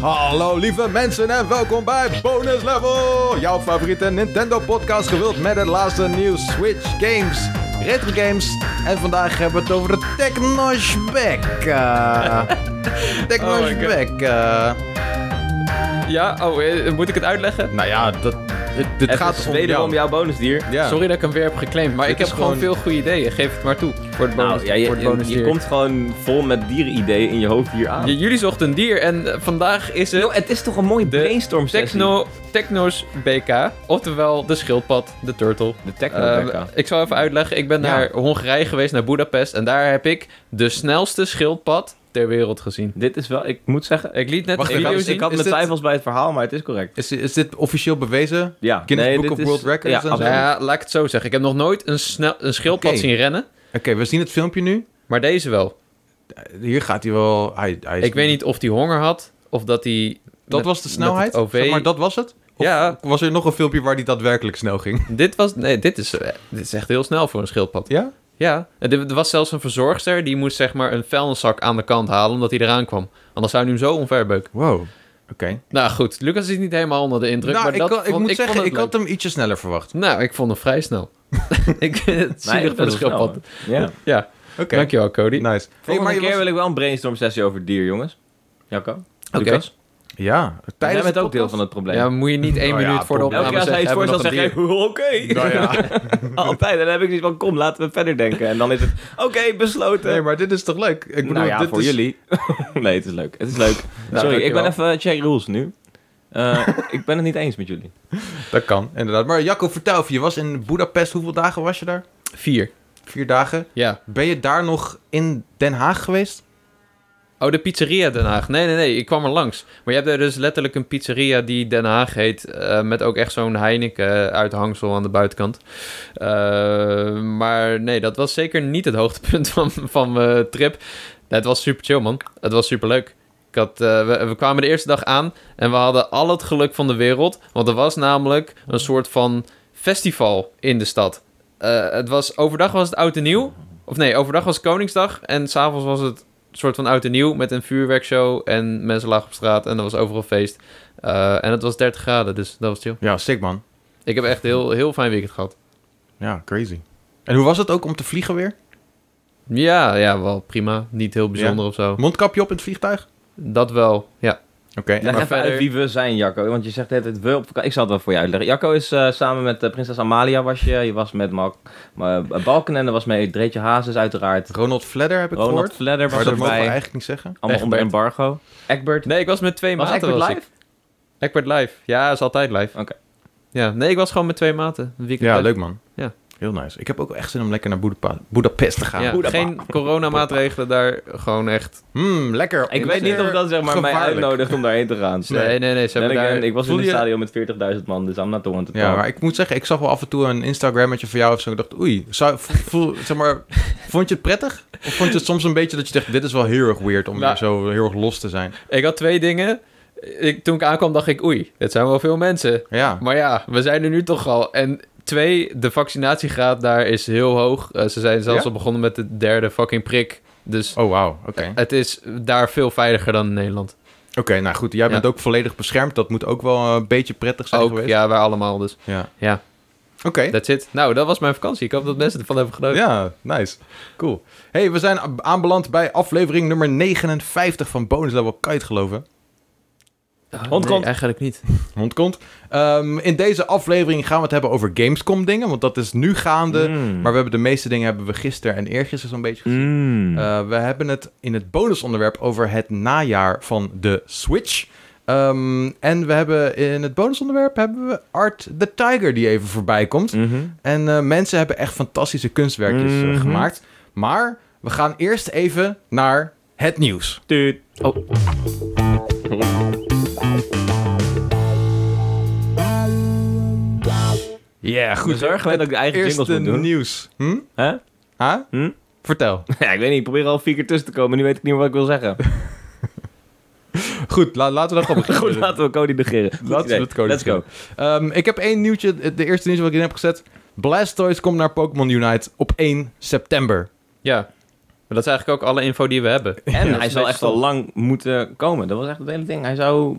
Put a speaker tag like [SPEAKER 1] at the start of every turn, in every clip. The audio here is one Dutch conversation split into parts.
[SPEAKER 1] Hallo lieve mensen en welkom bij Bonus Level, jouw favoriete Nintendo podcast gewild met het laatste nieuws, Switch games, retro games en vandaag hebben we het over de Technoshback. eh Technoshback. eh.
[SPEAKER 2] Ja, oh, eh, moet ik het uitleggen?
[SPEAKER 1] nou ja, dat, dit, dit
[SPEAKER 2] Het
[SPEAKER 1] gaat
[SPEAKER 2] is
[SPEAKER 1] om
[SPEAKER 2] wederom
[SPEAKER 1] jou.
[SPEAKER 2] jouw
[SPEAKER 3] Nou,
[SPEAKER 2] bonusdier.
[SPEAKER 1] Ja.
[SPEAKER 2] Sorry dat ik hem weer heb geclaimd, maar
[SPEAKER 1] Dit
[SPEAKER 2] ik heb
[SPEAKER 1] is
[SPEAKER 2] gewoon...
[SPEAKER 1] gewoon-
[SPEAKER 2] veel goede ideeën. Geef het maar toe voor het, bonus,
[SPEAKER 3] Nou, ja, je,
[SPEAKER 2] voor het
[SPEAKER 3] je,
[SPEAKER 2] bonusdier.
[SPEAKER 3] je komt gewoon vol met dierenideeën in je hoofd hier aan.
[SPEAKER 2] J- jullie zochten een dier en eh, vandaag is het
[SPEAKER 3] Yo, het is toch een mooie
[SPEAKER 2] De
[SPEAKER 3] brainstorm sessie.
[SPEAKER 2] techno, Technos BK, oftewel de schildpad, de turtle.
[SPEAKER 3] De techno
[SPEAKER 2] Eh, ik zal even uitleggen, ik ben
[SPEAKER 1] Ja.
[SPEAKER 2] naar Hongarije geweest, naar Budapest, en daar heb ik de snelste schildpad ter wereld gezien.
[SPEAKER 3] Dit is wel, ik moet zeggen, ik,
[SPEAKER 2] Ik liet net
[SPEAKER 1] Wacht
[SPEAKER 2] een
[SPEAKER 1] even,
[SPEAKER 3] ik,
[SPEAKER 2] video
[SPEAKER 3] had,
[SPEAKER 1] is-
[SPEAKER 2] zien.
[SPEAKER 3] ik had
[SPEAKER 1] Dus is dit-
[SPEAKER 3] mijn twijfels bij het verhaal, maar het is correct.
[SPEAKER 1] Is, is dit officieel bewezen?
[SPEAKER 3] Ja,
[SPEAKER 1] Guinness Book
[SPEAKER 3] dit
[SPEAKER 1] of
[SPEAKER 3] is-
[SPEAKER 1] World Records
[SPEAKER 3] ja,
[SPEAKER 1] en zo?
[SPEAKER 2] Nou
[SPEAKER 3] absoluut.
[SPEAKER 2] ja, laat ik het zo zeggen. Ik heb nog nooit een, snel, een schildpad
[SPEAKER 1] Oké.
[SPEAKER 2] zien rennen,
[SPEAKER 1] Oké, we zien het filmpje nu.
[SPEAKER 2] maar deze wel.
[SPEAKER 1] Hier gaat hij wel... Hij, hij is-
[SPEAKER 2] Ik weet niet of hij honger had, of dat hij...
[SPEAKER 1] Dat
[SPEAKER 2] met-
[SPEAKER 1] was de
[SPEAKER 2] met
[SPEAKER 1] snelheid?
[SPEAKER 2] het OV.
[SPEAKER 1] Zeg maar, dat was het? Of
[SPEAKER 2] Ja.
[SPEAKER 1] was er nog een filmpje waar die daadwerkelijk snel ging?
[SPEAKER 2] Dit was... Nee, dit is, eh, dit is echt heel snel voor een schildpad.
[SPEAKER 1] Ja?
[SPEAKER 2] Ja, en er er was zelfs een verzorgster die moest zeg maar een vuilniszak aan de kant halen omdat hij eraan kwam. Anders zou hij hem zo onverbeuken.
[SPEAKER 1] Wow. Oké.
[SPEAKER 2] Nou goed, Lucas is niet helemaal onder de indruk,
[SPEAKER 1] Nou,
[SPEAKER 2] maar
[SPEAKER 1] ik,
[SPEAKER 2] dat
[SPEAKER 1] kan- ik
[SPEAKER 2] vond-
[SPEAKER 1] moet
[SPEAKER 2] ik vond
[SPEAKER 1] zeggen,
[SPEAKER 2] het
[SPEAKER 1] ik had hem ietsje sneller verwacht.
[SPEAKER 2] leuk. Nou, ik vond hem vrij snel. ik het zielig
[SPEAKER 3] Nee, ik
[SPEAKER 2] voor de
[SPEAKER 3] vind het wel
[SPEAKER 2] schildpad.
[SPEAKER 3] snel. Ja.
[SPEAKER 2] Ja,
[SPEAKER 1] Oké. Nou,
[SPEAKER 2] dankjewel Cody.
[SPEAKER 1] Nice. Hey,
[SPEAKER 3] Volgende
[SPEAKER 1] maar je
[SPEAKER 3] keer
[SPEAKER 1] was-
[SPEAKER 3] wil ik wel een brainstorm sessie over dier, jongens. Jacco? Oké. Lucas?
[SPEAKER 1] Ja.
[SPEAKER 3] Jij
[SPEAKER 1] Tijdens
[SPEAKER 3] bent
[SPEAKER 1] de
[SPEAKER 3] ook deel
[SPEAKER 1] podcast?
[SPEAKER 3] van het probleem.
[SPEAKER 2] ja, moet je niet één
[SPEAKER 1] Nou ja,
[SPEAKER 2] minuut voor de
[SPEAKER 1] Tom,
[SPEAKER 3] Elke
[SPEAKER 2] opname
[SPEAKER 3] keer als hij
[SPEAKER 2] zeggen,
[SPEAKER 3] iets voorstelt,
[SPEAKER 2] hebben
[SPEAKER 3] zeg
[SPEAKER 2] we nog
[SPEAKER 3] jij,
[SPEAKER 2] een
[SPEAKER 3] oké.
[SPEAKER 1] Nou ja.
[SPEAKER 3] Altijd. En dan heb ik zoiets van, kom, laten we verder denken. En dan is het, oké, besloten.
[SPEAKER 1] Nee, maar dit is toch leuk? Ik bedoel,
[SPEAKER 3] nou ja,
[SPEAKER 1] dit
[SPEAKER 3] voor
[SPEAKER 1] is- Nou,
[SPEAKER 3] jullie. nee, het is leuk. Het is leuk. Sorry, ik ben even check rules nu. Eh, ik ben het niet eens met jullie.
[SPEAKER 1] Dat kan, inderdaad. Maar Jacco, vertel even. Je was in Boedapest. Hoeveel dagen was je daar?
[SPEAKER 2] dier. Vier,
[SPEAKER 1] Vier dagen.
[SPEAKER 2] ja.
[SPEAKER 1] Ben je daar nog in Den Haag geweest?
[SPEAKER 2] Oh, de pizzeria Den Haag. Nee, nee, nee. Ik kwam er langs. Maar je hebt er dus letterlijk een pizzeria die Den Haag heet. eh, met ook echt zo'n Heineken-uithangsel aan de buitenkant. Eh, maar nee, dat was zeker niet het hoogtepunt van, van mijn trip. Nee, het was super chill, man. Het was super leuk. Ik had, eh, we, we kwamen de eerste dag aan en we hadden al het geluk van de wereld. Want er was namelijk een soort van festival in de stad. Eh, het was, overdag was het oud en nieuw. Of nee, overdag was Koningsdag. En s'avonds was het soort van oud en nieuw met een vuurwerkshow. En mensen lagen op straat en er was overal feest. Eh, en het was 30 graden, dus dat was chill.
[SPEAKER 1] Ja, sick man.
[SPEAKER 2] Ik heb echt een heel, heel fijn weekend gehad.
[SPEAKER 1] Ja, crazy. En hoe was het ook om te vliegen weer?
[SPEAKER 2] Ja, ja, wel prima. Niet heel bijzonder of zo.
[SPEAKER 1] Mondkapje op in het vliegtuig?
[SPEAKER 2] Dat wel, ja.
[SPEAKER 1] Oké. en
[SPEAKER 3] Leg
[SPEAKER 1] maar-
[SPEAKER 3] even
[SPEAKER 2] verder-
[SPEAKER 3] uit wie we zijn, Jacco. Want je zegt net, het we op vakantie. Ik zal het wel voor je uitleggen. Jacco is eh, samen met eh, prinses Amalia was je. Je was met Malk, maar, eh, Balken en er was mee Dreetje Hazes uiteraard.
[SPEAKER 1] Ronald Fledder heb ik
[SPEAKER 3] Ronald
[SPEAKER 1] gehoord.
[SPEAKER 3] Vledder
[SPEAKER 1] Maar
[SPEAKER 3] was
[SPEAKER 1] dat mogen we
[SPEAKER 3] erbij.
[SPEAKER 1] eigenlijk niet zeggen.
[SPEAKER 3] Allemaal onder
[SPEAKER 2] Egbert.
[SPEAKER 3] embargo. Egbert.
[SPEAKER 2] Nee, ik was met twee
[SPEAKER 3] was
[SPEAKER 2] maten.
[SPEAKER 3] Egbert
[SPEAKER 2] was ik.
[SPEAKER 3] live?
[SPEAKER 2] Egbert live. Ja, is altijd live.
[SPEAKER 3] Oké.
[SPEAKER 2] Ja, nee, ik was gewoon met twee maten. Een weekend
[SPEAKER 1] Ja,
[SPEAKER 2] live.
[SPEAKER 1] leuk man.
[SPEAKER 2] Ja.
[SPEAKER 1] Heel nice. Ik heb ook echt zin om lekker naar Boedapa- Boedapest te gaan.
[SPEAKER 2] Ja,
[SPEAKER 3] Boedapa.
[SPEAKER 2] geen coronamaatregelen daar, gewoon echt.
[SPEAKER 1] Mm, lekker.
[SPEAKER 3] Ik weet niet of dat zeg maar, mij
[SPEAKER 1] Gevaarlijk.
[SPEAKER 3] uitnodigt om daarheen te gaan.
[SPEAKER 1] Nee.
[SPEAKER 2] Nee, nee, nee. Ze
[SPEAKER 3] Then
[SPEAKER 2] hebben daar...
[SPEAKER 3] again, ik was in
[SPEAKER 1] Voel
[SPEAKER 3] een
[SPEAKER 1] je-
[SPEAKER 3] stadion met 40.000 man, dus I'm not the one to
[SPEAKER 1] Ja,
[SPEAKER 3] talk.
[SPEAKER 1] maar ik moet zeggen, ik zag wel af en toe een Instagrammetje van jou of zo. Ik dacht, oei, zou, vo- voel, zeg maar, vond je het prettig? Of vond je het soms een beetje dat je dacht, dit is wel heel erg weird om
[SPEAKER 2] Nou.
[SPEAKER 1] weer zo heel erg los te zijn?
[SPEAKER 2] Ik had twee dingen. Ik, toen ik aankwam dacht ik, oei, dit zijn wel veel mensen.
[SPEAKER 1] Ja,
[SPEAKER 2] Maar ja, we zijn er nu toch al. En twee, de vaccinatiegraad daar is heel hoog. Eh, ze zijn zelfs
[SPEAKER 1] Ja?
[SPEAKER 2] al begonnen met de derde fucking prik. Dus
[SPEAKER 1] oh wauw, oké.
[SPEAKER 2] het is daar veel veiliger dan in Nederland.
[SPEAKER 1] Oké, nou goed, jij bent
[SPEAKER 2] Ja.
[SPEAKER 1] ook volledig beschermd. Dat moet ook wel een beetje prettig zijn
[SPEAKER 2] Ook,
[SPEAKER 1] geweest.
[SPEAKER 2] ja, wij allemaal dus.
[SPEAKER 1] Ja.
[SPEAKER 2] Ja,
[SPEAKER 1] Oké,
[SPEAKER 2] that's it. Nou, dat was mijn vakantie. Ik hoop dat mensen ervan hebben genoten.
[SPEAKER 1] ja, nice. Cool. hey, we zijn a- aanbeland bij aflevering nummer 59 van Bonus Level. Kan je het geloven?
[SPEAKER 2] Oh,
[SPEAKER 3] Ontkomt.
[SPEAKER 2] nee, eigenlijk niet.
[SPEAKER 1] Hond komt. Ehm, in deze aflevering gaan we het hebben over Gamescom dingen, want dat is nu gaande.
[SPEAKER 3] Mm.
[SPEAKER 1] Maar we hebben de meeste dingen hebben we gisteren en eergisteren zo'n beetje gezien.
[SPEAKER 3] Mm.
[SPEAKER 1] Eh, we hebben het in het bonusonderwerp over het najaar van de Switch. Ehm, en we hebben in het bonusonderwerp hebben we Art the Tiger die even voorbij komt.
[SPEAKER 3] Mhm.
[SPEAKER 1] En eh, mensen hebben echt fantastische kunstwerkjes eh,
[SPEAKER 3] Mhm.
[SPEAKER 1] gemaakt. Maar we gaan eerst even naar het nieuws.
[SPEAKER 3] Tuut.
[SPEAKER 1] Ja,
[SPEAKER 3] Goed, ik ben zo erg gewend dat ik de eigen jingles
[SPEAKER 1] Eerste
[SPEAKER 3] moet doen.
[SPEAKER 1] nieuws. Hm?
[SPEAKER 3] Hè?
[SPEAKER 1] Huh?
[SPEAKER 3] Hm?
[SPEAKER 1] Vertel.
[SPEAKER 3] Ja, ik weet niet, ik probeer al vier keer tussen te komen. Nu weet ik niet meer wat ik wil zeggen.
[SPEAKER 1] Goed, la- laten we dan gewoon
[SPEAKER 3] Goed,
[SPEAKER 1] beginnen.
[SPEAKER 3] laten we Cody negeren. Goed
[SPEAKER 1] Laten we
[SPEAKER 3] idee.
[SPEAKER 1] het Cody
[SPEAKER 3] Let's go.
[SPEAKER 1] Ehm, ik heb één nieuwtje, de eerste nieuws wat ik in heb gezet. Blastoise komt naar Pokémon Unite op 1 september.
[SPEAKER 2] Ja, Maar dat is eigenlijk ook alle info die we hebben.
[SPEAKER 3] En
[SPEAKER 2] dat
[SPEAKER 3] hij
[SPEAKER 2] is
[SPEAKER 3] zal
[SPEAKER 2] een
[SPEAKER 3] echt al
[SPEAKER 2] beetje
[SPEAKER 3] lang moeten komen. Dat was echt het hele ding. Hij zou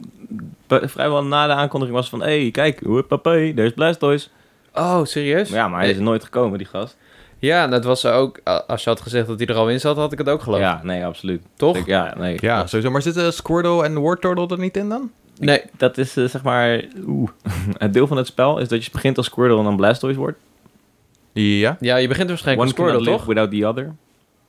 [SPEAKER 3] be- vrijwel na de aankondiging was van... Hé, hey, kijk, hoepapé, daar is Blastoise.
[SPEAKER 2] Oh, serieus?
[SPEAKER 3] Maar ja, maar hij is nooit gekomen, die gast.
[SPEAKER 2] Ja, en dat was ook... a- Als je had gezegd dat hij er al in zat, had ik het ook geloofd.
[SPEAKER 3] Ja, nee, absoluut.
[SPEAKER 2] Toch?
[SPEAKER 3] Ja, nee.
[SPEAKER 1] Ja, sowieso. Maar zitten Squirtle en Wartortle er niet in dan?
[SPEAKER 2] Nee.
[SPEAKER 3] Dat is eh, zeg maar... Oeh. Het deel van het spel is dat je begint als Squirtle en dan Blastoise wordt.
[SPEAKER 1] Ja.
[SPEAKER 2] Ja, je begint waarschijnlijk als Squirtle,
[SPEAKER 3] cannot live
[SPEAKER 2] toch?
[SPEAKER 3] without the other.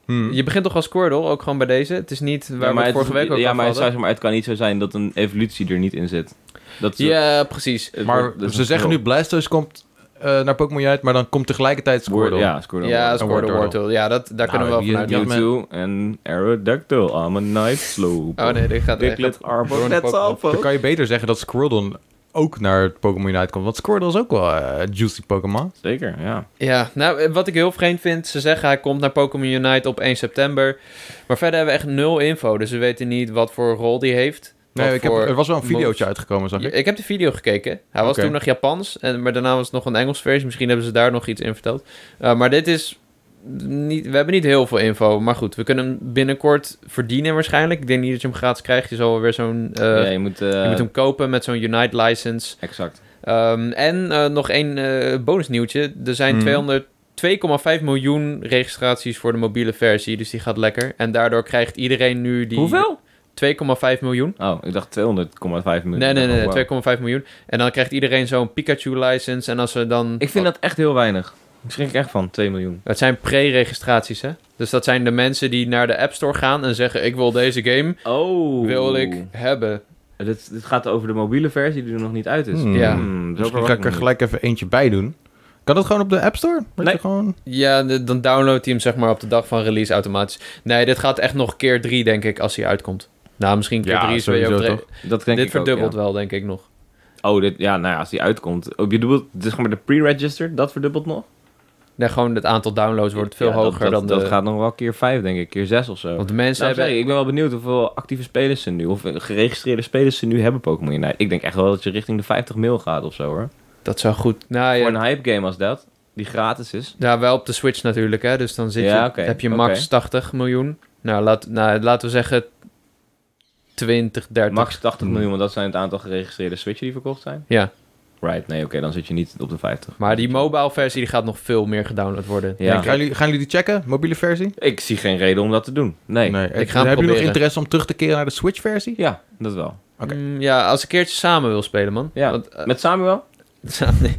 [SPEAKER 1] Hm.
[SPEAKER 2] Je begint toch als Squirtle, ook gewoon bij deze? Het is niet waar we het vorige week ook
[SPEAKER 3] ja,
[SPEAKER 2] over
[SPEAKER 3] maar,
[SPEAKER 2] hadden.
[SPEAKER 3] het zou, zeg maar het kan niet zo zijn dat een evolutie er niet in zit. Dat is-
[SPEAKER 2] Ja, precies.
[SPEAKER 3] het
[SPEAKER 1] Maar
[SPEAKER 3] wordt- dat is
[SPEAKER 1] ze
[SPEAKER 3] een
[SPEAKER 1] zeggen nu
[SPEAKER 3] verschil.
[SPEAKER 1] Blastoise komt eh, naar Pokémon uit, maar dan komt tegelijkertijd Squirtle.
[SPEAKER 3] Word- Ja, Squirtle.
[SPEAKER 2] Ja,
[SPEAKER 3] Ja,
[SPEAKER 1] Een
[SPEAKER 2] Squirtle,
[SPEAKER 1] Wartortle.
[SPEAKER 2] Wartortle. Ja, dat, daar
[SPEAKER 3] Nou,
[SPEAKER 2] kunnen we wel
[SPEAKER 1] die-
[SPEAKER 2] vanuit.
[SPEAKER 1] die-
[SPEAKER 2] gaan.
[SPEAKER 3] Mewtwo en Aerodactyl. I'm a Night Slope.
[SPEAKER 2] Oh nee, dit gaat echt...
[SPEAKER 3] Diglett, Arbor,
[SPEAKER 2] door de
[SPEAKER 3] that's
[SPEAKER 2] Pokémon.
[SPEAKER 3] all,
[SPEAKER 1] Dan
[SPEAKER 3] folks.
[SPEAKER 1] kan je beter zeggen dat Squirtle ook naar Pokémon Unite komt. Want Squirtle is ook wel eh, een juicy Pokémon.
[SPEAKER 3] Zeker, ja.
[SPEAKER 2] Ja, nou, eh, wat ik heel vreemd vind, ze zeggen hij komt naar Pokémon Unite op 1 september. Maar verder hebben we echt nul info, dus we weten niet wat voor rol die heeft. wat
[SPEAKER 1] Nee, ik heb,
[SPEAKER 2] voor-
[SPEAKER 1] er was wel een videootje
[SPEAKER 2] moves.
[SPEAKER 1] uitgekomen, zag
[SPEAKER 2] Ja,
[SPEAKER 1] ik.
[SPEAKER 2] Ik heb de video gekeken. Hij was
[SPEAKER 1] Oké.
[SPEAKER 2] toen nog Japans, en, maar daarna was het nog een Engels versie. Misschien hebben ze daar nog iets in verteld. Eh, maar dit is... Niet, we hebben niet heel veel info, maar goed, we kunnen hem binnenkort verdienen waarschijnlijk. Ik denk niet dat je hem gratis krijgt. Je zal weer zo'n... eh,
[SPEAKER 3] ja, je moet... eh,
[SPEAKER 2] Je moet hem kopen met zo'n Unite license.
[SPEAKER 3] Exact.
[SPEAKER 2] Ehm, en eh, nog één bonus bonusnieuwtje. Er zijn
[SPEAKER 1] Mhm.
[SPEAKER 2] 200 2,5 miljoen registraties voor de mobiele versie. Dus die gaat lekker. En daardoor krijgt iedereen nu die... 2,5 miljoen.
[SPEAKER 3] Oh, ik dacht 200,5 miljoen.
[SPEAKER 2] Nee, nee,
[SPEAKER 3] Oh,
[SPEAKER 2] nee,
[SPEAKER 3] wow.
[SPEAKER 2] 2,5 miljoen. En dan krijgt iedereen zo'n Pikachu-license. En als ze dan... Oh,
[SPEAKER 3] Ik vind dat echt heel weinig. Daar schrik ik echt van, 2 miljoen.
[SPEAKER 2] Het zijn pre-registraties, hè? Dus dat zijn de mensen die naar de App Store gaan en zeggen... Ik wil deze game,
[SPEAKER 3] Oh.
[SPEAKER 2] wil ik hebben.
[SPEAKER 3] Dit, dit gaat over de mobiele versie die er nog niet uit is.
[SPEAKER 1] Hmm.
[SPEAKER 2] Ja.
[SPEAKER 3] Hmm, zo
[SPEAKER 1] Misschien
[SPEAKER 3] verwacht
[SPEAKER 1] ga ik
[SPEAKER 3] ik
[SPEAKER 1] er
[SPEAKER 3] hem
[SPEAKER 1] gelijk even eentje bij doen. Kan dat gewoon op de App Store? Dat
[SPEAKER 3] Nee.
[SPEAKER 1] je gewoon...
[SPEAKER 2] Ja, de- dan downloadt hij hem zeg maar op de dag van release automatisch. Nee, dit gaat echt nog keer drie, denk ik, als hij uitkomt. Nou, misschien keer
[SPEAKER 1] Ja,
[SPEAKER 2] drie is weer
[SPEAKER 1] sowieso,
[SPEAKER 2] overdreven.
[SPEAKER 1] toch?
[SPEAKER 3] niet. Dat denk
[SPEAKER 2] Dit
[SPEAKER 3] ik ook,
[SPEAKER 2] verdubbelt
[SPEAKER 3] ja.
[SPEAKER 2] wel, denk ik nog.
[SPEAKER 3] Oh, dit, ja, nou ja, als die uitkomt. Oh, je bedoelt, dus zeg maar de pre-register, dat verdubbelt nog?
[SPEAKER 2] Nee, gewoon het aantal downloads wordt veel
[SPEAKER 3] Ja, dat-
[SPEAKER 2] hoger
[SPEAKER 3] dat,
[SPEAKER 2] dan
[SPEAKER 3] dat
[SPEAKER 2] de...
[SPEAKER 3] gaat nog wel keer 5, denk ik. Keer 6 of zo.
[SPEAKER 2] Want de mensen
[SPEAKER 3] Nou,
[SPEAKER 2] hebben...
[SPEAKER 3] zeg, ik ben wel benieuwd hoeveel actieve spelers ze nu, of geregistreerde spelers ze nu hebben Pokémon Unite. Ik denk echt wel dat je richting de 50 mil gaat of zo hoor.
[SPEAKER 2] Dat zou goed... Nou
[SPEAKER 3] Voor
[SPEAKER 2] ja,
[SPEAKER 3] een hype game als dat, die gratis is.
[SPEAKER 2] ja, wel op de Switch natuurlijk, hè. Dus dan zit
[SPEAKER 3] Ja,
[SPEAKER 2] je,
[SPEAKER 3] oké,
[SPEAKER 2] heb je max
[SPEAKER 3] oké.
[SPEAKER 2] 80 miljoen. Nou, laat, nou, laten we zeggen 20, 30.
[SPEAKER 3] Max 80
[SPEAKER 1] Hmm.
[SPEAKER 3] miljoen, want dat zijn het aantal geregistreerde Switchen die verkocht zijn.
[SPEAKER 2] Ja,
[SPEAKER 3] Right, nee, oké, dan zit je niet op de 50.
[SPEAKER 2] maar die mobile versie die gaat nog veel meer gedownload worden.
[SPEAKER 3] Ja.
[SPEAKER 2] denk ik.
[SPEAKER 1] Gaan, jullie, gaan jullie die checken, mobiele versie?
[SPEAKER 3] Ik zie geen reden om dat te doen. Nee.
[SPEAKER 1] Hebben
[SPEAKER 2] ga hem
[SPEAKER 1] jullie nog
[SPEAKER 2] proberen.
[SPEAKER 1] interesse om terug te keren naar de Switch versie?
[SPEAKER 3] Ja, dat wel.
[SPEAKER 1] Oké.
[SPEAKER 2] Mm, ja, als ik een keertje samen wil spelen, man.
[SPEAKER 3] Ja.
[SPEAKER 2] Want, eh,
[SPEAKER 3] Met Samuel?
[SPEAKER 2] Nee,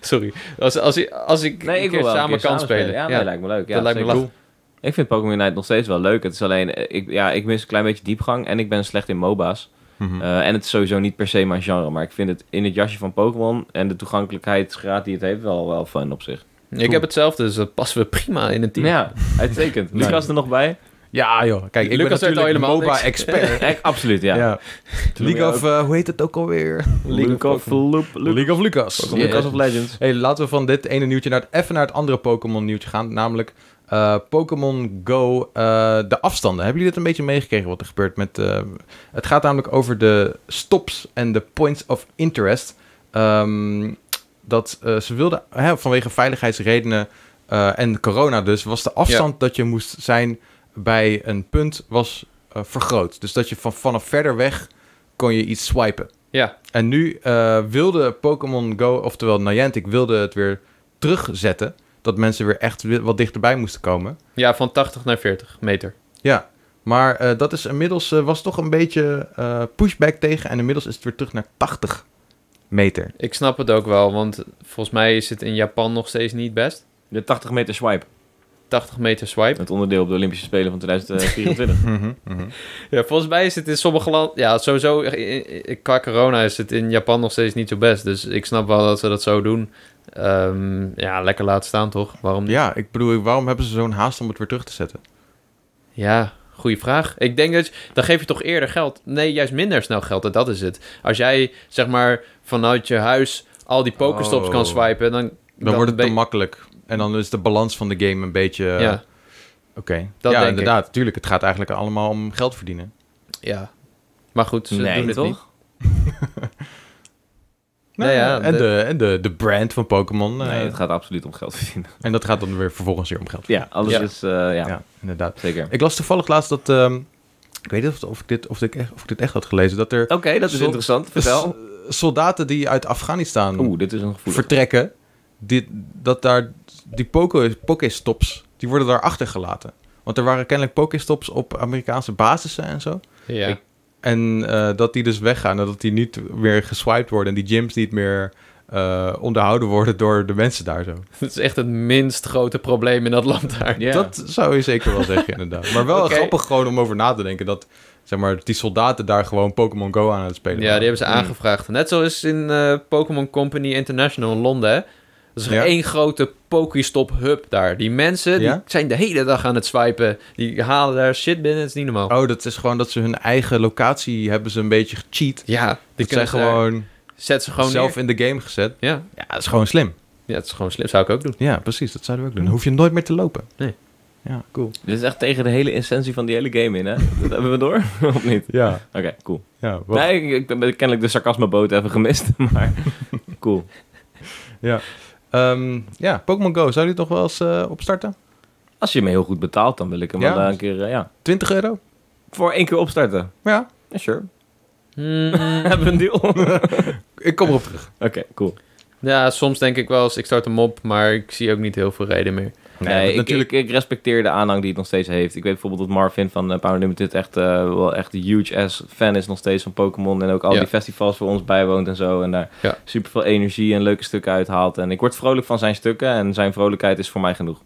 [SPEAKER 2] sorry. Als, als, ik- als ik
[SPEAKER 3] Nee,
[SPEAKER 2] een
[SPEAKER 3] ik
[SPEAKER 2] keer
[SPEAKER 3] wil wel een
[SPEAKER 2] samen
[SPEAKER 3] keer
[SPEAKER 2] kan spelen.
[SPEAKER 3] Ja,
[SPEAKER 2] Ja.
[SPEAKER 3] nee, lijkt me leuk. Ja,
[SPEAKER 2] Dat lijkt me
[SPEAKER 3] zeker.
[SPEAKER 2] lachen.
[SPEAKER 3] Ik vind Pokémon Unite nog steeds wel leuk. Het is alleen, eh, ik, ja, ik mis een klein beetje diepgang en ik ben slecht in MOBA's.
[SPEAKER 1] Mhm.
[SPEAKER 3] Eh, en het is sowieso niet per se mijn genre, maar ik vind het in het jasje van Pokémon en de toegankelijkheidsgraad die het heeft wel, wel fun op zich.
[SPEAKER 2] Ik heb hetzelfde, dus dat passen we prima in een team.
[SPEAKER 3] Ja, uitstekend.
[SPEAKER 1] Nee.
[SPEAKER 3] Lucas er nog bij?
[SPEAKER 1] Ja, joh. Kijk, ik
[SPEAKER 2] Lucas
[SPEAKER 1] ben
[SPEAKER 2] weet al
[SPEAKER 1] natuurlijk
[SPEAKER 2] helemaal niks.
[SPEAKER 1] MOBA-expert.
[SPEAKER 3] Echt, absoluut, ja.
[SPEAKER 1] League of... eh, hoe heet het ook alweer?
[SPEAKER 3] Luke of Loop- Luke-
[SPEAKER 1] League of Lucas.
[SPEAKER 2] Pokémon.
[SPEAKER 1] Yes.
[SPEAKER 3] Lucas of Legends.
[SPEAKER 1] Hey, laten we van dit ene nieuwtje naar het, even naar het andere Pokémon nieuwtje gaan. Namelijk eh, Pokémon Go, eh, de afstanden. Hebben jullie dit een beetje meegekregen wat er gebeurt met... eh, het gaat namelijk over de stops en de points of interest. Ehm, dat eh, ze wilden, hè, vanwege veiligheidsredenen eh, en corona dus, was de afstand dat je moest zijn bij een punt was eh, vergroot. Dus dat je van, vanaf verder weg kon je iets swipen.
[SPEAKER 2] Ja.
[SPEAKER 1] En nu eh, wilde Pokémon Go, oftewel Niantic, wilde het weer terugzetten. Dat mensen weer echt wi- wat dichterbij moesten komen.
[SPEAKER 2] ja, van 80 naar 40 meter.
[SPEAKER 1] Ja, maar eh, dat is inmiddels eh, was toch een beetje eh, pushback tegen. En inmiddels is het weer terug naar 80 meter.
[SPEAKER 2] Ik snap het ook wel, want volgens mij is het in Japan nog steeds niet best.
[SPEAKER 3] De 80 meter swipe.
[SPEAKER 2] 80 meter swipe.
[SPEAKER 3] Het onderdeel op de Olympische Spelen van 2024.
[SPEAKER 2] Ja, volgens mij is het in sommige landen... Ja, sowieso eh, eh, qua corona is het in Japan nog steeds niet zo best. Dus ik snap wel dat ze dat zo doen. Ehm, ja, lekker laten staan toch? Waarom niet?
[SPEAKER 1] Ja, ik bedoel, waarom hebben ze zo'n haast om het weer terug te zetten?
[SPEAKER 2] Ja, goede vraag. Ik denk dat je, dan geef je toch eerder geld. Nee, juist minder snel geld. En dat is het. Als jij zeg maar vanuit je huis al die pokerstops
[SPEAKER 1] Oh.
[SPEAKER 2] kan swipen, dan,
[SPEAKER 1] Dan, wordt het te
[SPEAKER 2] weet-
[SPEAKER 1] makkelijk. En dan is de balans van de game een beetje... eh,
[SPEAKER 2] ja,
[SPEAKER 1] Oké.
[SPEAKER 2] Dat
[SPEAKER 1] Ja,
[SPEAKER 2] denk ik.
[SPEAKER 1] inderdaad. Tuurlijk, het gaat eigenlijk allemaal om geld verdienen.
[SPEAKER 2] ja. Maar goed, ze
[SPEAKER 3] nee,
[SPEAKER 2] doen dit
[SPEAKER 3] toch?
[SPEAKER 2] niet. Nou ja,
[SPEAKER 1] en
[SPEAKER 2] de-
[SPEAKER 1] de, en de, de brand van Pokémon. eh,
[SPEAKER 3] Nee, het gaat absoluut om geld verdienen.
[SPEAKER 1] En dat gaat dan weer vervolgens weer om geld.
[SPEAKER 3] Ja, alles
[SPEAKER 2] Ja.
[SPEAKER 3] is... eh, ja,
[SPEAKER 1] ja inderdaad.
[SPEAKER 3] zeker.
[SPEAKER 1] Ik las toevallig laatst dat. ehm, ik weet niet of, of, ik dit, of, ik echt, of ik dit echt had gelezen. Dat er
[SPEAKER 3] Oké, dat is
[SPEAKER 1] Zo-
[SPEAKER 3] interessant. Vertel.
[SPEAKER 1] s- soldaten die uit Afghanistan
[SPEAKER 3] Oeh, dit is een gevoelig.
[SPEAKER 1] vertrekken. Die, dat daar die poke- Pokéstops. Die worden daar achtergelaten. Want er waren kennelijk Pokéstops op Amerikaanse basissen en zo.
[SPEAKER 2] Ja.
[SPEAKER 1] Ik- En eh, dat die dus weggaan. En dat die niet meer geswiped worden. En die gyms niet meer eh, onderhouden worden door de mensen daar zo.
[SPEAKER 2] Dat is echt het minst grote probleem in dat land daar.
[SPEAKER 3] Ja.
[SPEAKER 1] Dat zou je zeker wel zeggen, inderdaad. Maar wel
[SPEAKER 2] Oké.
[SPEAKER 1] grappig gewoon om over na te denken dat zeg maar, die soldaten daar gewoon Pokémon Go aan het
[SPEAKER 2] Ja,
[SPEAKER 1] spelen
[SPEAKER 2] die
[SPEAKER 1] waren.
[SPEAKER 2] hebben ze
[SPEAKER 3] Hmm.
[SPEAKER 2] aangevraagd. Net zoals in eh, Pokémon Company International in Londen. hè. Dat is
[SPEAKER 1] Ja.
[SPEAKER 2] één grote Pokestop-hub daar. Die mensen die
[SPEAKER 1] Ja?
[SPEAKER 2] zijn de hele dag aan het swipen. Die halen daar shit binnen. Het is niet normaal.
[SPEAKER 1] Oh, dat is gewoon dat ze hun eigen locatie hebben ze een beetje gecheat.
[SPEAKER 2] Ja, die
[SPEAKER 1] Die zijn
[SPEAKER 2] kunnen gewoon...
[SPEAKER 1] gewoon
[SPEAKER 2] Zet ze gewoon
[SPEAKER 1] zelf
[SPEAKER 2] neer.
[SPEAKER 1] in de game gezet.
[SPEAKER 2] Ja.
[SPEAKER 1] Ja, dat is gewoon slim. Mm.
[SPEAKER 2] ja, het is gewoon slim. Zou ik ook doen.
[SPEAKER 1] Ja, precies. Dat zouden we ook doen. Dan hoef je nooit meer te lopen.
[SPEAKER 2] Nee.
[SPEAKER 1] Ja, cool.
[SPEAKER 3] Dit is echt tegen de hele essentie van die hele game in, hè? Dat hebben we door, of niet?
[SPEAKER 1] Ja,
[SPEAKER 3] Oké, cool.
[SPEAKER 1] ja, wat-
[SPEAKER 3] Nee, ik, ik ben kennelijk de sarcasmeboot even gemist, maar cool.
[SPEAKER 1] ja. Ehm, ja, Pokémon Go. Zou je die nog wel eens eh, opstarten?
[SPEAKER 3] Als je me heel goed betaalt, dan wil ik hem
[SPEAKER 1] Ja.
[SPEAKER 3] wel eh, een keer, eh, ja,
[SPEAKER 1] 20 euro?
[SPEAKER 3] voor één keer opstarten.
[SPEAKER 1] Ja,
[SPEAKER 3] Ja, sure.
[SPEAKER 2] Hmm.
[SPEAKER 3] Hebben we een deal? Oké,
[SPEAKER 1] ik kom erop terug.
[SPEAKER 3] cool.
[SPEAKER 2] ja, soms denk ik wel eens ik start hem op, maar ik zie ook niet heel veel reden meer.
[SPEAKER 3] Nee, ik, natuurlijk... ik, ik respecteer de aanhang die het nog steeds heeft. Ik weet bijvoorbeeld dat Marvin van eh, Power Limited echt eh, wel echt een huge ass fan is nog steeds van Pokémon. En ook al
[SPEAKER 2] Ja.
[SPEAKER 3] die festivals voor ons bijwoont en zo. En daar
[SPEAKER 2] Ja.
[SPEAKER 3] super veel energie en leuke stukken uithaalt. En ik word vrolijk van zijn stukken en zijn vrolijkheid is voor mij genoeg.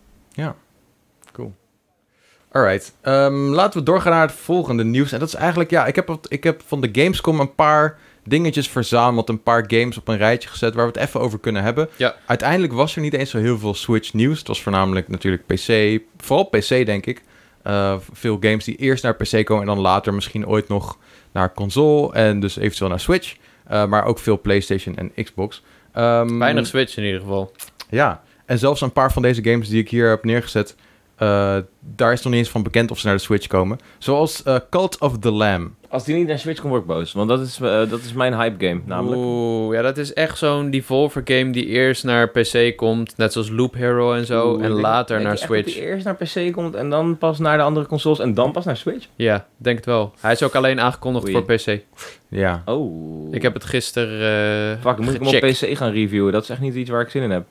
[SPEAKER 1] Alright, ehm, laten we doorgaan naar het volgende nieuws. En dat is eigenlijk, ja, ik heb, wat- ik heb van de Gamescom een paar dingetjes verzameld, een paar games op een rijtje gezet waar we het even over kunnen hebben.
[SPEAKER 2] Ja.
[SPEAKER 1] Uiteindelijk was er niet eens zo heel veel Switch nieuws. Het was voornamelijk natuurlijk PC, vooral PC denk ik. Eh, veel games die eerst naar PC komen en dan later misschien ooit nog naar console en dus eventueel naar Switch. Eh, maar ook veel PlayStation en Xbox. Ehm,
[SPEAKER 2] Weinig Switch in ieder geval.
[SPEAKER 1] ja, en zelfs een paar van deze games die ik hier heb neergezet, eh, daar is nog niet eens van bekend of ze naar de Switch komen. Zoals eh, Cult of the Lamb.
[SPEAKER 3] Als die niet naar Switch komt, word ik boos. Want dat is, eh, dat is mijn hype game, namelijk.
[SPEAKER 2] Oeh, ja, dat is echt zo'n Devolver game die eerst naar PC komt, net zoals Loop Hero en zo,
[SPEAKER 3] Oeh,
[SPEAKER 2] en
[SPEAKER 3] denk-
[SPEAKER 2] later
[SPEAKER 3] denk
[SPEAKER 2] naar
[SPEAKER 3] je echt dat
[SPEAKER 2] Switch.
[SPEAKER 3] die eerst naar PC komt en dan pas naar de andere consoles en dan pas naar Switch?
[SPEAKER 2] Ja, denk het wel. Hij is ook alleen aangekondigd
[SPEAKER 3] Oei.
[SPEAKER 2] voor PC.
[SPEAKER 1] Ja.
[SPEAKER 3] Oh.
[SPEAKER 2] Ik heb het gisteren eh,
[SPEAKER 3] Fuck, dan moet ik hem op
[SPEAKER 2] gecheckt.
[SPEAKER 3] PC gaan reviewen? Dat is echt niet iets waar ik zin in heb.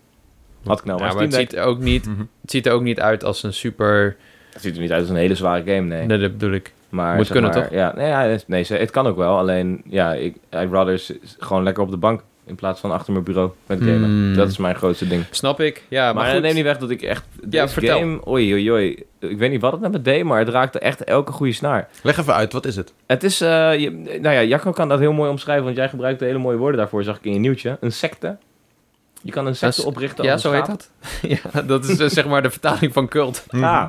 [SPEAKER 3] Had ik nou maar,
[SPEAKER 2] Ja, maar het ziet, ook niet,
[SPEAKER 3] Mhm.
[SPEAKER 2] het ziet er ook niet uit als een super...
[SPEAKER 3] Het ziet er niet uit als een hele zware game, nee.
[SPEAKER 2] Nee, dat bedoel ik.
[SPEAKER 3] Maar,
[SPEAKER 2] Moet
[SPEAKER 3] zeg
[SPEAKER 2] kunnen,
[SPEAKER 3] maar,
[SPEAKER 2] toch?
[SPEAKER 3] Ja, nee, ja, het- nee, ze- het kan ook wel. Alleen, ja, ik, I'd rather s- s- gewoon lekker op de bank in plaats van achter mijn bureau met gamen.
[SPEAKER 2] Hmm.
[SPEAKER 3] Dat is mijn grootste ding.
[SPEAKER 2] Snap ik, ja, maar,
[SPEAKER 3] maar
[SPEAKER 2] goed.
[SPEAKER 3] dat neem niet weg dat ik echt deze
[SPEAKER 2] vertel.
[SPEAKER 3] game... Oei, oei, oei. Ik weet niet wat het met me deed, maar het raakte echt elke goede snaar.
[SPEAKER 1] Leg even uit, wat is het?
[SPEAKER 3] Het is, eh, je- nou ja, Jacco kan dat heel mooi omschrijven, want jij gebruikte hele mooie woorden daarvoor, zag ik in je nieuwtje. Een secte. Je kan een secte
[SPEAKER 2] Een s-
[SPEAKER 3] oprichten.
[SPEAKER 2] Ja,
[SPEAKER 3] als
[SPEAKER 2] zo
[SPEAKER 3] een
[SPEAKER 2] heet
[SPEAKER 3] schaap.
[SPEAKER 2] dat. ja, dat is eh, zeg maar de vertaling van cult.
[SPEAKER 3] Ah,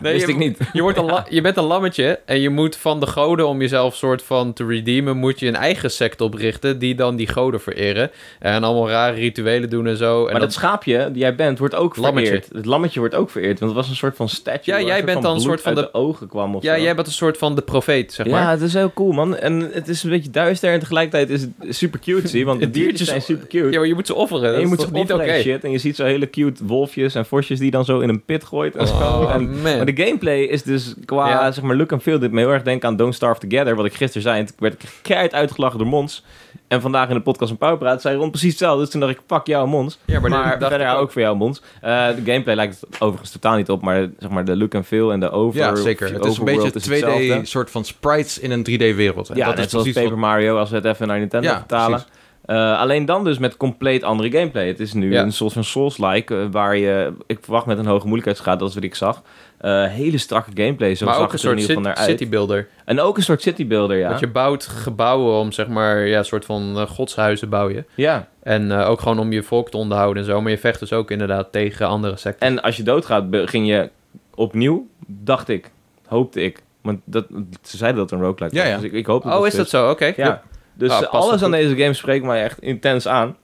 [SPEAKER 2] Nee,
[SPEAKER 3] wist
[SPEAKER 2] je-
[SPEAKER 3] ik niet.
[SPEAKER 2] Je, wordt een la- je bent een lammetje en je moet van de goden om jezelf soort van te redeemen, moet je een eigen sect oprichten die dan die goden vereren. En allemaal rare rituelen doen en zo. En
[SPEAKER 3] Maar dat schaapje die jij bent, wordt ook
[SPEAKER 2] Lammetje.
[SPEAKER 3] vereerd. Het lammetje wordt ook vereerd, want het was een soort van statue.
[SPEAKER 2] Ja,
[SPEAKER 3] waar
[SPEAKER 2] jij
[SPEAKER 3] soort
[SPEAKER 2] bent dan een
[SPEAKER 3] bloed
[SPEAKER 2] soort van
[SPEAKER 3] uit de... ogen kwam of
[SPEAKER 2] ja,
[SPEAKER 3] zo.
[SPEAKER 2] jij bent een soort van de profeet, zeg
[SPEAKER 3] Ja,
[SPEAKER 2] maar.
[SPEAKER 3] het is heel cool, man. En het is een beetje duister en tegelijkertijd is het super cutesy, want de
[SPEAKER 2] Het diertje
[SPEAKER 3] diertjes zijn
[SPEAKER 2] is-
[SPEAKER 3] super cute.
[SPEAKER 2] Ja, maar je moet ze offeren.
[SPEAKER 3] en
[SPEAKER 2] Dat
[SPEAKER 3] je
[SPEAKER 2] is
[SPEAKER 3] moet
[SPEAKER 2] toch
[SPEAKER 3] ze
[SPEAKER 2] niet oké.
[SPEAKER 3] opleggen shit en je ziet zo hele cute wolfjes en vosjes die dan zo in een pit gooit en zo.
[SPEAKER 2] Oh,
[SPEAKER 3] en
[SPEAKER 2] man.
[SPEAKER 3] Maar de gameplay is dus qua
[SPEAKER 2] Ja.
[SPEAKER 3] zeg maar, look and feel dit me heel erg denken aan Don't Starve Together. Wat ik gisteren zei. En toen werd ik keihard uitgelachen door Mons. En vandaag in de podcast een Pauwpraat zei Ron precies hetzelfde. Dus toen dacht ik, pak jou Mons.
[SPEAKER 2] Ja, maar
[SPEAKER 3] Maar,
[SPEAKER 2] dan dacht
[SPEAKER 3] verder
[SPEAKER 2] ik
[SPEAKER 3] ook.
[SPEAKER 2] ook-
[SPEAKER 3] voor jou Mons. Eh, de gameplay lijkt het overigens totaal niet op. Maar zeg maar, de look and feel en de over...
[SPEAKER 1] ja, zeker. Het is een beetje
[SPEAKER 3] overworld is hetzelfde.
[SPEAKER 1] 2D, soort van sprites in een 3D-wereld.
[SPEAKER 3] Ja,
[SPEAKER 1] dat
[SPEAKER 3] net
[SPEAKER 1] is
[SPEAKER 3] zoals
[SPEAKER 1] precies
[SPEAKER 3] Paper
[SPEAKER 1] wat...
[SPEAKER 3] Mario, als we het even naar Nintendo
[SPEAKER 1] Ja,
[SPEAKER 3] vertalen.
[SPEAKER 1] precies.
[SPEAKER 3] Eh, alleen dan dus met compleet andere gameplay. Het is nu
[SPEAKER 2] Ja.
[SPEAKER 3] een soort van Souls-like, eh, waar je, ik verwacht met een hoge moeilijkheidsgraad, dat is wat ik zag. Eh, hele strakke gameplay, zo
[SPEAKER 2] Maar
[SPEAKER 3] zag
[SPEAKER 2] ook een
[SPEAKER 3] het er in
[SPEAKER 2] soort
[SPEAKER 3] ieder geval naar
[SPEAKER 2] cit-
[SPEAKER 3] uit.
[SPEAKER 2] citybuilder.
[SPEAKER 3] En ook een soort citybuilder, ja.
[SPEAKER 2] Dat je bouwt gebouwen om, zeg maar, ja, een soort van eh, godshuizen bouw je.
[SPEAKER 3] Ja,
[SPEAKER 2] En eh, ook gewoon om je volk te onderhouden en zo. Maar je vecht dus ook inderdaad tegen andere secten.
[SPEAKER 3] en als je doodgaat, begin je opnieuw, dacht ik, hoopte ik. Want dat, ze zeiden dat het een roguelike was,
[SPEAKER 1] Ja, ja.
[SPEAKER 3] dus ik, ik hoop dat
[SPEAKER 2] oh, is dat zo? Oké.
[SPEAKER 3] Ja. Dus
[SPEAKER 2] Ah,
[SPEAKER 3] eh,
[SPEAKER 2] past
[SPEAKER 3] alles
[SPEAKER 2] wel
[SPEAKER 3] aan deze game spreekt mij echt intens aan.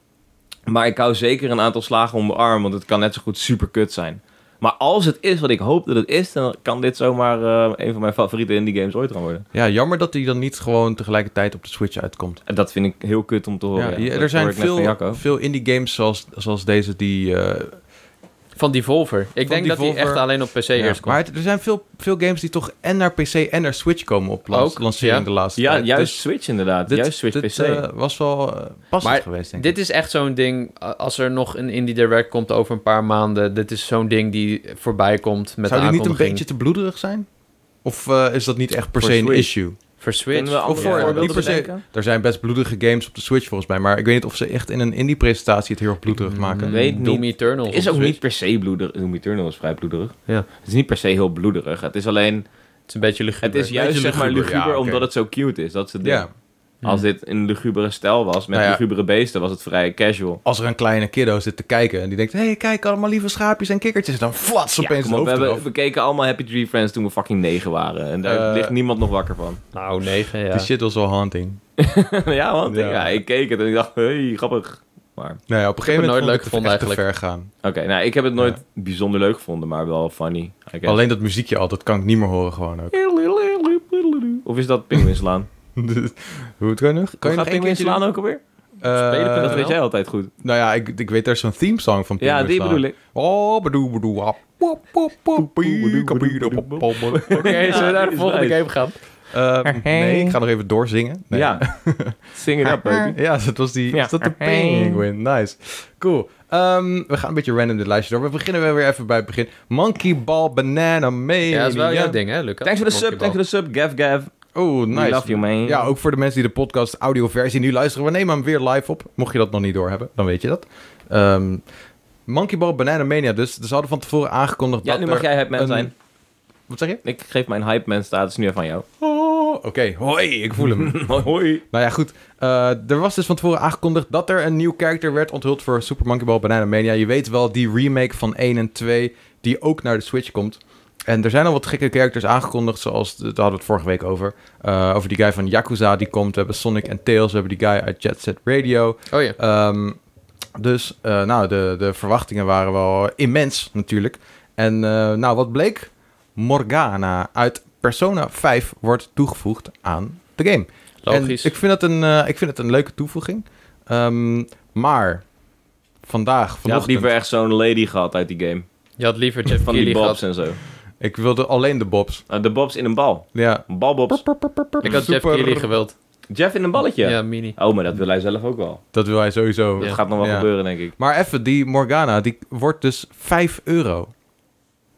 [SPEAKER 3] Maar ik hou zeker een aantal slagen om de arm, want het kan net zo goed super kut zijn. Maar als het is wat ik hoop dat het is, dan kan dit zomaar eh, een van mijn favoriete indie games ooit gaan worden.
[SPEAKER 1] Ja, jammer dat die dan niet gewoon tegelijkertijd op de Switch uitkomt.
[SPEAKER 3] En dat vind ik heel kut om te horen.
[SPEAKER 1] Ja,
[SPEAKER 3] Oh, ja.
[SPEAKER 1] hier-
[SPEAKER 3] Dat
[SPEAKER 1] er zijn
[SPEAKER 3] hoor ik net van
[SPEAKER 1] veel,
[SPEAKER 3] Jacco.
[SPEAKER 1] veel indie games zoals, zoals deze die... eh,
[SPEAKER 2] Van Devolver. Ik denk dat die
[SPEAKER 1] Devolver.
[SPEAKER 2] echt alleen op PC
[SPEAKER 1] ja,
[SPEAKER 2] eerst komt.
[SPEAKER 1] maar het- er zijn veel, veel games die toch en naar PC en naar Switch komen op lans-
[SPEAKER 2] Ook,
[SPEAKER 1] lancering
[SPEAKER 2] ja.
[SPEAKER 1] de laatste
[SPEAKER 3] Ja,
[SPEAKER 1] tijd.
[SPEAKER 3] juist
[SPEAKER 1] Dus
[SPEAKER 3] Switch inderdaad.
[SPEAKER 1] dit-
[SPEAKER 3] juist Switch
[SPEAKER 1] dit,
[SPEAKER 3] PC.
[SPEAKER 1] eh, was wel eh, passend
[SPEAKER 2] Maar
[SPEAKER 1] geweest, denk ik.
[SPEAKER 2] Dit is echt zo'n ding, a- als er nog een Indie Direct komt over een paar maanden, dit is zo'n ding die voorbij komt
[SPEAKER 1] Zou
[SPEAKER 2] met de
[SPEAKER 1] die niet een
[SPEAKER 2] aankondiging
[SPEAKER 1] beetje te bloederig zijn? Of eh, is dat niet echt per
[SPEAKER 3] Voor
[SPEAKER 1] se een
[SPEAKER 3] Switch.
[SPEAKER 1] issue?
[SPEAKER 2] voor Switch.
[SPEAKER 3] Kunnen we andere
[SPEAKER 1] voor- ja,
[SPEAKER 3] voorbeelden
[SPEAKER 1] niet per se-
[SPEAKER 3] bedenken?
[SPEAKER 1] Er zijn best bloedige games op de Switch volgens mij, maar ik weet niet of ze echt in een indie-presentatie het heel erg bloederig maken.
[SPEAKER 2] Mm,
[SPEAKER 3] Weet
[SPEAKER 2] Doom
[SPEAKER 3] niet.
[SPEAKER 2] Eternal.
[SPEAKER 3] Het is
[SPEAKER 2] op
[SPEAKER 3] ook
[SPEAKER 2] Switch.
[SPEAKER 3] niet per se bloederig. Doom Eternal is vrij bloederig.
[SPEAKER 2] Ja.
[SPEAKER 3] Het is niet per se heel bloederig. Het is alleen...
[SPEAKER 2] Het is een beetje
[SPEAKER 3] Het
[SPEAKER 2] luguber.
[SPEAKER 3] is juist zeg maar
[SPEAKER 1] luguber,
[SPEAKER 3] luguber
[SPEAKER 1] ja, oké.
[SPEAKER 3] omdat het zo cute is. Dat is het ding.
[SPEAKER 1] Ja.
[SPEAKER 3] Als
[SPEAKER 1] Mhm.
[SPEAKER 3] dit een lugubere stijl was, met
[SPEAKER 1] Nou ja.
[SPEAKER 3] lugubere beesten, was het vrij casual.
[SPEAKER 1] Als er een kleine kiddo zit te kijken en die denkt, hé, hey, kijk, allemaal lieve schaapjes en kikkertjes, dan flats
[SPEAKER 3] Ja,
[SPEAKER 1] opeens
[SPEAKER 3] kom op,
[SPEAKER 1] het hoofd
[SPEAKER 3] we, hebben,
[SPEAKER 1] eraf.
[SPEAKER 3] we keken allemaal Happy Tree Friends toen we fucking negen waren. En daar
[SPEAKER 1] Eh,
[SPEAKER 3] ligt niemand nog wakker van.
[SPEAKER 2] Nou, 9, ja.
[SPEAKER 1] Die shit was wel haunting.
[SPEAKER 3] ja, want
[SPEAKER 1] Ja.
[SPEAKER 3] Ik, ja, ik keek het en ik dacht, hey, grappig. Maar,
[SPEAKER 1] Nou ja, op een
[SPEAKER 2] Ik heb het
[SPEAKER 1] gegeven moment vond
[SPEAKER 2] nooit
[SPEAKER 1] ik
[SPEAKER 2] leuk
[SPEAKER 1] het
[SPEAKER 2] gevonden
[SPEAKER 1] echt te ver
[SPEAKER 2] eigenlijk.
[SPEAKER 1] gaan.
[SPEAKER 3] oké, nou, ik heb het nooit bijzonder leuk gevonden, maar wel funny. I guess.
[SPEAKER 1] Alleen dat muziekje altijd kan ik niet meer horen gewoon ook.
[SPEAKER 3] Of is dat Pinguinslaan?
[SPEAKER 1] Hoe het kan nog? Kan je
[SPEAKER 3] Hoe
[SPEAKER 1] nog
[SPEAKER 3] gaat
[SPEAKER 1] één keertje
[SPEAKER 3] Pinguinslaan
[SPEAKER 1] doen?
[SPEAKER 3] ook alweer?
[SPEAKER 1] Eh,
[SPEAKER 2] Spelen?
[SPEAKER 3] dat weet jij altijd goed.
[SPEAKER 1] Nou ja, ik, ik weet daar is zo'n theme song van
[SPEAKER 3] Ja, die
[SPEAKER 1] Pinguïnslaan.
[SPEAKER 3] bedoel ik.
[SPEAKER 1] Oh, bedoe, bedoe, ah. Pop, pop, pop, pie, kapie, pop, pop, pop, pop.
[SPEAKER 2] Oké, zullen we naar de
[SPEAKER 3] is
[SPEAKER 2] volgende
[SPEAKER 3] nice.
[SPEAKER 2] game gaan?
[SPEAKER 1] Ehm, Nee, ik ga nog even doorzingen. Nee.
[SPEAKER 3] Ja. Sing it up, baby.
[SPEAKER 1] Ja, dat was die...
[SPEAKER 3] Ja.
[SPEAKER 1] Is dat de penguin? Nice. Cool. Ehm, we gaan een beetje random dit lijstje door. We beginnen wel weer even bij het begin. Monkey Ball Banana Mania.
[SPEAKER 2] Ja, dat is wel jouw ding, hè, Lucas?
[SPEAKER 3] Thanks voor de sub,
[SPEAKER 2] Monkey
[SPEAKER 3] thanks voor de sub, Gav Gav.
[SPEAKER 1] Oh,
[SPEAKER 3] We
[SPEAKER 1] nice.
[SPEAKER 3] love you, man.
[SPEAKER 1] Ja, ook voor de mensen die de podcast audioversie nu luisteren. We nemen hem weer live op. Mocht je dat nog niet doorhebben, dan weet je dat. Ehm, Monkey Ball Banana Mania dus. Ze hadden van tevoren aangekondigd
[SPEAKER 3] Ja,
[SPEAKER 1] dat
[SPEAKER 3] nu mag
[SPEAKER 1] er
[SPEAKER 3] jij hype man
[SPEAKER 1] een-
[SPEAKER 3] zijn.
[SPEAKER 1] Wat zeg je?
[SPEAKER 3] Ik geef mijn hype man status nu even aan jou.
[SPEAKER 1] Oh, Oké, hoi, ik voel hem.
[SPEAKER 3] Hoi.
[SPEAKER 1] nou ja, goed. Eh, er was dus van tevoren aangekondigd dat er een nieuw character werd onthuld voor Super Monkey Ball Banana Mania. Je weet wel, die remake van 1 en 2, die ook naar de Switch komt. En er zijn al wat gekke characters aangekondigd, zoals, daar hadden we het vorige week over. Eh, over die guy van Yakuza die komt. We hebben Sonic en Tails, we hebben die guy uit Jet Set Radio.
[SPEAKER 2] Ball. Oh ja.
[SPEAKER 1] Ehm, dus eh, nou, de, de verwachtingen waren wel immens natuurlijk. En eh, nou, wat bleek? Morgana uit Persona 5 wordt toegevoegd aan de game.
[SPEAKER 2] Logisch.
[SPEAKER 1] En ik, vind het een, eh, ik vind het een leuke toevoeging. Ehm, maar vandaag,
[SPEAKER 3] Je had
[SPEAKER 1] vanochtend,
[SPEAKER 3] liever echt zo'n lady gehad uit die game.
[SPEAKER 2] Je had liever Jeff
[SPEAKER 3] Van die
[SPEAKER 2] Keighley
[SPEAKER 3] bobs
[SPEAKER 2] gehad.
[SPEAKER 3] en zo.
[SPEAKER 1] ik wilde alleen de bobs.
[SPEAKER 3] Ah, de bobs in een bal.
[SPEAKER 1] Ja.
[SPEAKER 3] Balbobs.
[SPEAKER 2] Ik had Jeff
[SPEAKER 1] Super.
[SPEAKER 2] Keighley gewild.
[SPEAKER 3] Jeff in een balletje.
[SPEAKER 2] Ja, mini.
[SPEAKER 3] Oh, maar dat wil hij zelf ook wel.
[SPEAKER 1] Dat wil hij sowieso.
[SPEAKER 3] Dat gaat nog wel
[SPEAKER 1] Ja.
[SPEAKER 3] gebeuren, denk ik.
[SPEAKER 1] Maar even, die Morgana, die wordt dus 5 euro.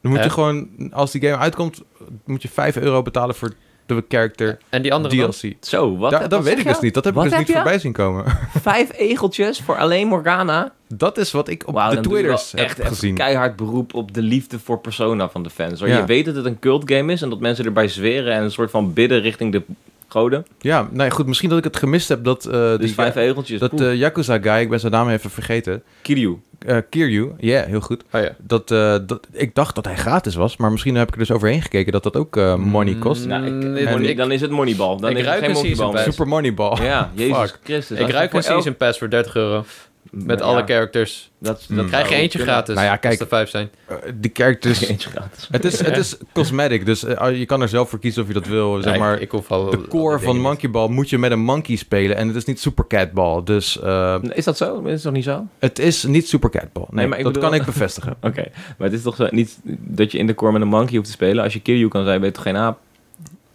[SPEAKER 1] Dan moet
[SPEAKER 2] Hè?
[SPEAKER 1] je gewoon, als die game uitkomt, moet je 5 euro betalen voor de character
[SPEAKER 2] En die andere dan?
[SPEAKER 1] DLC.
[SPEAKER 3] Zo, wat?
[SPEAKER 1] Da-
[SPEAKER 3] wat
[SPEAKER 1] dat weet
[SPEAKER 3] zeg
[SPEAKER 1] ik
[SPEAKER 3] je?
[SPEAKER 1] dus niet. Dat heb
[SPEAKER 3] Wat
[SPEAKER 1] ik dus
[SPEAKER 3] heb
[SPEAKER 1] niet
[SPEAKER 3] je?
[SPEAKER 1] voorbij zien komen.
[SPEAKER 3] Vijf egeltjes voor alleen Morgana.
[SPEAKER 1] Dat is wat ik op
[SPEAKER 3] Wauw,
[SPEAKER 1] de
[SPEAKER 3] dan doe je
[SPEAKER 1] Twitters
[SPEAKER 3] wel
[SPEAKER 1] heb
[SPEAKER 3] echt
[SPEAKER 1] gezien.
[SPEAKER 3] Een keihard beroep op de liefde voor Persona van de fans. hoor.
[SPEAKER 1] Ja.
[SPEAKER 3] Je weet dat het een cult game is en dat mensen erbij zweren en een soort van bidden richting de goden.
[SPEAKER 1] Ja, nou ja, goed. Misschien dat ik het gemist heb dat, eh,
[SPEAKER 3] Dus
[SPEAKER 1] die,
[SPEAKER 3] vijf egeltjes.
[SPEAKER 1] dat
[SPEAKER 3] Poeh.
[SPEAKER 1] eh, Yakuza guy, ik ben zijn naam even vergeten,
[SPEAKER 2] Mm,
[SPEAKER 3] Kiryu.
[SPEAKER 1] Eh Kiryu, ja, heel goed.
[SPEAKER 2] Oh ja.
[SPEAKER 1] Dat, eh, dat, ik dacht dat hij gratis was, maar misschien heb ik er dus overheen gekeken dat dat ook eh, money kost.
[SPEAKER 2] Mm,
[SPEAKER 3] Nou, ik-
[SPEAKER 2] nee,
[SPEAKER 1] en-
[SPEAKER 3] Money-
[SPEAKER 2] ik-
[SPEAKER 3] dan is het Moneyball. Dan
[SPEAKER 2] ik
[SPEAKER 3] is
[SPEAKER 2] ruik
[SPEAKER 3] het
[SPEAKER 2] een
[SPEAKER 3] geen
[SPEAKER 2] season
[SPEAKER 3] Moneyball.
[SPEAKER 2] pass.
[SPEAKER 1] Super Moneyball.
[SPEAKER 3] Ja, Jezus
[SPEAKER 1] Fuck.
[SPEAKER 3] Christus.
[SPEAKER 2] ik
[SPEAKER 3] Als
[SPEAKER 2] ruik
[SPEAKER 3] voor
[SPEAKER 2] een
[SPEAKER 3] elk-
[SPEAKER 2] season pass voor 30 euro. Met
[SPEAKER 3] Ja,
[SPEAKER 2] alle characters.
[SPEAKER 3] Dat,
[SPEAKER 1] Mm.
[SPEAKER 3] dat
[SPEAKER 2] Krijg je
[SPEAKER 3] zou
[SPEAKER 2] eentje
[SPEAKER 3] kunnen. Dus-
[SPEAKER 2] gratis.
[SPEAKER 1] Nou ja, kijk.
[SPEAKER 2] Als er vijf zijn.
[SPEAKER 1] Eh, die characters...
[SPEAKER 3] Eentje gratis.
[SPEAKER 1] Het is, het is cosmetic, dus eh, je kan er zelf voor kiezen of je dat wil. Zeg
[SPEAKER 2] Nee,
[SPEAKER 1] maar,
[SPEAKER 2] ik hoef al,
[SPEAKER 1] de core van
[SPEAKER 2] man.
[SPEAKER 1] Monkey Ball moet je met een monkey spelen. En het is niet Super Cat Ball. Dus eh,
[SPEAKER 3] Is dat zo? Is het toch niet zo? Oké.
[SPEAKER 1] het is niet Super Cat Ball. Nee,
[SPEAKER 3] Nee, maar ik
[SPEAKER 1] dat
[SPEAKER 3] bedoel-
[SPEAKER 1] kan ik bevestigen.
[SPEAKER 3] Maar het is toch zo, niet dat je in de core met een monkey hoeft te spelen. Als je Kiryu kan zijn, ben je toch geen aap?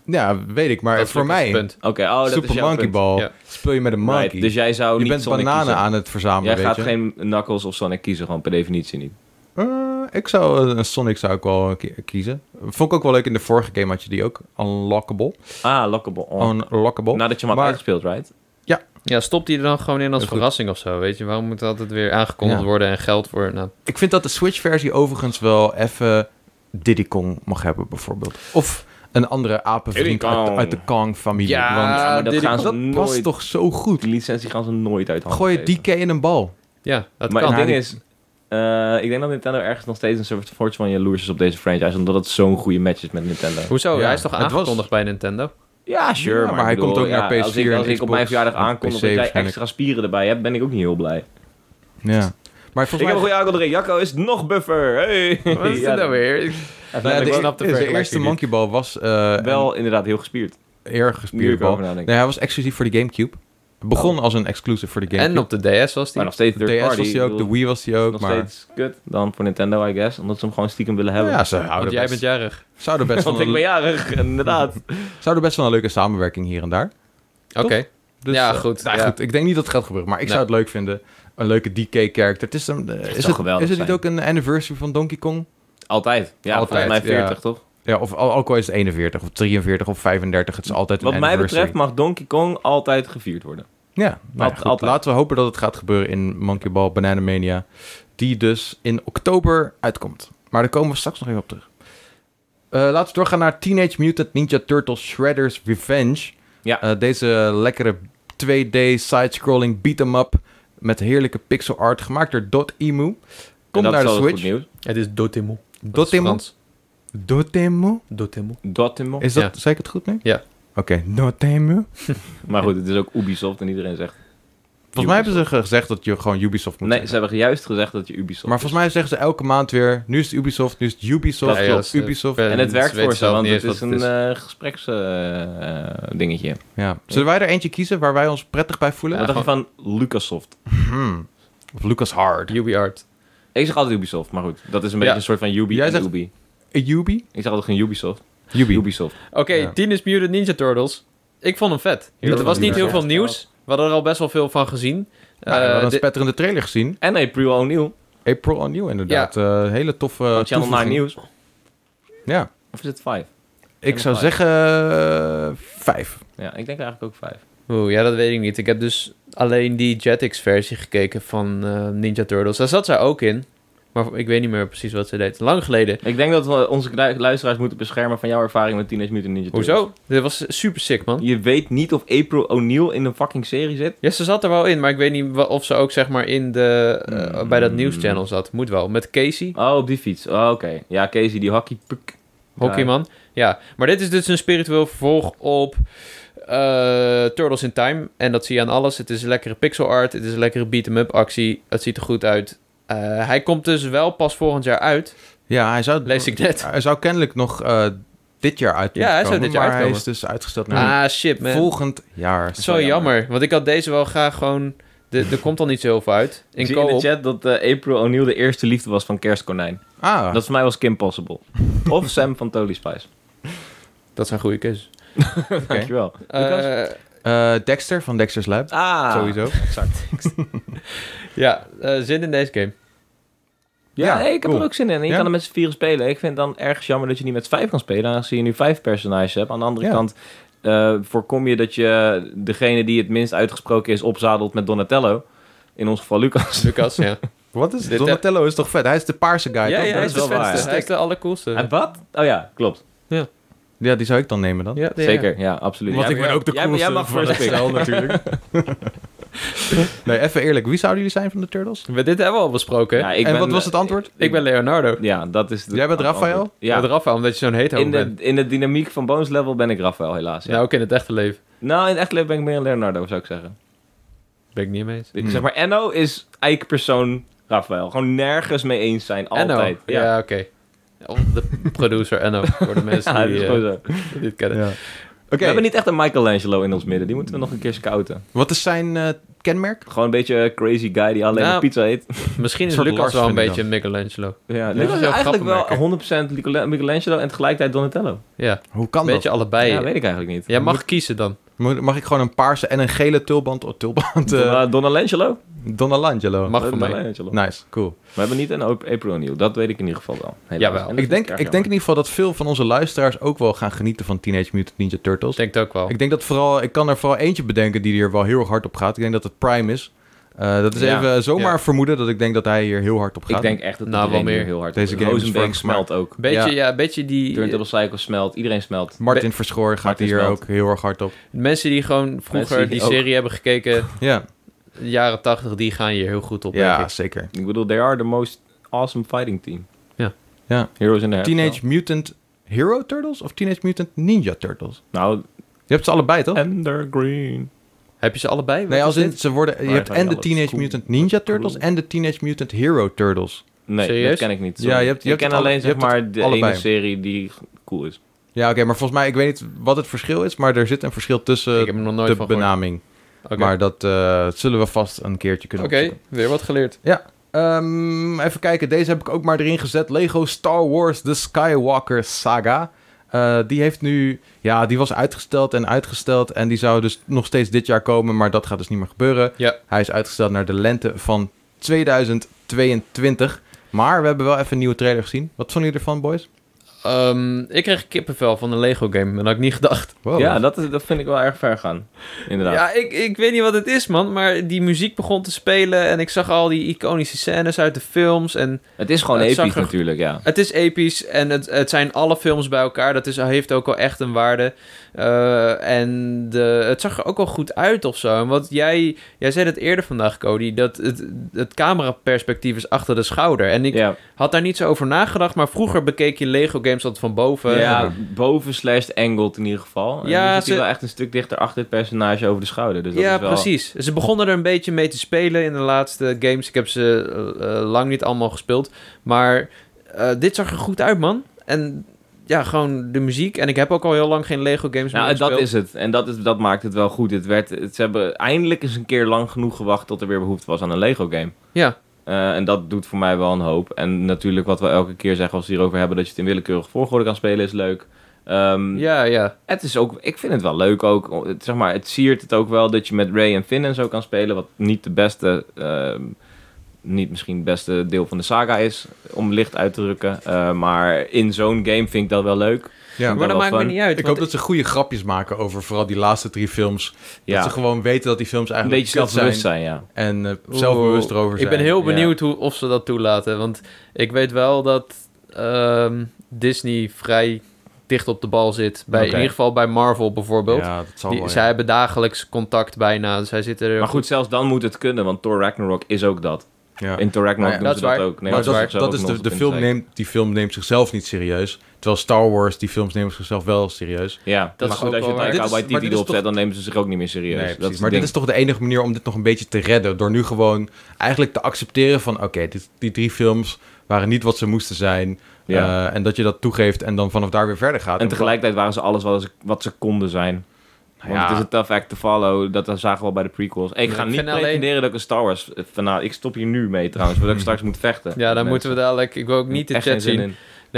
[SPEAKER 1] ja, weet ik. Maar
[SPEAKER 2] Dat is
[SPEAKER 1] voor
[SPEAKER 2] Lucas'
[SPEAKER 1] mij,
[SPEAKER 2] punt.
[SPEAKER 3] Oké, oh, dat is
[SPEAKER 1] Super
[SPEAKER 3] jouw
[SPEAKER 1] Monkey
[SPEAKER 3] punt.
[SPEAKER 1] Ball,
[SPEAKER 2] Ja.
[SPEAKER 1] speel je met een
[SPEAKER 3] Right,
[SPEAKER 1] monkey.
[SPEAKER 3] dus jij zou
[SPEAKER 1] je
[SPEAKER 3] niet
[SPEAKER 1] bent
[SPEAKER 3] Sonic
[SPEAKER 1] bananen
[SPEAKER 3] kiezen.
[SPEAKER 1] aan het verzamelen,
[SPEAKER 3] Jij
[SPEAKER 1] weet
[SPEAKER 3] gaat
[SPEAKER 1] je.
[SPEAKER 3] geen Knuckles of Sonic kiezen, gewoon per definitie niet.
[SPEAKER 1] Eh, ik zou, een Sonic zou ik wel een keer kiezen. Vond ik ook wel leuk. In de vorige game had je die ook. Unlockable.
[SPEAKER 3] Ah, lockable on.
[SPEAKER 1] Unlockable.
[SPEAKER 3] Nadat je hem had
[SPEAKER 1] Maar-
[SPEAKER 3] uitgespeeld, right?
[SPEAKER 2] Ja, stopt die er dan gewoon in als
[SPEAKER 1] Goed.
[SPEAKER 2] verrassing of zo, weet je? Waarom moet dat altijd weer aangekondigd
[SPEAKER 1] Ja.
[SPEAKER 2] worden en geld voor? Nou,
[SPEAKER 1] Ik vind dat de Switch-versie overigens wel even Diddy Kong mag hebben, bijvoorbeeld. Of een andere apenvriend
[SPEAKER 3] Diddy
[SPEAKER 1] uit,
[SPEAKER 3] Kong.
[SPEAKER 1] uit de Kong-familie.
[SPEAKER 2] Ja,
[SPEAKER 1] want
[SPEAKER 3] maar dat
[SPEAKER 2] Ah, Diddy
[SPEAKER 3] gaan ze
[SPEAKER 1] dat
[SPEAKER 3] nooit.
[SPEAKER 1] was toch zo goed?
[SPEAKER 3] Die licentie gaan ze nooit uit handen
[SPEAKER 1] Gooi
[SPEAKER 3] geven.
[SPEAKER 1] DK in een bal.
[SPEAKER 2] ja, dat
[SPEAKER 3] Maar
[SPEAKER 2] kan.
[SPEAKER 3] het ding is, eh, ik denk dat Nintendo ergens nog steeds een soort soort van jaloers is op deze franchise, omdat het zo'n goede match is met Nintendo.
[SPEAKER 2] Hoezo?
[SPEAKER 1] Ja,
[SPEAKER 2] Hij is toch
[SPEAKER 1] het was-
[SPEAKER 2] aangekondigd bij Nintendo?
[SPEAKER 3] Ja, sure.
[SPEAKER 1] Ja,
[SPEAKER 3] maar
[SPEAKER 1] maar hij
[SPEAKER 3] ik bedoel,
[SPEAKER 1] komt ook naar
[SPEAKER 3] ja, Als ik,
[SPEAKER 1] PS4
[SPEAKER 3] als
[SPEAKER 1] en
[SPEAKER 3] ik op mijn
[SPEAKER 1] Xbox
[SPEAKER 3] verjaardag
[SPEAKER 1] en
[SPEAKER 3] aankondig
[SPEAKER 1] PC
[SPEAKER 3] dat jij
[SPEAKER 1] waarschijnlijk.
[SPEAKER 3] extra spieren erbij hebt, ben ik ook niet heel blij.
[SPEAKER 1] Ja. Maar
[SPEAKER 3] Ik heb
[SPEAKER 1] volgens
[SPEAKER 3] een
[SPEAKER 1] mij...
[SPEAKER 3] goede alcoholdrink. Jacco is nog buffer. Hey.
[SPEAKER 2] Wat is
[SPEAKER 3] Ja,
[SPEAKER 2] dit nou weer?
[SPEAKER 1] Nou,
[SPEAKER 2] ik
[SPEAKER 1] de,
[SPEAKER 2] snap de
[SPEAKER 1] de
[SPEAKER 2] vergelijking
[SPEAKER 1] eerste
[SPEAKER 2] niet.
[SPEAKER 1] Monkey Ball was eh wel
[SPEAKER 3] Wel inderdaad heel gespierd.
[SPEAKER 1] erg
[SPEAKER 3] Nu ik Oh.
[SPEAKER 1] gespierd bal.
[SPEAKER 3] erover nadenk.
[SPEAKER 1] Nee, hij was exclusief voor de Gamecube. Het begon als een exclusive voor de Gamecube.
[SPEAKER 2] En op de DS was die.
[SPEAKER 3] Maar nog steeds
[SPEAKER 1] de
[SPEAKER 3] third
[SPEAKER 1] DS
[SPEAKER 3] party.
[SPEAKER 1] was hij
[SPEAKER 3] Ik
[SPEAKER 1] ook, de
[SPEAKER 3] bedoel,
[SPEAKER 1] Wii was hij ook,
[SPEAKER 3] nog
[SPEAKER 1] maar...
[SPEAKER 3] steeds kut dan voor Nintendo, I guess. Omdat ze hem gewoon stiekem willen hebben.
[SPEAKER 1] Ja, ze
[SPEAKER 2] Want
[SPEAKER 1] houden
[SPEAKER 2] jij
[SPEAKER 1] best,
[SPEAKER 2] bent jarig.
[SPEAKER 1] zouden, best
[SPEAKER 3] Want
[SPEAKER 1] wel
[SPEAKER 3] ik ben
[SPEAKER 1] een,
[SPEAKER 3] jarig, inderdaad.
[SPEAKER 1] zouden best wel een leuke samenwerking hier en daar.
[SPEAKER 2] Oké.
[SPEAKER 1] Dus,
[SPEAKER 2] Ja,
[SPEAKER 1] eh,
[SPEAKER 2] goed,
[SPEAKER 1] nou,
[SPEAKER 2] ja.
[SPEAKER 1] goed. Ik denk niet dat het gaat gebeuren, maar ik
[SPEAKER 2] Nee.
[SPEAKER 1] zou het leuk vinden. Een leuke DK-character. Het is, een, eh, is, het,
[SPEAKER 3] geweldig
[SPEAKER 1] is het niet
[SPEAKER 3] zijn.
[SPEAKER 1] ook een anniversary van Donkey Kong?
[SPEAKER 3] Altijd. Ja,
[SPEAKER 1] Altijd,
[SPEAKER 3] volgens mij 40,
[SPEAKER 1] ja.
[SPEAKER 3] toch?
[SPEAKER 1] Ja, of al- ook al is het 41 of 43 of 35. Het is altijd een
[SPEAKER 3] Wat mij
[SPEAKER 1] anniversary.
[SPEAKER 3] betreft mag Donkey Kong altijd gevierd worden.
[SPEAKER 1] Ja, nou ja,
[SPEAKER 3] Alt-
[SPEAKER 1] goed.
[SPEAKER 3] altijd.
[SPEAKER 1] laten we hopen dat het gaat gebeuren in Monkey Ball Banana Mania. Die dus in oktober uitkomt. Maar daar komen we straks nog even op terug. Eh, laten we doorgaan naar Teenage Mutant Ninja Turtles Shredder's Revenge.
[SPEAKER 3] Ja.
[SPEAKER 1] Eh, deze lekkere 2D side-scrolling beat-em-up met heerlijke pixel art gemaakt door Dot Emu. Komt
[SPEAKER 3] En dat
[SPEAKER 1] naar
[SPEAKER 3] is
[SPEAKER 1] de
[SPEAKER 3] altijd
[SPEAKER 1] Switch.
[SPEAKER 3] goed nieuws.
[SPEAKER 2] Het is Dotemu.
[SPEAKER 1] Dotemu? Dotemu?
[SPEAKER 2] Dotemu.
[SPEAKER 3] Dotemu.
[SPEAKER 1] Is dat,
[SPEAKER 2] Ja.
[SPEAKER 1] zeg ik het goed nu?
[SPEAKER 2] Ja.
[SPEAKER 1] Oké, Dotemu.
[SPEAKER 3] Maar goed, het is ook Ubisoft en iedereen zegt...
[SPEAKER 1] Volgens mij hebben ze
[SPEAKER 3] Ubisoft.
[SPEAKER 1] ge- gezegd dat je gewoon Ubisoft moet
[SPEAKER 3] Nee,
[SPEAKER 1] zeggen.
[SPEAKER 3] ze hebben juist gezegd dat je Ubisoft
[SPEAKER 1] Maar volgens mij zeggen ze elke maand weer... Nu is het Ubisoft, nu is het Ubisoft,
[SPEAKER 2] Ja, ja, dat is, eh,
[SPEAKER 1] Ubisoft.
[SPEAKER 2] ver-
[SPEAKER 3] En het
[SPEAKER 2] Ze
[SPEAKER 3] werkt
[SPEAKER 2] weten
[SPEAKER 3] voor ze,
[SPEAKER 2] zelf
[SPEAKER 3] want
[SPEAKER 2] niet
[SPEAKER 3] het
[SPEAKER 2] eens
[SPEAKER 3] is
[SPEAKER 2] wat
[SPEAKER 3] een eh,
[SPEAKER 2] het
[SPEAKER 3] gespreksdingetje.
[SPEAKER 1] Ja. Zullen wij er eentje kiezen waar wij ons prettig bij voelen?
[SPEAKER 3] Wat dacht je
[SPEAKER 2] gewoon-
[SPEAKER 3] van Lucasoft?
[SPEAKER 1] Hmm. Of Lucas
[SPEAKER 3] eh,
[SPEAKER 1] Hard.
[SPEAKER 2] UbiArt.
[SPEAKER 3] Ik zeg altijd Ubisoft, maar goed. Dat is
[SPEAKER 2] Ja.
[SPEAKER 3] een beetje een soort van Ubi
[SPEAKER 1] Jij
[SPEAKER 3] en
[SPEAKER 1] zegt-
[SPEAKER 3] Ubi.
[SPEAKER 1] Eh, Ubi?
[SPEAKER 3] Ik zeg altijd geen Ubisoft.
[SPEAKER 1] Ubi.
[SPEAKER 3] Ubisoft.
[SPEAKER 2] Oké,
[SPEAKER 1] Ja.
[SPEAKER 2] Teenage Mutant Ninja Turtles. Ik vond hem vet.
[SPEAKER 1] Ja,
[SPEAKER 2] Het was niet heel
[SPEAKER 3] Ubisoft.
[SPEAKER 2] veel nieuws. We hadden er al best wel veel van gezien.
[SPEAKER 1] Nou, we
[SPEAKER 2] Eh,
[SPEAKER 1] hadden een
[SPEAKER 2] dit-
[SPEAKER 1] spetterende trailer gezien.
[SPEAKER 3] En April
[SPEAKER 2] Eh,
[SPEAKER 3] O'Neil.
[SPEAKER 1] April O'Neil inderdaad. Eh, hele toffe
[SPEAKER 3] van Channel 9
[SPEAKER 1] toevoeging.
[SPEAKER 3] News.
[SPEAKER 1] Ja.
[SPEAKER 3] Of is het 5?
[SPEAKER 1] Ik zou
[SPEAKER 3] vijf.
[SPEAKER 1] zeggen eh, vijf.
[SPEAKER 3] Ja, ik denk eigenlijk ook 5.
[SPEAKER 2] Oeh, ja, dat weet ik niet. Ik heb dus alleen die Jetix-versie gekeken van eh, Ninja Turtles. Daar zat zij ook in. Maar ik weet niet meer precies wat ze deed. Lang geleden.
[SPEAKER 3] Ik denk dat we onze kru- luisteraars moeten beschermen van jouw ervaring met Teenage Mutant Ninja Turtles.
[SPEAKER 2] Hoezo? Dit was super sick, man.
[SPEAKER 3] Je weet niet of April O'Neil in een fucking serie zit.
[SPEAKER 2] Ja, ze zat er wel in, maar ik weet niet wa- of ze ook zeg maar in de, eh, bij dat nieuwschannel zat. Moet wel. Met Casey,
[SPEAKER 3] Oh, op die fiets. Oh, oké. Ja, Casey, die hockeypuk.
[SPEAKER 2] hockeyman. Ja, maar dit is dus een spiritueel vervolg op eh, Turtles in Time. En dat zie je aan alles. Het is lekkere pixel art, het is een lekkere beat-em-up actie. Het ziet er goed uit. Eh, hij komt dus wel pas volgend jaar uit,
[SPEAKER 1] Ja, hij zou,
[SPEAKER 2] lees ik net.
[SPEAKER 1] hij zou kennelijk nog eh, dit jaar uit
[SPEAKER 2] Ja,
[SPEAKER 1] moeten
[SPEAKER 2] hij zou
[SPEAKER 1] komen,
[SPEAKER 2] dit jaar
[SPEAKER 1] maar hij is
[SPEAKER 2] uitkomen.
[SPEAKER 1] dus uitgesteld naar
[SPEAKER 2] Ah, shit, man.
[SPEAKER 1] volgend jaar.
[SPEAKER 2] Zo jammer, want ik had deze wel graag gewoon... de- Er komt al niet zo heel veel uit.
[SPEAKER 3] Ik
[SPEAKER 2] In
[SPEAKER 3] zie in
[SPEAKER 2] co-op.
[SPEAKER 3] de chat dat eh, April O'Neil de eerste liefde was van Kerstkonijn.
[SPEAKER 1] Ah,
[SPEAKER 3] Dat voor mij was Kim Possible. of Sam van Tolly Spice.
[SPEAKER 2] Dat zijn goede keuzes.
[SPEAKER 1] oké.
[SPEAKER 3] Dankjewel. Lucas?
[SPEAKER 2] Eh,
[SPEAKER 1] Eh, Dexter van Dexter's Lab.
[SPEAKER 3] ah,
[SPEAKER 1] Sowieso.
[SPEAKER 3] Exact.
[SPEAKER 2] ja, eh, zin in deze game.
[SPEAKER 3] Ja,
[SPEAKER 1] Ja,
[SPEAKER 3] hey, ik heb
[SPEAKER 1] cool.
[SPEAKER 3] er ook zin in. En je
[SPEAKER 1] Ja?
[SPEAKER 3] kan er met z'n vieren spelen. Ik vind het dan ergens jammer dat je niet met vijf kan spelen. Aangezien je nu vijf personages hebt. Aan de andere
[SPEAKER 1] Ja.
[SPEAKER 3] kant eh, voorkom je dat je degene die het minst uitgesproken is opzadelt met Donatello. In ons geval Lucas.
[SPEAKER 2] Lucas, ja.
[SPEAKER 1] Wat is
[SPEAKER 2] Dit-
[SPEAKER 1] Donatello is toch vet? Hij is de paarse guy.
[SPEAKER 2] ja,
[SPEAKER 1] toch?
[SPEAKER 2] ja,
[SPEAKER 3] dat
[SPEAKER 2] hij
[SPEAKER 3] is
[SPEAKER 2] is de
[SPEAKER 3] wel waar.
[SPEAKER 2] vetste. Hij is de allercoolste.
[SPEAKER 1] Eh,
[SPEAKER 3] En wat? Oh ja, klopt.
[SPEAKER 1] Ja, die zou ik dan nemen dan.
[SPEAKER 2] Ja, ja.
[SPEAKER 3] Zeker. Ja, absoluut.
[SPEAKER 1] Want
[SPEAKER 3] Jij-
[SPEAKER 1] ik ben
[SPEAKER 3] jij-
[SPEAKER 1] ook de
[SPEAKER 3] jij- jij
[SPEAKER 1] coolste
[SPEAKER 3] mag
[SPEAKER 1] van
[SPEAKER 3] first
[SPEAKER 1] het
[SPEAKER 3] pick.
[SPEAKER 1] stel natuurlijk. nee, even eerlijk. Wie zouden jullie zijn van de Turtles?
[SPEAKER 2] We, dit hebben we al besproken.
[SPEAKER 3] Ja, ik
[SPEAKER 1] en
[SPEAKER 3] ben,
[SPEAKER 1] wat was
[SPEAKER 3] eh,
[SPEAKER 1] het antwoord?
[SPEAKER 2] ik ben Leonardo.
[SPEAKER 3] Ja, dat is... het
[SPEAKER 1] Jij bent
[SPEAKER 3] antwoord.
[SPEAKER 1] Raphaël?
[SPEAKER 2] Ja.
[SPEAKER 3] Ja.
[SPEAKER 2] Rafa, omdat je zo'n heet
[SPEAKER 3] In
[SPEAKER 2] over
[SPEAKER 3] de,
[SPEAKER 2] bent.
[SPEAKER 3] in de dynamiek van Bones Level ben ik Raphaël, helaas. Ja.
[SPEAKER 2] Nou, ook in het echte leven.
[SPEAKER 3] Nou, in het echt leven ben ik meer een Leonardo, zou ik zeggen.
[SPEAKER 2] Ben ik niet mee eens.
[SPEAKER 3] Ik
[SPEAKER 1] Hmm.
[SPEAKER 3] zeg maar, Enno is eigen persoon Raphaël. Gewoon nergens mee eens zijn,
[SPEAKER 2] Enno.
[SPEAKER 3] altijd.
[SPEAKER 2] Ja,
[SPEAKER 3] Ja,
[SPEAKER 2] oké. Of de producer Enno, voor de mensen
[SPEAKER 3] Ja, dat
[SPEAKER 2] die
[SPEAKER 3] is
[SPEAKER 2] eh,
[SPEAKER 3] gewoon zo.
[SPEAKER 2] dit kennen.
[SPEAKER 1] Ja.
[SPEAKER 3] We
[SPEAKER 1] Oké,
[SPEAKER 3] hebben niet echt een Michelangelo in ons midden. Die moeten we nog een keer scouten.
[SPEAKER 1] wat is zijn eh, kenmerk?
[SPEAKER 3] Gewoon een beetje een crazy guy die alleen
[SPEAKER 2] Nou,
[SPEAKER 3] maar pizza eet.
[SPEAKER 2] Misschien is
[SPEAKER 1] soort
[SPEAKER 2] Lucas
[SPEAKER 1] Lars
[SPEAKER 2] wel een
[SPEAKER 1] vind ik
[SPEAKER 2] beetje een Michelangelo.
[SPEAKER 3] Ja,
[SPEAKER 2] dat is
[SPEAKER 3] Lucas is
[SPEAKER 2] wel
[SPEAKER 3] eigenlijk wel
[SPEAKER 2] grappenmaker.
[SPEAKER 3] 100% Nicola- Michelangelo en tegelijkertijd Donatello.
[SPEAKER 2] Ja,
[SPEAKER 1] Hoe kan
[SPEAKER 2] een beetje allebei.
[SPEAKER 3] ja, weet ik eigenlijk niet.
[SPEAKER 2] Jij mag kiezen dan.
[SPEAKER 1] dat? Moet- Mag ik gewoon een paarse en een gele tulband? Oh, tulband. eh,
[SPEAKER 3] Dona- Donatello?
[SPEAKER 1] Donatelangelo.
[SPEAKER 2] Mag voor mij.
[SPEAKER 3] Donatello.
[SPEAKER 1] Nice, cool.
[SPEAKER 3] We hebben niet een Op- April O'Neil. Dat weet ik in ieder geval wel. Helaas.
[SPEAKER 2] Jawel.
[SPEAKER 3] En dat
[SPEAKER 1] Ik denk,
[SPEAKER 3] vind
[SPEAKER 1] ik denk in ieder geval dat veel van onze luisteraars ook wel gaan genieten van Teenage Mutant Ninja
[SPEAKER 2] Ik
[SPEAKER 1] Turtles.
[SPEAKER 2] denk het ook wel.
[SPEAKER 1] Ik denk dat vooral, ik kan er vooral eentje bedenken die er wel heel erg hard op gaat. Ik denk dat het Prime is. Eh, dat is
[SPEAKER 3] Ja.
[SPEAKER 1] even zomaar
[SPEAKER 2] Ja.
[SPEAKER 1] vermoeden dat ik denk dat hij hier heel hard op
[SPEAKER 3] jammer.
[SPEAKER 1] gaat.
[SPEAKER 3] Ik denk echt dat
[SPEAKER 2] Nou, wel
[SPEAKER 3] iedereen
[SPEAKER 2] meer.
[SPEAKER 3] hier heel hard...
[SPEAKER 1] Deze game is
[SPEAKER 3] Rosenberg
[SPEAKER 1] Frank Smart.
[SPEAKER 3] smelt ook.
[SPEAKER 2] Beetje,
[SPEAKER 1] Ja.
[SPEAKER 2] ja. beetje die...
[SPEAKER 3] Turntable Cycle smelt. Iedereen smelt.
[SPEAKER 1] Martin Verschoor gaat
[SPEAKER 3] Martin
[SPEAKER 1] hier
[SPEAKER 3] Smelt.
[SPEAKER 1] ook heel erg hard op.
[SPEAKER 2] Mensen die gewoon vroeger
[SPEAKER 3] Mensen die
[SPEAKER 2] die
[SPEAKER 3] ook.
[SPEAKER 2] serie hebben gekeken,
[SPEAKER 1] Ja,
[SPEAKER 2] de jaren tachtig, die gaan hier heel goed op,
[SPEAKER 1] ja
[SPEAKER 2] denk ik.
[SPEAKER 1] zeker.
[SPEAKER 3] Ik bedoel, they are the most awesome fighting team.
[SPEAKER 2] Ja.
[SPEAKER 1] Ja.
[SPEAKER 3] Heroes in the Head.
[SPEAKER 1] Teenage Mutant Hero Turtles of Teenage Mutant Ninja Turtles?
[SPEAKER 3] Nou,
[SPEAKER 1] Je hebt ze allebei, toch?
[SPEAKER 3] Ender Green.
[SPEAKER 2] Heb je ze allebei? Wat
[SPEAKER 1] Nee,
[SPEAKER 2] is
[SPEAKER 1] als in,
[SPEAKER 2] dit?
[SPEAKER 1] ze worden, je
[SPEAKER 2] Maar
[SPEAKER 1] hebt
[SPEAKER 2] dan
[SPEAKER 1] en de
[SPEAKER 2] wel
[SPEAKER 1] Teenage
[SPEAKER 2] cool.
[SPEAKER 1] Mutant Ninja Turtles
[SPEAKER 2] Cool.
[SPEAKER 1] en de Teenage Mutant Hero Turtles.
[SPEAKER 3] Nee,
[SPEAKER 2] Serieus?
[SPEAKER 3] dat ken ik niet.
[SPEAKER 1] Ja,
[SPEAKER 3] Ja,
[SPEAKER 1] je hebt- je
[SPEAKER 3] ik
[SPEAKER 1] hebt het
[SPEAKER 3] ken
[SPEAKER 1] alle-
[SPEAKER 3] alleen
[SPEAKER 1] je
[SPEAKER 3] zeg
[SPEAKER 1] hebt het
[SPEAKER 3] maar de
[SPEAKER 1] allebei.
[SPEAKER 3] ene serie die cool is.
[SPEAKER 1] Ja, oké, maar volgens mij, ik weet niet wat het verschil is, maar er zit een verschil tussen
[SPEAKER 2] ik heb er nog nooit
[SPEAKER 1] de
[SPEAKER 2] van gehoord.
[SPEAKER 1] benaming.
[SPEAKER 2] Oké,
[SPEAKER 1] Maar dat eh, zullen we vast een keertje kunnen
[SPEAKER 2] Oké,
[SPEAKER 1] opzoeken.
[SPEAKER 2] weer wat geleerd.
[SPEAKER 1] Ehm, even kijken, deze heb ik ook maar erin gezet. Lego Star Wars The Skywalker Saga. Eh, die heeft nu, ja, die was uitgesteld en uitgesteld. En die zou dus nog steeds dit jaar komen, maar dat gaat dus niet meer gebeuren.
[SPEAKER 2] Ja.
[SPEAKER 1] Hij is uitgesteld naar de lente van 2022. Maar we hebben wel even een nieuwe trailer gezien. Wat vonden jullie ervan, boys?
[SPEAKER 2] Ehm, ik kreeg kippenvel van een Lego game en dat had ik niet gedacht.
[SPEAKER 1] Wow.
[SPEAKER 3] Ja, dat, is, dat vind ik wel erg ver gaan. Inderdaad.
[SPEAKER 2] Ja, ik, ik weet niet wat het is, man. Maar die muziek begon te spelen en ik zag al die iconische scènes uit de films. En
[SPEAKER 3] Het is gewoon
[SPEAKER 2] Het zag
[SPEAKER 3] episch
[SPEAKER 2] er-
[SPEAKER 3] natuurlijk, ja.
[SPEAKER 2] Het is episch en het, het zijn alle films bij elkaar. Dat is, heeft ook al echt een waarde. Eh, en de, het zag er ook wel goed uit of zo. En wat jij, jij zei dat eerder vandaag, Cody, dat het, het cameraperspectief is achter de schouder. En ik
[SPEAKER 3] Ja,
[SPEAKER 2] had daar niet zo over nagedacht, maar vroeger bekeek je Lego games altijd van
[SPEAKER 1] eh,
[SPEAKER 2] boven.
[SPEAKER 3] ja boven slash angled in ieder geval. En
[SPEAKER 2] Ja,
[SPEAKER 3] ja, zit hij
[SPEAKER 2] ze-
[SPEAKER 3] wel echt een stuk dichter achter het personage over de schouder. Dus dat
[SPEAKER 2] Ja,
[SPEAKER 3] is wel...
[SPEAKER 2] precies. Ze begonnen er een beetje mee te spelen in de laatste games. Ik heb ze eh, eh, lang niet allemaal gespeeld. Maar eh, dit zag er goed uit, man. En ja, gewoon de muziek. En ik heb ook al heel lang geen Lego games meer
[SPEAKER 3] Nou, en
[SPEAKER 2] gespeeld.
[SPEAKER 3] dat is het. En dat, is, dat maakt het wel goed. Het werd, het, ze hebben eindelijk eens een keer lang genoeg gewacht tot er weer behoefte was aan een Lego game.
[SPEAKER 2] Ja,
[SPEAKER 3] Eh, en dat doet voor mij wel een hoop. En natuurlijk wat we elke keer zeggen als we het hierover hebben... dat je het in willekeurig volgorde kan spelen, is leuk. Ehm,
[SPEAKER 2] ja, ja.
[SPEAKER 3] Het is ook, ik vind het wel leuk ook. O, het- Zeg maar, het siert het ook wel dat je met Ray en Finn en zo kan spelen. Wat niet de beste, ehm, niet misschien het beste deel van de saga is. Om licht uit te drukken. Eh, maar in zo'n game vind ik dat wel leuk.
[SPEAKER 1] Ja.
[SPEAKER 2] Maar dat
[SPEAKER 3] wel
[SPEAKER 2] maakt me
[SPEAKER 3] fun.
[SPEAKER 2] niet uit.
[SPEAKER 1] Ik
[SPEAKER 2] want
[SPEAKER 1] hoop dat ze goede grapjes maken over vooral die laatste drie films.
[SPEAKER 3] Ja,
[SPEAKER 1] Dat ze gewoon weten dat die films
[SPEAKER 3] een
[SPEAKER 1] eigenlijk
[SPEAKER 3] beetje
[SPEAKER 1] kut
[SPEAKER 3] zelfbewust zijn, ja.
[SPEAKER 1] En eh,
[SPEAKER 2] Oeh,
[SPEAKER 1] zelfbewust erover zijn.
[SPEAKER 2] Ik ben heel
[SPEAKER 3] Ja.
[SPEAKER 2] benieuwd hoe, of ze dat toelaten. Want ik weet wel dat ehm, Disney vrij dicht op de bal zit. Bij,
[SPEAKER 1] Oké.
[SPEAKER 2] In ieder geval bij Marvel bijvoorbeeld.
[SPEAKER 1] Ja, dat zal
[SPEAKER 2] Die,
[SPEAKER 1] wel, ja.
[SPEAKER 2] zij hebben dagelijks contact bijna. Dus zij zitten er
[SPEAKER 3] Maar goed, zelfs dan moet het kunnen, want Thor Ragnarok is ook dat.
[SPEAKER 1] Ja.
[SPEAKER 3] In Thor Ragnarok
[SPEAKER 2] Ja,
[SPEAKER 3] doen
[SPEAKER 2] dat
[SPEAKER 3] ze
[SPEAKER 2] is
[SPEAKER 3] dat
[SPEAKER 2] waar.
[SPEAKER 3] ook. Nee,
[SPEAKER 1] maar
[SPEAKER 2] dat
[SPEAKER 1] dat,
[SPEAKER 2] is
[SPEAKER 1] dat, is de, de film neemt, die film neemt zichzelf niet serieus. Terwijl Star Wars, die films neemt zichzelf wel serieus.
[SPEAKER 3] Ja,
[SPEAKER 2] Dat
[SPEAKER 3] maar
[SPEAKER 2] is
[SPEAKER 3] goed,
[SPEAKER 2] ook
[SPEAKER 3] als je "Ah,
[SPEAKER 2] wel waar.
[SPEAKER 1] Dit
[SPEAKER 3] Taika
[SPEAKER 1] is- maar dit
[SPEAKER 3] Waititi
[SPEAKER 1] is
[SPEAKER 3] erop
[SPEAKER 1] toch-
[SPEAKER 3] zet, dan nemen ze zich ook niet meer serieus.
[SPEAKER 1] Nee,
[SPEAKER 3] dat
[SPEAKER 1] precies.
[SPEAKER 3] is
[SPEAKER 1] maar
[SPEAKER 3] het
[SPEAKER 1] dit
[SPEAKER 3] ding.
[SPEAKER 1] is toch de enige manier om dit nog een beetje te redden. Door nu gewoon eigenlijk te accepteren van... oké, dit- die drie films waren niet wat ze moesten zijn.
[SPEAKER 3] Ja.
[SPEAKER 1] Eh, en dat je dat toegeeft en dan vanaf daar weer verder gaat. nou
[SPEAKER 3] En tegelijkertijd waren ze alles wat ze, wat ze konden zijn. Want
[SPEAKER 1] Ja.
[SPEAKER 3] het is een tough act to follow. Dat zagen we al bij de prequels. Ik
[SPEAKER 2] Ja,
[SPEAKER 3] ga
[SPEAKER 2] ik
[SPEAKER 3] niet
[SPEAKER 2] vind alleen-
[SPEAKER 3] pretenderen dat ik een Star Wars eh, fanaat... Ik stop hier nu mee trouwens, voordat ik straks moet vechten.
[SPEAKER 2] Ja, dan moeten we dadelijk... Ik wil ook niet de chat zien.
[SPEAKER 3] Nee,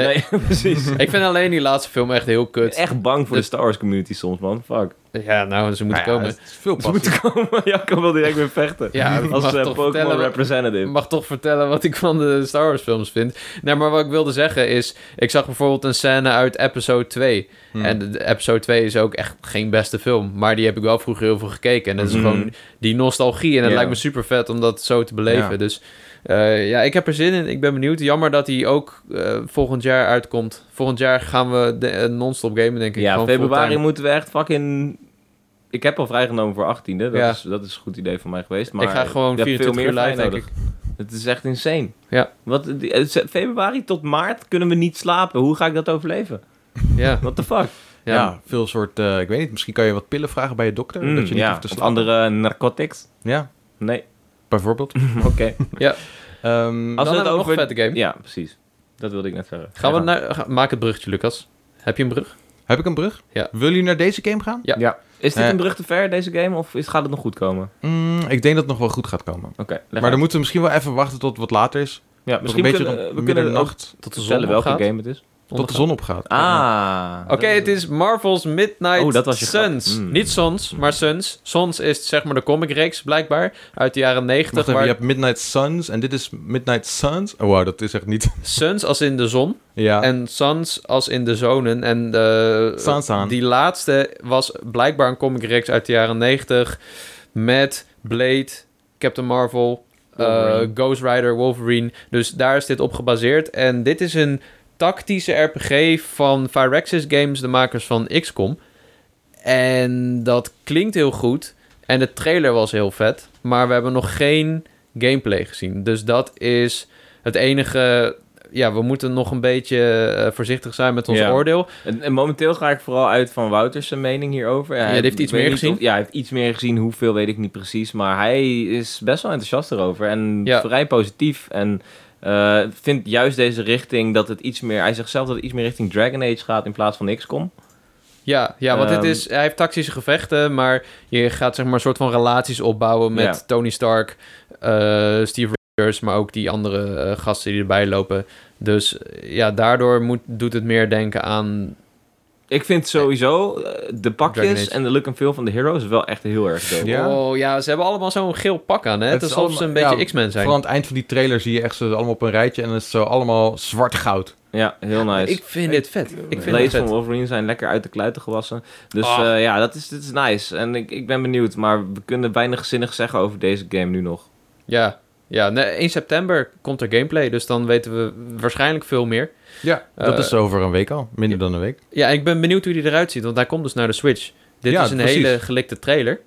[SPEAKER 2] Nee.
[SPEAKER 3] precies.
[SPEAKER 2] Ik vind alleen die laatste film echt heel
[SPEAKER 3] Ik ben
[SPEAKER 2] kut.
[SPEAKER 3] echt bang voor de
[SPEAKER 2] Dus-
[SPEAKER 3] Star Wars community soms, man. Fuck.
[SPEAKER 2] Ja, nou, ze moeten
[SPEAKER 1] Nou ja,
[SPEAKER 2] komen.
[SPEAKER 1] het is veel
[SPEAKER 3] Ze
[SPEAKER 1] passie.
[SPEAKER 3] moeten komen. Jacco wil direct weer vechten.
[SPEAKER 2] Ja, ik
[SPEAKER 3] Als
[SPEAKER 2] mag
[SPEAKER 3] eh,
[SPEAKER 2] toch
[SPEAKER 3] Pokémon
[SPEAKER 2] vertellen wat- Ik
[SPEAKER 3] representative.
[SPEAKER 2] mag toch vertellen wat ik van de Star Wars films vind. Nee, maar wat ik wilde zeggen is... Ik zag bijvoorbeeld een scène uit episode 2.
[SPEAKER 3] Mm.
[SPEAKER 1] Hmm.
[SPEAKER 2] En de- de episode 2 is ook echt geen beste film. Maar die heb ik wel vroeger heel veel gekeken. En dat is
[SPEAKER 3] Mhm.
[SPEAKER 2] gewoon die nostalgie. En het
[SPEAKER 3] Ja.
[SPEAKER 2] lijkt me super vet om dat zo te beleven.
[SPEAKER 1] Ja.
[SPEAKER 2] Dus eh, ja, ik heb er zin in. Ik ben benieuwd. Jammer dat die ook eh, volgend jaar uitkomt. Volgend jaar gaan we de, eh, non-stop gamen, denk ik.
[SPEAKER 3] Ja,
[SPEAKER 2] Gewoon
[SPEAKER 3] februari
[SPEAKER 2] fulltime.
[SPEAKER 3] moeten we echt fucking... Ik heb al vrijgenomen voor 18e. Dat,
[SPEAKER 2] Ja.
[SPEAKER 3] is, dat is een goed idee van mij geweest. Maar
[SPEAKER 2] Ik ga gewoon
[SPEAKER 3] je hebt
[SPEAKER 2] 24 uur live,
[SPEAKER 3] vrij
[SPEAKER 2] denk ik.
[SPEAKER 3] Het is echt insane.
[SPEAKER 2] Ja.
[SPEAKER 3] Wat, die- eh, ze- februari tot maart kunnen we niet slapen. Hoe ga ik dat overleven?
[SPEAKER 2] Ja,
[SPEAKER 3] What the fuck?
[SPEAKER 1] Ja.
[SPEAKER 2] ja.
[SPEAKER 1] veel soort... eh, ik weet niet, misschien kan je wat pillen vragen bij je dokter.
[SPEAKER 3] Mm,
[SPEAKER 1] dat je niet
[SPEAKER 3] ja.
[SPEAKER 1] hoeft te
[SPEAKER 3] Of
[SPEAKER 1] slapen.
[SPEAKER 3] andere narcotics?
[SPEAKER 1] Ja,
[SPEAKER 3] Nee.
[SPEAKER 1] bijvoorbeeld.
[SPEAKER 3] Oké.
[SPEAKER 1] Ehm,
[SPEAKER 3] Als
[SPEAKER 2] Dan
[SPEAKER 3] we het
[SPEAKER 2] hebben we nog
[SPEAKER 3] over...
[SPEAKER 2] een vette game.
[SPEAKER 3] Ja, precies. Dat wilde ik net zeggen.
[SPEAKER 2] Gaan we
[SPEAKER 3] Ja.
[SPEAKER 2] naar... ga- maak het bruggetje, Lucas. Heb je een brug?
[SPEAKER 1] heb ik een brug?
[SPEAKER 2] Ja.
[SPEAKER 1] Wil jullie naar deze game gaan?
[SPEAKER 2] Ja.
[SPEAKER 3] Is dit
[SPEAKER 1] Eh.
[SPEAKER 3] een brug te ver, deze game? Of is, gaat het nog goed komen?
[SPEAKER 1] Mm, ik denk dat het nog wel goed gaat komen.
[SPEAKER 3] Oké. leg
[SPEAKER 1] maar
[SPEAKER 3] uit.
[SPEAKER 1] dan moeten we misschien wel even wachten tot wat later is.
[SPEAKER 3] ja,
[SPEAKER 1] Misschien een beetje
[SPEAKER 3] eh,
[SPEAKER 1] we
[SPEAKER 3] kunnen ook
[SPEAKER 1] middernacht
[SPEAKER 2] Tot de zon
[SPEAKER 3] vertellen welke
[SPEAKER 2] opgaat.
[SPEAKER 3] game het is.
[SPEAKER 1] tot de zon opgaat.
[SPEAKER 3] Ah.
[SPEAKER 2] Oké, het is Marvel's Midnight
[SPEAKER 3] Oh, dat was je
[SPEAKER 2] Suns.
[SPEAKER 3] grap. Mm.
[SPEAKER 2] Niet Sons, maar Suns. Sons is zeg maar de comicreeks, blijkbaar, uit de jaren
[SPEAKER 1] Wacht
[SPEAKER 2] negentig.
[SPEAKER 1] even,
[SPEAKER 2] Waar
[SPEAKER 1] je hebt Midnight Suns en dit is Midnight Suns. Oh, wow, dat is echt niet...
[SPEAKER 2] Suns als in de zon
[SPEAKER 1] ja.
[SPEAKER 2] en Suns als in de zonen. En eh,
[SPEAKER 1] Suns aan.
[SPEAKER 2] die laatste was blijkbaar een comicreeks uit de jaren negentig met Blade, Captain Marvel, eh,
[SPEAKER 3] Wolverine.
[SPEAKER 2] Ghost Rider, Wolverine. Dus daar is dit op gebaseerd. En dit is een tactische RPG van Firaxis Games, de makers van XCOM. En dat klinkt heel goed. En de trailer was heel vet. Maar we hebben nog geen gameplay gezien. Dus dat is het enige ja, we moeten nog een beetje eh, voorzichtig zijn met ons
[SPEAKER 3] Ja.
[SPEAKER 2] oordeel.
[SPEAKER 3] En, en momenteel ga ik vooral uit van Wouters zijn mening hierover.
[SPEAKER 2] Ja, die
[SPEAKER 3] hij-
[SPEAKER 2] heeft iets
[SPEAKER 3] ik weet
[SPEAKER 2] meer
[SPEAKER 3] niet
[SPEAKER 2] gezien.
[SPEAKER 3] of- ja, hij heeft iets meer gezien. Hoeveel weet ik niet precies. Maar hij is best wel enthousiast erover. En
[SPEAKER 2] Ja.
[SPEAKER 3] vrij positief. En eh, vindt juist deze richting dat het iets meer... Hij zegt zelf dat het iets meer richting Dragon Age gaat in plaats van XCOM.
[SPEAKER 2] Ja, ja want
[SPEAKER 3] Ehm.
[SPEAKER 2] dit is, hij heeft tactische gevechten, maar je gaat zeg maar een soort van relaties opbouwen met
[SPEAKER 3] Ja.
[SPEAKER 2] Tony Stark, eh, Steve Rogers, maar ook die andere eh, gasten die erbij lopen. Dus eh, ja, daardoor moet, doet het meer denken aan...
[SPEAKER 3] Ik vind sowieso eh, de
[SPEAKER 2] Dragon
[SPEAKER 3] pakjes
[SPEAKER 2] Age.
[SPEAKER 3] en de look and feel van de heroes wel echt heel erg dope.
[SPEAKER 1] Ja.
[SPEAKER 2] Oh ja, ze hebben allemaal zo'n geel pak aan, hè? Het,
[SPEAKER 1] Het
[SPEAKER 2] is
[SPEAKER 1] is
[SPEAKER 2] alsof ze een
[SPEAKER 1] allemaal-
[SPEAKER 2] beetje
[SPEAKER 1] ja,
[SPEAKER 2] X-Men zijn.
[SPEAKER 1] Vooral aan het eind van die trailer zie je echt ze allemaal op een rijtje en het is zo allemaal zwart goud.
[SPEAKER 3] Ja, heel nice.
[SPEAKER 2] Ik vind dit vet. Ik
[SPEAKER 3] De
[SPEAKER 2] vind dit
[SPEAKER 3] Blades
[SPEAKER 2] vet.
[SPEAKER 3] van Wolverine zijn lekker uit de kluiten gewassen. Dus
[SPEAKER 2] Ah.
[SPEAKER 3] eh, ja, dat is, dit is nice. En ik, ik ben benieuwd. Maar we kunnen weinig zinnig zeggen over deze game nu nog.
[SPEAKER 2] Ja, ja nee, 1 september komt er gameplay, dus dan weten we waarschijnlijk veel meer.
[SPEAKER 1] Ja, dat
[SPEAKER 2] Eh,
[SPEAKER 1] is over een week al. Minder dan een week.
[SPEAKER 2] Ja, en ik ben benieuwd hoe die eruit ziet, want hij komt dus naar de Switch. Dit
[SPEAKER 1] Ja,
[SPEAKER 2] is een
[SPEAKER 1] precies.
[SPEAKER 2] hele gelikte trailer.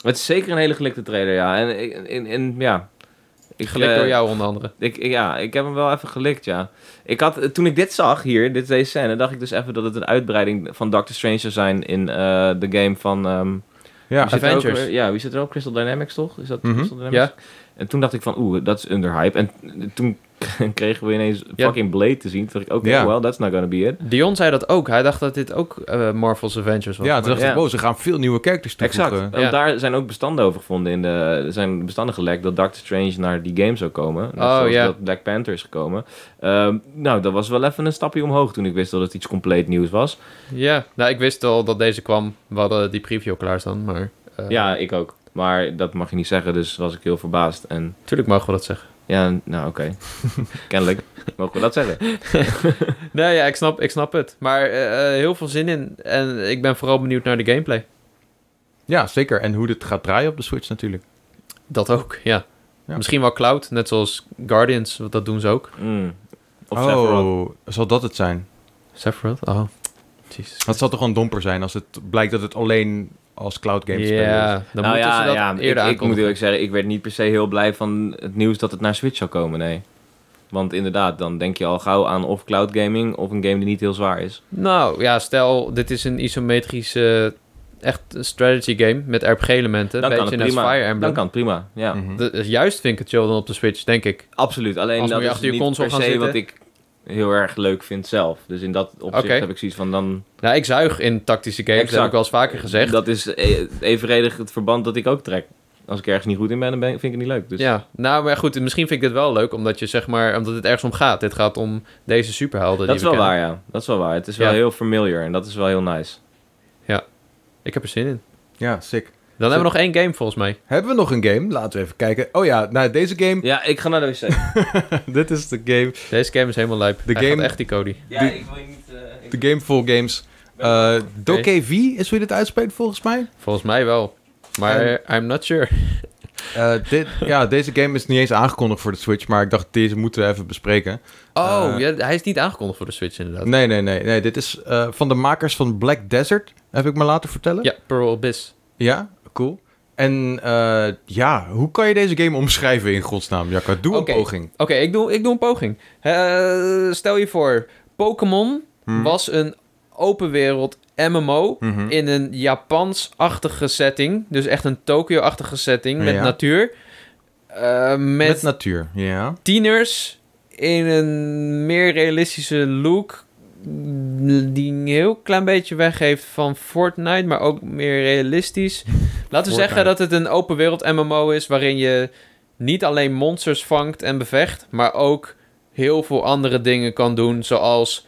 [SPEAKER 3] Het is zeker een hele gelikte trailer, ja. En, ik- en, en ja... Ik,
[SPEAKER 2] Gelikt
[SPEAKER 3] eh,
[SPEAKER 2] door jou onder andere.
[SPEAKER 3] Ik, ik- ja, ik heb hem wel even gelikt, ja. Ik had, eh, toen ik dit zag hier, dit, deze scène, dacht ik dus even dat het een uitbreiding van Doctor Strange zou zijn in eh, de game van... ehm,
[SPEAKER 1] Ja,
[SPEAKER 3] Wie zit er ook
[SPEAKER 2] Avengers.
[SPEAKER 3] weer- ja, wie zit er ook? Crystal Dynamics, toch? Is dat
[SPEAKER 1] Mhm.
[SPEAKER 3] Crystal Dynamics? En toen dacht ik van, oeh, dat is underhype. En toen kregen we ineens
[SPEAKER 2] Ja.
[SPEAKER 3] fucking Blade te zien. Toen dacht ik, oké,
[SPEAKER 1] Ja.
[SPEAKER 3] well, that's not gonna be it.
[SPEAKER 2] Dion zei dat ook. Hij dacht dat dit ook eh, Marvel's Avengers was.
[SPEAKER 1] ja toen dacht
[SPEAKER 3] Ja.
[SPEAKER 1] ik, wow, ze gaan veel nieuwe characters
[SPEAKER 3] Exact.
[SPEAKER 1] toevoegen.
[SPEAKER 3] Want
[SPEAKER 2] Ja.
[SPEAKER 3] daar zijn ook bestanden over gevonden. In de, er zijn bestanden gelekt dat Doctor Strange naar die game zou komen. Net
[SPEAKER 2] Oh,
[SPEAKER 3] zoals
[SPEAKER 2] ja.
[SPEAKER 3] dat Black Panther is gekomen. Ehm, nou, dat was wel even een stapje omhoog toen ik wist dat het iets compleet nieuws was.
[SPEAKER 2] Ja, nou, ik wist al dat deze kwam. We hadden die preview al klaarstaan, maar... eh,
[SPEAKER 3] Ja, ik ook. Maar dat mag je niet zeggen, dus was ik heel verbaasd. En
[SPEAKER 2] Tuurlijk mogen we dat zeggen.
[SPEAKER 3] ja, nou oké. Kennelijk mogen we dat zeggen.
[SPEAKER 2] Nee, ja, ik snap, ik snap het. Maar eh, eh, heel veel zin in. En ik ben vooral benieuwd naar de gameplay.
[SPEAKER 1] Ja, zeker. En hoe dit gaat draaien op de Switch natuurlijk.
[SPEAKER 2] Dat ook, ja.
[SPEAKER 1] Ja.
[SPEAKER 2] Misschien wel Cloud, net zoals Guardians, want dat doen ze ook.
[SPEAKER 3] Mm. Of
[SPEAKER 1] oh,
[SPEAKER 3] Sephiroth.
[SPEAKER 1] zal dat het zijn?
[SPEAKER 2] Sephiroth? Oh, jezus.
[SPEAKER 1] Dat zal toch gewoon domper zijn als het blijkt dat het alleen als cloud game spelen is.
[SPEAKER 2] Ja, dan moeten ze dat eerder
[SPEAKER 3] Nou ik, ik moet
[SPEAKER 2] aankondigen.
[SPEAKER 3] eerlijk zeggen, ik werd niet per se heel blij van het nieuws dat het naar Switch zou komen, nee. Want inderdaad, dan denk je al gauw aan of cloud gaming of een game die niet heel zwaar is.
[SPEAKER 2] Nou, ja, stel, dit is een isometrische... Echt een strategy game met RPG-elementen.
[SPEAKER 3] Dan
[SPEAKER 2] Een
[SPEAKER 3] kan
[SPEAKER 2] beetje
[SPEAKER 3] het
[SPEAKER 2] net als
[SPEAKER 3] prima.
[SPEAKER 2] Fire Emblem.
[SPEAKER 3] Dan kan het prima, ja.
[SPEAKER 1] Mhm.
[SPEAKER 2] Dat is juist vind ik het chill dan op de Switch, denk ik.
[SPEAKER 3] Absoluut, alleen
[SPEAKER 2] Als
[SPEAKER 3] dat
[SPEAKER 2] moet je
[SPEAKER 3] is
[SPEAKER 2] achter je
[SPEAKER 3] niet
[SPEAKER 2] console
[SPEAKER 3] per
[SPEAKER 2] gaan
[SPEAKER 3] se
[SPEAKER 2] zitten.
[SPEAKER 3] wat ik heel erg leuk vind zelf. Dus in dat opzicht
[SPEAKER 2] Oké.
[SPEAKER 3] heb ik zoiets van dan...
[SPEAKER 2] Nou, ik zuig in tactische games, dat
[SPEAKER 3] Exact.
[SPEAKER 2] heb ik wel eens vaker gezegd.
[SPEAKER 3] Dat is e- evenredig het verband dat ik ook trek. Als ik ergens niet goed in ben, dan ben, vind ik het niet leuk. Dus
[SPEAKER 2] Ja, nou, maar goed, misschien vind ik dit wel leuk, omdat je zeg maar, omdat het ergens om gaat. Dit gaat om deze superhelden.
[SPEAKER 3] dat is
[SPEAKER 2] die
[SPEAKER 3] wel
[SPEAKER 2] we
[SPEAKER 3] waar,
[SPEAKER 2] kennen.
[SPEAKER 3] ja. Dat is wel waar. Het is wel
[SPEAKER 2] Ja.
[SPEAKER 3] heel familiar en dat is wel heel nice.
[SPEAKER 2] Ik heb er zin in.
[SPEAKER 1] Ja, sick.
[SPEAKER 2] Dan hebben we nog één game volgens mij.
[SPEAKER 1] Hebben we nog een game? Laten we even kijken. Oh ja, nou deze game.
[SPEAKER 3] Ja, ik ga naar de wc.
[SPEAKER 1] Dit is de game.
[SPEAKER 2] Deze game is helemaal lijp.
[SPEAKER 1] De
[SPEAKER 2] De Hij
[SPEAKER 1] game-
[SPEAKER 2] gaat echt die Cody.
[SPEAKER 3] ja, ik wil niet... eh, ik-
[SPEAKER 1] De game full games. Eh Doke V is hoe je dit uitspreekt volgens mij.
[SPEAKER 2] Volgens mij wel. Maar I'm not sure.
[SPEAKER 1] Eh, dit, ja, deze game is niet eens aangekondigd voor de Switch, maar ik dacht deze moeten we even bespreken.
[SPEAKER 2] Oh,
[SPEAKER 1] Eh.
[SPEAKER 2] ja, hij is niet aangekondigd voor de Switch inderdaad.
[SPEAKER 1] Nee, nee, nee. nee dit is eh, van de makers van Black Desert, heb ik me laten vertellen.
[SPEAKER 2] Ja, Pearl Abyss.
[SPEAKER 1] Ja, cool. En eh, ja, hoe kan je deze game omschrijven in godsnaam, Jacco? Doe
[SPEAKER 2] Oké.
[SPEAKER 1] een poging.
[SPEAKER 2] Oké, ik, doe, ik doe een poging. Eh, stel je voor, Pokémon
[SPEAKER 1] Mhm.
[SPEAKER 2] was een open wereld MMO
[SPEAKER 1] Mhm.
[SPEAKER 2] in een Japans-achtige setting. Dus echt een Tokio-achtige setting met
[SPEAKER 1] Ja.
[SPEAKER 2] natuur. Eh, met,
[SPEAKER 1] Met... natuur, ja.
[SPEAKER 2] tieners in een meer realistische look. mm, Die een heel klein beetje weggeeft van Fortnite, maar ook meer realistisch. Laten we zeggen
[SPEAKER 1] Fortnite.
[SPEAKER 2] dat het een open wereld MMO is waarin je niet alleen monsters vangt en bevecht, maar ook heel veel andere dingen kan doen, zoals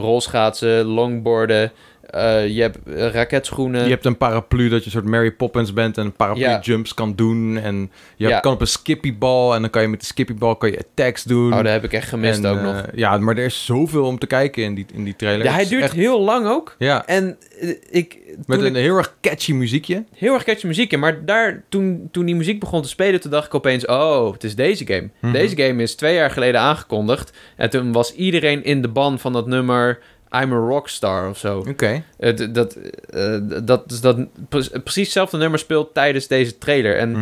[SPEAKER 2] rolschaatsen, longboarden, eh, je hebt eh, raketschoenen.
[SPEAKER 1] Je hebt een paraplu dat je een soort Mary Poppins bent en paraplu
[SPEAKER 2] Ja.
[SPEAKER 1] jumps kan doen. En je
[SPEAKER 2] Ja.
[SPEAKER 1] kan op een skippybal en dan kan je met de skippybal kan je attacks doen.
[SPEAKER 2] Oh, dat heb ik echt gemist
[SPEAKER 1] En,
[SPEAKER 2] ook
[SPEAKER 1] eh,
[SPEAKER 2] nog.
[SPEAKER 1] Ja, maar er is zoveel om te kijken in die, in die trailer.
[SPEAKER 2] Ja,
[SPEAKER 1] Het
[SPEAKER 2] hij
[SPEAKER 1] is
[SPEAKER 2] duurt
[SPEAKER 1] echt-
[SPEAKER 2] heel lang ook.
[SPEAKER 1] ja,
[SPEAKER 2] En eh, ik,
[SPEAKER 1] met
[SPEAKER 2] toen
[SPEAKER 1] een heel erg catchy muziekje.
[SPEAKER 2] heel erg catchy muziek in. Maar daar, toen, toen die muziek begon te spelen, toen dacht ik opeens... Oh, het is deze game.
[SPEAKER 1] Mhm.
[SPEAKER 2] Deze game is twee jaar geleden aangekondigd. En toen was iedereen in de ban van dat nummer... I'm a rockstar of zo.
[SPEAKER 1] Oké.
[SPEAKER 2] Het- dat, eh, dat, dus dat, pre- precies hetzelfde nummer speelt tijdens deze trailer. En
[SPEAKER 1] Mhm.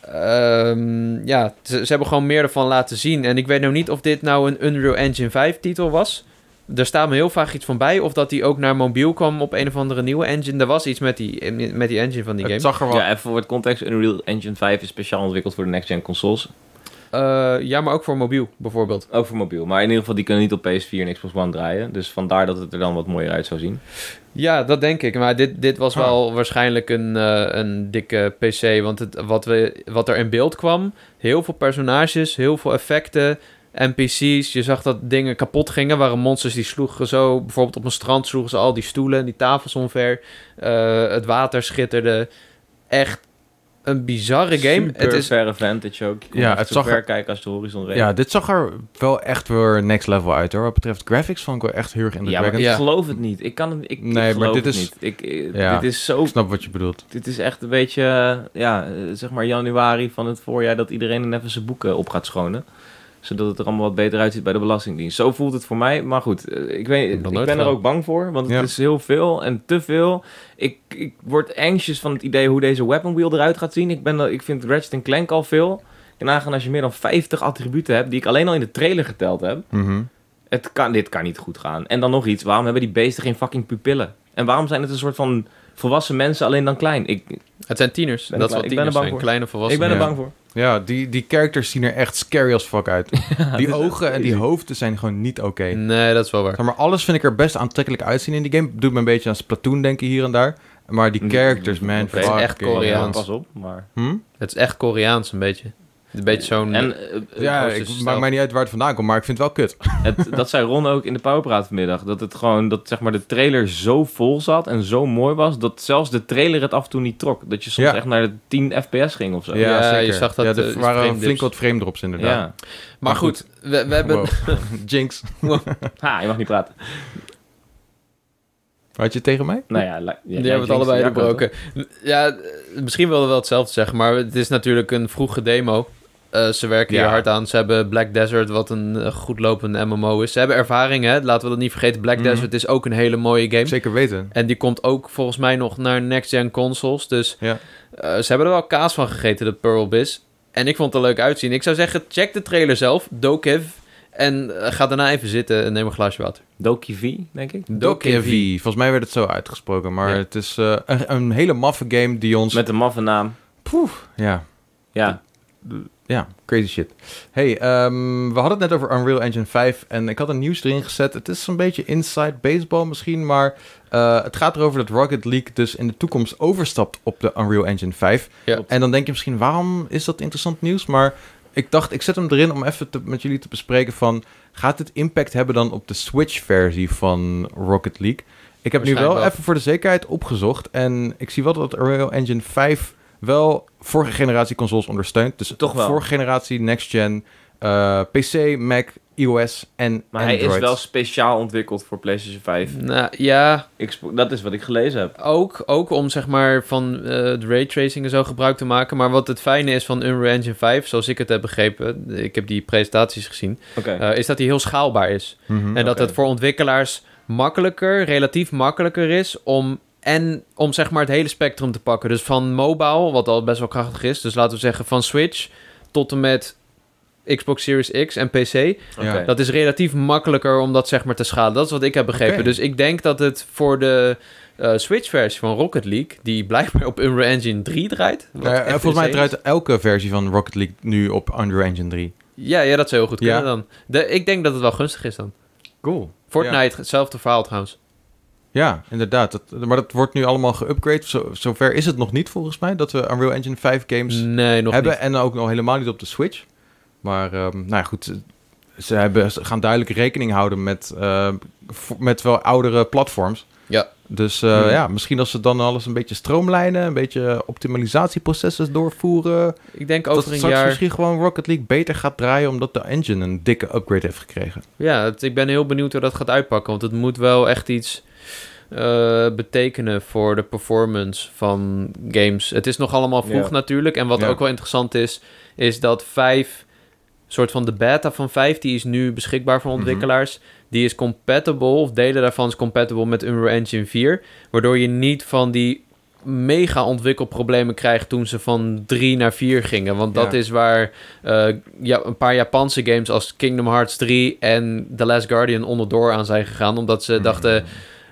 [SPEAKER 2] eh, ehm, ja, ze, ze hebben gewoon meer ervan laten zien. En ik weet nou niet of dit nou een Unreal Engine 5 titel was. Er staat me heel vaag iets van bij. Of dat die ook naar mobiel kwam op een of andere nieuwe engine. Er was iets met die, met die engine van die game.
[SPEAKER 1] Het zag er wel...
[SPEAKER 3] Ja, even voor het context. Unreal Engine 5 is speciaal ontwikkeld voor de next-gen consoles.
[SPEAKER 2] Eh, ja, maar ook voor mobiel bijvoorbeeld.
[SPEAKER 3] Ook voor mobiel. Maar in ieder geval, die kunnen niet op PS4 en Xbox One draaien. Dus vandaar dat het er dan wat mooier uit zou zien.
[SPEAKER 2] Ja, dat denk ik. Maar dit, dit was
[SPEAKER 1] Ah.
[SPEAKER 2] wel waarschijnlijk een, eh, een dikke PC. Want het, wat, we, wat er in beeld kwam, heel veel personages, heel veel effecten, NPC's. Je zag dat dingen kapot gingen. Waren monsters die sloegen zo. Bijvoorbeeld op een strand sloegen ze al die stoelen en die tafels omver. Eh, het water schitterde. Echt een bizarre game.
[SPEAKER 3] Super
[SPEAKER 2] het is
[SPEAKER 3] verre vantage ook. Je kon
[SPEAKER 1] Ja,
[SPEAKER 3] echt
[SPEAKER 1] het
[SPEAKER 3] zo
[SPEAKER 1] zag
[SPEAKER 3] ver
[SPEAKER 1] er-
[SPEAKER 3] kijken als de horizon reed.
[SPEAKER 1] Ja, dit zag er wel echt weer next level uit hoor. Wat betreft graphics vond ik wel echt heel erg
[SPEAKER 3] Ja, maar
[SPEAKER 1] indrukwekkend.
[SPEAKER 3] ik
[SPEAKER 2] Ja.
[SPEAKER 3] geloof het niet. Ik kan het ik,
[SPEAKER 1] Nee, maar
[SPEAKER 3] ik geloof
[SPEAKER 1] dit
[SPEAKER 3] het
[SPEAKER 1] is-
[SPEAKER 3] niet. Ik, eh,
[SPEAKER 1] Ja.
[SPEAKER 3] Dit is zo...
[SPEAKER 1] Ik snap wat je bedoelt.
[SPEAKER 3] Dit is echt een beetje, eh, ja, eh, zeg maar januari van het voorjaar... dat iedereen dan even zijn boeken op gaat schonen. Zodat het er allemaal wat beter uitziet bij de Belastingdienst. Zo voelt het voor mij. Maar goed, eh, ik,
[SPEAKER 2] Ik
[SPEAKER 3] weet,
[SPEAKER 2] heb nog
[SPEAKER 3] ik
[SPEAKER 2] nooit
[SPEAKER 3] ben er
[SPEAKER 2] gedaan.
[SPEAKER 3] ook bang voor. Want
[SPEAKER 1] Ja.
[SPEAKER 3] het is heel veel en te veel. Ik, ik word anxious van het idee hoe deze weapon wheel eruit gaat zien. Ik, ben, er- ik vind Ratchet Clank al veel. En nagaan als je meer dan 50 attributen hebt... die ik alleen al in de trailer geteld heb...
[SPEAKER 1] Mhm.
[SPEAKER 3] Het kan, dit kan niet goed gaan. En dan nog iets, waarom hebben die beesten geen fucking pupillen? En waarom zijn het een soort van volwassen mensen, alleen dan klein? Ik,
[SPEAKER 2] Het zijn tieners.
[SPEAKER 3] Ben
[SPEAKER 2] dat
[SPEAKER 3] ik
[SPEAKER 2] is wat
[SPEAKER 3] bang- ik ben er
[SPEAKER 2] tieners
[SPEAKER 3] bang
[SPEAKER 2] zijn.
[SPEAKER 3] voor.
[SPEAKER 2] Kleine
[SPEAKER 3] ik
[SPEAKER 2] volwassenen.
[SPEAKER 3] ben er
[SPEAKER 1] ja.
[SPEAKER 3] bang voor.
[SPEAKER 1] Ja, die, die characters zien er echt scary als fuck uit. die ogen en die hoofden zijn gewoon niet oké.
[SPEAKER 2] Nee, dat is wel waar.
[SPEAKER 1] Zeg maar, alles vind ik er best aantrekkelijk uitzien in die game. Doet me een beetje aan Splatoon denken hier en daar. Maar die
[SPEAKER 3] Die-
[SPEAKER 1] characters, man.
[SPEAKER 3] Oké. Het is
[SPEAKER 1] fuck
[SPEAKER 2] echt
[SPEAKER 1] it.
[SPEAKER 2] Koreaans.
[SPEAKER 3] Pas op, maar...
[SPEAKER 1] Hm?
[SPEAKER 2] Het is echt Koreaans een beetje. Een beetje zo'n...
[SPEAKER 3] En eh,
[SPEAKER 1] Ja,
[SPEAKER 2] Oosterse
[SPEAKER 1] ik,
[SPEAKER 2] stijl.
[SPEAKER 1] maakt mij niet uit waar het vandaan komt, maar ik vind het wel kut.
[SPEAKER 3] het, dat zei Ron ook in de Powerpraat vanmiddag. Dat het gewoon, dat zeg maar de trailer zo vol zat en zo mooi was... dat zelfs de trailer het af en toe niet trok. Dat je soms
[SPEAKER 1] Ja.
[SPEAKER 3] echt naar de 10 fps ging of zo.
[SPEAKER 2] Ja, je zag dat,
[SPEAKER 1] Ja, er
[SPEAKER 2] eh,
[SPEAKER 1] waren
[SPEAKER 2] frame
[SPEAKER 1] flink
[SPEAKER 2] dips.
[SPEAKER 1] wat frame drops inderdaad.
[SPEAKER 3] Ja.
[SPEAKER 2] Maar goed, we, we hebben...
[SPEAKER 1] Wow. Jinx.
[SPEAKER 3] Ha, je mag niet praten.
[SPEAKER 1] Had je het tegen mij?
[SPEAKER 3] Nou ja, li- ja,
[SPEAKER 2] Die hebben
[SPEAKER 3] links-
[SPEAKER 2] het allebei
[SPEAKER 3] ja,
[SPEAKER 2] gebroken. Ja, eh, misschien wilden we wel hetzelfde zeggen, maar het is natuurlijk een vroege demo. Eh, ze werken
[SPEAKER 1] Ja.
[SPEAKER 2] hier hard aan. Ze hebben Black Desert, wat een eh, goed lopende MMO is. Ze hebben ervaring, hè? laten we dat niet vergeten. Black
[SPEAKER 1] Mhm.
[SPEAKER 2] Desert is ook een hele mooie game.
[SPEAKER 1] Zeker weten.
[SPEAKER 2] En die komt ook volgens mij nog naar next-gen consoles. Dus
[SPEAKER 1] Ja.
[SPEAKER 2] eh, ze hebben er wel kaas van gegeten, de Pearl Biz. En ik vond het er leuk uitzien. Ik zou zeggen, check de trailer zelf, Dokiv. En eh, ga daarna even zitten en neem een glaasje water.
[SPEAKER 3] Doki V, denk ik.
[SPEAKER 1] Dokevi. Volgens mij werd het zo uitgesproken, maar
[SPEAKER 2] Ja.
[SPEAKER 1] het is eh, een, een hele maffe game die ons...
[SPEAKER 3] Met een maffe naam.
[SPEAKER 1] Ja,
[SPEAKER 3] Ja,
[SPEAKER 1] ja, crazy shit. Hey, ehm, we hadden het net over Unreal Engine 5 en ik had een nieuws erin gezet. Het is een beetje inside baseball misschien, maar eh, het gaat erover dat Rocket League dus in de toekomst overstapt op de Unreal Engine 5.
[SPEAKER 2] Ja.
[SPEAKER 1] En dan denk je misschien, waarom is dat interessant nieuws? Maar ik dacht, ik zet hem erin om even te- met jullie te bespreken van... gaat dit impact hebben dan op de Switch-versie van Rocket League? Ik heb nu wel,
[SPEAKER 2] Waarschijnlijk wel.
[SPEAKER 1] even voor de zekerheid opgezocht... en ik zie wel dat Unreal Engine 5 wel vorige generatie consoles ondersteunt. Dus
[SPEAKER 3] Toch wel.
[SPEAKER 1] vorige generatie, next-gen, eh, PC, Mac, iOS en
[SPEAKER 3] maar
[SPEAKER 1] Android.
[SPEAKER 3] hij is wel speciaal ontwikkeld voor PlayStation 5.
[SPEAKER 2] Nou ja,
[SPEAKER 3] Ik spo- dat is wat ik gelezen heb.
[SPEAKER 2] Ook, ook om zeg maar van eh, de raytracing en zo gebruik te maken. Maar wat het fijne is van Unreal Engine 5, zoals ik het heb begrepen, ik heb die presentaties gezien,
[SPEAKER 3] Oké.
[SPEAKER 2] eh, is dat die heel schaalbaar is.
[SPEAKER 1] Mhm.
[SPEAKER 2] En dat
[SPEAKER 3] oké.
[SPEAKER 2] het voor ontwikkelaars makkelijker, relatief makkelijker is om. En om zeg maar het hele spectrum te pakken. Dus van mobile, wat al best wel krachtig is. Dus laten we zeggen van Switch tot en met Xbox Series X en PC.
[SPEAKER 1] Ja.
[SPEAKER 3] Oké.
[SPEAKER 2] Dat is relatief makkelijker om dat zeg maar te schalen. Dat is wat ik heb begrepen.
[SPEAKER 1] Oké.
[SPEAKER 2] Dus ik denk dat het voor de eh, Switch-versie van Rocket League, die blijkbaar op Unreal Engine 3 draait. wat
[SPEAKER 1] Eh,
[SPEAKER 2] echt
[SPEAKER 1] volgens mij
[SPEAKER 2] insane is.
[SPEAKER 1] draait elke versie van Rocket League nu op Unreal Engine 3.
[SPEAKER 2] Ja, ja, dat zou heel goed
[SPEAKER 1] Ja.
[SPEAKER 2] kunnen dan. De, ik denk dat het wel gunstig is dan.
[SPEAKER 1] Cool.
[SPEAKER 2] Fortnite, hetzelfde verhaal trouwens.
[SPEAKER 1] Ja, inderdaad. Dat, maar dat wordt nu allemaal geüpgrade. Zo, zover is het nog niet volgens mij dat we Unreal Engine 5 games
[SPEAKER 2] Nee, nog
[SPEAKER 1] hebben.
[SPEAKER 2] niet.
[SPEAKER 1] En ook nog helemaal niet op de Switch. Maar ehm, nou ja, goed, ze- ze, hebben, ze gaan duidelijk rekening houden met, eh, vo- met wel oudere platforms.
[SPEAKER 2] Ja. Mhm.
[SPEAKER 1] Dus eh, ja, misschien als ze dan alles een beetje stroomlijnen, een beetje optimalisatieprocessen doorvoeren.
[SPEAKER 2] Ik denk
[SPEAKER 1] dat
[SPEAKER 2] over een
[SPEAKER 1] straks
[SPEAKER 2] jaar...
[SPEAKER 1] misschien gewoon Rocket League beter gaat draaien omdat de engine een dikke upgrade heeft gekregen.
[SPEAKER 2] Ja, het- ik ben heel benieuwd hoe dat gaat uitpakken. Want het moet wel echt iets eh, betekenen voor de performance van games. Het is nog allemaal vroeg
[SPEAKER 3] Ja.
[SPEAKER 2] natuurlijk. En wat
[SPEAKER 1] Ja.
[SPEAKER 2] ook wel interessant is, is dat 5, soort van de beta van 5, die is nu beschikbaar voor
[SPEAKER 1] Mhm.
[SPEAKER 2] ontwikkelaars. Die is compatible, of delen daarvan is compatible met Unreal Engine 4. Waardoor je niet van die mega ontwikkelproblemen krijgt toen ze van 3 naar 4 gingen. Want dat
[SPEAKER 1] Ja.
[SPEAKER 2] is waar eh, ja, een paar Japanse games als Kingdom Hearts 3 en The Last Guardian onderdoor aan zijn gegaan. Omdat ze dachten,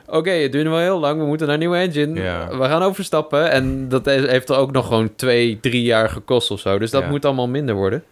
[SPEAKER 2] oké, het duurt nog wel heel lang, we moeten naar een nieuwe engine.
[SPEAKER 1] Ja.
[SPEAKER 2] We gaan overstappen. En dat is- heeft er ook nog gewoon 2, 3 jaar gekost of zo. Dus dat
[SPEAKER 1] Ja.
[SPEAKER 2] moet allemaal minder worden.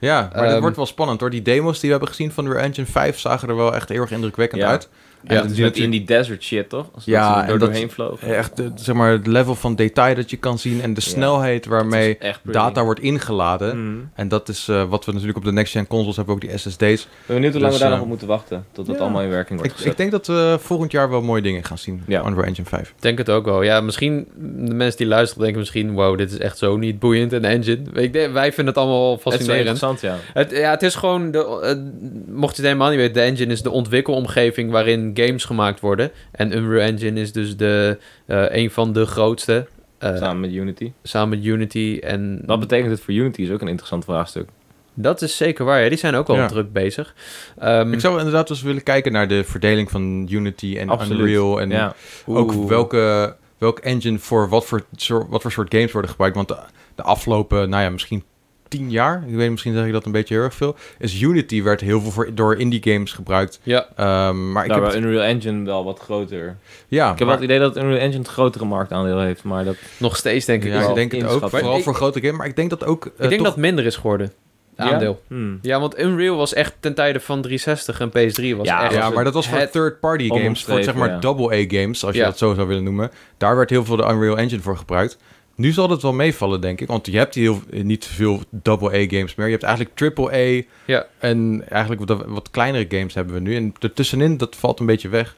[SPEAKER 1] Ja, maar dat
[SPEAKER 2] Ehm,
[SPEAKER 1] wordt wel spannend hoor. Die demos die we hebben gezien van de Real Engine 5 zagen er wel echt heel erg indrukwekkend
[SPEAKER 3] Ja.
[SPEAKER 1] uit.
[SPEAKER 3] En
[SPEAKER 2] Ja,
[SPEAKER 3] dat is
[SPEAKER 1] die
[SPEAKER 3] met in
[SPEAKER 1] natuurlijk-
[SPEAKER 3] die desert shit, toch? Als
[SPEAKER 1] Ja,
[SPEAKER 3] ja, dat ze er
[SPEAKER 1] en
[SPEAKER 3] door
[SPEAKER 1] dat-
[SPEAKER 3] doorheen vlogen.
[SPEAKER 1] Echt, eh, zeg maar, het level van detail dat je kan zien en de
[SPEAKER 3] Ja.
[SPEAKER 1] snelheid
[SPEAKER 3] Dat
[SPEAKER 1] waarmee
[SPEAKER 3] is echt pretty.
[SPEAKER 1] data wordt ingeladen.
[SPEAKER 3] Mhm.
[SPEAKER 1] En dat is eh, wat we natuurlijk op de next-gen consoles hebben, ook die SSD's.
[SPEAKER 3] Ik ben benieuwd hoe lang
[SPEAKER 1] Dus,
[SPEAKER 3] we daar
[SPEAKER 1] eh,
[SPEAKER 3] nog op moeten wachten. Tot dat
[SPEAKER 1] ja.
[SPEAKER 3] allemaal in werking wordt
[SPEAKER 1] Ik,
[SPEAKER 3] gezet.
[SPEAKER 1] ik denk dat we volgend jaar wel mooie dingen gaan zien
[SPEAKER 3] Ja.
[SPEAKER 1] on Unreal Engine 5.
[SPEAKER 2] Ik denk het ook wel. Ja, misschien de mensen die luisteren denken misschien... wow, dit is echt zo niet boeiend, een engine. Ik denk, wij vinden het allemaal wel
[SPEAKER 3] het is wel
[SPEAKER 2] fascinerend.
[SPEAKER 3] interessant, ja.
[SPEAKER 2] Het, ja, het is gewoon, de, eh, mocht je het helemaal niet weten, de engine is de ontwikkelomgeving waarin games gemaakt worden. En Unreal Engine is dus de, eh, een van de grootste, eh,
[SPEAKER 3] Samen met Unity.
[SPEAKER 2] samen met Unity. En
[SPEAKER 3] Wat betekent het voor Unity is ook een interessant vraagstuk.
[SPEAKER 2] dat is zeker waar, ja. die zijn ook wel
[SPEAKER 1] Ja.
[SPEAKER 2] druk bezig. Ehm,
[SPEAKER 3] Mm.
[SPEAKER 1] Ik zou inderdaad eens willen kijken naar de verdeling van Unity en
[SPEAKER 3] Absoluut.
[SPEAKER 1] Unreal. En
[SPEAKER 3] ja.
[SPEAKER 1] ook
[SPEAKER 2] oeh.
[SPEAKER 1] welke, welk engine voor wat voor, soort- wat voor soort games worden gebruikt. Want de, de afgelopen, nou ja, misschien tien jaar, ik weet misschien zeg ik dat een beetje heel erg veel, is Unity werd heel veel voor, door indie games gebruikt.
[SPEAKER 2] Ja,
[SPEAKER 1] Ehm, maar ik
[SPEAKER 3] Daar
[SPEAKER 1] heb
[SPEAKER 3] wel
[SPEAKER 1] het-
[SPEAKER 3] Unreal Engine wel wat groter.
[SPEAKER 1] ja,
[SPEAKER 3] Nou, Ik heb wel
[SPEAKER 1] maar-
[SPEAKER 3] het idee dat Unreal Engine het grotere marktaandeel heeft, maar dat...
[SPEAKER 2] nog steeds denk ik
[SPEAKER 1] ja,
[SPEAKER 2] wel.
[SPEAKER 1] ik denk het ook.
[SPEAKER 3] inschatten.
[SPEAKER 1] Vooral
[SPEAKER 2] Ik-
[SPEAKER 1] voor grote games, maar ik denk dat ook... eh,
[SPEAKER 2] ik denk
[SPEAKER 1] toch-
[SPEAKER 2] dat het minder is geworden, het aandeel.
[SPEAKER 3] Hmm.
[SPEAKER 2] Ja, want Unreal was echt ten tijde van 360 en PS3 was
[SPEAKER 3] Ja,
[SPEAKER 2] echt...
[SPEAKER 1] ja,
[SPEAKER 3] was
[SPEAKER 1] maar dat was voor
[SPEAKER 2] het
[SPEAKER 1] third-party games, voor
[SPEAKER 3] onomschreven,
[SPEAKER 1] zeg maar
[SPEAKER 3] ja.
[SPEAKER 1] double-A-games, als je
[SPEAKER 2] Ja.
[SPEAKER 1] dat zo zou willen noemen. Daar werd heel veel de Unreal Engine voor gebruikt. Nu zal dat wel meevallen, denk ik, want je hebt heel, niet veel double-A-games meer. Je hebt eigenlijk triple-A
[SPEAKER 2] Ja.
[SPEAKER 1] en eigenlijk wat, wat kleinere games hebben we nu. En ertussenin, dat valt een beetje weg.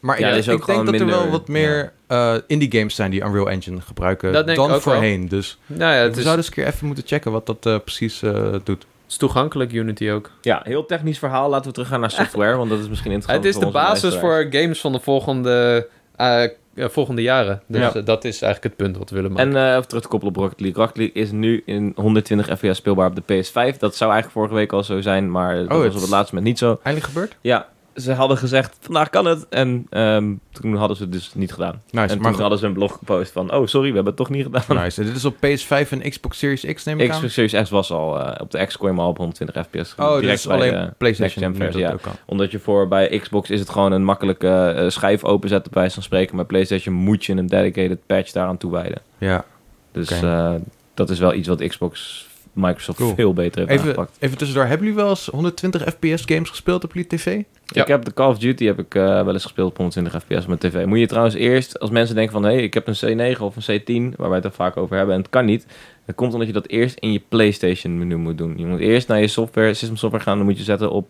[SPEAKER 1] Maar
[SPEAKER 3] Ja,
[SPEAKER 1] ik,
[SPEAKER 3] er is
[SPEAKER 1] ik
[SPEAKER 3] ook
[SPEAKER 1] denk
[SPEAKER 3] gewoon
[SPEAKER 1] dat er wel
[SPEAKER 3] minder-
[SPEAKER 1] wat meer eh, indie-games zijn die Unreal Engine gebruiken
[SPEAKER 2] Dat denk ik
[SPEAKER 1] dan
[SPEAKER 2] ook wel.
[SPEAKER 1] voorheen. Dus
[SPEAKER 2] Nou ja,
[SPEAKER 1] we
[SPEAKER 2] het is,
[SPEAKER 1] zouden eens een keer even moeten checken wat dat eh, precies eh, doet.
[SPEAKER 2] het is toegankelijk, Unity ook.
[SPEAKER 3] Ja, heel technisch verhaal. Laten we teruggaan naar software, want dat is misschien interessant
[SPEAKER 2] Het is
[SPEAKER 3] voor
[SPEAKER 2] de
[SPEAKER 3] onze
[SPEAKER 2] basis
[SPEAKER 3] luisteraars.
[SPEAKER 2] voor games van de volgende, eh, eh, volgende jaren. Dus
[SPEAKER 3] Ja.
[SPEAKER 2] eh, dat is eigenlijk het punt wat we willen maken.
[SPEAKER 3] En eh, even terug te koppelen op Rocket League. Rocket League is nu in 120 fps speelbaar op de PS5. Dat zou eigenlijk vorige week al zo zijn, maar dat
[SPEAKER 1] Oh,
[SPEAKER 3] was
[SPEAKER 1] het-
[SPEAKER 3] op het laatste moment niet zo.
[SPEAKER 1] Eindelijk gebeurd?
[SPEAKER 3] Ja, ze hadden gezegd, vandaag kan het. En ehm, toen hadden ze het dus niet gedaan.
[SPEAKER 1] Nice,
[SPEAKER 3] en
[SPEAKER 1] Nou, maar
[SPEAKER 3] toen
[SPEAKER 1] goed.
[SPEAKER 3] hadden ze een blog gepost van, oh sorry, we hebben het toch niet gedaan.
[SPEAKER 1] Nice. En dit is op PS5 en Xbox Series X, neem ik aan?
[SPEAKER 3] Xbox Series X was al, eh, op de X kon je maar op 120 fps.
[SPEAKER 1] Oh,
[SPEAKER 3] Direct
[SPEAKER 1] dit is
[SPEAKER 3] bij
[SPEAKER 1] alleen
[SPEAKER 3] de
[SPEAKER 1] PlayStation.
[SPEAKER 3] next-gen
[SPEAKER 1] nu
[SPEAKER 3] versie,
[SPEAKER 1] dat
[SPEAKER 3] ja.
[SPEAKER 1] ook kan.
[SPEAKER 3] Omdat je voor bij Xbox is het gewoon een makkelijke eh, schijf openzetten bij wijze van spreken. Bij PlayStation moet je een dedicated patch daaraan toewijden.
[SPEAKER 1] Ja.
[SPEAKER 3] Dus
[SPEAKER 1] Oké.
[SPEAKER 3] eh, dat is wel iets wat Xbox Microsoft
[SPEAKER 1] Cool.
[SPEAKER 3] veel beter heeft
[SPEAKER 1] Even,
[SPEAKER 3] aangepakt.
[SPEAKER 1] even tussendoor, hebben jullie wel eens 120 FPS games gespeeld op jullie tv?
[SPEAKER 2] Ja.
[SPEAKER 3] Ik heb de Call of Duty heb ik, eh, wel eens gespeeld op 120 fps op mijn tv. Moet je trouwens eerst, als mensen denken van... hé, hey, ik heb een C9 of een C10, waar wij het er vaak over hebben... en het kan niet, dat komt omdat je dat eerst in je PlayStation menu moet doen. Je moet eerst naar je software, system software gaan... dan moet je zetten op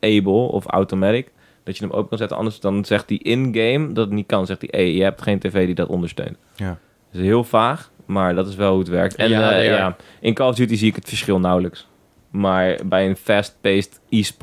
[SPEAKER 3] Able of Automatic... dat je hem open kan zetten. Anders dan zegt hij in-game dat het niet kan. zegt hij, hey, je hebt geen tv die dat ondersteunt.
[SPEAKER 1] Ja.
[SPEAKER 3] Dat is heel vaag, maar dat is wel hoe het werkt. En
[SPEAKER 2] Ja,
[SPEAKER 3] ja,
[SPEAKER 2] ja.
[SPEAKER 3] ja, in Call of Duty zie ik het verschil nauwelijks. Maar bij een fast-paced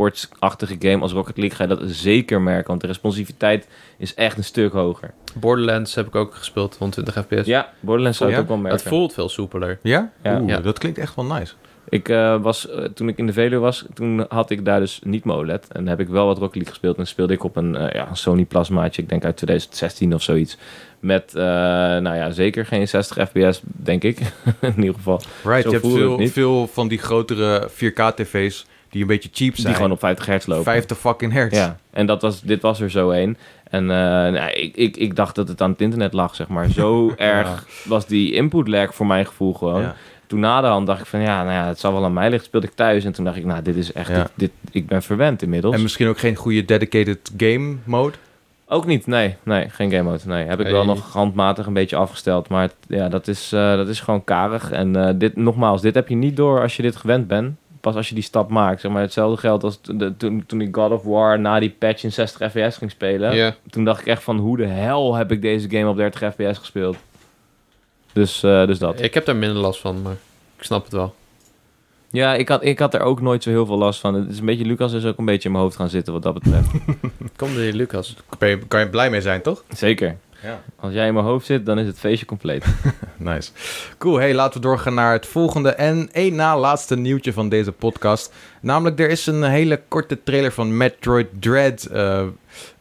[SPEAKER 3] e-sports-achtige game als Rocket League ga je dat zeker merken. Want de responsiviteit is echt een stuk hoger. Dus
[SPEAKER 2] Borderlands heb ik ook gespeeld, 120 fps.
[SPEAKER 3] Ja, Borderlands zou
[SPEAKER 1] Ja?
[SPEAKER 3] het ook wel merken.
[SPEAKER 2] het voelt veel soepeler.
[SPEAKER 1] Ja?
[SPEAKER 3] Ja.
[SPEAKER 1] Oeh,
[SPEAKER 2] Ja.
[SPEAKER 1] dat klinkt echt wel nice.
[SPEAKER 3] Ik eh, was, eh, toen ik in de Veluwe was, toen had ik daar dus niet mijn OLED. En heb ik wel wat Rocket League gespeeld. En speelde ik op een eh, ja, een Sony plasmaatje, ik denk uit 2016 of zoiets. Met, eh, nou ja, zeker geen 60 fps, denk ik. in ieder geval.
[SPEAKER 1] Right,
[SPEAKER 3] Zo
[SPEAKER 1] je hebt
[SPEAKER 3] voelde
[SPEAKER 1] veel,
[SPEAKER 3] het niet.
[SPEAKER 1] veel van die grotere 4K-tv's die een beetje cheap zijn.
[SPEAKER 3] Die gewoon op 50 hertz lopen.
[SPEAKER 1] 50 fucking hertz.
[SPEAKER 3] Ja, en dat was, dit was er zo één. En eh, nou, ik, ik, ik dacht dat het aan het internet lag, zeg maar. Zo erg was die input lag voor mijn gevoel gewoon.
[SPEAKER 1] Ja.
[SPEAKER 3] Toen naderhand dacht ik van, ja, nou ja, het zal wel aan mij liggen. Speelde ik thuis en toen dacht ik, nou, dit is echt,
[SPEAKER 1] Ja.
[SPEAKER 3] dit, dit- ik ben verwend inmiddels.
[SPEAKER 1] En misschien ook geen goede dedicated game mode.
[SPEAKER 3] Ook niet, nee, nee, geen game mode. Nee, heb ik
[SPEAKER 2] Hey.
[SPEAKER 3] wel nog handmatig een beetje afgesteld. Maar het- ja, dat is, eh, dat is gewoon karig. En eh, dit, nogmaals, dit heb je niet door als je dit gewend bent. Pas als je die stap maakt. Zeg maar, hetzelfde geldt als to- de- toen, toen ik God of War na die patch in 60 fps ging spelen.
[SPEAKER 2] Ja.
[SPEAKER 3] Toen dacht ik echt van, hoe de hel heb ik deze game op 30 fps gespeeld? Dus, eh, dus dat.
[SPEAKER 2] Ik heb daar minder last van, maar ik snap het wel.
[SPEAKER 3] Ja, ik had, ik had er ook nooit zo heel veel last van. Het is een beetje, Lucas is ook een beetje in mijn hoofd gaan zitten wat dat betreft.
[SPEAKER 2] Kom door die Lucas.
[SPEAKER 1] Kan je, kan je blij mee zijn, toch?
[SPEAKER 3] Zeker.
[SPEAKER 1] Ja.
[SPEAKER 3] Als jij in mijn hoofd zit, dan is het feestje compleet.
[SPEAKER 1] Nice. Cool, hey, laten we doorgaan naar het volgende en één na laatste nieuwtje van deze podcast. Namelijk, er is een hele korte trailer van Metroid Dread eh,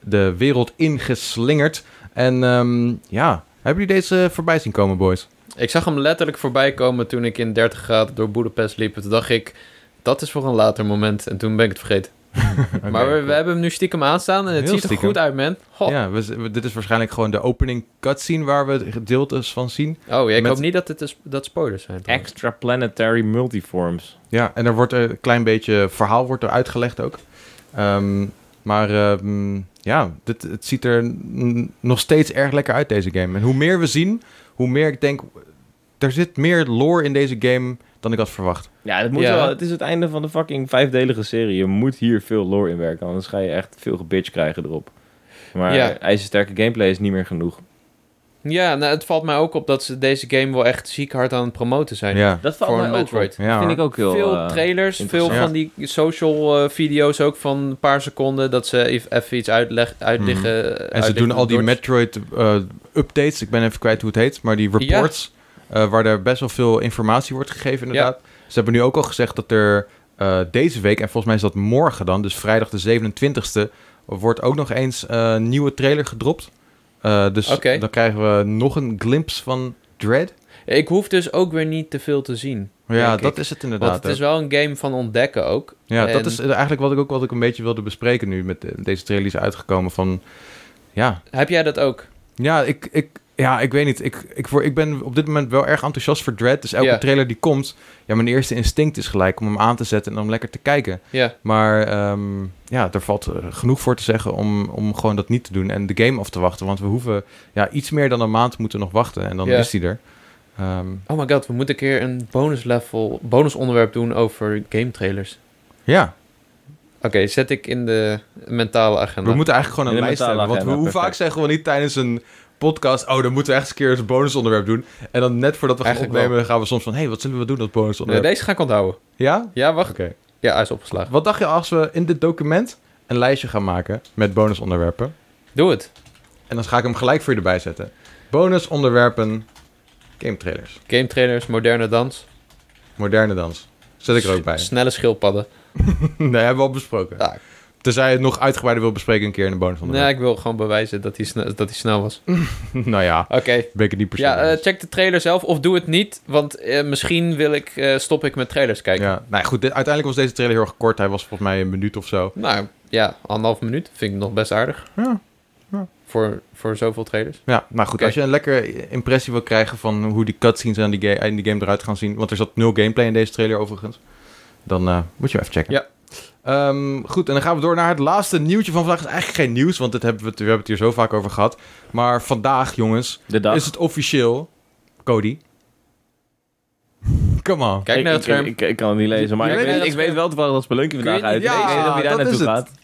[SPEAKER 1] de wereld ingeslingerd. En ehm, ja, Hebben jullie deze voorbij zien komen, boys?
[SPEAKER 2] Ik zag hem letterlijk voorbij komen toen ik in 30 graden door Boedapest liep. Toen dacht ik, dat is voor een later moment. En toen ben ik het vergeten. maar we, we hebben hem nu stiekem aanstaan en het
[SPEAKER 1] Heel
[SPEAKER 2] ziet
[SPEAKER 1] stiekem.
[SPEAKER 2] er goed uit, man. Goh.
[SPEAKER 1] Ja, we, z- we- dit is waarschijnlijk gewoon de opening cutscene waar we gedeeltes van zien.
[SPEAKER 2] Oh, ja, ik
[SPEAKER 1] Met-
[SPEAKER 2] hoop niet dat het is, dat spoilers zijn. trouwens.
[SPEAKER 3] Extraplanetary multiforms.
[SPEAKER 1] Ja, en er wordt eh, een klein beetje verhaal wordt er uitgelegd ook. Ehm, maar ehm, ja, dit, het ziet er n- nog steeds erg lekker uit, deze game. En hoe meer we zien, hoe meer ik denk... Er zit meer lore in deze game dan ik had verwacht.
[SPEAKER 3] Ja, dat moet
[SPEAKER 2] Ja.
[SPEAKER 3] wel. Het is het einde van de fucking vijfdelige serie. Je moet hier veel lore in werken, anders ga je echt veel gebitch krijgen erop. Maar
[SPEAKER 2] Ja.
[SPEAKER 3] ijzersterke gameplay is niet meer genoeg.
[SPEAKER 2] Ja, nou, het valt mij ook op dat ze deze game wel echt ziek hard aan het promoten zijn.
[SPEAKER 1] Ja,
[SPEAKER 3] Dat
[SPEAKER 2] Voor een Metroid.
[SPEAKER 1] ja
[SPEAKER 3] vind
[SPEAKER 1] hoor.
[SPEAKER 3] ik ook heel...
[SPEAKER 2] veel
[SPEAKER 3] eh,
[SPEAKER 2] trailers, veel
[SPEAKER 3] interessant.
[SPEAKER 2] van die social eh, video's ook van een paar seconden. Dat ze ev- even iets uitleg, uitliggen.
[SPEAKER 1] Hmm. En ze doen al die Metroid-updates. ik ben even kwijt hoe het heet. Maar die reports, eh, waar er best wel veel informatie wordt gegeven inderdaad. Ze hebben nu ook al gezegd dat er eh, deze week... en volgens mij is dat morgen dan, dus vrijdag de 27e... wordt ook nog eens eh, een nieuwe trailer gedropt. Eh, dus
[SPEAKER 2] Oké.
[SPEAKER 1] dan krijgen we nog een glimpse van Dread.
[SPEAKER 2] Ik hoef dus ook weer niet te veel te zien.
[SPEAKER 1] Ja,
[SPEAKER 2] denk
[SPEAKER 1] dat
[SPEAKER 2] ik.
[SPEAKER 1] is het
[SPEAKER 2] Want
[SPEAKER 1] inderdaad.
[SPEAKER 2] het
[SPEAKER 1] hè.
[SPEAKER 2] is wel een game van ontdekken ook.
[SPEAKER 1] Ja, dat
[SPEAKER 2] En-
[SPEAKER 1] is eigenlijk wat ik ook wat ik een beetje wilde bespreken nu... met eh, deze trailer die is uitgekomen van... Ja,
[SPEAKER 2] Heb jij dat ook?
[SPEAKER 1] Ja, ik, ik, ja, ik weet niet. Ik, ik, word, ik ben op dit moment wel erg enthousiast voor Dread. Dus elke
[SPEAKER 2] Ja.
[SPEAKER 1] trailer die komt, ja, mijn eerste instinct is gelijk om hem aan te zetten en om lekker te kijken.
[SPEAKER 2] Ja.
[SPEAKER 1] Maar ehm, ja, er valt eh, genoeg voor te zeggen om, om gewoon dat niet te doen en de game af te wachten. Want we hoeven ja, iets meer dan een maand moeten nog wachten en dan
[SPEAKER 2] Ja.
[SPEAKER 1] is die er. Ehm,
[SPEAKER 2] Oh my god, we moeten een keer een bonus level, bonus onderwerp doen over game trailers.
[SPEAKER 1] ja,
[SPEAKER 2] Oké, zet ik in de mentale
[SPEAKER 1] we
[SPEAKER 2] agenda.
[SPEAKER 1] moeten eigenlijk gewoon een
[SPEAKER 3] In de
[SPEAKER 1] lijst
[SPEAKER 3] mentale
[SPEAKER 1] hebben. Want we,
[SPEAKER 3] agenda,
[SPEAKER 1] hoe vaak
[SPEAKER 3] perfect.
[SPEAKER 1] zeggen we niet tijdens een podcast... oh, dan moeten we echt eens een keer een bonusonderwerp doen. En dan net voordat we gaan
[SPEAKER 2] Eigenlijk wel.
[SPEAKER 1] opnemen, gaan we soms van... hé, hey, wat zullen we doen, dat
[SPEAKER 2] Nee,
[SPEAKER 1] bonusonderwerp?
[SPEAKER 2] deze ga ik onthouden.
[SPEAKER 1] Ja?
[SPEAKER 2] Ja, wacht.
[SPEAKER 1] Oké.
[SPEAKER 2] Ja, hij is opgeslagen.
[SPEAKER 1] Wat dacht je als we in dit document een lijstje gaan maken met bonusonderwerpen?
[SPEAKER 2] Doe het.
[SPEAKER 1] En dan ga ik hem gelijk voor je erbij zetten. Bonusonderwerpen, game trailers,
[SPEAKER 2] Game trailers, moderne dans.
[SPEAKER 1] moderne dans. Zet ik er ook bij.
[SPEAKER 2] S- Snelle schildpadden.
[SPEAKER 1] nee, hebben we al besproken.
[SPEAKER 2] Ja.
[SPEAKER 1] Tenzij je het nog uitgebreider wil bespreken een keer in een
[SPEAKER 2] Nee,
[SPEAKER 1] bonusonderwerp.
[SPEAKER 2] ik wil gewoon bewijzen dat hij, sne- dat hij snel was.
[SPEAKER 3] Mm.
[SPEAKER 1] nou ja,
[SPEAKER 2] Oké.
[SPEAKER 1] ben ik het niet per se.
[SPEAKER 2] Ja, eh,
[SPEAKER 1] eens.
[SPEAKER 2] check de trailer zelf of doe het niet, want eh, misschien wil ik, eh, stop ik met trailers kijken.
[SPEAKER 1] ja. Nou ja, goed, dit- uiteindelijk was deze trailer heel erg kort. Hij was volgens mij een minuut of zo.
[SPEAKER 2] Nou ja, anderhalf minuut vind ik nog best aardig.
[SPEAKER 1] Ja, ja.
[SPEAKER 2] Voor, voor zoveel trailers.
[SPEAKER 1] Ja, nou goed,
[SPEAKER 2] Oké.
[SPEAKER 1] als je een lekker impressie wil krijgen van hoe die cutscenes aan die ga- in die game eruit gaan zien, want er zat nul gameplay in deze trailer overigens, dan eh, moet je hem even checken.
[SPEAKER 2] Ja.
[SPEAKER 1] Ehm, goed, en dan gaan we door naar het laatste nieuwtje van vandaag. is eigenlijk geen nieuws, want dit hebben we, het- we hebben het hier zo vaak over gehad. Maar vandaag, jongens,
[SPEAKER 3] De dag.
[SPEAKER 1] is het officieel. Cody. Come on.
[SPEAKER 2] Kijk
[SPEAKER 3] Ik-
[SPEAKER 2] naar het
[SPEAKER 3] ik-
[SPEAKER 2] scherm.
[SPEAKER 3] Ik, ik, ik kan het niet lezen, maar
[SPEAKER 1] Je
[SPEAKER 3] ik
[SPEAKER 1] weet
[SPEAKER 3] weet,
[SPEAKER 1] niet-
[SPEAKER 3] ik weet wel toevallig dat Spelunkje
[SPEAKER 2] Ik
[SPEAKER 3] vandaag
[SPEAKER 2] weet
[SPEAKER 3] uit.
[SPEAKER 2] niet-
[SPEAKER 3] is. ik
[SPEAKER 1] ja,
[SPEAKER 3] weet niet of je daar
[SPEAKER 1] dat is
[SPEAKER 3] naartoe
[SPEAKER 1] het.
[SPEAKER 3] gaat.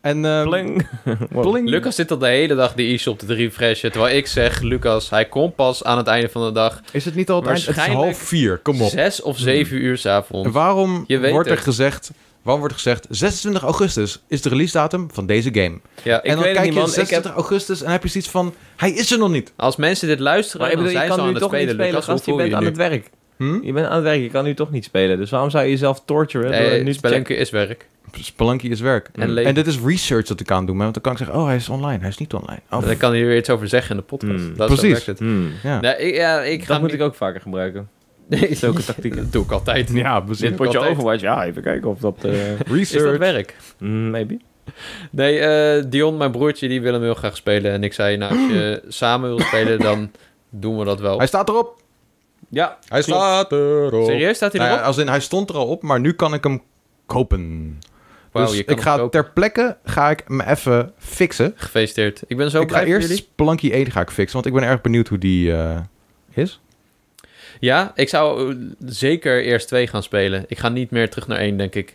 [SPEAKER 1] En, ehm,
[SPEAKER 3] Pling. Wow.
[SPEAKER 1] pling.
[SPEAKER 2] Lucas zit al de hele dag die e-shop te refreshen, terwijl ik zeg, Lucas, hij komt pas aan het einde van de dag.
[SPEAKER 1] Is het niet altijd? Het is
[SPEAKER 2] Waarschijnlijk-
[SPEAKER 1] half vier, kom op. Mm.
[SPEAKER 2] Zes of zeven uur
[SPEAKER 1] En
[SPEAKER 2] s'avonds.
[SPEAKER 1] waarom
[SPEAKER 2] Je weet
[SPEAKER 1] wordt er
[SPEAKER 2] het.
[SPEAKER 1] gezegd... Waarom wordt gezegd 26 augustus is de release datum van deze game?
[SPEAKER 2] Ja,
[SPEAKER 3] Ik
[SPEAKER 1] en dan
[SPEAKER 3] weet het
[SPEAKER 1] kijk
[SPEAKER 3] niet,
[SPEAKER 1] je
[SPEAKER 3] man. Ik
[SPEAKER 1] 26 augustus en heb je zoiets van... Hij is er nog niet.
[SPEAKER 2] als mensen dit luisteren,
[SPEAKER 3] Maar ik
[SPEAKER 2] dan
[SPEAKER 3] bedoel, je
[SPEAKER 2] zijn ze al
[SPEAKER 3] kan
[SPEAKER 2] aan
[SPEAKER 3] nu
[SPEAKER 2] het
[SPEAKER 3] toch niet
[SPEAKER 2] spelen.
[SPEAKER 3] spelen,
[SPEAKER 2] Lucas, hoe
[SPEAKER 3] gast. Je
[SPEAKER 2] voel je
[SPEAKER 3] bent
[SPEAKER 2] je
[SPEAKER 3] aan
[SPEAKER 2] nu?
[SPEAKER 3] het werk.
[SPEAKER 1] Hm?
[SPEAKER 3] Je bent aan het werk, je kan nu toch niet spelen. Dus waarom zou je jezelf torturen door
[SPEAKER 2] Nee,
[SPEAKER 3] het nu te checken?
[SPEAKER 2] Spelunky Eh, is werk.
[SPEAKER 1] Spelunky is werk.
[SPEAKER 2] En
[SPEAKER 1] En,
[SPEAKER 2] leven.
[SPEAKER 1] dit is research dat ik aan doe. Want dan kan ik zeggen, oh, hij is online. Hij is niet online. Oh,
[SPEAKER 2] Dan kan hij er weer iets over zeggen in de podcast.
[SPEAKER 3] Hmm.
[SPEAKER 2] Dat is
[SPEAKER 1] Precies.
[SPEAKER 2] het.
[SPEAKER 3] Hmm.
[SPEAKER 1] ja.
[SPEAKER 2] Nee, ik, ja, ik ga
[SPEAKER 3] Dat moet
[SPEAKER 2] hem
[SPEAKER 3] ik ook vaker gebruiken.
[SPEAKER 2] niet- Nee,
[SPEAKER 3] Zulke tactieken.
[SPEAKER 2] Dat doe ik altijd.
[SPEAKER 1] ja, precies.
[SPEAKER 3] Dit potje
[SPEAKER 2] altijd.
[SPEAKER 3] Overwatch, ja, even kijken of dat... eh,
[SPEAKER 2] Is dat
[SPEAKER 1] Research.
[SPEAKER 2] werk?
[SPEAKER 3] mm, maybe.
[SPEAKER 2] Nee, eh, Dion, mijn broertje, die wil hem heel graag spelen. En ik zei, nou, als je samen wil spelen, dan doen we dat wel.
[SPEAKER 1] Hij staat erop.
[SPEAKER 3] Ja,
[SPEAKER 1] Hij
[SPEAKER 3] Klopt.
[SPEAKER 1] staat erop.
[SPEAKER 2] Serieus, staat hij
[SPEAKER 1] Nou ja,
[SPEAKER 2] erop?
[SPEAKER 1] als in, hij stond er al op, maar nu kan ik hem kopen.
[SPEAKER 2] Wauw,
[SPEAKER 1] dus
[SPEAKER 2] je kan
[SPEAKER 1] ik
[SPEAKER 2] hem
[SPEAKER 1] ga
[SPEAKER 2] kopen.
[SPEAKER 1] ter plekke ga ik hem even fixen.
[SPEAKER 2] Gefeliciteerd. Ik ben zo
[SPEAKER 1] ik ga
[SPEAKER 2] blij voor
[SPEAKER 1] eerst
[SPEAKER 2] jullie.
[SPEAKER 1] Spelunky 1 ga ik fixen, want ik ben erg benieuwd hoe die eh, is.
[SPEAKER 2] Ja, ik zou eh, zeker eerst twee gaan spelen. Ik ga niet meer terug naar één, denk ik.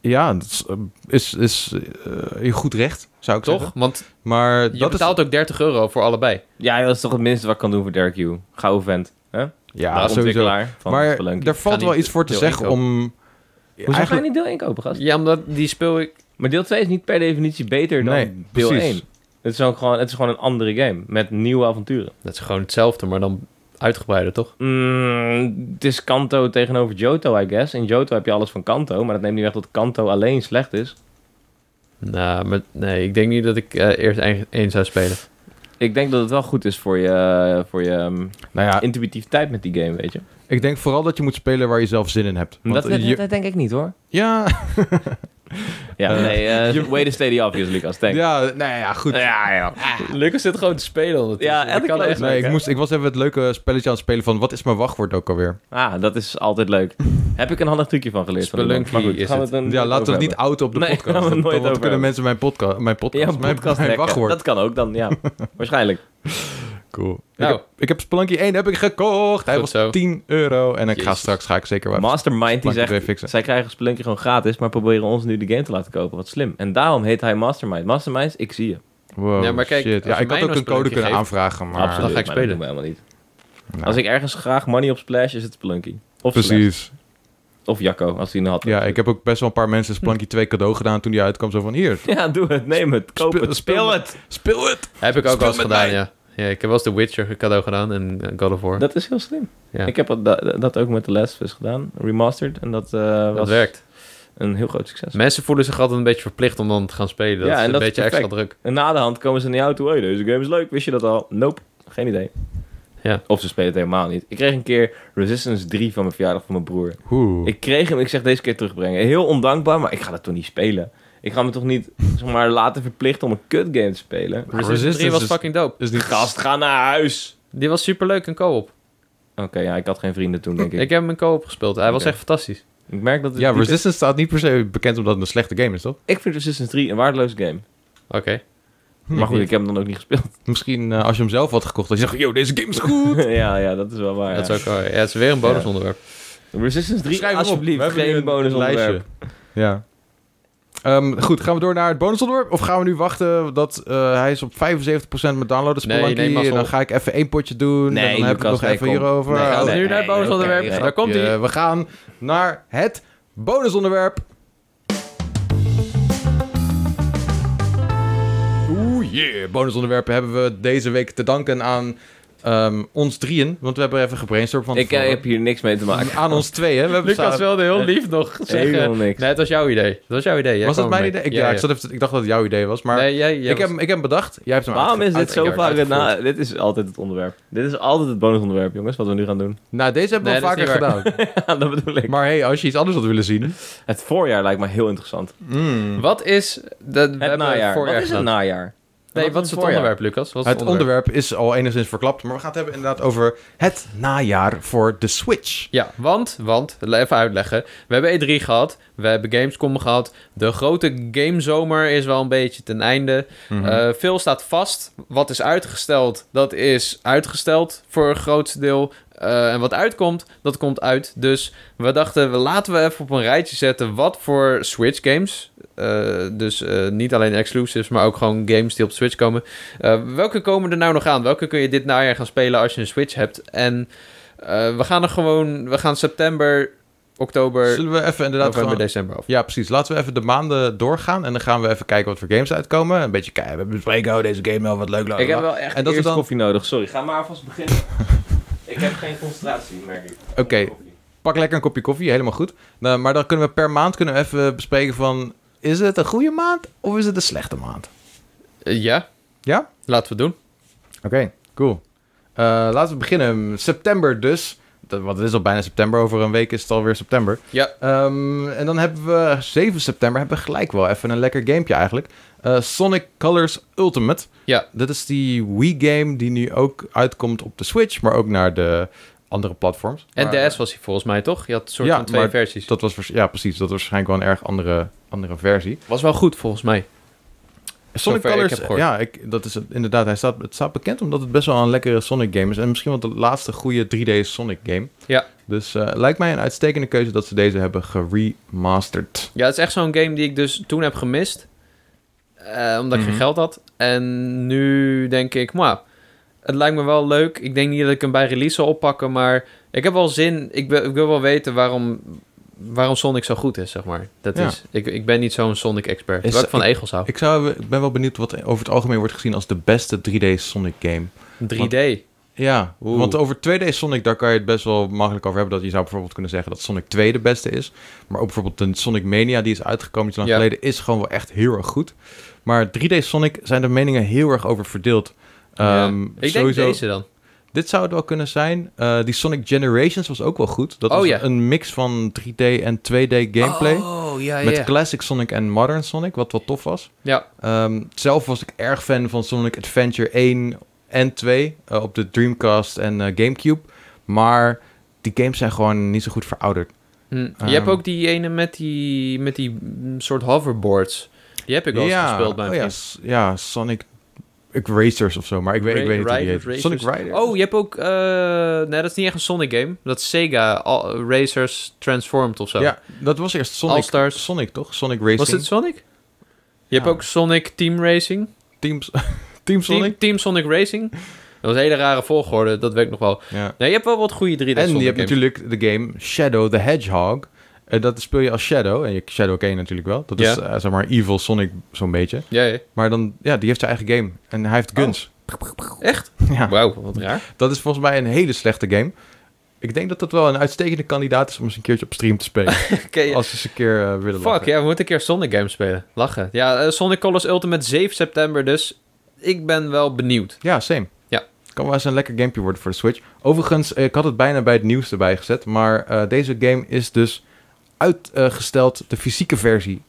[SPEAKER 1] Ja, dat is, eh, is, is eh, je goed recht, zou ik
[SPEAKER 2] Toch?
[SPEAKER 1] zeggen.
[SPEAKER 2] Want
[SPEAKER 1] Maar
[SPEAKER 2] je
[SPEAKER 1] dat
[SPEAKER 2] betaalt ook 30 euro voor allebei.
[SPEAKER 3] ja, dat is toch het minste wat ik kan doen voor Derek Yu. Gauw vent. hè?
[SPEAKER 1] is... Ja,
[SPEAKER 3] De
[SPEAKER 1] sowieso.
[SPEAKER 3] ontwikkelaar van
[SPEAKER 1] Maar
[SPEAKER 3] Spelunky.
[SPEAKER 1] er valt
[SPEAKER 2] Ga
[SPEAKER 1] wel
[SPEAKER 2] niet
[SPEAKER 1] iets voor te
[SPEAKER 2] deel
[SPEAKER 1] zeggen
[SPEAKER 2] inkopen.
[SPEAKER 1] om...
[SPEAKER 3] Hoezo ga je
[SPEAKER 1] eigenlijk-
[SPEAKER 3] niet deel 1 kopen, gast?
[SPEAKER 2] Ja, omdat die speel ik...
[SPEAKER 3] Maar deel 2 is niet per definitie beter dan
[SPEAKER 1] Nee,
[SPEAKER 3] deel
[SPEAKER 1] precies.
[SPEAKER 3] 1. Het is, ook gewoon, het is gewoon een andere game met nieuwe avonturen.
[SPEAKER 2] Dat is gewoon hetzelfde, maar dan uitgebreider, toch?
[SPEAKER 3] Mm, het is Kanto tegenover Johto, I guess. In Johto heb je alles van Kanto, maar dat neemt niet weg dat Kanto alleen slecht is.
[SPEAKER 2] Nou, maar nee, ik denk niet dat ik eh, eerst één- één zou spelen.
[SPEAKER 3] Ik denk dat het wel goed is voor je, voor je ehm,
[SPEAKER 1] Nou ja,
[SPEAKER 3] intuïtiviteit met die game, weet je.
[SPEAKER 1] ik denk vooral dat je moet spelen waar je zelf zin in hebt. Want,
[SPEAKER 3] Dat,
[SPEAKER 1] eh, je-
[SPEAKER 3] denk ik niet, hoor.
[SPEAKER 1] ja,
[SPEAKER 3] Ja,
[SPEAKER 1] Eh,
[SPEAKER 3] nee. eh,
[SPEAKER 1] je-
[SPEAKER 3] way to stay the obvious, Lucas. Thanks.
[SPEAKER 1] ja, nou ja, goed.
[SPEAKER 3] ja. ja.
[SPEAKER 2] Lucas zit gewoon te spelen ondertussen.
[SPEAKER 3] Ja,
[SPEAKER 2] Dat
[SPEAKER 3] elke
[SPEAKER 2] kan
[SPEAKER 3] keer.
[SPEAKER 2] echt.
[SPEAKER 1] Nee,
[SPEAKER 3] leuk,
[SPEAKER 1] ik,
[SPEAKER 3] hè?
[SPEAKER 1] moest, ik was even het leuke spelletje aan het spelen van wat is mijn wachtwoord ook alweer?
[SPEAKER 3] Ah, dat is altijd leuk. Heb ik een handig trucje van geleerd. van iemand.
[SPEAKER 2] Spelunky
[SPEAKER 3] Maar goed,
[SPEAKER 2] is
[SPEAKER 3] gaan we
[SPEAKER 2] het.
[SPEAKER 3] dan
[SPEAKER 1] Ja, laten we het
[SPEAKER 3] over
[SPEAKER 1] niet outen op de
[SPEAKER 3] Nee,
[SPEAKER 1] podcast.
[SPEAKER 3] gaan we het
[SPEAKER 1] want
[SPEAKER 3] nooit
[SPEAKER 1] dan
[SPEAKER 3] over
[SPEAKER 1] kunnen
[SPEAKER 3] hebben.
[SPEAKER 1] mensen mijn, podca mijn podcast,
[SPEAKER 3] hebben. Ja,
[SPEAKER 1] mijn,
[SPEAKER 3] podcast
[SPEAKER 1] mijn
[SPEAKER 3] hacken.
[SPEAKER 1] wachtwoord.
[SPEAKER 3] Dat kan ook dan, ja. Waarschijnlijk.
[SPEAKER 1] Cool.
[SPEAKER 2] Nou.
[SPEAKER 1] Ik, heb, ik heb Spelunky 1 heb ik gekocht. Hij
[SPEAKER 2] Goed
[SPEAKER 1] was
[SPEAKER 2] zo.
[SPEAKER 1] 10 euro. En ik ga
[SPEAKER 2] Jezus.
[SPEAKER 1] straks ga ik zeker wel.
[SPEAKER 3] Mastermind die
[SPEAKER 1] Mag ik het
[SPEAKER 3] zegt,
[SPEAKER 1] weer fixen?
[SPEAKER 3] zij krijgen Spelunky gewoon gratis, maar proberen ons nu de game te laten kopen. Wat slim. En daarom heet hij Mastermind. Masterminds, ik zie
[SPEAKER 1] Ah,
[SPEAKER 3] je.
[SPEAKER 1] Wow,
[SPEAKER 2] Ja, maar kijk,
[SPEAKER 1] shit.
[SPEAKER 2] als
[SPEAKER 1] Ja,
[SPEAKER 2] je
[SPEAKER 1] ik had
[SPEAKER 2] mij
[SPEAKER 1] ook
[SPEAKER 2] nou
[SPEAKER 1] een code
[SPEAKER 2] Spelunky
[SPEAKER 1] kunnen
[SPEAKER 2] geeft,
[SPEAKER 1] aanvragen, maar...
[SPEAKER 2] Dan ga ik
[SPEAKER 3] maar
[SPEAKER 2] spelen.
[SPEAKER 3] Dat doen we helemaal niet.
[SPEAKER 1] Nou,
[SPEAKER 3] Als ik ergens graag money op splash, is het Spelunky. Of Slash.
[SPEAKER 1] Precies.
[SPEAKER 3] Of Jacco, als hij een had.
[SPEAKER 1] Ja, ik heb ook best wel een paar mensen Spelunky 2 cadeau gedaan toen die uitkwam. Zo van, hier,
[SPEAKER 3] Ja, doe het. Neem het. Koop
[SPEAKER 1] Speel-
[SPEAKER 3] het.
[SPEAKER 1] speel
[SPEAKER 3] Speel
[SPEAKER 1] met-
[SPEAKER 3] het.
[SPEAKER 1] speel het!
[SPEAKER 2] Heb ik ook
[SPEAKER 1] Speel
[SPEAKER 2] wel eens
[SPEAKER 1] met
[SPEAKER 2] gedaan,
[SPEAKER 1] mij.
[SPEAKER 2] ja. ja. Ik heb wel eens The Witcher cadeau gedaan en eh, God of War. Dat,
[SPEAKER 3] Dat is heel slim.
[SPEAKER 2] Ja.
[SPEAKER 3] Ik heb dat, dat- dat ook met The Last of Us gedaan. Remastered. En dat, eh, was
[SPEAKER 2] werkt.
[SPEAKER 3] een heel groot succes.
[SPEAKER 2] Mensen voelen zich altijd een beetje verplicht om dan te gaan spelen. Dat
[SPEAKER 3] Ja,
[SPEAKER 2] is
[SPEAKER 3] en
[SPEAKER 2] een
[SPEAKER 3] dat is
[SPEAKER 2] beetje extra druk.
[SPEAKER 3] En na de hand komen ze naar jou toe. Hey, deze game is leuk. Wist je dat al? Nope. Geen idee.
[SPEAKER 2] Ja.
[SPEAKER 3] Of ze spelen het helemaal niet. Ik kreeg een keer Resistance 3 van mijn verjaardag van mijn broer.
[SPEAKER 1] Oeh.
[SPEAKER 3] Ik kreeg hem. Ik zeg deze keer terugbrengen. Heel ondankbaar, maar ik ga dat toch niet spelen. Ik ga me toch niet zeg maar, laten verplichten om een kutgame te spelen.
[SPEAKER 2] Resistance 3 was
[SPEAKER 1] Ah, is-
[SPEAKER 2] fucking dope.
[SPEAKER 1] is niet
[SPEAKER 3] Gast, ga naar huis.
[SPEAKER 2] Die was superleuk in co-op.
[SPEAKER 3] Oké, ja, ik had geen vrienden toen,
[SPEAKER 2] Ik
[SPEAKER 3] denk ik.
[SPEAKER 2] heb hem in co-op gespeeld. Hij was
[SPEAKER 3] Oké.
[SPEAKER 2] echt fantastisch.
[SPEAKER 3] Ik merk dat het
[SPEAKER 1] Ja,
[SPEAKER 3] niet-
[SPEAKER 1] Resistance staat niet per se bekend omdat het een slechte game is, toch?
[SPEAKER 3] Ik vind Resistance 3 een waardeloos game.
[SPEAKER 2] Oké. Hm.
[SPEAKER 3] Maar goed, ik heb hem dan ook niet gespeeld.
[SPEAKER 1] Hm. Misschien eh, als je hem zelf had gekocht, dat je dacht, yo, deze game is goed!
[SPEAKER 3] ja, ja, dat is wel waar.
[SPEAKER 2] Dat
[SPEAKER 3] ja.
[SPEAKER 2] is ook wel... Ja, het is weer een bonusonderwerp.
[SPEAKER 3] Resistance 3,
[SPEAKER 1] Schrijf hem op.
[SPEAKER 3] alsjeblieft,
[SPEAKER 1] We hebben nu
[SPEAKER 3] geen
[SPEAKER 1] een
[SPEAKER 3] bonus onderwerp.
[SPEAKER 1] Ja. Ehm, goed, gaan we door naar het bonusonderwerp? Of gaan we nu wachten dat eh, hij is op 75% met downloaden
[SPEAKER 2] Nee,
[SPEAKER 1] Spelunky?
[SPEAKER 2] nee, Marcel.
[SPEAKER 1] en dan ga ik even één potje doen.
[SPEAKER 3] Nee,
[SPEAKER 1] en dan heb ik
[SPEAKER 3] Lucas,
[SPEAKER 1] nog
[SPEAKER 3] nee,
[SPEAKER 1] even
[SPEAKER 3] kom.
[SPEAKER 1] hierover.
[SPEAKER 3] Nee,
[SPEAKER 2] Gaan
[SPEAKER 1] Oh,
[SPEAKER 2] we nu naar het
[SPEAKER 3] nee,
[SPEAKER 2] bonusonderwerp?
[SPEAKER 3] oké, ja.
[SPEAKER 2] Daar komt
[SPEAKER 1] grapje.
[SPEAKER 2] hij.
[SPEAKER 1] We gaan naar het bonusonderwerp. Oeh yeah, bonusonderwerpen hebben we deze week te danken aan ehm, ons drieën. Want we hebben even gebrainstormd van
[SPEAKER 3] Ik eh,
[SPEAKER 1] tevoren.
[SPEAKER 3] heb hier niks mee te maken.
[SPEAKER 1] Aan ons tweeën. We hebben
[SPEAKER 2] Lucas
[SPEAKER 1] samen-
[SPEAKER 2] wilde heel lief nog
[SPEAKER 3] Helemaal
[SPEAKER 2] zeggen...
[SPEAKER 3] niks.
[SPEAKER 2] Nee, het was jouw idee. Het was jouw idee. Jij
[SPEAKER 1] was dat
[SPEAKER 2] kwam
[SPEAKER 1] mijn
[SPEAKER 2] ermee.
[SPEAKER 1] idee? Ik, ja, ik, zat even, te- ik dacht dat het jouw idee was, maar
[SPEAKER 2] nee, jij, jij
[SPEAKER 1] ik,
[SPEAKER 2] was-
[SPEAKER 1] heb, hem- ik heb hem bedacht. Jij hebt hem
[SPEAKER 3] Waarom is dit
[SPEAKER 1] uitge-
[SPEAKER 3] zo
[SPEAKER 1] uitge-
[SPEAKER 3] vaak... het
[SPEAKER 1] uitgevoerd.
[SPEAKER 3] na- dit is altijd het onderwerp. Dit is altijd het bonusonderwerp, jongens, wat we nu gaan doen.
[SPEAKER 1] Nou, deze hebben we
[SPEAKER 2] Nee,
[SPEAKER 1] al
[SPEAKER 2] dat
[SPEAKER 1] vaker
[SPEAKER 2] is
[SPEAKER 1] gedaan.
[SPEAKER 2] niet
[SPEAKER 3] Ja, dat bedoel ik.
[SPEAKER 1] maar hey, als je iets anders had willen zien...
[SPEAKER 3] Het voorjaar lijkt me heel interessant. Hmm.
[SPEAKER 1] mm.
[SPEAKER 2] Wat is... Dat,
[SPEAKER 3] Het najaar. Wat is het najaar?
[SPEAKER 2] Nee,
[SPEAKER 3] Wat
[SPEAKER 2] wat
[SPEAKER 3] is
[SPEAKER 2] is
[SPEAKER 3] het
[SPEAKER 2] het onderwerp, Lucas? Wat is
[SPEAKER 1] Het onderwerp is al enigszins verklapt, maar we gaan het hebben inderdaad over het najaar voor de Switch.
[SPEAKER 2] Ja, want, want, even uitleggen. We hebben E3 gehad, we hebben Gamescom gehad. De grote gamezomer is wel een beetje ten einde.
[SPEAKER 3] Hmm.
[SPEAKER 1] Mhm.
[SPEAKER 2] Eh, veel staat vast. Wat is uitgesteld, dat is uitgesteld voor een groot deel. Eh, en wat uitkomt, dat komt uit. Dus we dachten, we- laten we even op een rijtje zetten wat voor Switch games. eh, dus eh, niet alleen exclusives, maar ook gewoon games die op de Switch komen. Eh, welke komen er nou nog aan? Welke kun je dit najaar gaan spelen als je een Switch hebt? En eh, we gaan er gewoon, we gaan september, oktober,
[SPEAKER 1] Zullen we even inderdaad
[SPEAKER 2] november,
[SPEAKER 1] gewoon-
[SPEAKER 2] december af.
[SPEAKER 1] Ja, precies. Laten we even de maanden doorgaan en dan gaan we even kijken wat voor games uitkomen. Een beetje kijken, we bespreken, oh, deze game wel wat leuk. bla,
[SPEAKER 3] Ik heb
[SPEAKER 1] bla, bla.
[SPEAKER 3] wel echt
[SPEAKER 1] En dat we
[SPEAKER 3] eerst
[SPEAKER 1] dan-
[SPEAKER 3] koffie nodig. Sorry, ga maar alvast beginnen. ik heb geen concentratie, merk ik.
[SPEAKER 1] Oké. Pak lekker een kopje koffie, helemaal goed. Nou, maar dan kunnen we per maand kunnen we even bespreken van... Is het een goede maand of is het een slechte maand?
[SPEAKER 2] Eh, ja,
[SPEAKER 1] Ja?
[SPEAKER 2] laten we het doen.
[SPEAKER 1] Oké, cool. Eh, laten we beginnen. September dus. Dat, want het is al bijna september. Over een week is het alweer september.
[SPEAKER 2] Ja.
[SPEAKER 1] Ehm, en dan hebben we 7 september. Hebben we gelijk wel even een lekker gamepje eigenlijk. Eh, Sonic Colors Ultimate.
[SPEAKER 2] Ja.
[SPEAKER 1] Dat is die Wii-game die nu ook uitkomt op de Switch. Maar ook naar de andere platforms.
[SPEAKER 2] En
[SPEAKER 1] Maar, eh,
[SPEAKER 2] DS was hij volgens mij toch? Je had een soort
[SPEAKER 1] Ja,
[SPEAKER 2] van twee
[SPEAKER 1] maar
[SPEAKER 2] versies.
[SPEAKER 1] Dat was, waars- ja, precies. Dat was waarschijnlijk wel een erg andere, andere versie.
[SPEAKER 2] Was wel goed volgens mij.
[SPEAKER 1] Sonic
[SPEAKER 2] Zover ik
[SPEAKER 1] Colors,
[SPEAKER 2] heb gehoord.
[SPEAKER 1] ja, ik, dat is het, inderdaad. Hij staat, het staat bekend omdat het best wel een lekkere Sonic game is. En misschien wel de laatste goede 3D Sonic game.
[SPEAKER 2] Ja.
[SPEAKER 1] Dus eh, lijkt mij een uitstekende keuze dat ze deze hebben geremasterd.
[SPEAKER 2] Ja, het is echt zo'n game die ik dus toen heb gemist. eh, omdat ik
[SPEAKER 1] Mhm.
[SPEAKER 2] geen geld had. En nu denk ik, maar het lijkt me wel leuk. Ik denk niet dat ik hem bij release zal oppakken, maar ik heb wel zin. Ik, wil- ik wil wel weten waarom, waarom Sonic zo goed is, zeg maar. Dat
[SPEAKER 1] Ja.
[SPEAKER 2] is, ik, ik ben niet zo'n Sonic-expert. Terwijl
[SPEAKER 1] Is-
[SPEAKER 2] ik van egels hou.
[SPEAKER 1] Ik, zou, ik ben wel benieuwd wat over het algemeen wordt gezien als de beste 3D Sonic game.
[SPEAKER 2] 3D.
[SPEAKER 1] Ja,
[SPEAKER 2] Oeh.
[SPEAKER 1] want over 2D Sonic, daar kan je het best wel makkelijk over hebben. Dat je zou bijvoorbeeld kunnen zeggen dat Sonic 2 de beste is. Maar ook bijvoorbeeld de Sonic Mania, die is uitgekomen iets lang
[SPEAKER 2] Ja.
[SPEAKER 1] geleden, is gewoon wel echt heel erg goed. Maar 3D Sonic zijn de meningen heel erg over verdeeld.
[SPEAKER 2] Ja.
[SPEAKER 1] Ehm,
[SPEAKER 2] Ik denk
[SPEAKER 1] sowieso-
[SPEAKER 2] deze dan.
[SPEAKER 1] Dit zou het wel kunnen zijn. Eh, die Sonic Generations was ook wel goed. Dat
[SPEAKER 2] Oh,
[SPEAKER 1] was
[SPEAKER 2] ja.
[SPEAKER 1] een mix van 3D en 2D gameplay.
[SPEAKER 2] Oh, ja, ja.
[SPEAKER 1] Met Classic Sonic en Modern Sonic, wat wel tof was.
[SPEAKER 2] ja.
[SPEAKER 1] Ehm, zelf was ik erg fan van Sonic Adventure 1 en 2 eh, op de Dreamcast en eh, Gamecube. Maar die games zijn gewoon niet zo goed verouderd.
[SPEAKER 2] Hm.
[SPEAKER 1] Ehm.
[SPEAKER 2] je hebt ook die ene met die, met die mm, soort hoverboards. Die heb ik wel eens gespeeld bij
[SPEAKER 1] oh
[SPEAKER 2] een
[SPEAKER 1] ja,
[SPEAKER 2] vriend.
[SPEAKER 1] s- ja, Sonic ik, Racers of zo, maar ik weet, ik
[SPEAKER 2] Ra-
[SPEAKER 1] weet niet hoe die
[SPEAKER 2] Riders,
[SPEAKER 1] heet. Sonic
[SPEAKER 2] Racers.
[SPEAKER 1] Riders?
[SPEAKER 2] Oh, je hebt ook... eh, nee, dat is niet echt een Sonic game. Dat is Sega Al- Racers Transformed of zo.
[SPEAKER 1] Ja, dat was eerst Sonic,
[SPEAKER 2] All-Stars.
[SPEAKER 1] Sonic toch? Sonic Racing.
[SPEAKER 2] Was dit Sonic? Je hebt
[SPEAKER 1] Ja.
[SPEAKER 2] ook Sonic Team Racing.
[SPEAKER 1] Team, Team Sonic?
[SPEAKER 2] Team, Team Sonic Racing. Dat was een hele rare volgorde, dat weet ik nog wel.
[SPEAKER 1] Ja.
[SPEAKER 2] Nee, je hebt wel wat goede 3D
[SPEAKER 1] En
[SPEAKER 2] Sonic
[SPEAKER 1] je hebt
[SPEAKER 2] games.
[SPEAKER 1] natuurlijk de game Shadow the Hedgehog. Eh, dat speel je als Shadow. En je Shadow ken je natuurlijk wel. Dat is
[SPEAKER 2] Ja.
[SPEAKER 1] eh, zeg maar Evil Sonic zo'n beetje.
[SPEAKER 2] Ja, ja.
[SPEAKER 1] Maar dan, ja, die heeft zijn eigen game. En hij
[SPEAKER 2] Oh.
[SPEAKER 1] heeft guns.
[SPEAKER 2] Echt?
[SPEAKER 1] Ja.
[SPEAKER 2] Wauw, wat raar.
[SPEAKER 1] Dat is volgens mij een hele slechte game. Ik denk dat dat wel een uitstekende kandidaat is om eens een keertje op stream te spelen.
[SPEAKER 2] Oké, ja.
[SPEAKER 1] Als ze eens een keer eh, willen
[SPEAKER 2] Fuck,
[SPEAKER 1] lachen.
[SPEAKER 2] ja, we moeten een keer Sonic games spelen. Lachen. Ja, eh, Sonic Colors Ultimate 7 september, dus ik ben wel benieuwd.
[SPEAKER 1] Ja, same.
[SPEAKER 2] Ja.
[SPEAKER 1] Kan wel eens een lekker gamepje worden voor de Switch. Overigens, eh, ik had het bijna bij het nieuws erbij gezet. Maar eh, deze game is dus uitgesteld, de fysieke versie,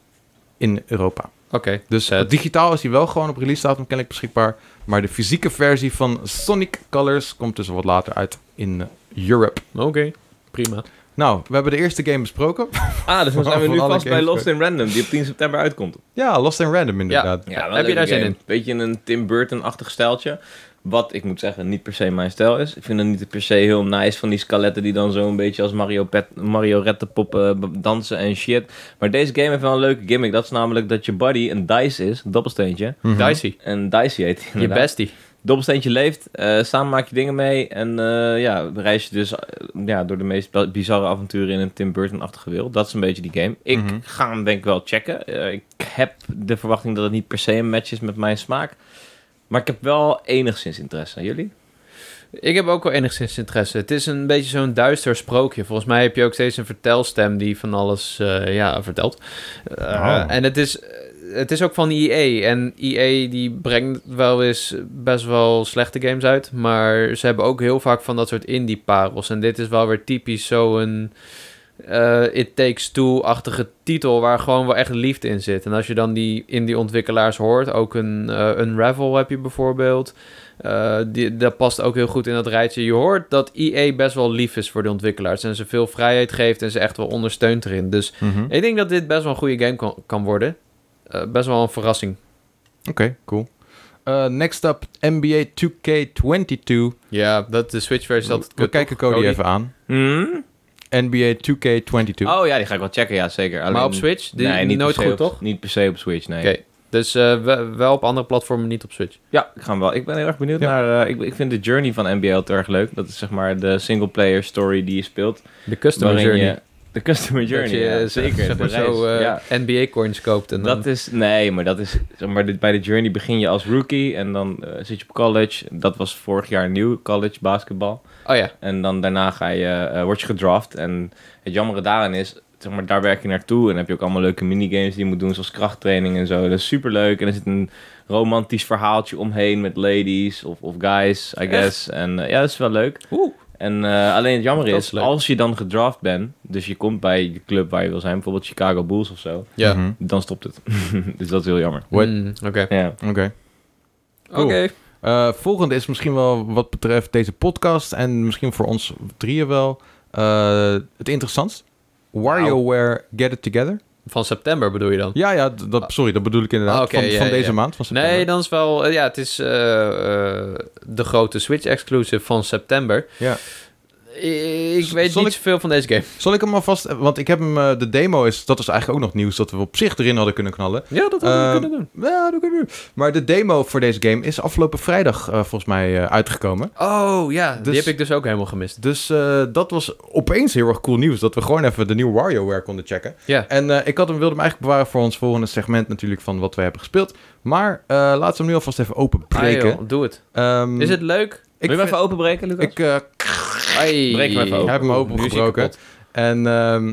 [SPEAKER 1] in Europa.
[SPEAKER 2] Oké,
[SPEAKER 1] Dus
[SPEAKER 2] Sad.
[SPEAKER 1] op digitaal is hij wel gewoon op release datum kennelijk beschikbaar. Maar de fysieke versie van Sonic Colors komt dus wat later uit in eh, Europe.
[SPEAKER 2] oké. Prima.
[SPEAKER 1] Nou, we hebben de eerste game besproken.
[SPEAKER 3] Ah, dus
[SPEAKER 1] Van
[SPEAKER 3] we zijn we nu
[SPEAKER 1] alle
[SPEAKER 3] vast bij
[SPEAKER 1] games.
[SPEAKER 3] Lost in Random, die op 10 september uitkomt.
[SPEAKER 1] ja, Lost in Random inderdaad.
[SPEAKER 2] Ja, wel Heb je daar zin in?
[SPEAKER 3] Beetje een Tim Burton-achtig stijltje. Wat, ik moet zeggen, niet per se mijn stijl is. Ik vind het niet per se heel nice van die skeletten die dan zo'n beetje als mariopet- marionettenpoppen b- eh, dansen en shit. Maar deze game heeft wel een leuke gimmick. Dat is namelijk dat je buddy een dice is, een dobbelsteentje.
[SPEAKER 1] Mhm.
[SPEAKER 2] Dicey.
[SPEAKER 3] En dice heet hij
[SPEAKER 2] Je
[SPEAKER 3] inderdaad.
[SPEAKER 2] bestie.
[SPEAKER 3] Dobbelsteentje leeft, eh, samen maak je dingen mee en eh, ja, reis je dus eh, ja, door de meest ba- bizarre avonturen in een Tim Burton-achtige wereld. Dat is een beetje die game. Ik
[SPEAKER 1] Mhm.
[SPEAKER 3] ga hem denk ik wel checken. Eh, ik heb de verwachting dat het niet per se een match is met mijn smaak. Maar ik heb wel enigszins interesse aan jullie.
[SPEAKER 2] Ik heb ook wel enigszins interesse. Het is een beetje zo'n duister sprookje. Volgens mij heb je ook steeds een vertelstem die van alles eh, ja, vertelt. Eh,
[SPEAKER 1] Oh.
[SPEAKER 2] En het is, het is ook van EA. En EA die brengt wel eens best wel slechte games uit. Maar ze hebben ook heel vaak van dat soort indie parels. En dit is wel weer typisch zo'n eh, It Takes Two-achtige titel... waar gewoon wel echt liefde in zit. En als je dan die indie ontwikkelaars hoort... ook een eh, Unravel heb je bijvoorbeeld... Eh, die, dat past ook heel goed in dat rijtje. Je hoort dat EA best wel lief is voor de ontwikkelaars. En ze veel vrijheid geeft en ze echt wel ondersteunt erin. Dus
[SPEAKER 1] Mhm.
[SPEAKER 2] ik denk dat dit best wel een goede game kan, kan worden. Eh, best wel een verrassing.
[SPEAKER 1] Oké, cool. Eh, next up, NBA 2K22.
[SPEAKER 2] Ja, dat de Switch versie altijd
[SPEAKER 1] We
[SPEAKER 2] kut,
[SPEAKER 1] kijken
[SPEAKER 2] toch?
[SPEAKER 1] Cody, even aan.
[SPEAKER 2] Mhm.
[SPEAKER 1] NBA 2K22.
[SPEAKER 3] Oh ja, die ga ik wel checken, ja zeker.
[SPEAKER 2] Maar op Switch? Die,
[SPEAKER 3] nee, niet
[SPEAKER 2] nooit
[SPEAKER 3] per se
[SPEAKER 2] goed,
[SPEAKER 3] op-
[SPEAKER 2] toch?
[SPEAKER 3] Niet per se op Switch, nee.
[SPEAKER 2] Oké. Dus eh, we- wel op andere platformen, niet op Switch.
[SPEAKER 3] Ja, ik, ga hem wel. ik ben heel erg benieuwd
[SPEAKER 1] Ja.
[SPEAKER 3] naar... eh, ik, ik vind de journey van NBL heel erg leuk. Dat is zeg maar de single-player story die je speelt.
[SPEAKER 2] De Customer
[SPEAKER 3] Waarin
[SPEAKER 2] Journey.
[SPEAKER 3] je- de customer journey,
[SPEAKER 2] dat je
[SPEAKER 3] ja,
[SPEAKER 2] eh,
[SPEAKER 3] zeker.
[SPEAKER 2] Zeg
[SPEAKER 3] de
[SPEAKER 2] maar zo
[SPEAKER 3] reis,
[SPEAKER 2] eh,
[SPEAKER 3] ja.
[SPEAKER 2] NBA coins koopt. En
[SPEAKER 3] Dat
[SPEAKER 2] dat
[SPEAKER 3] is, nee, maar dat is, zeg maar dit- bij de journey begin je als rookie en dan eh, zit je op college. Dat was vorig jaar nieuw, college basketbal.
[SPEAKER 2] Oh ja.
[SPEAKER 3] En dan daarna ga je, eh, word je gedraft en het jammere daarin is, zeg maar daar werk je naartoe. En dan heb je ook allemaal leuke minigames die je moet doen, zoals krachttraining en zo. Dat is superleuk en er zit een romantisch verhaaltje omheen met ladies of, of guys, I guess. En eh, ja, dat is wel leuk.
[SPEAKER 2] Oeh.
[SPEAKER 3] En eh, alleen het jammer
[SPEAKER 2] Dat
[SPEAKER 3] is,
[SPEAKER 2] is leuk.
[SPEAKER 3] als je dan gedraft bent, dus je komt bij de club waar je wil zijn, bijvoorbeeld Chicago Bulls of zo,
[SPEAKER 2] Ja.
[SPEAKER 1] Mhm.
[SPEAKER 3] dan stopt het. dus dat is heel jammer.
[SPEAKER 1] What?
[SPEAKER 2] Mm, Oké.
[SPEAKER 3] Ja.
[SPEAKER 1] Oké. Cool.
[SPEAKER 2] Oké.
[SPEAKER 1] Eh, volgende is misschien wel wat betreft deze podcast en misschien voor ons drieën wel eh, het interessantst. WarioWare Get It Together.
[SPEAKER 2] Van september bedoel je dan?
[SPEAKER 1] Ja, ja, d- dat, sorry, dat bedoel ik inderdaad.
[SPEAKER 2] Ah, oké,
[SPEAKER 1] van,
[SPEAKER 2] ja,
[SPEAKER 1] van
[SPEAKER 2] ja,
[SPEAKER 1] deze
[SPEAKER 2] ja.
[SPEAKER 1] maand, van september.
[SPEAKER 2] Nee, dan is wel... eh, Ja, het is eh, eh, de grote Switch-exclusive van september.
[SPEAKER 1] Ja.
[SPEAKER 2] I- Ik
[SPEAKER 1] Z-
[SPEAKER 2] weet
[SPEAKER 1] zal
[SPEAKER 2] niet
[SPEAKER 1] ik-
[SPEAKER 2] zoveel van deze game.
[SPEAKER 1] Zal ik hem alvast... Want ik heb hem... eh, de demo is... Dat is eigenlijk ook nog nieuws dat we op zich erin hadden kunnen knallen.
[SPEAKER 2] Ja, dat hadden
[SPEAKER 1] Ehm,
[SPEAKER 2] we kunnen doen.
[SPEAKER 1] Ja, dat kunnen we. Maar de demo voor deze game is afgelopen vrijdag eh, volgens mij eh, uitgekomen.
[SPEAKER 2] Oh, ja.
[SPEAKER 1] dus-
[SPEAKER 2] Die heb ik dus ook helemaal gemist.
[SPEAKER 1] Dus eh, dat was opeens heel erg cool nieuws. Dat we gewoon even de nieuwe WarioWare konden checken.
[SPEAKER 2] Ja.
[SPEAKER 1] En eh, ik had hem, wilde hem eigenlijk bewaren voor ons volgende segment natuurlijk van wat we hebben gespeeld. Maar eh, laten we hem nu alvast even
[SPEAKER 2] Ah,
[SPEAKER 1] openbreken.
[SPEAKER 2] joh, doe het.
[SPEAKER 1] Ehm,
[SPEAKER 2] Is het leuk?
[SPEAKER 3] Wil
[SPEAKER 1] Ik,
[SPEAKER 3] je hem even
[SPEAKER 1] vind-
[SPEAKER 3] openbreken, Lucas?
[SPEAKER 1] ik eh,
[SPEAKER 2] Ai.
[SPEAKER 3] Breek hem even open.
[SPEAKER 1] heb hem
[SPEAKER 2] Oeh,
[SPEAKER 1] opengebroken.
[SPEAKER 2] nu is hij kapot.
[SPEAKER 1] En ehm,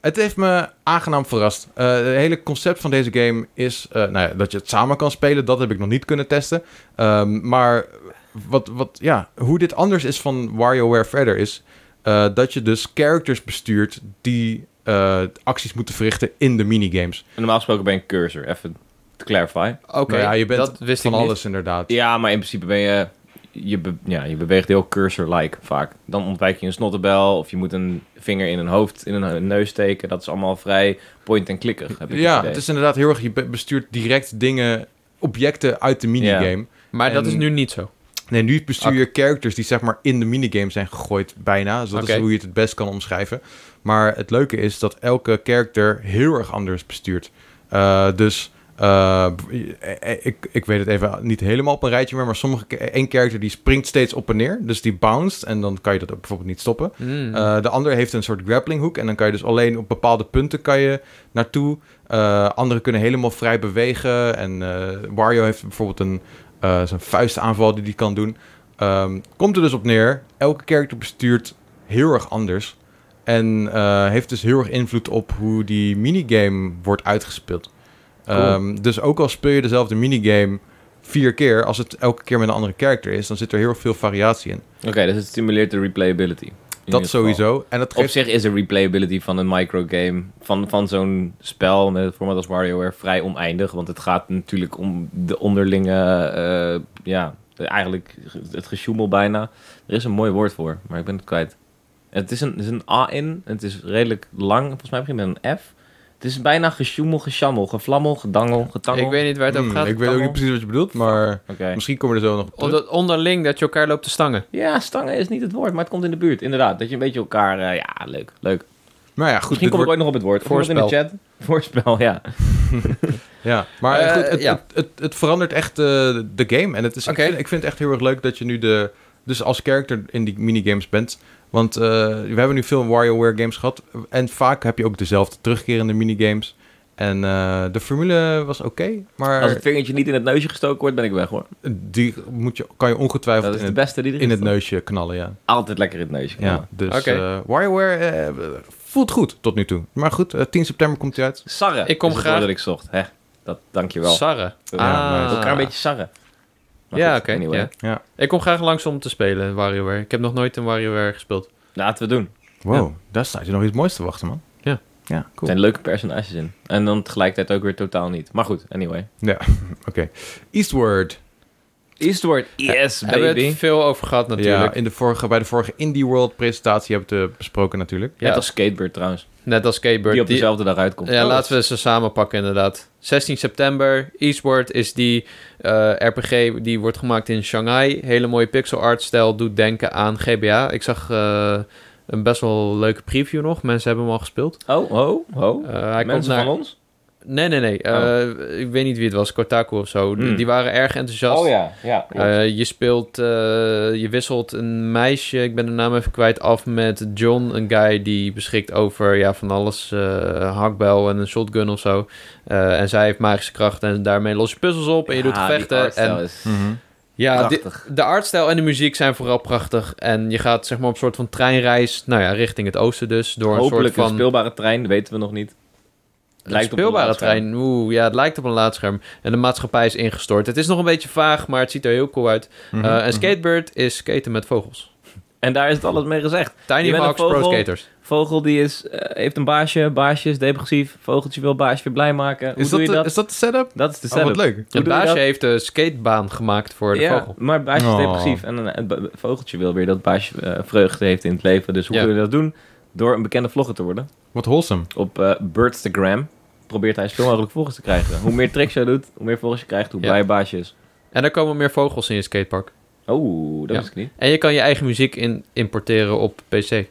[SPEAKER 1] Het heeft me aangenaam verrast. Eh, het hele concept van deze game is eh, nou ja, dat je het samen kan spelen. Dat heb ik nog niet kunnen testen. Ehm, maar wat, wat, ja, hoe dit anders is van WarioWare verder is... eh, dat je dus characters bestuurt die eh, acties moeten verrichten in de minigames.
[SPEAKER 3] En normaal gesproken ben je een cursor, even to clarify.
[SPEAKER 2] Oké,
[SPEAKER 1] Nou ja, je bent
[SPEAKER 2] dat wist
[SPEAKER 1] Van
[SPEAKER 2] ik niet.
[SPEAKER 1] alles inderdaad.
[SPEAKER 3] Ja, maar in principe ben je... Je, be- ja, je beweegt heel cursor-like vaak. Dan ontwijk je een snottebel of je moet een vinger in een hoofd, in een neus steken. Dat is allemaal vrij point-and-klikkig, heb ik
[SPEAKER 1] Ja,
[SPEAKER 3] idee.
[SPEAKER 1] het is inderdaad heel erg... Je be- bestuurt direct dingen, objecten uit de minigame.
[SPEAKER 2] Maar dat
[SPEAKER 1] En-
[SPEAKER 2] is nu niet zo.
[SPEAKER 1] Nee, nu bestuur je characters die zeg maar in de minigame zijn gegooid bijna. Dus dat
[SPEAKER 2] Oké.
[SPEAKER 1] is hoe je het het best kan omschrijven. Maar het leuke is dat elke character heel erg anders bestuurt. Eh, dus eh, eh, ik, ik weet het even niet helemaal op een rijtje meer. Maar sommige één character die springt steeds op en neer. Dus die bounced en dan kan je dat ook bijvoorbeeld niet stoppen.
[SPEAKER 3] Hmm.
[SPEAKER 2] Mm.
[SPEAKER 1] Eh, de ander heeft een soort grapplinghoek en dan kan je dus alleen op bepaalde punten kan je naartoe. Eh, anderen kunnen helemaal vrij bewegen en eh, Wario heeft bijvoorbeeld een eh zijn vuistaanval die hij kan doen. Ehm, komt er dus op neer, elke character bestuurt heel erg anders en eh, heeft dus heel erg invloed op hoe die minigame wordt uitgespeeld.
[SPEAKER 2] Cool.
[SPEAKER 1] Ehm, dus ook al speel je dezelfde minigame vier keer, als het elke keer met een andere character is, dan zit er heel veel variatie in.
[SPEAKER 3] Oké, dus het stimuleert de replayability. in ieder
[SPEAKER 1] dat
[SPEAKER 3] geval.
[SPEAKER 1] sowieso. En dat
[SPEAKER 3] Op
[SPEAKER 1] geeft
[SPEAKER 3] zich is de replayability van een microgame, van, van zo'n spel met het format als WarioWare, vrij oneindig. Want het gaat natuurlijk om de onderlinge, eh, ja, eigenlijk het gesjoemel bijna. Er is een mooi woord voor, maar ik ben het kwijt. Het is een, het is een A in, het is redelijk lang, volgens mij begint het met een F. Het is bijna gesjoemel, gesjammel, gevlammel, gedangel, getangel.
[SPEAKER 2] ik weet niet waar het over
[SPEAKER 1] Hmm,
[SPEAKER 2] gaat.
[SPEAKER 1] Ik weet ook niet
[SPEAKER 3] Tammel.
[SPEAKER 1] precies wat je bedoelt, maar
[SPEAKER 3] Oké.
[SPEAKER 1] misschien komen we er zo nog op
[SPEAKER 2] Of
[SPEAKER 1] terug.
[SPEAKER 2] dat onderling dat je elkaar loopt te stangen.
[SPEAKER 3] Ja, stangen is niet het woord, maar het komt in de buurt. Inderdaad, dat je een beetje elkaar, eh, ja, leuk, leuk.
[SPEAKER 1] Maar ja, goed.
[SPEAKER 3] Misschien
[SPEAKER 1] Dit
[SPEAKER 3] kom ik
[SPEAKER 1] wordt,
[SPEAKER 3] ooit nog op het woord. Of iemand In de chat. Voorspel, ja.
[SPEAKER 1] ja. Maar
[SPEAKER 2] Eh,
[SPEAKER 1] goed, het,
[SPEAKER 2] ja.
[SPEAKER 1] het, het, het verandert echt eh, de game. En het is,
[SPEAKER 2] Oké.
[SPEAKER 1] ik, vind, ik vind het echt heel erg leuk dat je nu de, dus als character in die minigames bent. Want eh, we hebben nu veel WarioWare games gehad. En vaak heb je ook dezelfde terugkerende minigames. En eh, de formule was oké, maar
[SPEAKER 3] Als het vingertje niet in het neusje gestoken wordt, ben ik weg hoor.
[SPEAKER 1] die moet je, kan je
[SPEAKER 3] Dat
[SPEAKER 1] ongetwijfeld in
[SPEAKER 3] is de
[SPEAKER 1] het,
[SPEAKER 3] beste die er
[SPEAKER 1] in
[SPEAKER 3] is,
[SPEAKER 1] het
[SPEAKER 3] toch?
[SPEAKER 1] neusje knallen, ja.
[SPEAKER 3] Altijd lekker in het neusje.
[SPEAKER 1] ja
[SPEAKER 3] knallen.
[SPEAKER 1] dus
[SPEAKER 2] Oké.
[SPEAKER 1] eh, WarioWare eh, voelt goed tot nu toe. Maar goed, eh, 10 september komt hij uit.
[SPEAKER 3] Sarre.
[SPEAKER 2] Ik kom
[SPEAKER 3] is het
[SPEAKER 2] graag-
[SPEAKER 3] woord dat ik zocht. Hè? Dat, dankjewel.
[SPEAKER 2] Sarre.
[SPEAKER 1] Ja,
[SPEAKER 2] ah.
[SPEAKER 1] nice.
[SPEAKER 3] Elkaar een beetje sarren. Maar
[SPEAKER 2] ja,
[SPEAKER 3] goed,
[SPEAKER 2] oké.
[SPEAKER 3] anyway. Nou,
[SPEAKER 2] ja.
[SPEAKER 1] Ja.
[SPEAKER 2] Ik kom graag langs om te spelen in WarioWare. Ik heb nog nooit een WarioWare gespeeld.
[SPEAKER 3] Laten we het doen.
[SPEAKER 1] Wow, daar staat je nog iets moois te wachten, man.
[SPEAKER 2] Ja.
[SPEAKER 1] Ja,
[SPEAKER 3] Er
[SPEAKER 1] cool.
[SPEAKER 3] zijn leuke personages in. En dan tegelijkertijd ook weer totaal niet. Maar goed, anyway.
[SPEAKER 1] Oké. Eastward.
[SPEAKER 3] Eastward. Yes,
[SPEAKER 2] Daar hebben we
[SPEAKER 3] baby.
[SPEAKER 2] het veel over gehad
[SPEAKER 1] Natuurlijk.
[SPEAKER 2] natuurlijk.
[SPEAKER 1] Ja, in de vorige, bij de vorige Indie World presentatie hebben we het eh, besproken natuurlijk.
[SPEAKER 2] Ja.
[SPEAKER 3] Net als Skatebird trouwens.
[SPEAKER 2] Net als Skatebird.
[SPEAKER 3] Die op
[SPEAKER 2] Die-
[SPEAKER 3] dezelfde dag uitkomt.
[SPEAKER 2] ja,
[SPEAKER 3] Oh,
[SPEAKER 2] laten we ze samen pakken inderdaad. 16 september, Eastward is die eh, RPG die wordt gemaakt in Shanghai. Hele mooie pixel art stijl, doet denken aan GBA. Ik zag eh, een best wel leuke preview nog. Mensen hebben hem al gespeeld.
[SPEAKER 3] Oh, oh, oh.
[SPEAKER 2] Eh, hij komt
[SPEAKER 3] Mensen
[SPEAKER 2] naar...
[SPEAKER 3] van ons? Oh.
[SPEAKER 2] Nee, nee, nee. Eh, ik weet niet wie het was, Kotaku of zo. Die-
[SPEAKER 3] Hmm.
[SPEAKER 2] Die waren erg enthousiast.
[SPEAKER 3] Oh ja, ja. klopt.
[SPEAKER 2] Eh, je speelt, eh, je wisselt een meisje, ik ben de naam even kwijt, af met John, een guy die beschikt over ja, van alles, eh, een hakbel en een shotgun of zo. Eh, en zij heeft magische krachten en daarmee los je puzzels op en je
[SPEAKER 3] Ja,
[SPEAKER 2] doet
[SPEAKER 3] die
[SPEAKER 2] gevechten.
[SPEAKER 3] artstijl
[SPEAKER 2] En,
[SPEAKER 3] is
[SPEAKER 2] ja, di-
[SPEAKER 3] prachtig.
[SPEAKER 2] de artstijl en de muziek zijn vooral prachtig. En je gaat zeg maar op een soort van treinreis, nou ja, richting het oosten dus, door
[SPEAKER 3] Hopelijk
[SPEAKER 2] een
[SPEAKER 3] een
[SPEAKER 2] soort van...
[SPEAKER 3] speelbare trein, dat weten we nog niet.
[SPEAKER 2] Een speelbare trein. Oeh, ja, het lijkt op een laadscherm. En de maatschappij is ingestort. Het is nog een beetje vaag, maar het ziet er heel cool uit.
[SPEAKER 3] Mhm.
[SPEAKER 2] Eh, en Skatebird is skaten met vogels.
[SPEAKER 3] En daar is het alles mee gezegd.
[SPEAKER 2] Tiny
[SPEAKER 3] Je bent
[SPEAKER 2] Hawks
[SPEAKER 3] een
[SPEAKER 2] Pro
[SPEAKER 3] vogel.
[SPEAKER 2] Skaters.
[SPEAKER 3] Vogel die is, eh, heeft een baasje, baasje is depressief, vogeltje wil baasje weer blij maken. Hoe
[SPEAKER 1] is,
[SPEAKER 3] doe
[SPEAKER 1] dat,
[SPEAKER 3] je
[SPEAKER 1] de-
[SPEAKER 3] dat?
[SPEAKER 1] is dat de setup?
[SPEAKER 3] Dat is de
[SPEAKER 1] Oh,
[SPEAKER 3] setup.
[SPEAKER 1] wat leuk.
[SPEAKER 2] Het
[SPEAKER 3] doe je
[SPEAKER 2] baasje
[SPEAKER 3] dat?
[SPEAKER 2] heeft de skatebaan gemaakt voor de
[SPEAKER 3] ja,
[SPEAKER 2] vogel.
[SPEAKER 3] maar baasje is
[SPEAKER 1] Oh.
[SPEAKER 3] depressief en een- het ba- vogeltje wil weer dat baasje eh, vreugde heeft in het leven. Dus hoe
[SPEAKER 2] Ja.
[SPEAKER 3] kun je dat doen? Door een bekende vlogger te worden.
[SPEAKER 1] Wat wholesome.
[SPEAKER 3] Op eh Birdstagram probeert hij zoveel mogelijk volgers te krijgen. hoe meer tricks je doet, hoe meer volgers je krijgt, hoe
[SPEAKER 2] Ja.
[SPEAKER 3] blij baasje is.
[SPEAKER 2] En er komen meer vogels in je skatepark.
[SPEAKER 3] Oh, dat
[SPEAKER 2] Ja.
[SPEAKER 3] wist ik niet.
[SPEAKER 2] En je kan je eigen muziek in importeren op PC.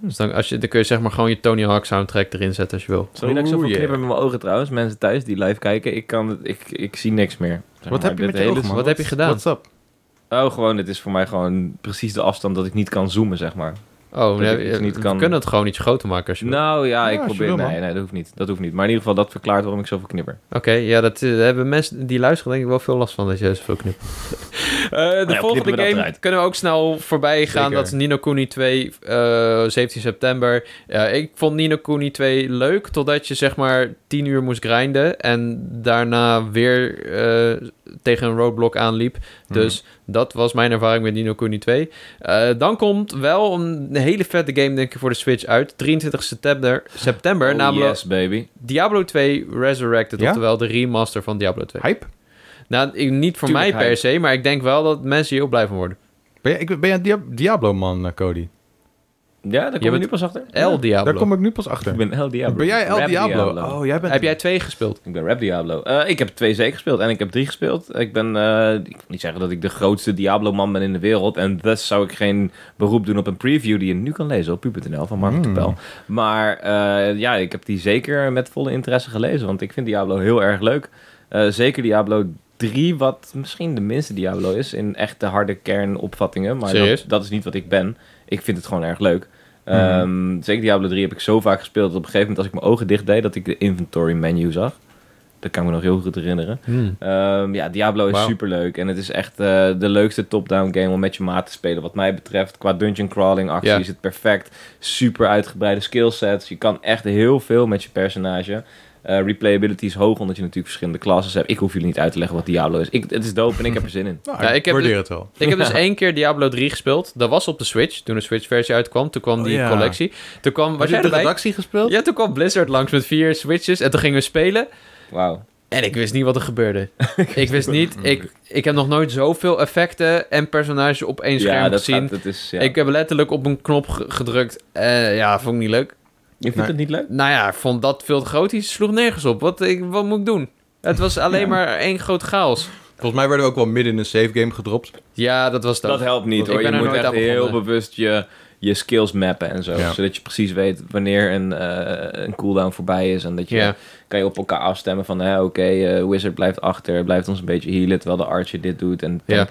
[SPEAKER 2] Dus dan, als je, dan kun je zeg maar gewoon je Tony Hawk soundtrack erin zetten als je wil.
[SPEAKER 3] Sorry dat ik
[SPEAKER 1] Oeh,
[SPEAKER 3] zoveel
[SPEAKER 1] yeah.
[SPEAKER 3] knipper met mijn ogen trouwens. Mensen thuis die live kijken, ik, kan, het- ik, ik zie niks meer. Zeg
[SPEAKER 1] Wat
[SPEAKER 3] maar,
[SPEAKER 1] heb je
[SPEAKER 3] dit
[SPEAKER 1] met je
[SPEAKER 3] hele-
[SPEAKER 1] ogen, man?
[SPEAKER 2] wat heb je gedaan?
[SPEAKER 1] What's up?
[SPEAKER 3] Oh, gewoon, dit is voor mij gewoon precies de afstand dat ik niet kan zoomen, zeg maar.
[SPEAKER 2] Oh, nee,
[SPEAKER 3] ik iets niet
[SPEAKER 2] we
[SPEAKER 3] kan-
[SPEAKER 2] kunnen het gewoon iets groter maken als je wil.
[SPEAKER 3] Nou ja,
[SPEAKER 1] Ja,
[SPEAKER 3] ik
[SPEAKER 1] als je
[SPEAKER 3] probeer...
[SPEAKER 1] wil, man.
[SPEAKER 3] nee, nee, dat hoeft niet. Dat hoeft niet. Maar in ieder geval, dat verklaart waarom ik zoveel knipper.
[SPEAKER 2] Oké, ja, dat eh, hebben mensen die luisteren denk ik wel veel last van dat je zoveel knipt. Eh, de
[SPEAKER 3] Nou knippen we dat
[SPEAKER 2] volgende game
[SPEAKER 3] eruit.
[SPEAKER 2] kunnen we ook snel voorbij gaan.
[SPEAKER 1] Zeker.
[SPEAKER 2] Dat is Nino Kuni 2, eh, 17 september. Eh, ik vond Nino Kuni 2 leuk, totdat je zeg maar 10 uur moest grinden. En daarna weer eh, tegen een roadblock aanliep.
[SPEAKER 3] Mhm.
[SPEAKER 2] Dus dat was mijn ervaring met Nino Kuni 2. Eh, dan komt wel een hele vette game, denk ik, voor de Switch uit. 23 september, september
[SPEAKER 3] Oh,
[SPEAKER 2] namelijk
[SPEAKER 3] yes, baby.
[SPEAKER 2] Diablo 2 Resurrected.
[SPEAKER 1] Ja?
[SPEAKER 2] Oftewel de remaster van Diablo 2.
[SPEAKER 1] Hype?
[SPEAKER 2] Nou, ik- niet voor
[SPEAKER 3] Tuurlijk
[SPEAKER 2] mij per se, maar ik denk wel dat mensen hier heel blij van worden.
[SPEAKER 1] Ben je, ik, ben je een Dia- Diablo-man, eh, Cody?
[SPEAKER 3] Ja, daar kom je,
[SPEAKER 2] bent-
[SPEAKER 3] nu pas achter.
[SPEAKER 2] El Diablo.
[SPEAKER 1] Daar kom ik nu pas achter.
[SPEAKER 3] Ik ben El Diablo.
[SPEAKER 1] Ben jij El
[SPEAKER 3] Rap
[SPEAKER 1] Diablo? Oh, jij bent...
[SPEAKER 2] Heb jij twee gespeeld?
[SPEAKER 3] Ik ben Rap Diablo. Eh, ik heb 2C gespeeld en ik heb 3 gespeeld. Ik ben, eh, ik wil niet zeggen dat ik de grootste Diablo-man ben in de wereld. En dus zou ik geen beroep doen op een preview die je nu kan lezen op pu.nl van Mark
[SPEAKER 1] Hmm.
[SPEAKER 3] Topel. Maar eh, ja, ik heb die zeker met volle interesse gelezen. Want ik vind Diablo heel erg leuk. Eh, zeker Diablo 3, wat misschien de minste Diablo is in echt de harde kernopvattingen. Maar dat,
[SPEAKER 2] Serieus?
[SPEAKER 3] dat is niet wat ik ben. Ik vind het gewoon erg leuk.
[SPEAKER 2] Mhm.
[SPEAKER 3] Ehm, Zeker Diablo 3 heb ik zo vaak gespeeld dat op een gegeven moment als ik mijn ogen dicht deed, dat ik de inventory menu zag. Dat kan ik me nog heel goed herinneren. Ehm, ja, Diablo is
[SPEAKER 2] Wauw.
[SPEAKER 3] superleuk. En het is echt eh, de leukste top-down game om met je maat te spelen. Wat mij betreft, qua dungeon crawling actie
[SPEAKER 2] Ja.
[SPEAKER 3] is het perfect. Super uitgebreide skillsets. Je kan echt heel veel met je personage. Eh, replayability is hoog, omdat je natuurlijk verschillende classes hebt. Ik hoef jullie niet uit te leggen wat Diablo is. Ik, het is dope en ik heb er zin in.
[SPEAKER 1] Nou,
[SPEAKER 2] Ja,
[SPEAKER 1] ik
[SPEAKER 2] ik heb
[SPEAKER 1] waardeer het wel.
[SPEAKER 2] Ik heb dus één keer Diablo 3 gespeeld. Dat was op de Switch, toen de Switch-versie uitkwam. Toen kwam
[SPEAKER 1] Oh,
[SPEAKER 2] die
[SPEAKER 1] ja.
[SPEAKER 2] collectie. Toen kwam, was
[SPEAKER 1] Heb
[SPEAKER 2] jij
[SPEAKER 1] je de
[SPEAKER 2] erbij?
[SPEAKER 1] redactie gespeeld?
[SPEAKER 2] Ja, toen kwam Blizzard langs met vier Switches. En toen gingen we spelen.
[SPEAKER 3] Wauw.
[SPEAKER 2] En ik wist niet wat er gebeurde. ik wist niet... Ik, ik heb nog nooit zoveel effecten en personages op één scherm
[SPEAKER 3] Ja, dat,
[SPEAKER 2] gezien.
[SPEAKER 3] gaat, dat is... Ja.
[SPEAKER 2] Ik heb letterlijk op een knop ge- gedrukt. Eh, ja, vond ik niet leuk.
[SPEAKER 3] je vindt
[SPEAKER 1] Nee.
[SPEAKER 3] het niet leuk?
[SPEAKER 2] Nou ja, vond dat veel te groot. Die sloeg nergens op. Wat, ik, wat moet ik doen? Het was alleen maar één groot chaos.
[SPEAKER 1] Volgens mij werden we ook wel midden in een save game gedropt.
[SPEAKER 2] Ja, dat was dat.
[SPEAKER 3] Dat helpt niet
[SPEAKER 2] Ik
[SPEAKER 3] hoor.
[SPEAKER 2] ben
[SPEAKER 3] Je
[SPEAKER 2] er
[SPEAKER 3] moet
[SPEAKER 2] nooit
[SPEAKER 3] echt
[SPEAKER 2] aan
[SPEAKER 3] heel
[SPEAKER 2] begonnen.
[SPEAKER 3] bewust je, je skills mappen en zo.
[SPEAKER 1] Ja.
[SPEAKER 3] Zodat je precies weet wanneer een, eh, een cooldown voorbij is. En dat je
[SPEAKER 2] Ja.
[SPEAKER 3] kan je op elkaar afstemmen van hè, oké, eh, Wizard blijft achter, blijft ons een beetje healen terwijl de Archer dit doet. En
[SPEAKER 2] Ja.
[SPEAKER 3] en-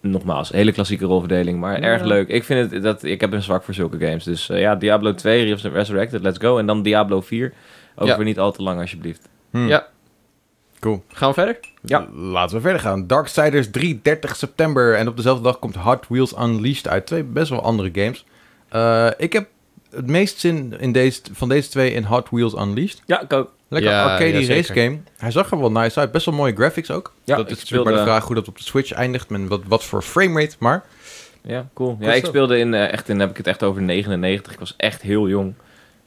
[SPEAKER 3] nogmaals, hele klassieke rolverdeling, maar erg leuk. Ik vind het dat ik heb een zwak voor zulke games. Dus eh, ja, Diablo 2, Reels Resurrected, let's go. En dan Diablo 4. Over
[SPEAKER 2] Ja.
[SPEAKER 3] niet al te lang alsjeblieft.
[SPEAKER 1] Hm.
[SPEAKER 2] Ja.
[SPEAKER 1] Cool.
[SPEAKER 2] Gaan we verder?
[SPEAKER 3] Ja.
[SPEAKER 1] Laten we verder gaan. Darksiders 3, 30 september. En op dezelfde dag komt Hot Wheels Unleashed uit. Twee best wel andere games. Eh, ik heb het meest zin in deze, van deze twee in Hot Wheels Unleashed.
[SPEAKER 3] Ja, ik ook.
[SPEAKER 1] Lekker
[SPEAKER 2] Ja,
[SPEAKER 1] arcade
[SPEAKER 2] ja,
[SPEAKER 1] race
[SPEAKER 2] zeker.
[SPEAKER 1] game. Hij zag er wel nice uit. Best wel mooie graphics ook.
[SPEAKER 3] Ja,
[SPEAKER 1] dat
[SPEAKER 3] ik
[SPEAKER 1] is natuurlijk maar de
[SPEAKER 3] speelde-
[SPEAKER 1] vraag hoe dat op de Switch eindigt. Met wat, wat voor framerate. Maar
[SPEAKER 3] Ja, cool. Ja,
[SPEAKER 1] Goed
[SPEAKER 3] ik
[SPEAKER 1] zo.
[SPEAKER 3] speelde in, eh, echt in, heb ik het echt over 99. Ik was echt heel jong.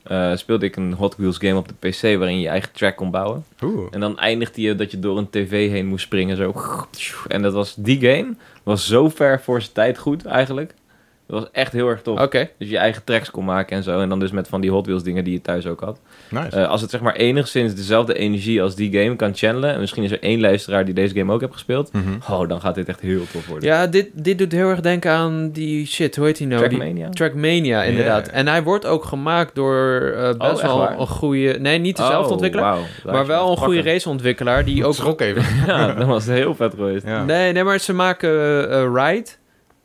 [SPEAKER 3] Eh, speelde ik een Hot Wheels game op de PC waarin je je eigen track kon bouwen.
[SPEAKER 1] oeh,
[SPEAKER 3] En dan eindigde je dat je door een tv heen moest springen. Zo. En dat was, die game was zo ver voor zijn tijd goed eigenlijk. Dat was echt heel erg tof.
[SPEAKER 2] Oké.
[SPEAKER 3] Dus je eigen tracks kon maken en zo. En dan dus met van die Hot Wheels dingen die je thuis ook had.
[SPEAKER 1] nice.
[SPEAKER 3] Eh, als het zeg maar enigszins dezelfde energie als die game kan channelen. En misschien is er één luisteraar die deze game ook heeft gespeeld.
[SPEAKER 2] Eh,
[SPEAKER 1] Mhm.
[SPEAKER 3] Oh, dan gaat dit echt heel tof worden.
[SPEAKER 2] Ja, dit, dit doet heel erg denken aan die shit. Hoe heet die nou? Die-
[SPEAKER 3] Trackmania?
[SPEAKER 2] Trackmania, inderdaad.
[SPEAKER 1] Ja.
[SPEAKER 2] En hij wordt ook gemaakt door eh, best
[SPEAKER 3] Oh, echt
[SPEAKER 2] wel
[SPEAKER 3] waar?
[SPEAKER 2] een goede... Nee, niet dezelfde
[SPEAKER 3] Oh,
[SPEAKER 2] ontwikkelaar.
[SPEAKER 3] wauw. Daar
[SPEAKER 2] Maar
[SPEAKER 3] is
[SPEAKER 2] wel
[SPEAKER 3] het.
[SPEAKER 2] een goede
[SPEAKER 3] Pakken.
[SPEAKER 2] raceontwikkelaar die
[SPEAKER 1] Moet
[SPEAKER 2] ook...
[SPEAKER 1] schrok even.
[SPEAKER 3] Ja, dat was heel vet geweest.
[SPEAKER 1] Ja.
[SPEAKER 2] Nee, nee, maar ze maken eh, eh, Ride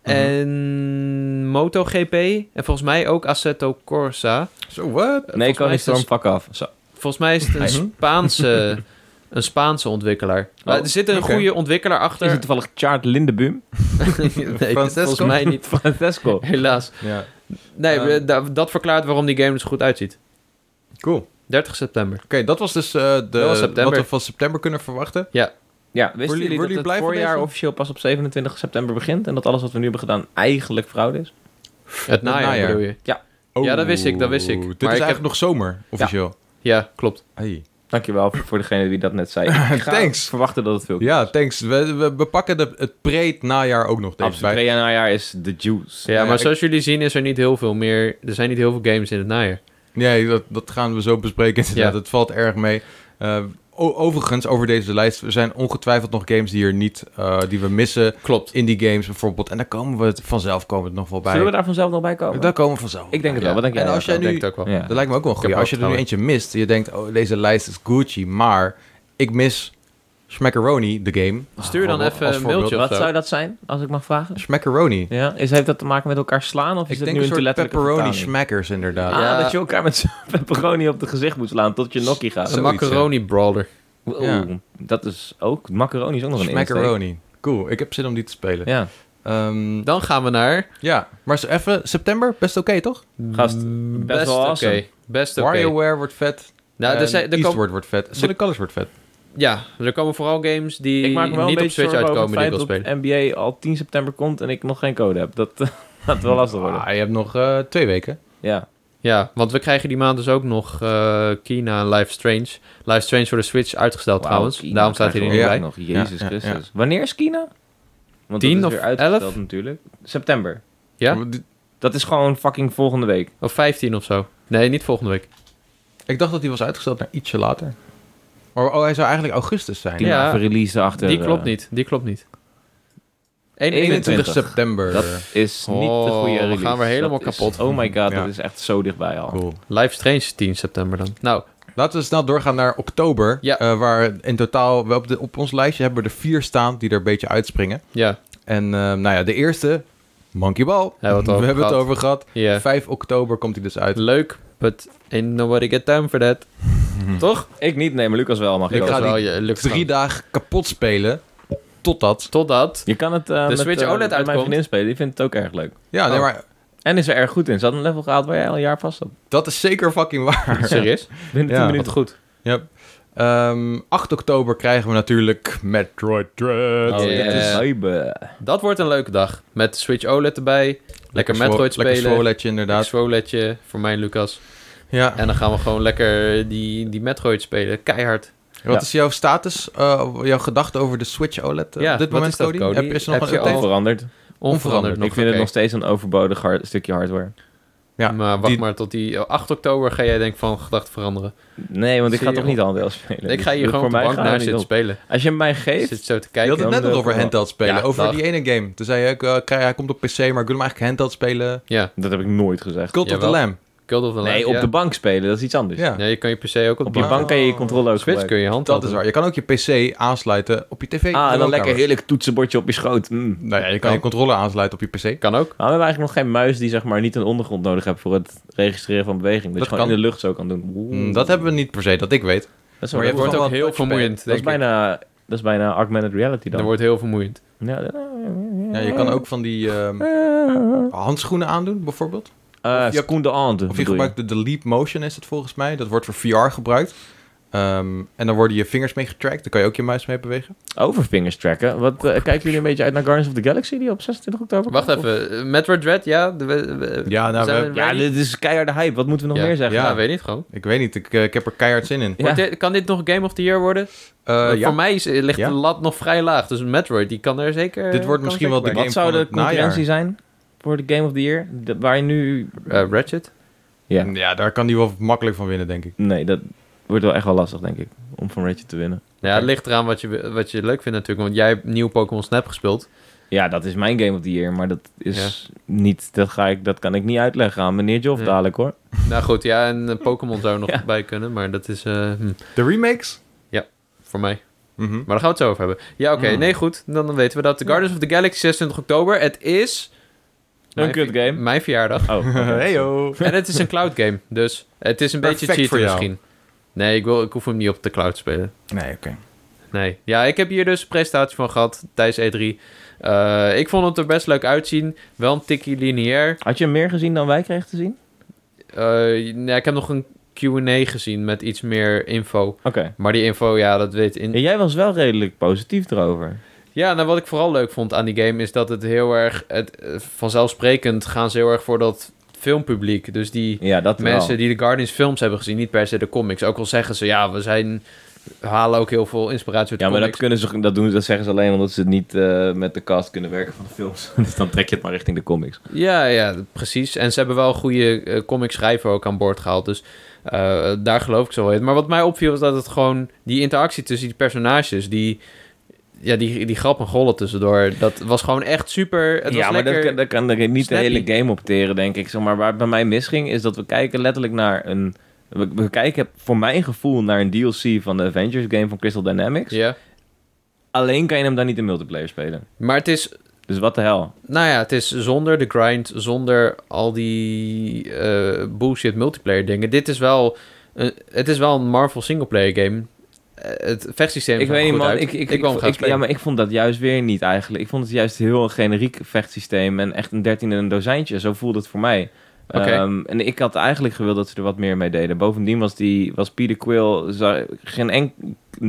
[SPEAKER 3] Mhm.
[SPEAKER 2] en MotoGP en volgens mij ook Assetto Corsa.
[SPEAKER 1] Zo, wat?
[SPEAKER 2] Eh,
[SPEAKER 3] Nee,
[SPEAKER 2] volgens mij
[SPEAKER 3] Connie
[SPEAKER 2] is het
[SPEAKER 1] dus
[SPEAKER 3] Storm,
[SPEAKER 2] een-
[SPEAKER 3] fuck af. Zo.
[SPEAKER 2] Volgens mij is het een
[SPEAKER 1] Mhm.
[SPEAKER 2] Spaanse, een Spaanse ontwikkelaar. Maar er zit een
[SPEAKER 1] oké.
[SPEAKER 2] goede ontwikkelaar achter.
[SPEAKER 3] Is het toevallig Chart Lindebuum?
[SPEAKER 2] nee,
[SPEAKER 1] Francesco?
[SPEAKER 2] volgens mij niet.
[SPEAKER 3] Francesco.
[SPEAKER 2] Helaas.
[SPEAKER 1] Ja.
[SPEAKER 2] Nee,
[SPEAKER 1] Ehm.
[SPEAKER 2] we- da- dat verklaart waarom die game er zo goed uitziet.
[SPEAKER 1] Cool.
[SPEAKER 2] 30 september.
[SPEAKER 1] Oké, dat was dus eh, de,
[SPEAKER 2] Dat was september.
[SPEAKER 1] wat we van september kunnen verwachten.
[SPEAKER 3] Ja, wisten
[SPEAKER 1] Worden jullie-
[SPEAKER 3] jullie
[SPEAKER 1] worden
[SPEAKER 3] dat
[SPEAKER 1] jullie
[SPEAKER 3] het
[SPEAKER 1] blij van
[SPEAKER 3] voorjaar
[SPEAKER 1] deze?
[SPEAKER 3] officieel pas op 27 september begint? En dat alles wat we nu hebben gedaan eigenlijk fraude is?
[SPEAKER 2] Het najaar,
[SPEAKER 1] najaar.
[SPEAKER 2] bedoel je? Ja, dat wist ik, dat wist ik.
[SPEAKER 1] Dit
[SPEAKER 2] Maar
[SPEAKER 1] is
[SPEAKER 2] ik
[SPEAKER 1] eigenlijk
[SPEAKER 2] heb-
[SPEAKER 1] nog zomer, officieel.
[SPEAKER 2] Ja, klopt.
[SPEAKER 1] Hey.
[SPEAKER 3] Dankjewel voor, voor degene die dat net zei. Ik ga
[SPEAKER 1] Thanks.
[SPEAKER 3] verwachten dat het veel
[SPEAKER 1] Ja, thanks. We, we, we pakken de, het preet najaar ook nog deze
[SPEAKER 3] Absoluut.
[SPEAKER 1] bij.
[SPEAKER 3] Korea najaar is de juice.
[SPEAKER 2] Ja,
[SPEAKER 1] Ja,
[SPEAKER 2] maar
[SPEAKER 1] ik-
[SPEAKER 2] zoals jullie zien is er niet heel veel meer... Er zijn niet heel veel games in het najaar.
[SPEAKER 1] Nee, dat, dat gaan we zo bespreken inderdaad.
[SPEAKER 2] Ja.
[SPEAKER 1] Het valt erg mee. Eh, o- overigens, over deze lijst, er zijn ongetwijfeld nog games die er niet, eh, die we missen.
[SPEAKER 2] Klopt.
[SPEAKER 1] Indie games bijvoorbeeld. En daar komen we het vanzelf komen we het nog wel bij.
[SPEAKER 3] Zullen we daar vanzelf nog bij komen?
[SPEAKER 1] Daar komen we vanzelf.
[SPEAKER 3] Ik denk het
[SPEAKER 2] Ja.
[SPEAKER 3] wel. Wat denk jij?
[SPEAKER 1] En als jij
[SPEAKER 2] Dat
[SPEAKER 1] nu-
[SPEAKER 2] denk ik ook wel.
[SPEAKER 3] Ja.
[SPEAKER 1] Dat lijkt me ook wel een goeie.
[SPEAKER 2] heb
[SPEAKER 1] Als je er nu
[SPEAKER 2] wel
[SPEAKER 1] eentje mist, je denkt, oh, deze lijst is Gucci, maar ik mis Smackaroni, de game.
[SPEAKER 2] Stuur dan
[SPEAKER 1] Als
[SPEAKER 2] even een
[SPEAKER 1] voorbeeld.
[SPEAKER 2] mailtje.
[SPEAKER 3] Wat
[SPEAKER 2] Zo.
[SPEAKER 3] zou dat zijn, als ik mag vragen?
[SPEAKER 1] Smackaroni.
[SPEAKER 3] Ja, is, heeft dat te maken met elkaar slaan? Of is
[SPEAKER 1] Ik
[SPEAKER 3] dat
[SPEAKER 1] denk
[SPEAKER 3] nu
[SPEAKER 1] een
[SPEAKER 3] een te
[SPEAKER 1] soort
[SPEAKER 3] letterlijke
[SPEAKER 1] pepperoni
[SPEAKER 3] vertaling?
[SPEAKER 1] smackers inderdaad.
[SPEAKER 3] Ah,
[SPEAKER 2] Ja.
[SPEAKER 3] dat je elkaar met zo'n pepperoni op het gezicht moet slaan tot je nokkie gaat.
[SPEAKER 2] Een
[SPEAKER 1] Zoiets, ja.
[SPEAKER 2] macaroni brawler.
[SPEAKER 3] Oeh,
[SPEAKER 1] Ja.
[SPEAKER 3] dat is ook... Macaroni is ook nog een insteek.
[SPEAKER 1] Smackaroni. Cool, ik heb zin om die te spelen.
[SPEAKER 3] Ja.
[SPEAKER 1] Ehm,
[SPEAKER 2] Dan gaan we naar...
[SPEAKER 1] ja, maar zo even september, best oké toch?
[SPEAKER 3] Gast,
[SPEAKER 2] Mm,
[SPEAKER 3] best wel
[SPEAKER 2] oké.
[SPEAKER 3] awesome.
[SPEAKER 2] Best oké.
[SPEAKER 1] WarioWare wordt vet.
[SPEAKER 2] Nou, er
[SPEAKER 1] en
[SPEAKER 2] zijn, er
[SPEAKER 1] Eastward
[SPEAKER 2] komen,
[SPEAKER 1] wordt vet. Solid Colors wordt vet.
[SPEAKER 2] ja, er komen vooral games die
[SPEAKER 3] Ik maak me wel
[SPEAKER 2] niet
[SPEAKER 3] een
[SPEAKER 2] op
[SPEAKER 3] beetje
[SPEAKER 2] Switch
[SPEAKER 3] zorgen over
[SPEAKER 2] uitkomen
[SPEAKER 3] het
[SPEAKER 2] die ik
[SPEAKER 3] feit
[SPEAKER 2] wil
[SPEAKER 3] dat
[SPEAKER 2] spelen.
[SPEAKER 3] NBA al 10 september komt en ik nog geen code heb. Dat eh, gaat wel lastig worden.
[SPEAKER 1] Ah, je hebt nog eh, twee weken.
[SPEAKER 3] Ja.
[SPEAKER 2] Ja, want we krijgen die maand dus ook nog eh, Kina en Life Strange. Life Strange voor de Switch uitgesteld
[SPEAKER 3] Wauw,
[SPEAKER 2] trouwens.
[SPEAKER 3] Kina
[SPEAKER 2] Daarom staat hij er
[SPEAKER 3] krijgen
[SPEAKER 2] niet
[SPEAKER 3] we
[SPEAKER 1] Ja.
[SPEAKER 2] bij.
[SPEAKER 3] ook Nog. Jezus
[SPEAKER 1] Ja, ja, ja.
[SPEAKER 3] Christus. Wanneer is Kina? Want
[SPEAKER 2] 10
[SPEAKER 3] dat is
[SPEAKER 2] of
[SPEAKER 3] weer uitgesteld
[SPEAKER 2] 11?
[SPEAKER 3] natuurlijk. September.
[SPEAKER 2] Ja?
[SPEAKER 3] Dat is gewoon fucking volgende week.
[SPEAKER 2] Of 15 of zo. Nee, niet volgende week.
[SPEAKER 1] Ik dacht dat die was uitgesteld naar ietsje later. Oh, oh hij zou eigenlijk augustus zijn.
[SPEAKER 3] Die
[SPEAKER 2] Ja.
[SPEAKER 3] ja. release achter.
[SPEAKER 2] Die klopt
[SPEAKER 3] eh,
[SPEAKER 2] niet. Die klopt niet.
[SPEAKER 1] 21
[SPEAKER 3] 21.
[SPEAKER 1] september.
[SPEAKER 3] Dat is niet de
[SPEAKER 2] Oh,
[SPEAKER 3] goede
[SPEAKER 2] we
[SPEAKER 3] release.
[SPEAKER 2] gaan weer helemaal
[SPEAKER 3] Dat is-
[SPEAKER 2] kapot.
[SPEAKER 3] oh my god,
[SPEAKER 1] Ja.
[SPEAKER 3] dat is echt zo dichtbij al.
[SPEAKER 1] Cool.
[SPEAKER 2] Live Strange 10 september dan. Nou,
[SPEAKER 1] Laten we snel doorgaan naar oktober.
[SPEAKER 2] Ja.
[SPEAKER 1] eh, waar in totaal, we op, de, op ons lijstje hebben we er vier staan die er een beetje uitspringen.
[SPEAKER 2] ja.
[SPEAKER 1] En eh, nou ja, de eerste, Monkey Ball.
[SPEAKER 2] we het over
[SPEAKER 1] we hebben het
[SPEAKER 2] gehad.
[SPEAKER 1] over gehad.
[SPEAKER 2] ja.
[SPEAKER 1] 5 oktober komt hij dus uit.
[SPEAKER 2] Leuk, but ain't nobody got time for that. Toch?
[SPEAKER 3] Hm. Ik niet, nee, maar Lucas wel mag.
[SPEAKER 1] Ik
[SPEAKER 3] Ik
[SPEAKER 1] ga
[SPEAKER 3] wel.
[SPEAKER 1] die
[SPEAKER 2] je, lukt
[SPEAKER 1] Drie
[SPEAKER 2] wel.
[SPEAKER 1] dagen kapot spelen. Totdat.
[SPEAKER 2] Totdat.
[SPEAKER 3] Je kan het eh, met,
[SPEAKER 2] Switch
[SPEAKER 3] eh,
[SPEAKER 2] OLED
[SPEAKER 3] met mijn
[SPEAKER 2] uitkomt.
[SPEAKER 3] vriendin spelen, die vindt het ook erg leuk.
[SPEAKER 1] Ja, nee,
[SPEAKER 2] Oh.
[SPEAKER 1] maar
[SPEAKER 3] En is er erg goed in. Ze had een level gehaald waar jij al een jaar vast zat.
[SPEAKER 1] dat is zeker fucking waar.
[SPEAKER 2] Serieus?
[SPEAKER 3] Binnen 10
[SPEAKER 1] Ja.
[SPEAKER 3] minuten goed.
[SPEAKER 1] Yep. Ehm, 8 oktober krijgen we natuurlijk Metroid Dread.
[SPEAKER 2] Oh, ja.
[SPEAKER 3] Dat is eh, hype.
[SPEAKER 2] Dat wordt een leuke dag. Met Switch OLED erbij. Lekker,
[SPEAKER 1] swo-
[SPEAKER 2] Metroid
[SPEAKER 1] Lekker
[SPEAKER 2] spelen.
[SPEAKER 1] Swoletje
[SPEAKER 2] Lekker
[SPEAKER 1] inderdaad.
[SPEAKER 2] Swoletje voor mij, Lucas.
[SPEAKER 1] Ja.
[SPEAKER 2] En dan gaan we gewoon lekker die, die Metroid spelen. Keihard.
[SPEAKER 1] Wat
[SPEAKER 3] Ja.
[SPEAKER 1] is jouw status, eh, jouw gedachte over de Switch OLED eh,
[SPEAKER 2] Ja,
[SPEAKER 1] op dit
[SPEAKER 2] wat
[SPEAKER 1] moment,
[SPEAKER 2] is dat,
[SPEAKER 1] Cody?
[SPEAKER 2] Cody?
[SPEAKER 1] Heb, is er nog
[SPEAKER 2] Heb
[SPEAKER 1] een
[SPEAKER 2] je al-
[SPEAKER 1] update?
[SPEAKER 3] Onveranderd.
[SPEAKER 2] Onveranderd nog.
[SPEAKER 3] Ik vind het
[SPEAKER 2] oké.
[SPEAKER 3] nog steeds een overbodig hard- stukje hardware.
[SPEAKER 1] Ja,
[SPEAKER 2] maar wacht
[SPEAKER 1] die-
[SPEAKER 2] maar tot die eh, 8 oktober ga jij denk ik van gedachten veranderen.
[SPEAKER 3] Nee, want ik
[SPEAKER 2] Zie
[SPEAKER 3] ga
[SPEAKER 2] je
[SPEAKER 3] toch
[SPEAKER 2] wel.
[SPEAKER 3] niet handel spelen.
[SPEAKER 2] ik ga hier gewoon
[SPEAKER 3] Dus voor
[SPEAKER 2] op de
[SPEAKER 3] mij
[SPEAKER 2] bank
[SPEAKER 3] gaat het
[SPEAKER 2] naar
[SPEAKER 3] niet
[SPEAKER 2] zitten
[SPEAKER 3] op.
[SPEAKER 2] spelen.
[SPEAKER 3] Als je hem mij
[SPEAKER 2] Ik
[SPEAKER 3] geeft,
[SPEAKER 2] zit zo te
[SPEAKER 1] Je
[SPEAKER 2] kijken.
[SPEAKER 1] had het net nog
[SPEAKER 3] dan,
[SPEAKER 1] over
[SPEAKER 3] eh,
[SPEAKER 1] handheld spelen.
[SPEAKER 2] ja,
[SPEAKER 1] over
[SPEAKER 2] dag.
[SPEAKER 1] die ene game. Toen zei je, ik, eh, krijg- hij komt op PC, maar ik wil hem eigenlijk handheld spelen.
[SPEAKER 2] Ja,
[SPEAKER 3] dat heb ik nooit gezegd.
[SPEAKER 1] Cult of the
[SPEAKER 2] Jawel.
[SPEAKER 1] Lamb.
[SPEAKER 2] Cult of the
[SPEAKER 3] Nee,
[SPEAKER 2] Lamb,
[SPEAKER 3] op
[SPEAKER 2] ja.
[SPEAKER 3] de bank spelen, dat is iets anders.
[SPEAKER 1] Ja,
[SPEAKER 2] Ja, je kan je PC ook op,
[SPEAKER 3] Op
[SPEAKER 2] de
[SPEAKER 3] je
[SPEAKER 1] bank.
[SPEAKER 3] bank kan je je controller ook
[SPEAKER 2] Switch
[SPEAKER 3] gebruiken.
[SPEAKER 2] kun je hand
[SPEAKER 1] dat is waar. Je kan ook je PC aansluiten op je tv. in de
[SPEAKER 3] Ah, en dan
[SPEAKER 1] woonkamer.
[SPEAKER 3] lekker heerlijk toetsenbordje op je schoot. Mm.
[SPEAKER 1] Nou ja, je kan je controller aansluiten op je PC.
[SPEAKER 2] Kan ook.
[SPEAKER 3] Nou, we hebben eigenlijk nog geen muis die zeg maar niet een ondergrond nodig hebt voor het registreren van beweging. Dat,
[SPEAKER 1] Dat
[SPEAKER 3] je gewoon
[SPEAKER 1] kan.
[SPEAKER 3] in de lucht zo kan doen. Oeh.
[SPEAKER 1] Mm, dat hebben we niet per se, dat ik weet.
[SPEAKER 3] Dat is,
[SPEAKER 1] maar je
[SPEAKER 3] dat
[SPEAKER 1] hebt
[SPEAKER 2] Dat wordt
[SPEAKER 1] gewoon
[SPEAKER 2] ook
[SPEAKER 1] wel
[SPEAKER 2] heel
[SPEAKER 1] touchpad.
[SPEAKER 2] vermoeiend,
[SPEAKER 3] dat
[SPEAKER 2] denk
[SPEAKER 3] is
[SPEAKER 2] ik.
[SPEAKER 3] bijna, dat is bijna augmented reality dan.
[SPEAKER 2] Dat wordt heel vermoeiend.
[SPEAKER 3] Ja, dat-
[SPEAKER 1] Ja, je kan ook van die ehm, handschoenen aandoen, bijvoorbeeld.
[SPEAKER 3] Eh,
[SPEAKER 1] Of je-
[SPEAKER 3] seconde hand.
[SPEAKER 1] Of je gebruikt de, de Leap Motion, is het volgens mij. Dat wordt voor VR gebruikt. Ehm, en dan worden je vingers mee getrackt. Dan kan je ook je muis mee bewegen.
[SPEAKER 3] Overfingers tracken. Wat, eh, kijken jullie een beetje uit naar Guardians of the Galaxy die op 26 oktober
[SPEAKER 2] Wacht
[SPEAKER 3] komt?
[SPEAKER 2] even. eh, Metroid Dread, ja? De- we- we-
[SPEAKER 1] Ja, nou,
[SPEAKER 2] zijn
[SPEAKER 1] we-
[SPEAKER 2] we
[SPEAKER 3] Ja,
[SPEAKER 2] ready?
[SPEAKER 3] dit is keiharde hype. Wat moeten we nog
[SPEAKER 2] Ja.
[SPEAKER 3] meer zeggen?
[SPEAKER 1] Ja.
[SPEAKER 2] Ja, weet niet gewoon.
[SPEAKER 1] Ik weet niet, ik, eh, ik heb er keihard zin in.
[SPEAKER 3] Ja.
[SPEAKER 2] Wordt dit- kan dit nog Game of the Year worden?
[SPEAKER 1] Eh,
[SPEAKER 2] Want
[SPEAKER 1] ja.
[SPEAKER 2] Voor mij is, ligt
[SPEAKER 1] Ja.
[SPEAKER 2] de lat nog vrij laag. Dus Metroid, die kan er zeker...
[SPEAKER 1] Dit wordt
[SPEAKER 2] kan
[SPEAKER 1] misschien wel
[SPEAKER 2] zeker bij.
[SPEAKER 1] game
[SPEAKER 3] Wat zou
[SPEAKER 1] van
[SPEAKER 3] de
[SPEAKER 1] eh, het najaar.
[SPEAKER 3] concurrentie zijn voor de Game of the Year? De- waar je nu...
[SPEAKER 2] Eh, Ratchet?
[SPEAKER 3] Ja.
[SPEAKER 1] Mm, ja, daar kan die wel makkelijk van winnen, denk ik.
[SPEAKER 3] Nee, dat wordt wel echt wel lastig, denk ik. Om van Ratchet te winnen.
[SPEAKER 2] Ja, het ligt eraan wat je, wat je leuk vindt natuurlijk. Want jij hebt nieuw Pokémon Snap gespeeld.
[SPEAKER 3] Ja, dat is mijn Game of the Year, maar dat is niet... Dat, ga ik, dat kan ik niet uitleggen aan meneer Joff
[SPEAKER 2] Nee.
[SPEAKER 3] dadelijk, hoor.
[SPEAKER 2] nou goed, ja, en eh, Pokémon zou er nog
[SPEAKER 3] Ja.
[SPEAKER 2] bij kunnen. Maar dat is eh, hm,
[SPEAKER 1] De remakes?
[SPEAKER 2] voor mij.
[SPEAKER 1] Mhm.
[SPEAKER 2] Maar daar gaan we het zo over hebben. Ja, oké.
[SPEAKER 1] Mm.
[SPEAKER 2] Nee, goed. Dan, dan weten we dat. The Guardians of the Galaxy, 26 oktober. Het is...
[SPEAKER 3] Een
[SPEAKER 2] mijn
[SPEAKER 3] kut
[SPEAKER 2] vi-
[SPEAKER 3] game.
[SPEAKER 2] Mijn verjaardag.
[SPEAKER 3] Oh, oké.
[SPEAKER 1] Hey yo.
[SPEAKER 2] en het is een cloud game. Dus het is een
[SPEAKER 1] Perfect
[SPEAKER 2] beetje
[SPEAKER 1] voor
[SPEAKER 2] cheaten
[SPEAKER 1] jou.
[SPEAKER 2] misschien. Nee, ik, wil, ik hoef hem niet op de cloud te spelen.
[SPEAKER 1] Nee, oké.
[SPEAKER 2] Nee. Ja, ik heb hier dus een presentatie van gehad tijdens E3. Eh, ik vond het er best leuk uitzien. Wel een tikkie lineair.
[SPEAKER 3] Had je meer gezien dan wij kregen te zien?
[SPEAKER 2] Eh, nee, ik heb nog een Q&A gezien met iets meer info.
[SPEAKER 3] Oké.
[SPEAKER 2] Maar die info, ja, dat weet...
[SPEAKER 3] Ja,
[SPEAKER 2] In...
[SPEAKER 3] jij was wel redelijk positief erover.
[SPEAKER 2] Ja, nou, wat ik vooral leuk vond aan die game is dat het heel erg... Het, eh, vanzelfsprekend gaan ze heel erg voor dat filmpubliek. Dus die
[SPEAKER 3] Ja, dat wel.
[SPEAKER 2] mensen die de Guardians films hebben gezien, niet per se de comics. Ook al zeggen ze, ja, we zijn... we halen ook heel veel inspiratie uit de
[SPEAKER 3] Ja, maar dat,
[SPEAKER 2] comics.
[SPEAKER 3] kunnen ze, dat, doen, ze- dat zeggen ze alleen omdat ze niet eh, met de cast kunnen werken van de films. dus dan trek je het maar richting de comics.
[SPEAKER 2] Ja, ja, precies. En ze hebben wel een goede eh, comic-schrijver ook aan boord gehaald. Dus eh, daar geloof ik zo wel in. Maar wat mij opviel is dat het gewoon... Die interactie tussen die personages, die... Ja, die, die grap en gollen tussendoor. Dat was gewoon echt super. Het
[SPEAKER 3] ja,
[SPEAKER 2] was
[SPEAKER 3] maar
[SPEAKER 2] lekker...
[SPEAKER 3] dat kan, dat kan dat kan niet
[SPEAKER 2] snappy.
[SPEAKER 3] de hele game opteren, denk ik. Zeg maar waar het bij mij misging, is dat we kijken letterlijk naar een... We, we kijken voor mijn gevoel naar een DLC van de Avengers game van Crystal Dynamics.
[SPEAKER 2] Ja.
[SPEAKER 3] Alleen kan je hem dan niet in multiplayer spelen.
[SPEAKER 2] Maar het is...
[SPEAKER 3] Dus wat de hel.
[SPEAKER 2] Nou ja, het is zonder de grind, zonder al die eh, bullshit multiplayer dingen. Dit is wel... een- het is wel een Marvel singleplayer game. eh, het vechtsysteem
[SPEAKER 3] Ik
[SPEAKER 2] zag
[SPEAKER 3] weet
[SPEAKER 2] er
[SPEAKER 3] niet,
[SPEAKER 2] goed
[SPEAKER 3] man.
[SPEAKER 2] uit.
[SPEAKER 3] Ik, ik,
[SPEAKER 2] ik wou hem gaan
[SPEAKER 3] ik- ja,
[SPEAKER 2] spelen.
[SPEAKER 3] maar ik vond dat juist weer niet eigenlijk. Ik vond het juist heel generiek vechtsysteem. En echt een dertiende en een dozijntje. Zo voelde het voor mij.
[SPEAKER 2] Oké.
[SPEAKER 3] Ehm, en ik had eigenlijk gewild dat ze er wat meer mee deden. Bovendien was, die, was Peter Quill... za- Geen enk, 0,0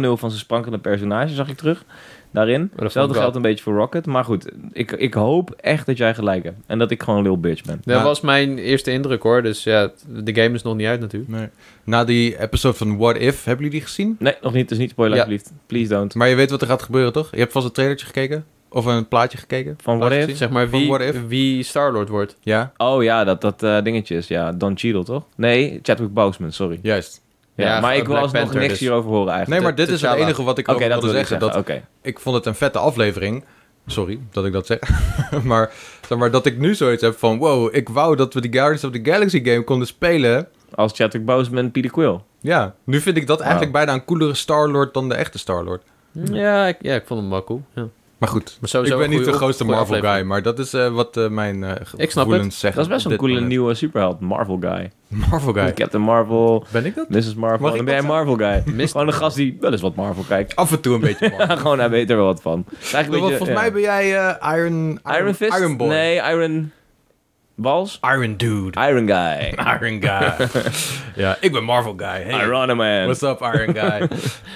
[SPEAKER 3] van zijn sprankende personage zag ik terug. Daarin.
[SPEAKER 2] vond ik
[SPEAKER 3] Hetzelfde
[SPEAKER 2] wel.
[SPEAKER 3] geldt een beetje voor Rocket. Maar goed, ik, ik hoop echt dat jij gelijk hebt. En dat ik gewoon een lil bitch ben.
[SPEAKER 2] Dat
[SPEAKER 1] Nou.
[SPEAKER 2] was mijn eerste indruk hoor. Dus ja, t- de game is nog niet uit natuurlijk.
[SPEAKER 1] Nee. Na die episode van What If, hebben jullie die gezien?
[SPEAKER 3] Nee, nog niet. Dus niet spoiler
[SPEAKER 2] Ja.
[SPEAKER 3] alsjeblieft. Please don't.
[SPEAKER 1] Maar je weet wat er gaat gebeuren, toch? Je hebt vast een trailertje gekeken? Of een plaatje gekeken?
[SPEAKER 3] Van What
[SPEAKER 1] Laat
[SPEAKER 3] If?
[SPEAKER 1] zien.
[SPEAKER 2] Zeg maar
[SPEAKER 1] Van
[SPEAKER 2] wie,
[SPEAKER 1] What If?
[SPEAKER 2] wie Star-Lord wordt.
[SPEAKER 1] Ja,
[SPEAKER 3] Oh ja, dat, dat eh, dingetje is. Ja, Don Cheadle, toch? Nee, Chadwick Boseman, sorry.
[SPEAKER 1] juist.
[SPEAKER 3] Ja,
[SPEAKER 2] Ja,
[SPEAKER 3] maar ik wil
[SPEAKER 2] Black
[SPEAKER 3] alsnog
[SPEAKER 2] Panther
[SPEAKER 3] niks
[SPEAKER 2] dus.
[SPEAKER 3] hierover horen eigenlijk.
[SPEAKER 1] Nee, maar dit is het
[SPEAKER 2] T'Challa.
[SPEAKER 1] enige wat ik
[SPEAKER 3] Oké,
[SPEAKER 1] over
[SPEAKER 3] dat
[SPEAKER 1] wilde
[SPEAKER 3] wil ik
[SPEAKER 1] zeggen.
[SPEAKER 3] zeggen.
[SPEAKER 1] Dat
[SPEAKER 3] Oké.
[SPEAKER 1] ik vond het een vette aflevering. Sorry dat ik dat zeg. maar, zeg maar dat ik nu zoiets heb van... Wow, ik wou dat we de Guardians of the Galaxy game konden spelen.
[SPEAKER 3] Als Chadwick Boseman, Peter Quill.
[SPEAKER 1] Ja, nu vind ik dat eigenlijk bijna een coolere Star-Lord dan de echte Star-Lord.
[SPEAKER 3] Hm.
[SPEAKER 2] Ja ik, ja, ik vond hem wel cool. Ja.
[SPEAKER 1] Maar goed,
[SPEAKER 2] Maar sowieso
[SPEAKER 1] ik ben
[SPEAKER 2] een
[SPEAKER 1] niet de
[SPEAKER 2] goeie-
[SPEAKER 1] grootste
[SPEAKER 2] goeie
[SPEAKER 1] Marvel
[SPEAKER 2] aflevering.
[SPEAKER 1] guy. Maar dat is eh, wat eh, mijn eh, ge-
[SPEAKER 2] Ik snap
[SPEAKER 1] gevoelens zeggen.
[SPEAKER 3] Dat is best
[SPEAKER 1] op
[SPEAKER 3] wel een
[SPEAKER 1] dit
[SPEAKER 3] coole
[SPEAKER 1] moment.
[SPEAKER 3] nieuwe superheld. Marvel guy.
[SPEAKER 1] Marvel guy.
[SPEAKER 3] Captain Marvel,
[SPEAKER 1] Ben ik dat?
[SPEAKER 3] Mrs.
[SPEAKER 1] Mag
[SPEAKER 3] Marvel.
[SPEAKER 1] ik
[SPEAKER 3] Dan ben jij
[SPEAKER 1] wat
[SPEAKER 3] Marvel guy.
[SPEAKER 2] Mist-
[SPEAKER 3] Gewoon een gast die wel eens wat Marvel kijkt.
[SPEAKER 1] Af en toe een beetje Marvel.
[SPEAKER 3] Gewoon, hij weet er wel wat van. Het is eigenlijk een
[SPEAKER 1] Want
[SPEAKER 3] beetje,
[SPEAKER 1] Volgens
[SPEAKER 3] ja.
[SPEAKER 1] mij ben jij eh, Iron...
[SPEAKER 3] Iron Fist?
[SPEAKER 1] Iron Boy.
[SPEAKER 3] Nee, Iron... Balls?
[SPEAKER 1] Iron Dude.
[SPEAKER 3] Iron guy.
[SPEAKER 1] Iron Guy. ja, ik ben Marvel guy. Hey.
[SPEAKER 3] Iron Man.
[SPEAKER 1] What's up, Iron Guy? Eh,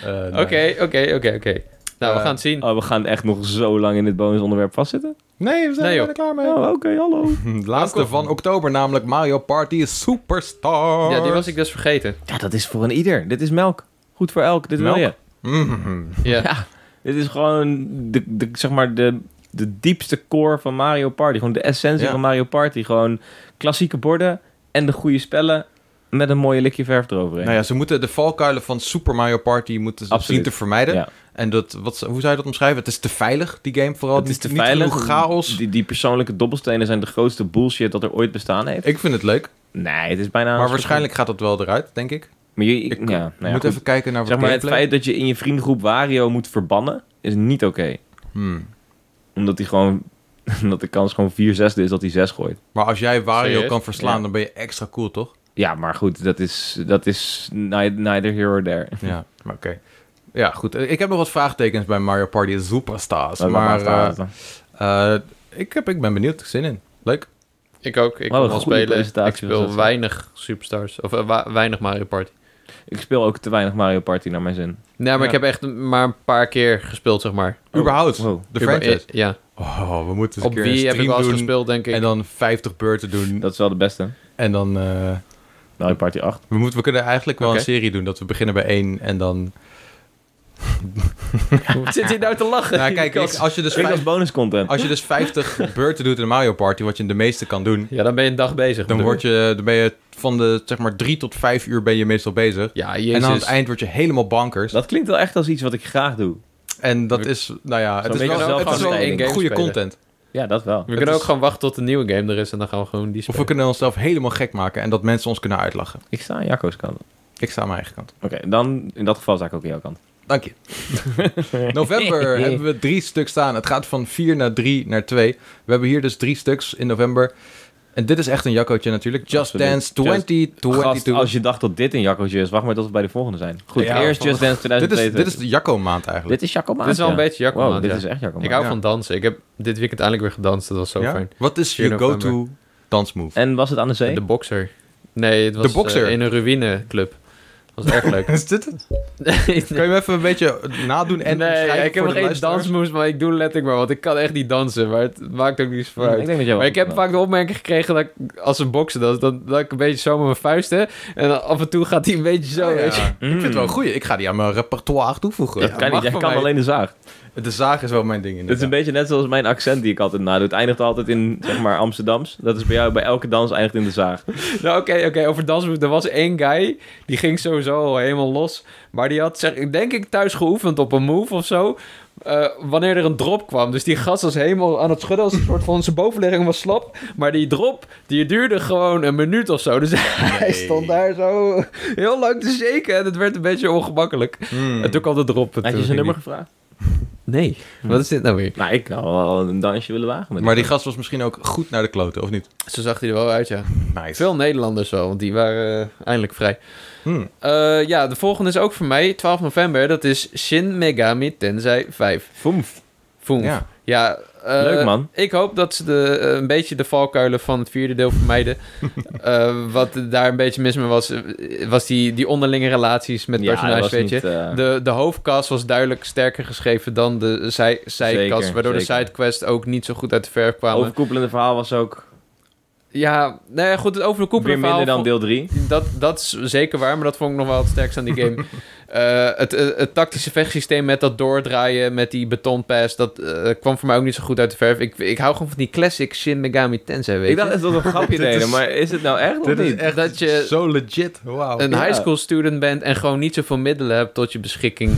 [SPEAKER 1] nee.
[SPEAKER 2] Oké, oké, oké, oké. Nou, we
[SPEAKER 1] Eh,
[SPEAKER 2] gaan het zien.
[SPEAKER 3] Oh, we gaan echt nog zo lang in dit bonusonderwerp vastzitten?
[SPEAKER 1] Nee, we zijn
[SPEAKER 2] Nee,
[SPEAKER 1] er
[SPEAKER 2] joh.
[SPEAKER 1] bijna klaar mee.
[SPEAKER 3] Oh, oké, hallo.
[SPEAKER 1] Hm, de laatste van oktober, namelijk Mario Party Superstar.
[SPEAKER 2] Ja, die was ik dus vergeten.
[SPEAKER 3] Ja, dat is voor een ieder. Dit is melk. Goed voor elk. Dit wil
[SPEAKER 1] Melk?
[SPEAKER 3] je.
[SPEAKER 1] Mhm.
[SPEAKER 2] Ja.
[SPEAKER 3] Dit is gewoon de, de, zeg maar de, de diepste core van Mario Party. Gewoon de essentie
[SPEAKER 1] Ja.
[SPEAKER 3] van Mario Party. Gewoon klassieke borden en de goede spellen met een mooie likje verf eroverheen.
[SPEAKER 1] Nou ja, ze moeten de valkuilen van Super Mario Party moeten ze
[SPEAKER 3] Absoluut.
[SPEAKER 1] zien te vermijden.
[SPEAKER 3] Ja.
[SPEAKER 1] En dat, wat, ze- hoe zou je dat omschrijven? Het is te veilig, die game vooral.
[SPEAKER 3] het is
[SPEAKER 1] Niet-
[SPEAKER 3] te
[SPEAKER 1] niet
[SPEAKER 3] veilig.
[SPEAKER 1] genoeg chaos.
[SPEAKER 3] Die, die persoonlijke dobbelstenen zijn de grootste bullshit dat er ooit bestaan heeft.
[SPEAKER 1] Ik vind het leuk,
[SPEAKER 3] Nee, het is bijna... een
[SPEAKER 1] maar
[SPEAKER 3] soort-
[SPEAKER 1] waarschijnlijk gaat dat wel eruit, denk ik.
[SPEAKER 3] Maar je, ik,
[SPEAKER 1] Ik
[SPEAKER 3] ja, nou ja,
[SPEAKER 1] moet
[SPEAKER 3] goed.
[SPEAKER 1] even kijken naar wat
[SPEAKER 3] zeg maar, het
[SPEAKER 1] gameplay.
[SPEAKER 3] feit dat je in je vriendengroep Wario moet verbannen is niet oké.
[SPEAKER 1] Hmm.
[SPEAKER 3] Omdat hij gewoon... Omdat de kans gewoon 4 zesde is dat hij 6 gooit.
[SPEAKER 1] Maar als jij Wario
[SPEAKER 2] Serieus?
[SPEAKER 1] kan verslaan,
[SPEAKER 3] Ja.
[SPEAKER 1] dan ben je extra cool, toch?
[SPEAKER 3] Ja, maar goed, dat is, dat is ni- neither here or there.
[SPEAKER 1] Ja, maar oké. Ja, goed. Eh, Ik heb nog wat vraagtekens bij Mario Party Superstars.
[SPEAKER 3] Dat
[SPEAKER 1] maar
[SPEAKER 3] maakt uit.
[SPEAKER 1] eh, eh, ik, heb, ik ben benieuwd. Ik heb Zin in. Leuk.
[SPEAKER 2] Ik ook. Ik
[SPEAKER 3] Wat een
[SPEAKER 2] kan wel
[SPEAKER 3] goede
[SPEAKER 2] spelen.
[SPEAKER 3] presentatie
[SPEAKER 2] Ik
[SPEAKER 3] was
[SPEAKER 2] speel
[SPEAKER 3] dat.
[SPEAKER 2] weinig Superstars. Of eh, wa- weinig Mario Party.
[SPEAKER 3] Ik speel ook te weinig Mario Party naar mijn zin.
[SPEAKER 2] Nee, maar
[SPEAKER 1] Ja.
[SPEAKER 2] ik heb echt maar een paar keer gespeeld, zeg maar.
[SPEAKER 1] Überhaupt.
[SPEAKER 3] wow.
[SPEAKER 1] De
[SPEAKER 2] Uber-
[SPEAKER 1] franchise.
[SPEAKER 2] eh, Ja.
[SPEAKER 1] Oh, we moeten eens
[SPEAKER 2] Op
[SPEAKER 1] een keer een
[SPEAKER 2] wie heb ik wel
[SPEAKER 1] stream
[SPEAKER 2] eens
[SPEAKER 1] doen.
[SPEAKER 2] gespeeld, denk ik.
[SPEAKER 1] En dan 50 beurten doen.
[SPEAKER 3] Dat is wel de beste.
[SPEAKER 1] En dan... eh,
[SPEAKER 3] Mario Party 8.
[SPEAKER 1] we, moeten, we kunnen eigenlijk wel
[SPEAKER 2] Oké.
[SPEAKER 1] een serie doen. Dat we beginnen bij één en dan...
[SPEAKER 2] Wat zit hier nou te lachen?
[SPEAKER 1] Nou, kijk, ik- als, je dus
[SPEAKER 3] Ik als
[SPEAKER 1] vijf-
[SPEAKER 3] bonus content.
[SPEAKER 1] als je dus 50 beurten doet in Mario Party, wat je de meeste kan doen...
[SPEAKER 2] Ja, dan ben je een dag bezig.
[SPEAKER 1] Dan, word je, dan ben je van de, zeg maar, drie tot vijf uur ben je meestal bezig.
[SPEAKER 2] Ja, jezus.
[SPEAKER 1] En aan het eind word je helemaal bankers.
[SPEAKER 3] Dat klinkt wel echt als iets wat ik graag doe.
[SPEAKER 1] En dat is, nou ja, het
[SPEAKER 3] Zo'n
[SPEAKER 1] is
[SPEAKER 3] beetje
[SPEAKER 1] wel,
[SPEAKER 3] zelf
[SPEAKER 1] het is
[SPEAKER 3] gaan
[SPEAKER 1] wel
[SPEAKER 3] spelen.
[SPEAKER 1] een goede
[SPEAKER 2] Spelen.
[SPEAKER 1] content.
[SPEAKER 3] Ja, dat wel.
[SPEAKER 2] We kunnen
[SPEAKER 1] is-
[SPEAKER 2] ook gewoon wachten tot de nieuwe game er is en dan gaan we gewoon die
[SPEAKER 1] Of we
[SPEAKER 2] spelen.
[SPEAKER 1] kunnen onszelf helemaal gek maken en dat mensen ons kunnen uitlachen.
[SPEAKER 3] Ik sta aan Jacco's kant.
[SPEAKER 1] Ik sta aan mijn eigen kant.
[SPEAKER 3] Oké, dan in dat geval sta ik ook aan jouw kant.
[SPEAKER 1] Dank je. november hebben we drie stuks staan. Het gaat van vier naar drie naar twee. We hebben hier dus drie stuks in november. En dit is echt een jaccootje natuurlijk. Just
[SPEAKER 3] Absoluut.
[SPEAKER 1] Dance
[SPEAKER 3] Just-
[SPEAKER 1] 2022.
[SPEAKER 3] Gast, als je dacht dat dit een Jacco'tje is, wacht maar tot we bij de volgende zijn. Goed,
[SPEAKER 1] Ja,
[SPEAKER 3] eerst
[SPEAKER 1] van-
[SPEAKER 3] Just Dance
[SPEAKER 1] dit, is,
[SPEAKER 3] 2022.
[SPEAKER 1] dit is de jacco maand eigenlijk.
[SPEAKER 3] Dit is Jacco
[SPEAKER 2] Dit is wel een beetje Jacco
[SPEAKER 3] Wow,
[SPEAKER 2] maand,
[SPEAKER 3] dit
[SPEAKER 2] ja.
[SPEAKER 3] is echt Jacco
[SPEAKER 2] Ik
[SPEAKER 3] maand.
[SPEAKER 2] hou van dansen. Ik heb dit weekend eindelijk weer gedanst. Dat was zo
[SPEAKER 1] Ja?
[SPEAKER 2] fijn.
[SPEAKER 1] Wat is
[SPEAKER 2] 4
[SPEAKER 1] je
[SPEAKER 2] november.
[SPEAKER 1] go-to dansmove?
[SPEAKER 3] En was het aan de zee?
[SPEAKER 2] De boxer. Nee, het was
[SPEAKER 1] De Boxer?
[SPEAKER 2] eh, in een ruïneclub. Dat was erg leuk.
[SPEAKER 1] Is dit het?
[SPEAKER 2] nee,
[SPEAKER 1] Kan je hem even een beetje nadoen en
[SPEAKER 2] nee,
[SPEAKER 1] omschrijven
[SPEAKER 2] eh, ik heb
[SPEAKER 1] voor
[SPEAKER 2] nog
[SPEAKER 1] de
[SPEAKER 2] geen
[SPEAKER 1] luisteraars?
[SPEAKER 2] dansmoves, maar ik doe letterlijk maar. Want ik kan echt niet dansen, maar het maakt ook niets
[SPEAKER 3] Ik
[SPEAKER 2] vooruit.
[SPEAKER 3] denk dat jij wel
[SPEAKER 2] Maar ik heb
[SPEAKER 3] goed
[SPEAKER 2] vaak de opmerking gekregen dat ik, als ze boksen, dat, dat, dat ik een beetje zo met mijn vuisten. En dan af en toe gaat hij een beetje zo.
[SPEAKER 1] Oh, ja.
[SPEAKER 2] weet je.
[SPEAKER 1] Ik vind het wel een goeie. Ik ga die aan mijn repertoire toevoegen.
[SPEAKER 2] Ja.
[SPEAKER 3] bent. Kan niet,
[SPEAKER 2] mag
[SPEAKER 3] jij
[SPEAKER 2] van
[SPEAKER 3] kan
[SPEAKER 2] mij.
[SPEAKER 3] alleen de zaag.
[SPEAKER 1] De zaag is wel mijn ding
[SPEAKER 3] Het is een
[SPEAKER 1] inderdaad.
[SPEAKER 3] beetje net zoals mijn accent die ik altijd nadoe. Het eindigt altijd in, zeg maar, Amsterdams. Dat is bij jou, bij elke dans eindigt in de zaag.
[SPEAKER 2] Nou, oké, oké. over dansmoves. Er was één guy, die ging sowieso al helemaal los. Maar die had, zeg, ik denk ik, thuis geoefend op een move of zo. eh, wanneer er een drop kwam. Dus die gast was helemaal aan het schudden. Als een soort van zijn bovenlegging was slap. Maar die drop, die duurde gewoon een minuut of zo. Dus hij stond daar zo heel lang te shaken. En het werd een beetje ongemakkelijk.
[SPEAKER 1] Hmm.
[SPEAKER 2] En toen kwam de drop. en
[SPEAKER 3] Had
[SPEAKER 2] toen
[SPEAKER 3] je zijn
[SPEAKER 2] ging
[SPEAKER 3] nummer
[SPEAKER 2] die-
[SPEAKER 3] gevraagd?
[SPEAKER 2] Nee. Wat is dit nou weer?
[SPEAKER 3] Nou, ik zou wel een dansje willen wagen met
[SPEAKER 1] Maar die gast was misschien ook goed naar de kloten, of niet?
[SPEAKER 2] Zo zag hij er wel uit, ja.
[SPEAKER 1] Nice.
[SPEAKER 2] Veel Nederlanders wel, want die waren eh, eindelijk vrij.
[SPEAKER 1] Hmm.
[SPEAKER 2] Eh, ja, de volgende is ook voor mij. 12 november, dat is Shin Megami Tensei 5.
[SPEAKER 3] Foemf.
[SPEAKER 2] Foemf.
[SPEAKER 1] Ja.
[SPEAKER 2] Ja, eh,
[SPEAKER 3] Leuk, man.
[SPEAKER 2] Ik hoop dat ze de, eh, een beetje de valkuilen van het vierde deel vermijden. Eh, wat daar een beetje mis mee was, eh, was die, die onderlinge relaties met
[SPEAKER 3] Ja, dat
[SPEAKER 2] personages,
[SPEAKER 3] was
[SPEAKER 2] weet
[SPEAKER 3] niet,
[SPEAKER 2] je.
[SPEAKER 3] eh,
[SPEAKER 2] De, de hoofdkast was duidelijk sterker geschreven dan de zij, zijkast,
[SPEAKER 3] Zeker,
[SPEAKER 2] waardoor de
[SPEAKER 3] zeker.
[SPEAKER 2] sidequest ook niet zo goed uit de verf kwamen.
[SPEAKER 3] overkoepelende verhaal was ook
[SPEAKER 2] Ja, nou ja, goed, het over de koepel
[SPEAKER 3] weer minder dan deel 3.
[SPEAKER 2] dat, dat is zeker waar, maar dat vond ik nog wel het sterkste aan die game. Eh, het, eh, het tactische vechtsysteem met dat doordraaien, met die betonpass, dat eh, kwam voor mij ook niet zo goed uit de verf. Ik, ik hou gewoon van die classic Shin Megami Tensei, weet
[SPEAKER 3] Ik
[SPEAKER 2] je.
[SPEAKER 3] dacht dat we een grapje
[SPEAKER 1] Dit is-
[SPEAKER 3] deden, maar is het nou echt of
[SPEAKER 1] Dit is
[SPEAKER 3] niet?
[SPEAKER 1] echt
[SPEAKER 2] Dat je-
[SPEAKER 1] zo legit. Wauw.
[SPEAKER 2] een
[SPEAKER 3] ja.
[SPEAKER 2] high school student bent en gewoon niet zoveel middelen hebt tot je beschikking.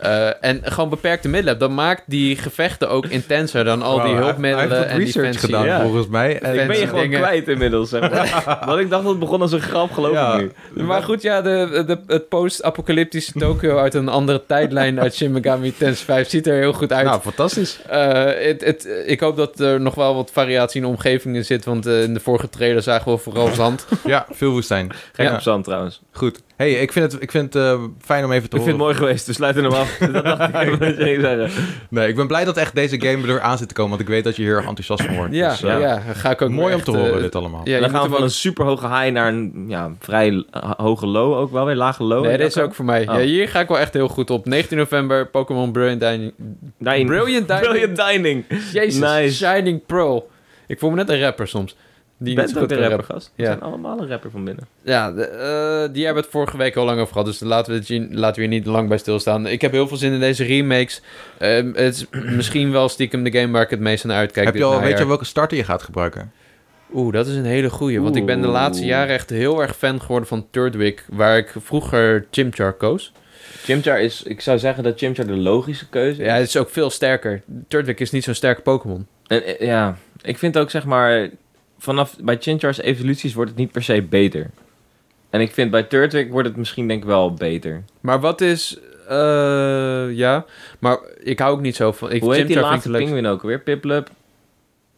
[SPEAKER 2] eh, en gewoon beperkte middelen hebt. Dat maakt die gevechten ook intenser dan al die
[SPEAKER 1] Wauw, hij-
[SPEAKER 2] hulpmiddelen
[SPEAKER 1] Hij heeft
[SPEAKER 2] en
[SPEAKER 1] wat research
[SPEAKER 2] defensie.
[SPEAKER 1] gedaan,
[SPEAKER 3] ja.
[SPEAKER 1] volgens mij. En-
[SPEAKER 3] Ik ben je
[SPEAKER 2] mensen
[SPEAKER 3] gewoon
[SPEAKER 2] dingen.
[SPEAKER 3] kwijt inmiddels, zeg maar. Want ik dacht dat het begon als een grap, geloof
[SPEAKER 1] Ja.
[SPEAKER 3] ik nu.
[SPEAKER 2] Maar goed, ja, de, de, het post-apocalyptische Tokyo uit een andere tijdlijn uit Shin Megami Tensei 5 ziet er heel goed uit.
[SPEAKER 1] Nou, fantastisch.
[SPEAKER 2] Eh, het, het, ik hoop dat er nog wel wat variatie in de omgevingen zit, want eh, in de vorige trailer zagen we vooral zand.
[SPEAKER 1] Ja, veel woestijn.
[SPEAKER 3] Gek
[SPEAKER 1] Ja.
[SPEAKER 3] op zand trouwens.
[SPEAKER 1] Goed. hey, ik vind het, ik vind het eh, fijn om even te
[SPEAKER 3] Ik vind het
[SPEAKER 1] horen.
[SPEAKER 3] mooi geweest, we sluiten hem af. dat dacht ik, ik wil het zeggen.
[SPEAKER 1] Nee, ik ben blij dat echt deze game er aan zit te komen, want ik weet dat je hier enthousiast van wordt.
[SPEAKER 2] Ja,
[SPEAKER 1] Dus, eh,
[SPEAKER 2] ja. ga ik ook
[SPEAKER 1] mooi om
[SPEAKER 2] echt,
[SPEAKER 1] te horen
[SPEAKER 2] eh,
[SPEAKER 1] dit allemaal.
[SPEAKER 2] Ja, je moet
[SPEAKER 3] dan gaan
[SPEAKER 2] hem
[SPEAKER 3] we van
[SPEAKER 2] ook-
[SPEAKER 3] een super hoge high naar een ja, vrij ho- hoge low ook wel weer. Lage low.
[SPEAKER 2] Nee, dit is ook voor mij.
[SPEAKER 3] Oh.
[SPEAKER 2] Ja, hier ga ik wel echt heel goed op. 19 november, Pokémon Brilliant Dining.
[SPEAKER 3] Dining.
[SPEAKER 2] Brilliant Dining.
[SPEAKER 3] Brilliant dining.
[SPEAKER 2] Jezus,
[SPEAKER 3] Nice.
[SPEAKER 2] Shining Pearl. Ik voel me net een rapper soms. Die
[SPEAKER 3] Je
[SPEAKER 2] niet zo
[SPEAKER 3] bent ook
[SPEAKER 2] goed
[SPEAKER 3] de
[SPEAKER 2] kan
[SPEAKER 3] rapper,
[SPEAKER 2] rappen.
[SPEAKER 3] gast.
[SPEAKER 2] Ja.
[SPEAKER 3] We zijn allemaal een rapper van binnen.
[SPEAKER 2] Ja, de, eh, die hebben we het vorige week al lang over gehad. Dus laten we, het hier- laten we hier niet lang bij stilstaan. Ik heb heel veel zin in deze remakes. Ehm, het is misschien wel stiekem de game waar ik nou het meest naar uitkijk.
[SPEAKER 1] Heb je
[SPEAKER 2] dit
[SPEAKER 1] al, weet
[SPEAKER 2] najaar.
[SPEAKER 1] je welke starter je gaat gebruiken?
[SPEAKER 2] Oeh, dat is een hele goeie. Want ik ben de
[SPEAKER 3] Oeh.
[SPEAKER 2] laatste jaren echt heel erg fan geworden van Turtwig. Waar ik vroeger Chimchar koos.
[SPEAKER 3] Chimchar is, ik zou zeggen dat Chimchar de logische keuze
[SPEAKER 2] Ja, het is ook veel sterker. Turtwig is niet zo'n sterke Pokémon.
[SPEAKER 3] En, eh, ja, ik vind ook zeg maar, vanaf bij Chinchar's evoluties wordt het niet per se beter. En ik vind bij Turtwig wordt het misschien denk ik wel beter.
[SPEAKER 2] Maar wat is... eh, ja, maar ik hou ook niet zo van... Ik,
[SPEAKER 3] Hoe heet die
[SPEAKER 2] Chimchar vind
[SPEAKER 3] laatste
[SPEAKER 2] ik leuk.
[SPEAKER 3] pinguïn ook weer? Piplup,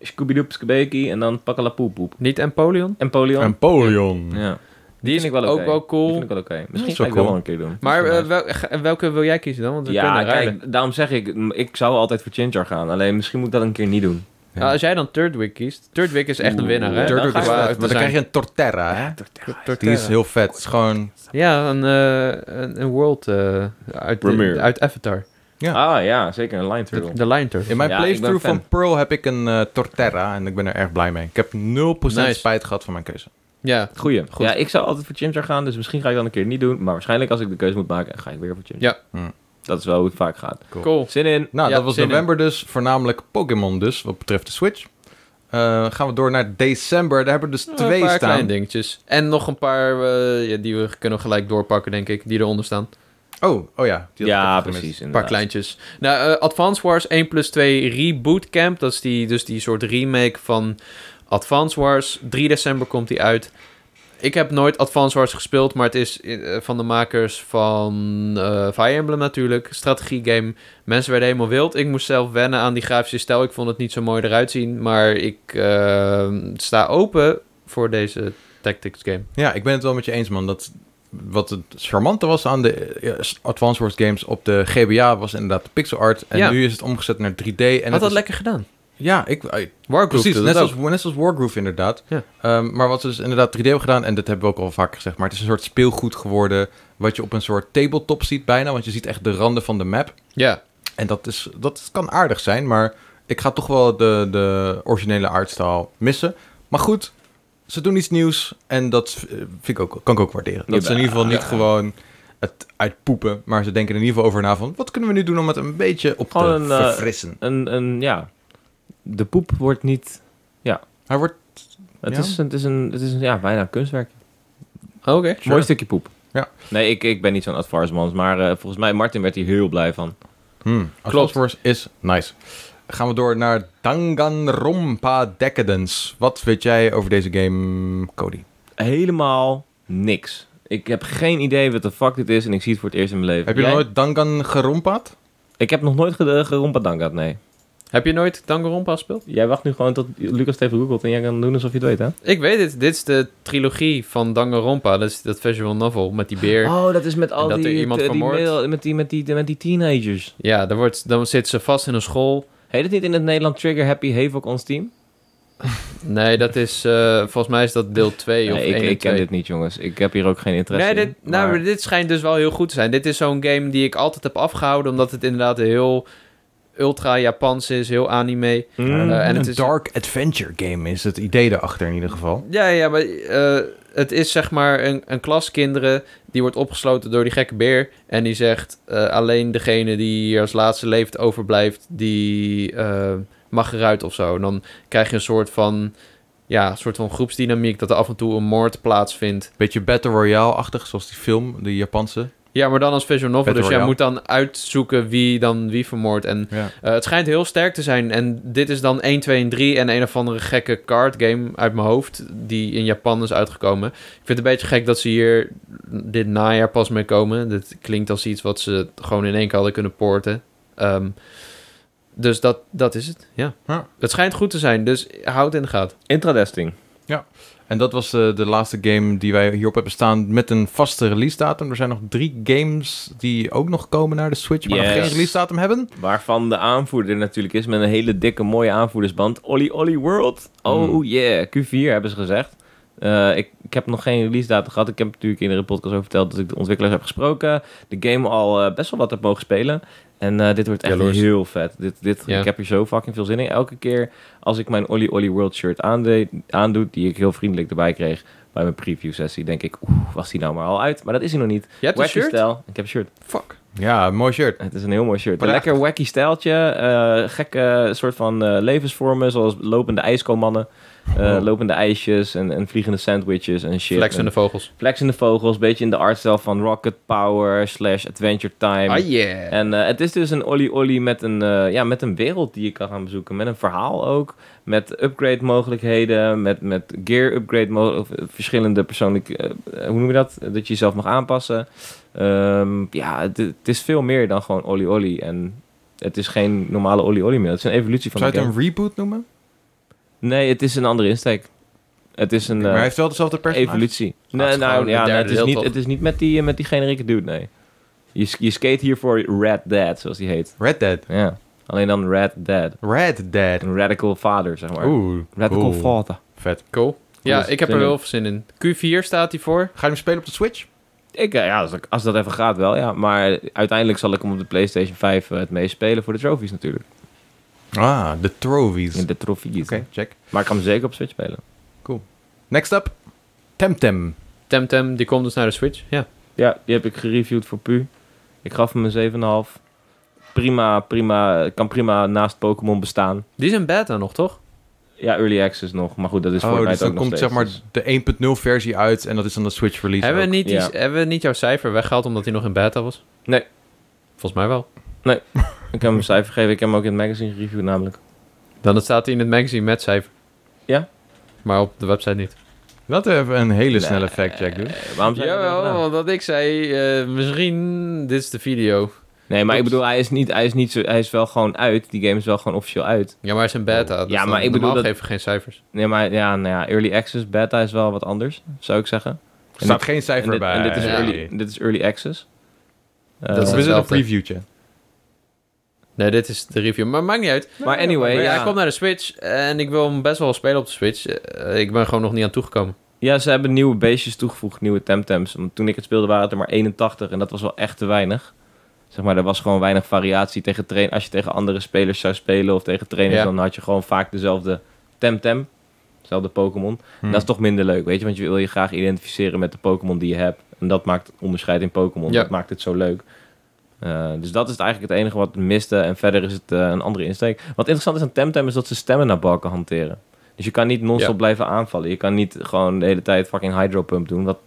[SPEAKER 3] Scooby-Doo, Skibeki en dan Pakalapoepoep.
[SPEAKER 2] Niet Empoleon?
[SPEAKER 3] En Polion.
[SPEAKER 1] Empoleon.
[SPEAKER 3] ja. Die,
[SPEAKER 2] Die is
[SPEAKER 3] vind ik wel
[SPEAKER 2] ook
[SPEAKER 3] oké.
[SPEAKER 2] wel cool.
[SPEAKER 3] Die vind ik wel oké. Misschien
[SPEAKER 1] is
[SPEAKER 3] ga
[SPEAKER 1] wel
[SPEAKER 3] ik dat
[SPEAKER 1] cool.
[SPEAKER 3] wel een keer doen.
[SPEAKER 2] Maar
[SPEAKER 3] Dat is wel
[SPEAKER 2] eh, wel- ga- welke wil jij kiezen dan? Want
[SPEAKER 3] nice.
[SPEAKER 2] we
[SPEAKER 3] ja,
[SPEAKER 2] kunnen ruilen.
[SPEAKER 3] kijk, daarom zeg ik, m- ik zou altijd voor Chinchar gaan. Alleen misschien moet ik dat een keer niet doen.
[SPEAKER 1] Ja.
[SPEAKER 2] Nou, als jij dan Turtwig kiest... Turtwig is echt een
[SPEAKER 3] Oeh,
[SPEAKER 2] winnaar, hè?
[SPEAKER 3] Turtwig
[SPEAKER 1] Turtwig is vet,
[SPEAKER 2] Qua
[SPEAKER 3] ga ik wel
[SPEAKER 2] uit
[SPEAKER 1] maar dan
[SPEAKER 2] design.
[SPEAKER 1] krijg je een Torterra, hè? Die is
[SPEAKER 2] Torterra.
[SPEAKER 1] heel vet. Het is gewoon...
[SPEAKER 2] Ja, een, eh, een, een world eh, uit,
[SPEAKER 3] Premier.
[SPEAKER 2] uit Avatar.
[SPEAKER 3] Ah ja, zeker een line turtle.
[SPEAKER 2] De, de Lion Turtle.
[SPEAKER 1] In mijn
[SPEAKER 3] Ja, ik ben
[SPEAKER 1] playthrough
[SPEAKER 3] fan.
[SPEAKER 1] van Pearl heb ik een eh, Torterra en ik ben er erg blij mee. Ik heb 0%
[SPEAKER 2] Nice.
[SPEAKER 1] spijt gehad van mijn keuze.
[SPEAKER 2] Ja,
[SPEAKER 3] Goeie.
[SPEAKER 2] Goed.
[SPEAKER 3] Ja, ik zou altijd voor Chimchar gaan, dus misschien ga ik dan een keer niet doen. Maar waarschijnlijk als ik de keuze moet maken, ga ik weer voor Chimchar.
[SPEAKER 2] Ja.
[SPEAKER 1] Hmm.
[SPEAKER 3] Dat is wel hoe het vaak gaat.
[SPEAKER 2] cool.
[SPEAKER 3] Zin in.
[SPEAKER 1] Nou,
[SPEAKER 2] Ja,
[SPEAKER 1] dat was
[SPEAKER 2] zin in.
[SPEAKER 1] november dus. Voornamelijk Pokémon dus, wat betreft de Switch. Eh, gaan we door naar december. Daar hebben we dus
[SPEAKER 2] Eh, een
[SPEAKER 1] twee
[SPEAKER 2] paar
[SPEAKER 1] staan.
[SPEAKER 2] kleine dingetjes. En nog een paar eh, ja, die we kunnen gelijk doorpakken, denk ik. Die eronder staan. Een
[SPEAKER 1] Oh, oh ja. die had ik
[SPEAKER 3] Ja,
[SPEAKER 1] even gemist.
[SPEAKER 3] precies.
[SPEAKER 2] paar
[SPEAKER 3] inderdaad.
[SPEAKER 2] kleintjes. Nou, eh, Advance Wars 1 plus 2 Reboot Camp. Dat is die, dus die soort remake van Advance Wars. 3 december komt die uit. Ik heb nooit Advance Wars gespeeld, maar het is eh, van de makers van eh, Fire Emblem natuurlijk. Strategiegame. Mensen werden helemaal wild. Ik moest zelf wennen aan die grafische stijl. Ik vond het niet zo mooi eruit zien, maar ik eh, sta open voor deze tactics game.
[SPEAKER 1] Ja, ik ben het wel met je eens, man. Dat, wat het charmante was aan de eh, Advance Wars games op de GBA was inderdaad de pixel art. En
[SPEAKER 2] Ja.
[SPEAKER 1] nu is het omgezet naar 3D. En het
[SPEAKER 2] Had dat
[SPEAKER 1] is-
[SPEAKER 2] lekker gedaan.
[SPEAKER 1] Ja, ik, eh,
[SPEAKER 2] Wargroove
[SPEAKER 1] precies.
[SPEAKER 2] doet
[SPEAKER 1] Net
[SPEAKER 2] dat ook.
[SPEAKER 1] zoals, net zoals Wargroove inderdaad.
[SPEAKER 2] Ja.
[SPEAKER 1] Ehm, maar wat ze dus inderdaad 3D hebben gedaan, en dat hebben we ook al vaker gezegd, maar het is een soort speelgoed geworden wat je op een soort tabletop ziet bijna. Want je ziet echt de randen van de map.
[SPEAKER 2] Ja,
[SPEAKER 1] En dat, is, dat kan aardig zijn, maar ik ga toch wel de, de originele artstyle missen. Maar goed, ze doen iets nieuws en dat eh, vind ik ook, kan ik ook waarderen. Dat ze in ieder geval niet gewoon het uitpoepen, maar ze denken er in ieder geval over na van... wat kunnen we nu doen om het een beetje op
[SPEAKER 3] Gewoon
[SPEAKER 1] te
[SPEAKER 3] een, eh,
[SPEAKER 1] verfrissen?
[SPEAKER 3] Een, een, ja. De poep wordt niet...
[SPEAKER 1] Hij wordt...
[SPEAKER 3] Het,
[SPEAKER 1] Ja?
[SPEAKER 3] is, het is een, het is een ja, bijna een kunstwerk.
[SPEAKER 2] oké.
[SPEAKER 3] Mooi stukje poep.
[SPEAKER 1] Ja.
[SPEAKER 3] Nee, ik, ik ben niet zo'n advance man, maar eh, volgens mij, Martin werd hier heel blij van.
[SPEAKER 1] Hmm, Klopt. Wars is nice. Gaan we door naar Danganronpa Decadence. Wat weet jij over deze game, Cody?
[SPEAKER 3] Helemaal niks. Ik heb geen idee wat de fuck dit is en ik zie het voor het eerst in mijn leven.
[SPEAKER 1] Heb je
[SPEAKER 3] Jij?
[SPEAKER 1] nog nooit Danganronpaad?
[SPEAKER 3] Ik Ik heb nog nooit ge- gerompadang gehad, nee.
[SPEAKER 2] Heb je nooit Danganronpa gespeeld?
[SPEAKER 3] Jij wacht nu gewoon tot Lucas het even googelt en jij kan doen alsof je het weet, hè?
[SPEAKER 2] Ik weet het. Dit is de trilogie van Danganronpa. Dat is dat visual novel met die beer.
[SPEAKER 3] Oh, dat is met
[SPEAKER 2] En
[SPEAKER 3] al
[SPEAKER 2] dat er
[SPEAKER 3] die... eh,
[SPEAKER 2] iemand
[SPEAKER 3] die
[SPEAKER 2] vermoord-
[SPEAKER 3] middel- met, die, met, die, met die teenagers.
[SPEAKER 2] Ja, dan, wordt, dan zit ze vast in een school.
[SPEAKER 3] Heet het niet in het Nederland Trigger Happy Havoc ons team?
[SPEAKER 2] Nee, dat is... eh, volgens mij is dat deel 2 of
[SPEAKER 3] Nee,
[SPEAKER 2] 1
[SPEAKER 3] ik,
[SPEAKER 2] en
[SPEAKER 3] ik ken
[SPEAKER 2] 2.
[SPEAKER 3] dit niet, jongens. Ik heb hier ook geen interesse
[SPEAKER 2] Nee, dit,
[SPEAKER 3] in.
[SPEAKER 2] nou,
[SPEAKER 3] maar-
[SPEAKER 2] maar dit schijnt dus wel heel goed te zijn. Dit is zo'n game die ik altijd heb afgehouden, omdat het inderdaad heel ultra Japans is, heel anime.
[SPEAKER 3] Mm.
[SPEAKER 2] Eh, en
[SPEAKER 1] een
[SPEAKER 2] het is-
[SPEAKER 1] dark adventure game is het idee daarachter in ieder geval.
[SPEAKER 2] Ja, ja, maar eh, het is zeg maar een, een klas kinderen die wordt opgesloten door die gekke beer. En die zegt eh, alleen degene die hier als laatste leeft overblijft, die eh, mag eruit of zo. En dan krijg je een soort van, ja, een soort van groepsdynamiek dat er af en toe een moord plaatsvindt.
[SPEAKER 1] Beetje Battle Royale-achtig, zoals die film, de Japanse.
[SPEAKER 2] Ja, maar dan als visual novel.
[SPEAKER 1] Battle
[SPEAKER 2] dus jij
[SPEAKER 1] Royale.
[SPEAKER 2] moet dan uitzoeken wie dan wie vermoordt. En
[SPEAKER 1] Ja.
[SPEAKER 2] Eh, het schijnt heel sterk te zijn. En dit is dan 1, 2 en 3 en een of andere gekke card game uit mijn hoofd. Die in Japan is uitgekomen. Ik vind het een beetje gek dat ze hier dit najaar pas mee komen. Dit klinkt als iets wat ze gewoon in één keer hadden kunnen poorten. Ehm, dus dat, dat is het, ja.
[SPEAKER 1] Ja.
[SPEAKER 2] Het schijnt goed te zijn, dus houd het in de gaten.
[SPEAKER 3] Intradesting.
[SPEAKER 1] En dat was eh, de laatste game die wij hierop hebben staan met een vaste release datum. Er zijn nog drie games die ook nog komen naar de Switch, maar nog
[SPEAKER 3] Yes.
[SPEAKER 1] geen release datum hebben.
[SPEAKER 3] Waarvan de aanvoerder natuurlijk is met een hele dikke mooie aanvoerdersband. Olly Olly World. Oh
[SPEAKER 2] Hmm.
[SPEAKER 1] Mm.
[SPEAKER 3] yeah, Q4 hebben ze gezegd. Eh, ik, ik heb nog geen release datum gehad. Ik heb natuurlijk in de podcast over verteld dat ik de ontwikkelaars heb gesproken. De game al eh, best wel wat heb mogen spelen. En eh, dit wordt echt
[SPEAKER 2] Jaloers.
[SPEAKER 3] heel vet. Dit, dit,
[SPEAKER 2] Ja.
[SPEAKER 3] Ik heb hier zo fucking veel zin in. Elke keer als ik mijn Olly Olly World shirt aandeed, aandoet, die ik heel vriendelijk erbij kreeg bij mijn preview sessie, denk ik, oeh, was die nou maar al uit? Maar dat is hij nog niet.
[SPEAKER 2] Je hebt een
[SPEAKER 3] Wacky
[SPEAKER 2] shirt?
[SPEAKER 3] stijl. Ik heb een shirt.
[SPEAKER 2] Fuck.
[SPEAKER 1] Ja, mooi shirt.
[SPEAKER 3] Het is een heel mooi shirt. Een
[SPEAKER 1] Prachtig.
[SPEAKER 3] lekker wacky stijltje. eh gekke soort van eh, levensvormen, zoals lopende ijskomannen. eh,
[SPEAKER 1] Wow.
[SPEAKER 3] Lopende ijsjes en, en vliegende sandwiches en shit.
[SPEAKER 2] Oh. Flex en de
[SPEAKER 3] En
[SPEAKER 2] vogels.
[SPEAKER 3] flexende vogels, beetje in de artstijl van Rocket Power slash Adventure Time.
[SPEAKER 2] Ah yeah.
[SPEAKER 3] En eh, het is dus een Olly Olly met een, eh, ja, met een wereld die je kan gaan bezoeken. Met een verhaal ook. Met upgrade mogelijkheden. Met, met gear upgrade mogelijkheden. Verschillende persoonlijke... eh, eh, hoe noem je dat? Dat je jezelf mag aanpassen. Ehm, ja, het, het is veel meer dan gewoon Olly Olly. En het is geen normale Olly Olly meer. Het is een evolutie van
[SPEAKER 1] Zou
[SPEAKER 3] de
[SPEAKER 1] je het
[SPEAKER 3] game.
[SPEAKER 1] een reboot noemen?
[SPEAKER 3] Nee, het is een andere insteek. Het is een... eh,
[SPEAKER 1] maar hij heeft wel dezelfde personage.
[SPEAKER 3] evolutie.
[SPEAKER 2] het
[SPEAKER 3] Nee,
[SPEAKER 2] is gewoon
[SPEAKER 3] nou,
[SPEAKER 2] het
[SPEAKER 3] ja, nee,
[SPEAKER 2] derde
[SPEAKER 3] het, is
[SPEAKER 2] deel,
[SPEAKER 3] niet,
[SPEAKER 2] toch?
[SPEAKER 3] het is niet met die, eh, met die generieke dude, nee. Je, sk- je skate hiervoor Red Dead, zoals die heet.
[SPEAKER 1] Red Dead.
[SPEAKER 3] Ja. Alleen dan Red Dead.
[SPEAKER 1] Red Dead.
[SPEAKER 3] Een radical vader, zeg maar.
[SPEAKER 1] Oeh,
[SPEAKER 3] Radical
[SPEAKER 1] cool.
[SPEAKER 3] vader.
[SPEAKER 1] Vet.
[SPEAKER 2] Cool. Ja,
[SPEAKER 3] Alles
[SPEAKER 2] ik heb er
[SPEAKER 3] zin in.
[SPEAKER 2] wel veel zin in. Q4 staat hij voor.
[SPEAKER 1] Ga je hem spelen op de Switch?
[SPEAKER 3] Ik, eh, ja, als, ik- als dat even gaat wel, ja. Maar uiteindelijk zal ik hem op de PlayStation 5 eh, het meest spelen voor de trophies natuurlijk.
[SPEAKER 1] Ah, de trophies.
[SPEAKER 3] In
[SPEAKER 1] Oké,
[SPEAKER 3] de trofeeën.
[SPEAKER 1] check.
[SPEAKER 3] Maar ik kan hem zeker op Switch spelen.
[SPEAKER 1] Next up, Temtem.
[SPEAKER 2] Temtem, die komt dus naar de Switch. Ja.
[SPEAKER 3] Ja, die heb ik gereviewd voor Pu. Ik gaf hem een 7,5. Prima, prima. Kan prima naast Pokémon bestaan.
[SPEAKER 2] Die is in beta nog, toch?
[SPEAKER 3] Ja, Early Access nog. Maar goed, dat is
[SPEAKER 1] oh,
[SPEAKER 3] Fortnite
[SPEAKER 1] dus dan
[SPEAKER 3] ook nog
[SPEAKER 1] komt zeg
[SPEAKER 3] steeds,
[SPEAKER 1] maar
[SPEAKER 3] dus-
[SPEAKER 1] de 1.0 versie uit en dat is dan de Switch release
[SPEAKER 2] Hebben we,
[SPEAKER 1] ook.
[SPEAKER 2] niet die,
[SPEAKER 3] Ja.
[SPEAKER 2] hebben we niet jouw cijfer weggehaald omdat hij nog in beta was?
[SPEAKER 3] Nee.
[SPEAKER 2] Volgens mij wel.
[SPEAKER 3] Ik heb hem een cijfer gegeven. Ik heb hem ook in het magazine gereviewd namelijk.
[SPEAKER 2] Dan staat hij in het magazine met cijfer.
[SPEAKER 3] Ja?
[SPEAKER 2] Maar op de website niet.
[SPEAKER 1] Laten we even een hele snelle fact-check doen.
[SPEAKER 3] Eh, waarom zijn
[SPEAKER 2] want wat ik zei, eh, misschien dit is de video.
[SPEAKER 3] Nee, maar ik
[SPEAKER 2] Klopt.
[SPEAKER 3] bedoel, hij is, niet, hij, is niet zo, hij is wel gewoon uit. Die game is wel gewoon officieel uit.
[SPEAKER 2] Ja, maar hij is in beta. Dus
[SPEAKER 3] Ja,
[SPEAKER 2] dan-
[SPEAKER 3] maar ik bedoel
[SPEAKER 2] normaal
[SPEAKER 3] dat-
[SPEAKER 2] geven we geen cijfers.
[SPEAKER 3] Nee, maar ja, nou ja, early access beta is wel wat anders, zou ik zeggen.
[SPEAKER 1] Er staat
[SPEAKER 3] dit-
[SPEAKER 1] geen cijfer
[SPEAKER 3] en dit,
[SPEAKER 1] bij.
[SPEAKER 3] en dit, is,
[SPEAKER 2] Ja.
[SPEAKER 3] early, dit is early access. Eh,
[SPEAKER 1] dat
[SPEAKER 2] Dat is
[SPEAKER 1] is een
[SPEAKER 2] hetzelfde.
[SPEAKER 1] previewtje.
[SPEAKER 2] Nee, dit is de review. Maar maakt niet uit.
[SPEAKER 3] maar anyway,
[SPEAKER 2] Maar ja,
[SPEAKER 3] ja,
[SPEAKER 2] Hij komt naar de Switch en ik wil hem best wel spelen op de Switch. Eh, ik ben gewoon nog niet aan toegekomen.
[SPEAKER 3] ja, ze hebben nieuwe beestjes toegevoegd, nieuwe temtems. Want toen ik het speelde waren het er maar 81 en dat was wel echt te weinig. Zeg maar, er was gewoon weinig variatie tegen train. Als je tegen andere spelers zou spelen of tegen trainers,
[SPEAKER 2] Ja.
[SPEAKER 3] dan had je gewoon vaak dezelfde temtem. Dezelfde Pokémon.
[SPEAKER 2] Hmm.
[SPEAKER 3] En Dat is toch minder leuk, weet je? Want je wil je graag identificeren met de Pokémon die je hebt. En dat maakt onderscheid in Pokémon.
[SPEAKER 2] Ja.
[SPEAKER 3] Dat maakt het zo leuk. Eh, dus dat is eigenlijk het enige wat het miste. En verder is het eh, een andere insteek. Wat interessant is aan Temtem is dat ze stemmen naar balken hanteren. Dus je kan niet non-stop
[SPEAKER 2] Ja.
[SPEAKER 3] blijven aanvallen. Je kan niet gewoon de hele tijd fucking hydropump doen. Wat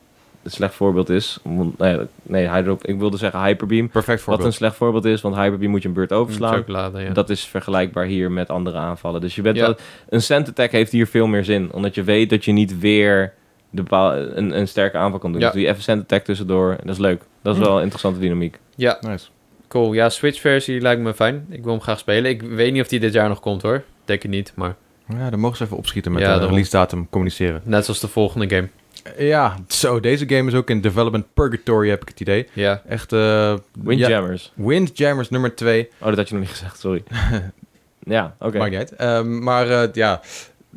[SPEAKER 3] een slecht voorbeeld is. Want- Nee, nee hydro, ik wilde zeggen hyperbeam.
[SPEAKER 1] Perfect
[SPEAKER 3] Wat een
[SPEAKER 1] voorbeeld.
[SPEAKER 3] slecht voorbeeld is, want hyperbeam moet je een beurt overslaan.
[SPEAKER 2] Chocolade, ja.
[SPEAKER 3] Dat is vergelijkbaar hier met andere aanvallen. Dus je bent
[SPEAKER 2] Ja.
[SPEAKER 3] wel, een cent attack heeft hier veel meer zin. Omdat je weet dat je niet weer de ba- een, een sterke aanval kan doen.
[SPEAKER 2] Ja.
[SPEAKER 3] Dus doe je even cent attack tussendoor. En dat is leuk. Dat is wel een interessante dynamiek.
[SPEAKER 2] Ja,
[SPEAKER 1] Nice.
[SPEAKER 2] Cool, ja, Switch-versie lijkt me fijn. Ik wil hem graag spelen. Ik weet niet of die dit jaar nog komt hoor. Ik Denk het niet, maar
[SPEAKER 1] Ja, dan mogen ze even opschieten met
[SPEAKER 2] Ja,
[SPEAKER 1] de
[SPEAKER 2] daarom.
[SPEAKER 1] release datum communiceren.
[SPEAKER 2] net zoals de volgende game.
[SPEAKER 1] Ja, zo, deze game is ook in development purgatory, heb ik het idee.
[SPEAKER 2] Ja,
[SPEAKER 1] Echt, eh ja,
[SPEAKER 3] Windjammers.
[SPEAKER 1] Windjammers nummer 2.
[SPEAKER 3] Oh, dat had je nog niet gezegd, sorry. ja, oké.
[SPEAKER 1] Maakt niet uit. Ehm, maar eh, ja,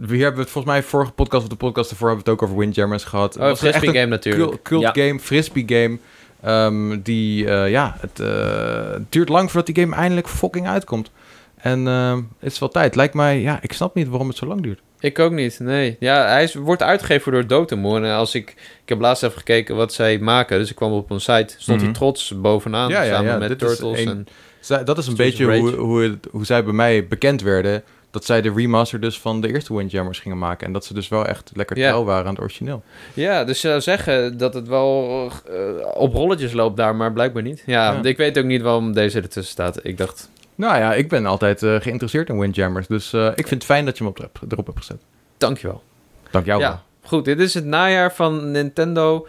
[SPEAKER 1] hier hebben we het volgens mij vorige podcast of de podcast ervoor hebben we het ook over Windjammers gehad.
[SPEAKER 2] oh, frisbee game natuurlijk.
[SPEAKER 1] Cult, cult
[SPEAKER 3] Ja.
[SPEAKER 1] game, frisbee game. Ehm, die, eh, ja, het eh, duurt lang voordat die game eindelijk fucking uitkomt. En ehm, het is wel tijd. Lijkt mij, ja, ik snap niet waarom het zo lang duurt.
[SPEAKER 2] Ik ook niet, nee. Ja, hij is, wordt uitgegeven door Dotemu. En eh, als ik, ik heb laatst even gekeken wat zij maken. Dus ik kwam op een site, stond
[SPEAKER 1] Mhm.
[SPEAKER 2] hij trots bovenaan.
[SPEAKER 1] Ja, ja,
[SPEAKER 2] samen
[SPEAKER 1] ja,
[SPEAKER 2] met
[SPEAKER 1] dit is
[SPEAKER 2] Turtles.
[SPEAKER 1] een-
[SPEAKER 2] en,
[SPEAKER 1] Zij- dat is een
[SPEAKER 2] Streets of
[SPEAKER 1] beetje hoe,
[SPEAKER 2] Rage.
[SPEAKER 1] hoe, het- hoe zij bij mij bekend werden. Dat zij de remaster dus van de eerste Windjammers gingen maken. En dat ze dus wel echt lekker
[SPEAKER 2] Ja.
[SPEAKER 1] trouw waren aan het origineel.
[SPEAKER 2] ja, dus je zou zeggen dat het wel eh, op rolletjes loopt daar, maar blijkbaar niet. Ja,
[SPEAKER 1] Ja.
[SPEAKER 2] ik weet ook niet waarom deze ertussen staat. Ik dacht,
[SPEAKER 1] Nou ja, ik ben altijd eh, geïnteresseerd in Windjammers. Dus eh, ik vind het fijn dat je hem op, de- erop hebt gezet.
[SPEAKER 2] dankjewel.
[SPEAKER 1] Dank jou wel.
[SPEAKER 2] Ja, goed. Dit is het najaar van Nintendo.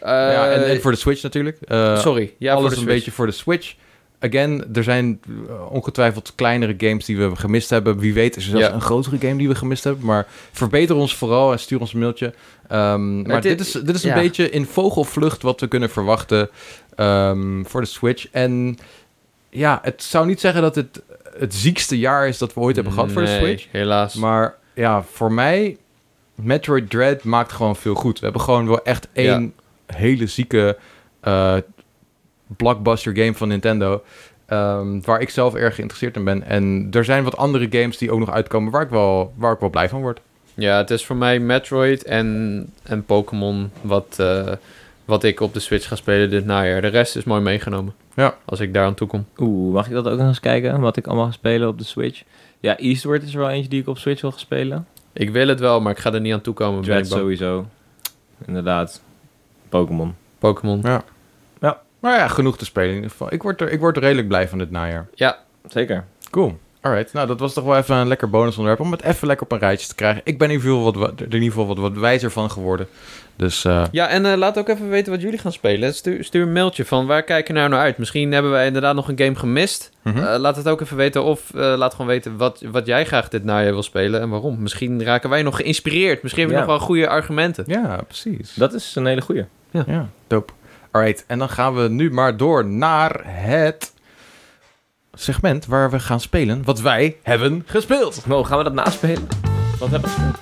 [SPEAKER 2] Eh,
[SPEAKER 1] Nou ja, en, en voor de Switch natuurlijk. Eh,
[SPEAKER 2] sorry. Ja,
[SPEAKER 1] alles
[SPEAKER 2] voor de
[SPEAKER 1] een
[SPEAKER 2] Switch.
[SPEAKER 1] beetje voor de Switch. Again, er zijn eh, ongetwijfeld kleinere games die we gemist hebben. Wie weet is er zelfs
[SPEAKER 2] Ja.
[SPEAKER 1] een grotere game die we gemist hebben. Maar verbeter ons vooral en stuur ons een mailtje. Ehm, maar dit,
[SPEAKER 2] dit-
[SPEAKER 1] is, dit is een
[SPEAKER 2] ja.
[SPEAKER 1] beetje in vogelvlucht wat we kunnen verwachten ehm, voor de Switch. En ja, het zou niet zeggen dat het het ziekste jaar is dat we ooit hebben gehad voor de
[SPEAKER 2] Nee,
[SPEAKER 1] Switch.
[SPEAKER 2] helaas.
[SPEAKER 1] Maar ja, voor mij, Metroid Dread maakt gewoon veel goed. We hebben gewoon wel echt één hele zieke eh, blockbuster game van Nintendo. ehm, waar ik zelf erg geïnteresseerd in ben. En er zijn wat andere games die ook nog uitkomen waar ik wel, waar ik wel blij van word.
[SPEAKER 2] Ja, het is voor mij Metroid en, en Pokémon wat, eh, wat ik op de Switch ga spelen dit najaar. De rest is mooi meegenomen.
[SPEAKER 1] Ja.
[SPEAKER 2] Als ik daar aan toe kom.
[SPEAKER 3] Oeh, mag ik dat ook nog eens kijken? Wat ik allemaal ga spelen op de Switch. Ja, Eastward is er wel eentje die ik op Switch wil gaan spelen.
[SPEAKER 2] Ik wil het wel, maar ik ga er niet aan toe komen. ben
[SPEAKER 3] Dread
[SPEAKER 2] ik bang.
[SPEAKER 3] sowieso. Inderdaad. Pokémon.
[SPEAKER 2] Pokémon.
[SPEAKER 1] Maar ja, genoeg te spelen in ieder geval. Ik word er, ik word er redelijk blij van dit najaar.
[SPEAKER 3] Zeker.
[SPEAKER 1] Cool. Alright, nou dat was toch wel even een lekker bonusonderwerp om het even lekker op een rijtje te krijgen. Ik ben in ieder geval wat, wa- er in ieder geval wat, wat wijzer van geworden. Dus eh,
[SPEAKER 2] Ja, en eh, laat ook even weten wat jullie gaan spelen. Stuur, stuur een mailtje van waar kijken nou naar uit. Misschien hebben wij inderdaad nog een game gemist.
[SPEAKER 1] mhm.
[SPEAKER 2] Eh, laat het ook even weten of eh, laat gewoon weten wat, wat jij graag dit najaar wil spelen en waarom. Misschien raken wij nog geïnspireerd. Misschien hebben we
[SPEAKER 3] Ja.
[SPEAKER 2] nog wel goede argumenten.
[SPEAKER 1] ja, precies.
[SPEAKER 3] Dat is een hele goeie.
[SPEAKER 1] Ja, dope. Alright, en dan gaan we nu maar door naar het segment waar we gaan spelen wat wij hebben gespeeld.
[SPEAKER 3] Mo, gaan we dat naspelen? Wat hebben we gespeeld?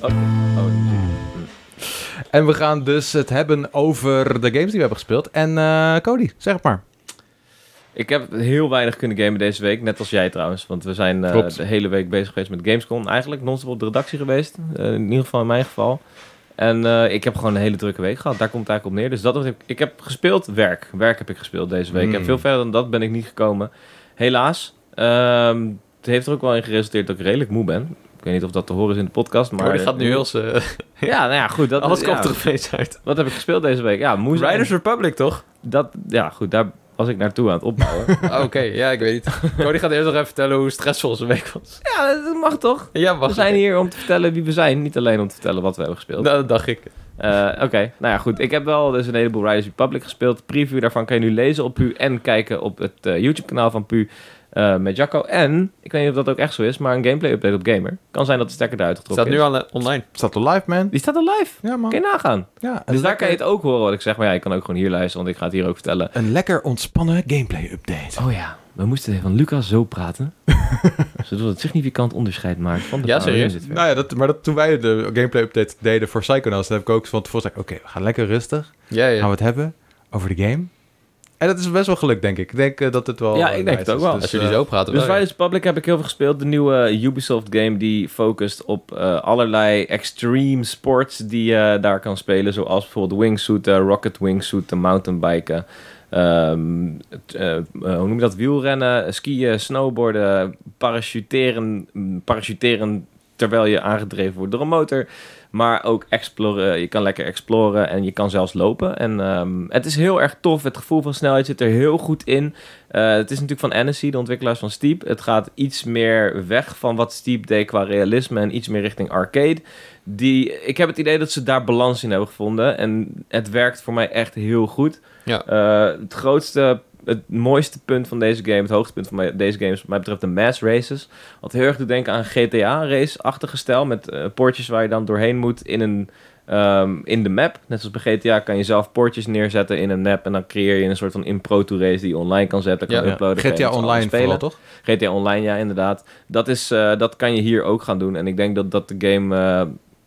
[SPEAKER 3] Oh, oh,
[SPEAKER 1] En we gaan dus het hebben over de games die we hebben gespeeld. En eh, Cody, zeg het maar.
[SPEAKER 3] Ik heb heel weinig kunnen gamen deze week, net als jij trouwens. Want we zijn eh,
[SPEAKER 1] Klopt.
[SPEAKER 3] de hele week bezig geweest met Gamescom. Eigenlijk non-stop op de redactie geweest, eh, in ieder geval in mijn geval. En eh, ik heb gewoon een hele drukke week gehad. Daar komt het eigenlijk op neer. Dus dat wat ik, ik heb gespeeld, werk. Werk heb ik gespeeld deze week.
[SPEAKER 1] Hmm.
[SPEAKER 3] En veel verder dan dat ben ik niet gekomen. Helaas. Ehm, het heeft er ook wel in geresulteerd dat ik redelijk moe ben. Ik weet niet of dat te horen is in de podcast, maar...
[SPEAKER 2] Maar die gaat nu heel... eh,
[SPEAKER 3] Ja, nou ja, goed. Dat,
[SPEAKER 2] alles
[SPEAKER 3] ja.
[SPEAKER 2] komt er opeens uit.
[SPEAKER 3] Wat heb ik gespeeld deze week? Ja, moe zijn.
[SPEAKER 2] Republic, toch?
[SPEAKER 3] Dat, ja, goed. Daar was ik naartoe aan het opbouwen.
[SPEAKER 2] Ah, Oké, ja, ik weet niet. Cody gaat eerst nog even vertellen hoe stressvol zijn week was.
[SPEAKER 3] ja, dat mag toch?
[SPEAKER 2] Ja, wacht.
[SPEAKER 3] We zijn hier om te vertellen wie we zijn, niet alleen om te vertellen wat we hebben gespeeld.
[SPEAKER 2] Nou, dat dacht ik.
[SPEAKER 3] Eh, Oké, nou ja, goed. Ik heb wel dus een heleboel Riders Republic gespeeld. De preview daarvan kan je nu lezen op Pu en kijken op het eh, YouTube-kanaal van Pu eh, met Jacco. En, ik weet niet of dat ook echt zo is, maar een gameplay-update op Gamer. Kan zijn dat de stekker eruit getrokken
[SPEAKER 2] Staat nu Oh.
[SPEAKER 3] is.
[SPEAKER 2] al eh, online.
[SPEAKER 1] Staat er live, man?
[SPEAKER 3] Die staat al live.
[SPEAKER 1] Ja, man.
[SPEAKER 3] Kan je nagaan.
[SPEAKER 1] Ja, een
[SPEAKER 3] dus daar
[SPEAKER 1] lekker-
[SPEAKER 3] kan je het ook horen wat ik zeg. Maar ja, je kan ook gewoon hier luisteren, want ik ga het hier ook vertellen.
[SPEAKER 1] Een lekker ontspannen gameplay-update.
[SPEAKER 3] Oh ja, we moesten van Lucas zo praten. zodat het significant onderscheid maakt van de
[SPEAKER 2] Ja,
[SPEAKER 3] verhalen in
[SPEAKER 2] serieus?
[SPEAKER 3] dit werk.
[SPEAKER 1] Nou ja, dat, maar dat, toen wij de gameplay-update deden voor Psychonauts, dan heb ik ook van tevoren gezegd, oké, we gaan lekker rustig.
[SPEAKER 2] Ja, ja.
[SPEAKER 1] Gaan we het hebben over de game. En dat is best wel gelukt, denk ik. Ik denk eh, dat het wel...
[SPEAKER 3] Ja,
[SPEAKER 1] eh,
[SPEAKER 3] ik denk het ook
[SPEAKER 1] is.
[SPEAKER 3] wel.
[SPEAKER 1] Dus,
[SPEAKER 2] Als jullie
[SPEAKER 1] eh,
[SPEAKER 2] zo praten.
[SPEAKER 3] Dus
[SPEAKER 2] wel, ja.
[SPEAKER 3] Riders Republic heb ik heel veel gespeeld. De nieuwe Ubisoft game die focust op eh, allerlei extreme sports die je daar kan spelen. Zoals bijvoorbeeld wingsuiten, rocket wingsuiten, mountainbiken. ehm, t- eh, eh, hoe noem je dat? Wielrennen, skiën, snowboarden, parachuteren, mm, parachuteren terwijl je aangedreven wordt door een motor. Maar ook exploren. Je kan lekker exploren en je kan zelfs lopen. En ehm, het is heel erg tof. Het gevoel van snelheid zit er heel goed in. Eh, het is natuurlijk van Annecy, de ontwikkelaars van Steep. Het gaat iets meer weg van wat Steep deed qua realisme en iets meer richting arcade. Die, ik heb het idee dat ze daar balans in hebben gevonden en het werkt voor mij echt heel goed.
[SPEAKER 2] Ja.
[SPEAKER 3] Eh, het grootste het mooiste punt van deze game, het hoogtepunt van mij- deze game is wat mij betreft de mass races. Wat heel erg doet denken aan GTA-race-achtige stijl, met eh, poortjes waar je dan doorheen moet in, een, ehm, in de map. Net zoals bij GTA kan je zelf poortjes neerzetten in een map en dan creëer je een soort van impro-to-race die je online kan zetten, kan
[SPEAKER 2] Ja, ja.
[SPEAKER 3] uploaden. kan je
[SPEAKER 1] GTA
[SPEAKER 3] met z'n allen
[SPEAKER 1] Online
[SPEAKER 3] spelen.
[SPEAKER 1] vooral, toch?
[SPEAKER 3] GTA Online, ja, inderdaad. Dat, is, eh, dat kan je hier ook gaan doen. En ik denk dat, dat de game eh,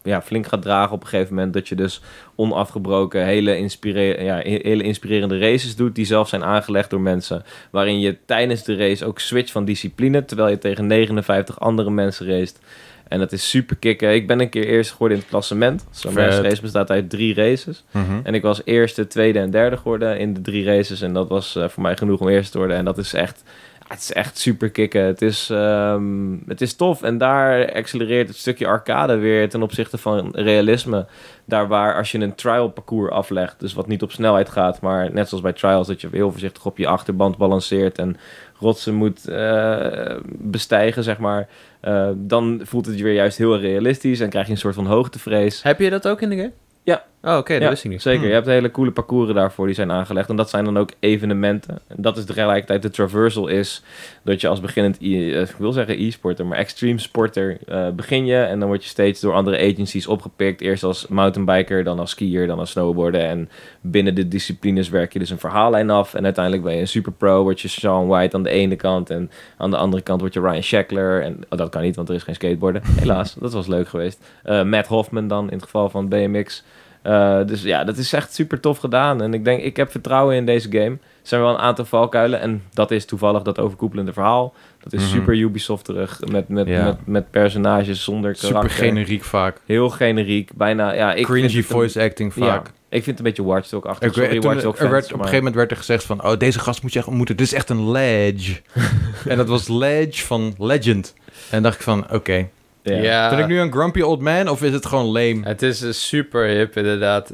[SPEAKER 3] ja, flink gaat dragen op een gegeven moment. Dat je dus onafgebroken hele, inspire ja, he- hele inspirerende races doet... die zelf zijn aangelegd door mensen. Waarin je tijdens de race ook switcht van discipline... terwijl je tegen 59 andere mensen racet. En dat is super kicken. Ik ben een keer eerst geworden in het klassement. Zo'n
[SPEAKER 2] Vet.
[SPEAKER 3] race bestaat uit drie races.
[SPEAKER 1] Mhm.
[SPEAKER 3] En ik was eerste, tweede en derde geworden in de drie races. En dat was eh, voor mij genoeg om eerste te worden. En dat is echt, ah, het is echt super kicken. Het is, ehm, het is tof. En daar accelereert het stukje arcade weer ten opzichte van realisme. Daar waar als je een trial parcours aflegt, dus wat niet op snelheid gaat, maar net zoals bij trials, dat je heel voorzichtig op je achterband balanceert en rotsen moet eh, bestijgen, zeg maar. eh, dan voelt het je weer juist heel realistisch en krijg je een soort van hoogtevrees.
[SPEAKER 2] Heb je dat ook in de game?
[SPEAKER 3] Ja.
[SPEAKER 2] Oh, oké, dat
[SPEAKER 3] Ja,
[SPEAKER 2] wist ik niet.
[SPEAKER 3] Zeker,
[SPEAKER 1] Hmm.
[SPEAKER 3] je hebt hele coole parcours daarvoor die zijn aangelegd. En dat zijn dan ook evenementen. En dat is tegelijkertijd de traversal is dat je als beginnend, e- eh, ik wil zeggen e-sporter, maar extreme sporter eh, begin je. En dan word je steeds door andere agencies opgepikt. Eerst als mountainbiker, dan als skier, dan als snowboarder. En binnen de disciplines werk je dus een verhaallijn af. En uiteindelijk ben je een superpro, word je Sean White aan de ene kant. En aan de andere kant word je Ryan Sheckler. En oh, dat kan niet, want er is geen skateboarden. Helaas, dat was leuk geweest. Eh, Matt Hoffman dan, in het geval van BMX. Eh, dus ja, dat is echt super tof gedaan. En ik denk, ik heb vertrouwen in deze game. Er zijn wel een aantal valkuilen. En dat is toevallig dat overkoepelende verhaal. Dat is
[SPEAKER 1] Mhm.
[SPEAKER 3] super Ubisoft-terug. Met, met,
[SPEAKER 1] Ja.
[SPEAKER 3] met, met personages zonder
[SPEAKER 1] Super
[SPEAKER 3] karakter.
[SPEAKER 1] generiek vaak.
[SPEAKER 3] Heel generiek. Bijna, ja, ik vind
[SPEAKER 1] Cringy
[SPEAKER 3] het een-
[SPEAKER 1] voice acting
[SPEAKER 3] Ja,
[SPEAKER 1] vaak.
[SPEAKER 3] ik vind het een beetje Watch Dog-achtig.
[SPEAKER 1] Ik weet-
[SPEAKER 3] Sorry,
[SPEAKER 1] toen
[SPEAKER 3] Watch
[SPEAKER 1] er
[SPEAKER 3] Dog
[SPEAKER 1] werd, op een
[SPEAKER 3] fans, maar-
[SPEAKER 1] gegeven moment werd er gezegd van... Oh, deze gast moet je echt ontmoeten. Dit is echt een ledge. en dat was ledge van legend. En dacht ik van, oké.
[SPEAKER 3] Eh,
[SPEAKER 2] Ja.
[SPEAKER 3] Ja.
[SPEAKER 1] Ben ik nu een grumpy old man of is het gewoon lame?
[SPEAKER 2] Het is eh, super hip, inderdaad.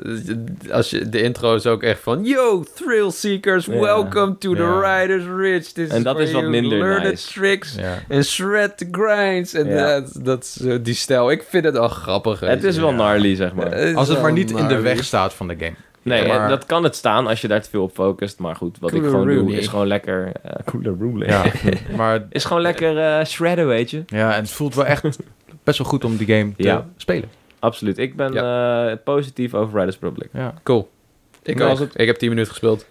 [SPEAKER 2] Als je, de intro is ook echt van... Yo, thrill seekers,
[SPEAKER 3] Ja.
[SPEAKER 2] welcome to the
[SPEAKER 1] Ja.
[SPEAKER 2] Riders Ridge. This
[SPEAKER 3] En dat
[SPEAKER 2] where
[SPEAKER 3] is wat
[SPEAKER 2] you
[SPEAKER 3] minder
[SPEAKER 2] learn
[SPEAKER 3] nice.
[SPEAKER 2] the tricks
[SPEAKER 1] Ja.
[SPEAKER 2] and shred the grinds. En
[SPEAKER 3] Ja.
[SPEAKER 2] dat, dat is eh, die stijl. Ik vind het al grappig.
[SPEAKER 3] Het is wel gnarly, zeg maar.
[SPEAKER 1] Als het maar niet in de weg staat van de game.
[SPEAKER 3] Nee,
[SPEAKER 1] Ja, Eh, maar-
[SPEAKER 3] dat kan het staan als je daar te veel op focust. Maar goed, wat ik
[SPEAKER 2] Cooler
[SPEAKER 3] gewoon doe
[SPEAKER 2] Rooney.
[SPEAKER 3] is gewoon lekker... eh cooler Rooney.
[SPEAKER 1] Ja. maar
[SPEAKER 3] Is gewoon lekker eh, shredden, weet je.
[SPEAKER 1] ja, en het voelt wel echt best wel goed om die game te
[SPEAKER 3] Ja.
[SPEAKER 1] spelen.
[SPEAKER 3] Absoluut. Ik ben eh, positief over Riders Republic.
[SPEAKER 1] Ja.
[SPEAKER 2] Cool. Ik,
[SPEAKER 3] Nee,
[SPEAKER 2] ook.
[SPEAKER 3] was het-
[SPEAKER 2] ik heb 10 minuten gespeeld.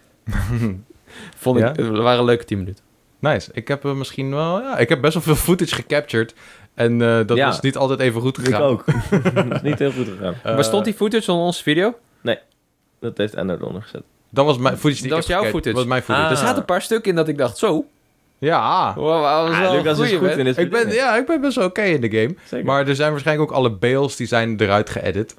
[SPEAKER 2] Vond ik,
[SPEAKER 1] Ja?
[SPEAKER 2] het waren leuke 10 minuten.
[SPEAKER 1] Nice. Ik heb eh, misschien wel... Ja, ik heb best wel veel footage gecaptured. En eh, dat
[SPEAKER 3] Ja.
[SPEAKER 1] was niet altijd even goed gegaan.
[SPEAKER 3] Dat is niet heel goed gegaan.
[SPEAKER 1] Eh,
[SPEAKER 2] maar stond die footage onder onze video?
[SPEAKER 3] Dat heeft Ender eronder gezet.
[SPEAKER 1] Dat was mijn footage die
[SPEAKER 2] Dat
[SPEAKER 1] ik heb
[SPEAKER 2] was jouw
[SPEAKER 1] gecaptured. Dat
[SPEAKER 2] footage?
[SPEAKER 1] was mijn footage. Dus
[SPEAKER 3] Ah.
[SPEAKER 2] Er zaten een paar stukken in dat ik dacht, zo.
[SPEAKER 1] Ja.
[SPEAKER 2] Wow, dat was wel een
[SPEAKER 3] Ah, Lucas is
[SPEAKER 2] goeie,
[SPEAKER 3] goed
[SPEAKER 2] man.
[SPEAKER 3] in het
[SPEAKER 1] Ik ben,
[SPEAKER 3] verdienen.
[SPEAKER 1] ja, ik ben best wel oké in de game.
[SPEAKER 3] Zeker.
[SPEAKER 1] Maar er zijn waarschijnlijk ook alle bails die zijn eruit geëdit.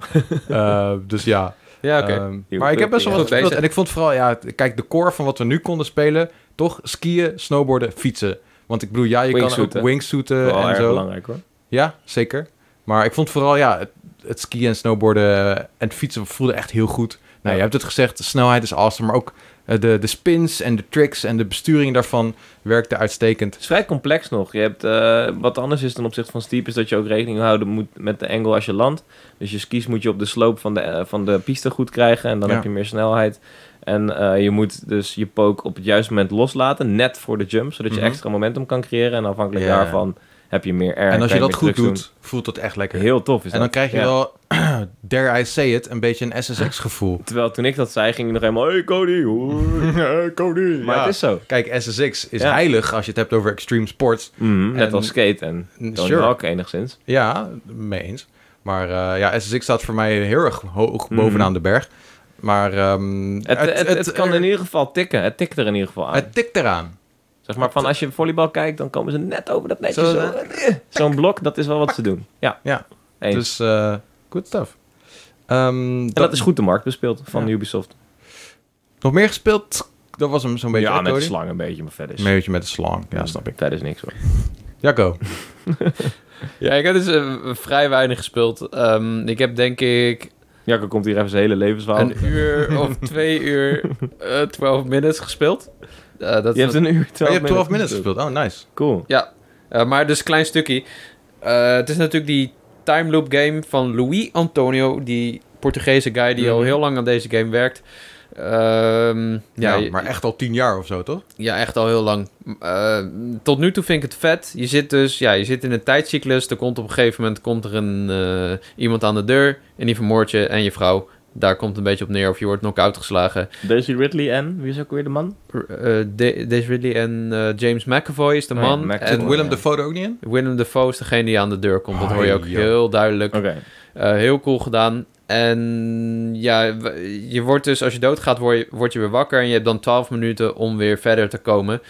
[SPEAKER 1] Eh, dus ja.
[SPEAKER 2] Ja, oké.
[SPEAKER 1] Ehm,
[SPEAKER 3] Heel
[SPEAKER 1] maar ik heb best wel wat
[SPEAKER 2] goed, ja.
[SPEAKER 1] gespeeld. En ik vond vooral, ja, het- kijk, de core van wat we nu konden spelen... toch skiën, snowboarden, fietsen. Want ik bedoel, ja, je kan
[SPEAKER 3] Wingsuiten.
[SPEAKER 1] ook wingsuiten
[SPEAKER 3] wel
[SPEAKER 1] en
[SPEAKER 3] erg
[SPEAKER 1] zo.
[SPEAKER 3] belangrijk hoor.
[SPEAKER 1] Ja, zeker. Maar ik vond vooral, ja, het, het skiën en snowboarden en het fietsen voelde echt heel goed. Nou,
[SPEAKER 3] Ja.
[SPEAKER 1] je hebt het gezegd, de snelheid is awesome. Maar ook eh, de, de spins en de tricks en de besturing daarvan werkte uitstekend.
[SPEAKER 3] Het is vrij complex nog. Je hebt, eh, wat anders is ten opzichte van steep is dat je ook rekening houden moet met de angle als je landt. Dus je skis moet je op de sloop van de, eh, van de piste goed krijgen en dan
[SPEAKER 1] Ja.
[SPEAKER 3] heb je meer snelheid. En eh, je moet dus je poke op het juiste moment loslaten, net voor de jump, zodat je
[SPEAKER 1] Mhm.
[SPEAKER 3] extra momentum kan creëren. En afhankelijk
[SPEAKER 1] Ja.
[SPEAKER 3] daarvan heb je meer air.
[SPEAKER 1] en als
[SPEAKER 3] kan
[SPEAKER 1] je dat
[SPEAKER 3] meer
[SPEAKER 1] goed
[SPEAKER 3] trucs
[SPEAKER 1] doet, voelt dat echt lekker.
[SPEAKER 3] doen. heel tof
[SPEAKER 1] en
[SPEAKER 3] is
[SPEAKER 1] dan
[SPEAKER 3] dat.
[SPEAKER 1] krijg je
[SPEAKER 3] Ja.
[SPEAKER 1] wel, dare I say it, een beetje een SSX-gevoel.
[SPEAKER 3] Terwijl toen ik dat zei, ging ik nog helemaal, hey Cody, hoi."
[SPEAKER 1] Cody.
[SPEAKER 3] maar het is zo.
[SPEAKER 1] Kijk, SSX is
[SPEAKER 3] Ja.
[SPEAKER 1] heilig als je het hebt over extreme sports.
[SPEAKER 3] Mhm, net
[SPEAKER 1] En-
[SPEAKER 3] als skate en Tony
[SPEAKER 1] Sure.
[SPEAKER 3] Hawk enigszins.
[SPEAKER 1] Ja, mee eens. Maar eh, ja, SSX staat voor mij heel erg hoog
[SPEAKER 3] Mhm.
[SPEAKER 1] bovenaan de berg. Maar ehm,
[SPEAKER 3] Het, het, het, kan in ieder geval tikken. Het tikt er in ieder geval aan.
[SPEAKER 1] het tikt eraan.
[SPEAKER 3] zeg maar van als je volleybal kijkt, dan komen ze net over dat netje.
[SPEAKER 1] Zo,
[SPEAKER 3] Zo, eh, Zo'n blok, dat is wel wat ze doen. Ja.
[SPEAKER 1] Ja.
[SPEAKER 3] Eens.
[SPEAKER 1] Dus, eh good stuff. Ehm,
[SPEAKER 3] en dat is goed de markt bespeeld van
[SPEAKER 1] Ja.
[SPEAKER 3] Ubisoft.
[SPEAKER 1] Nog meer gespeeld? Dat was hem zo'n beetje.
[SPEAKER 3] ja,
[SPEAKER 1] hè,
[SPEAKER 3] met de
[SPEAKER 1] Cody?
[SPEAKER 3] slang Mm. een beetje, maar verder is... Hmm.
[SPEAKER 1] Een beetje met de slang. Ja, snap ik.
[SPEAKER 3] Verder is niks hoor.
[SPEAKER 1] Jacco.
[SPEAKER 2] Ja, ik heb dus eh, vrij weinig gespeeld. Ehm, ik heb denk ik
[SPEAKER 3] Jacco komt hier even zijn hele levensverhaal.
[SPEAKER 2] een uur of twee uur, eh 12 minutes gespeeld. Eh, dat
[SPEAKER 3] je
[SPEAKER 2] is
[SPEAKER 3] hebt een uur
[SPEAKER 1] Oh, je
[SPEAKER 3] 12
[SPEAKER 1] hebt 12 minutes gespeeld. Oh, nice.
[SPEAKER 3] Cool.
[SPEAKER 2] Eh, maar dus een klein stukje. Eh, het is natuurlijk die time loop game van Louis Antonio, die Portugese guy die
[SPEAKER 3] Mhm.
[SPEAKER 2] al heel lang aan deze game werkt. Ehm,
[SPEAKER 1] Ja,
[SPEAKER 2] ja,
[SPEAKER 3] Nou,
[SPEAKER 2] je-
[SPEAKER 1] Nou, maar echt al tien jaar of zo, toch?
[SPEAKER 2] ja, echt al heel lang. Eh, tot nu toe vind ik het vet. Je zit dus, ja, je zit in een tijdcyclus. Er komt op een gegeven moment komt er een, eh, iemand aan de deur en die vermoordt je en je vrouw. Daar komt het een beetje op neer of je wordt knock-out geslagen.
[SPEAKER 3] Daisy Ridley en, wie is ook weer de man?
[SPEAKER 2] Eh, Da- Daisy Ridley en eh, James McAvoy is de
[SPEAKER 3] Oh ja,
[SPEAKER 2] man.
[SPEAKER 3] McAvoy.
[SPEAKER 1] Zit
[SPEAKER 2] en
[SPEAKER 3] Oh,
[SPEAKER 1] Willem
[SPEAKER 3] ja.
[SPEAKER 1] de foto ook niet in?
[SPEAKER 2] Willem Dafoe is degene die aan de deur komt.
[SPEAKER 3] Oh,
[SPEAKER 2] Dat hoor je ook
[SPEAKER 1] Ai, joh.
[SPEAKER 2] heel duidelijk.
[SPEAKER 3] Oké.
[SPEAKER 2] Eh, heel cool gedaan. En ja, w- je wordt dus, als je doodgaat, word je, word je weer wakker. En je hebt dan 12 minuten om weer verder te komen.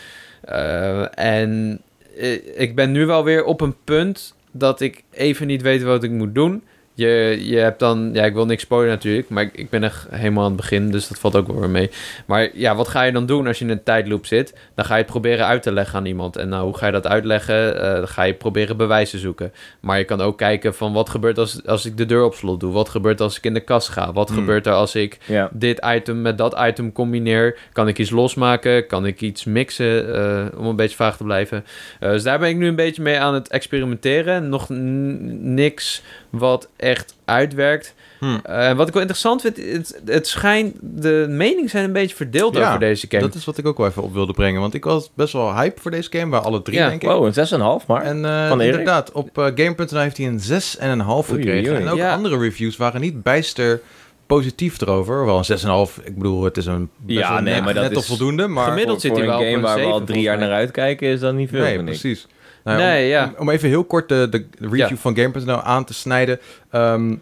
[SPEAKER 2] Eh, en i- ik ben nu wel weer op een punt dat ik even niet weet wat ik moet doen. Je, je hebt dan, ja, ik wil niks spoilen natuurlijk, maar ik, ik ben echt helemaal aan het begin, dus dat valt ook wel weer mee. Maar ja, wat ga je dan doen als je in een tijdloop zit? Dan ga je het proberen uit te leggen aan iemand. En nou, hoe ga je dat uitleggen? Eh, dan ga je proberen bewijs te zoeken. Maar je kan ook kijken van wat gebeurt als, als ik de deur op slot doe? Wat gebeurt als ik in de kast ga? Wat
[SPEAKER 1] Hmm.
[SPEAKER 2] gebeurt er als ik
[SPEAKER 3] Ja.
[SPEAKER 2] dit item met dat item combineer? Kan ik iets losmaken? Kan ik iets mixen? Eh, om een beetje vaag te blijven. Eh, dus daar ben ik nu een beetje mee aan het experimenteren. Nog n- niks wat echt uitwerkt.
[SPEAKER 3] Hmm.
[SPEAKER 1] Hm.
[SPEAKER 2] Eh, wat ik wel interessant vind, het, het schijnt, de meningen zijn een beetje verdeeld
[SPEAKER 1] Ja,
[SPEAKER 2] over deze game.
[SPEAKER 1] Dat is wat ik ook wel even op wilde brengen. Want ik was best wel hype voor deze game, bij alle drie,
[SPEAKER 2] Ja,
[SPEAKER 1] denk ik.
[SPEAKER 3] Wow, een 6,5 maar.
[SPEAKER 1] En eh,
[SPEAKER 3] Van Erik?
[SPEAKER 1] inderdaad, op eh, Game.nl heeft hij een 6,5
[SPEAKER 3] Oei,
[SPEAKER 1] gekregen.
[SPEAKER 3] oei.
[SPEAKER 1] En ook
[SPEAKER 2] Ja.
[SPEAKER 1] andere reviews waren niet bijster positief erover. Wel een 6,5, ik bedoel, het is een best
[SPEAKER 3] Ja,
[SPEAKER 1] wel
[SPEAKER 3] nee,
[SPEAKER 1] net,
[SPEAKER 3] maar dat
[SPEAKER 1] net
[SPEAKER 3] is
[SPEAKER 1] op voldoende. Maar
[SPEAKER 2] Gemiddeld
[SPEAKER 3] voor,
[SPEAKER 2] zit
[SPEAKER 3] voor
[SPEAKER 2] hij
[SPEAKER 3] een
[SPEAKER 2] wel op
[SPEAKER 3] game
[SPEAKER 2] een
[SPEAKER 3] waar we al
[SPEAKER 2] zeven,
[SPEAKER 3] drie jaar
[SPEAKER 2] volgens
[SPEAKER 3] naar uitkijken is dat niet veel,
[SPEAKER 1] nee,
[SPEAKER 3] vind ik.
[SPEAKER 1] precies. Nou ja, om-
[SPEAKER 2] Nee, ja.
[SPEAKER 1] om, om even heel kort de, de review
[SPEAKER 2] Ja.
[SPEAKER 1] van Game.nl aan te snijden. Ehm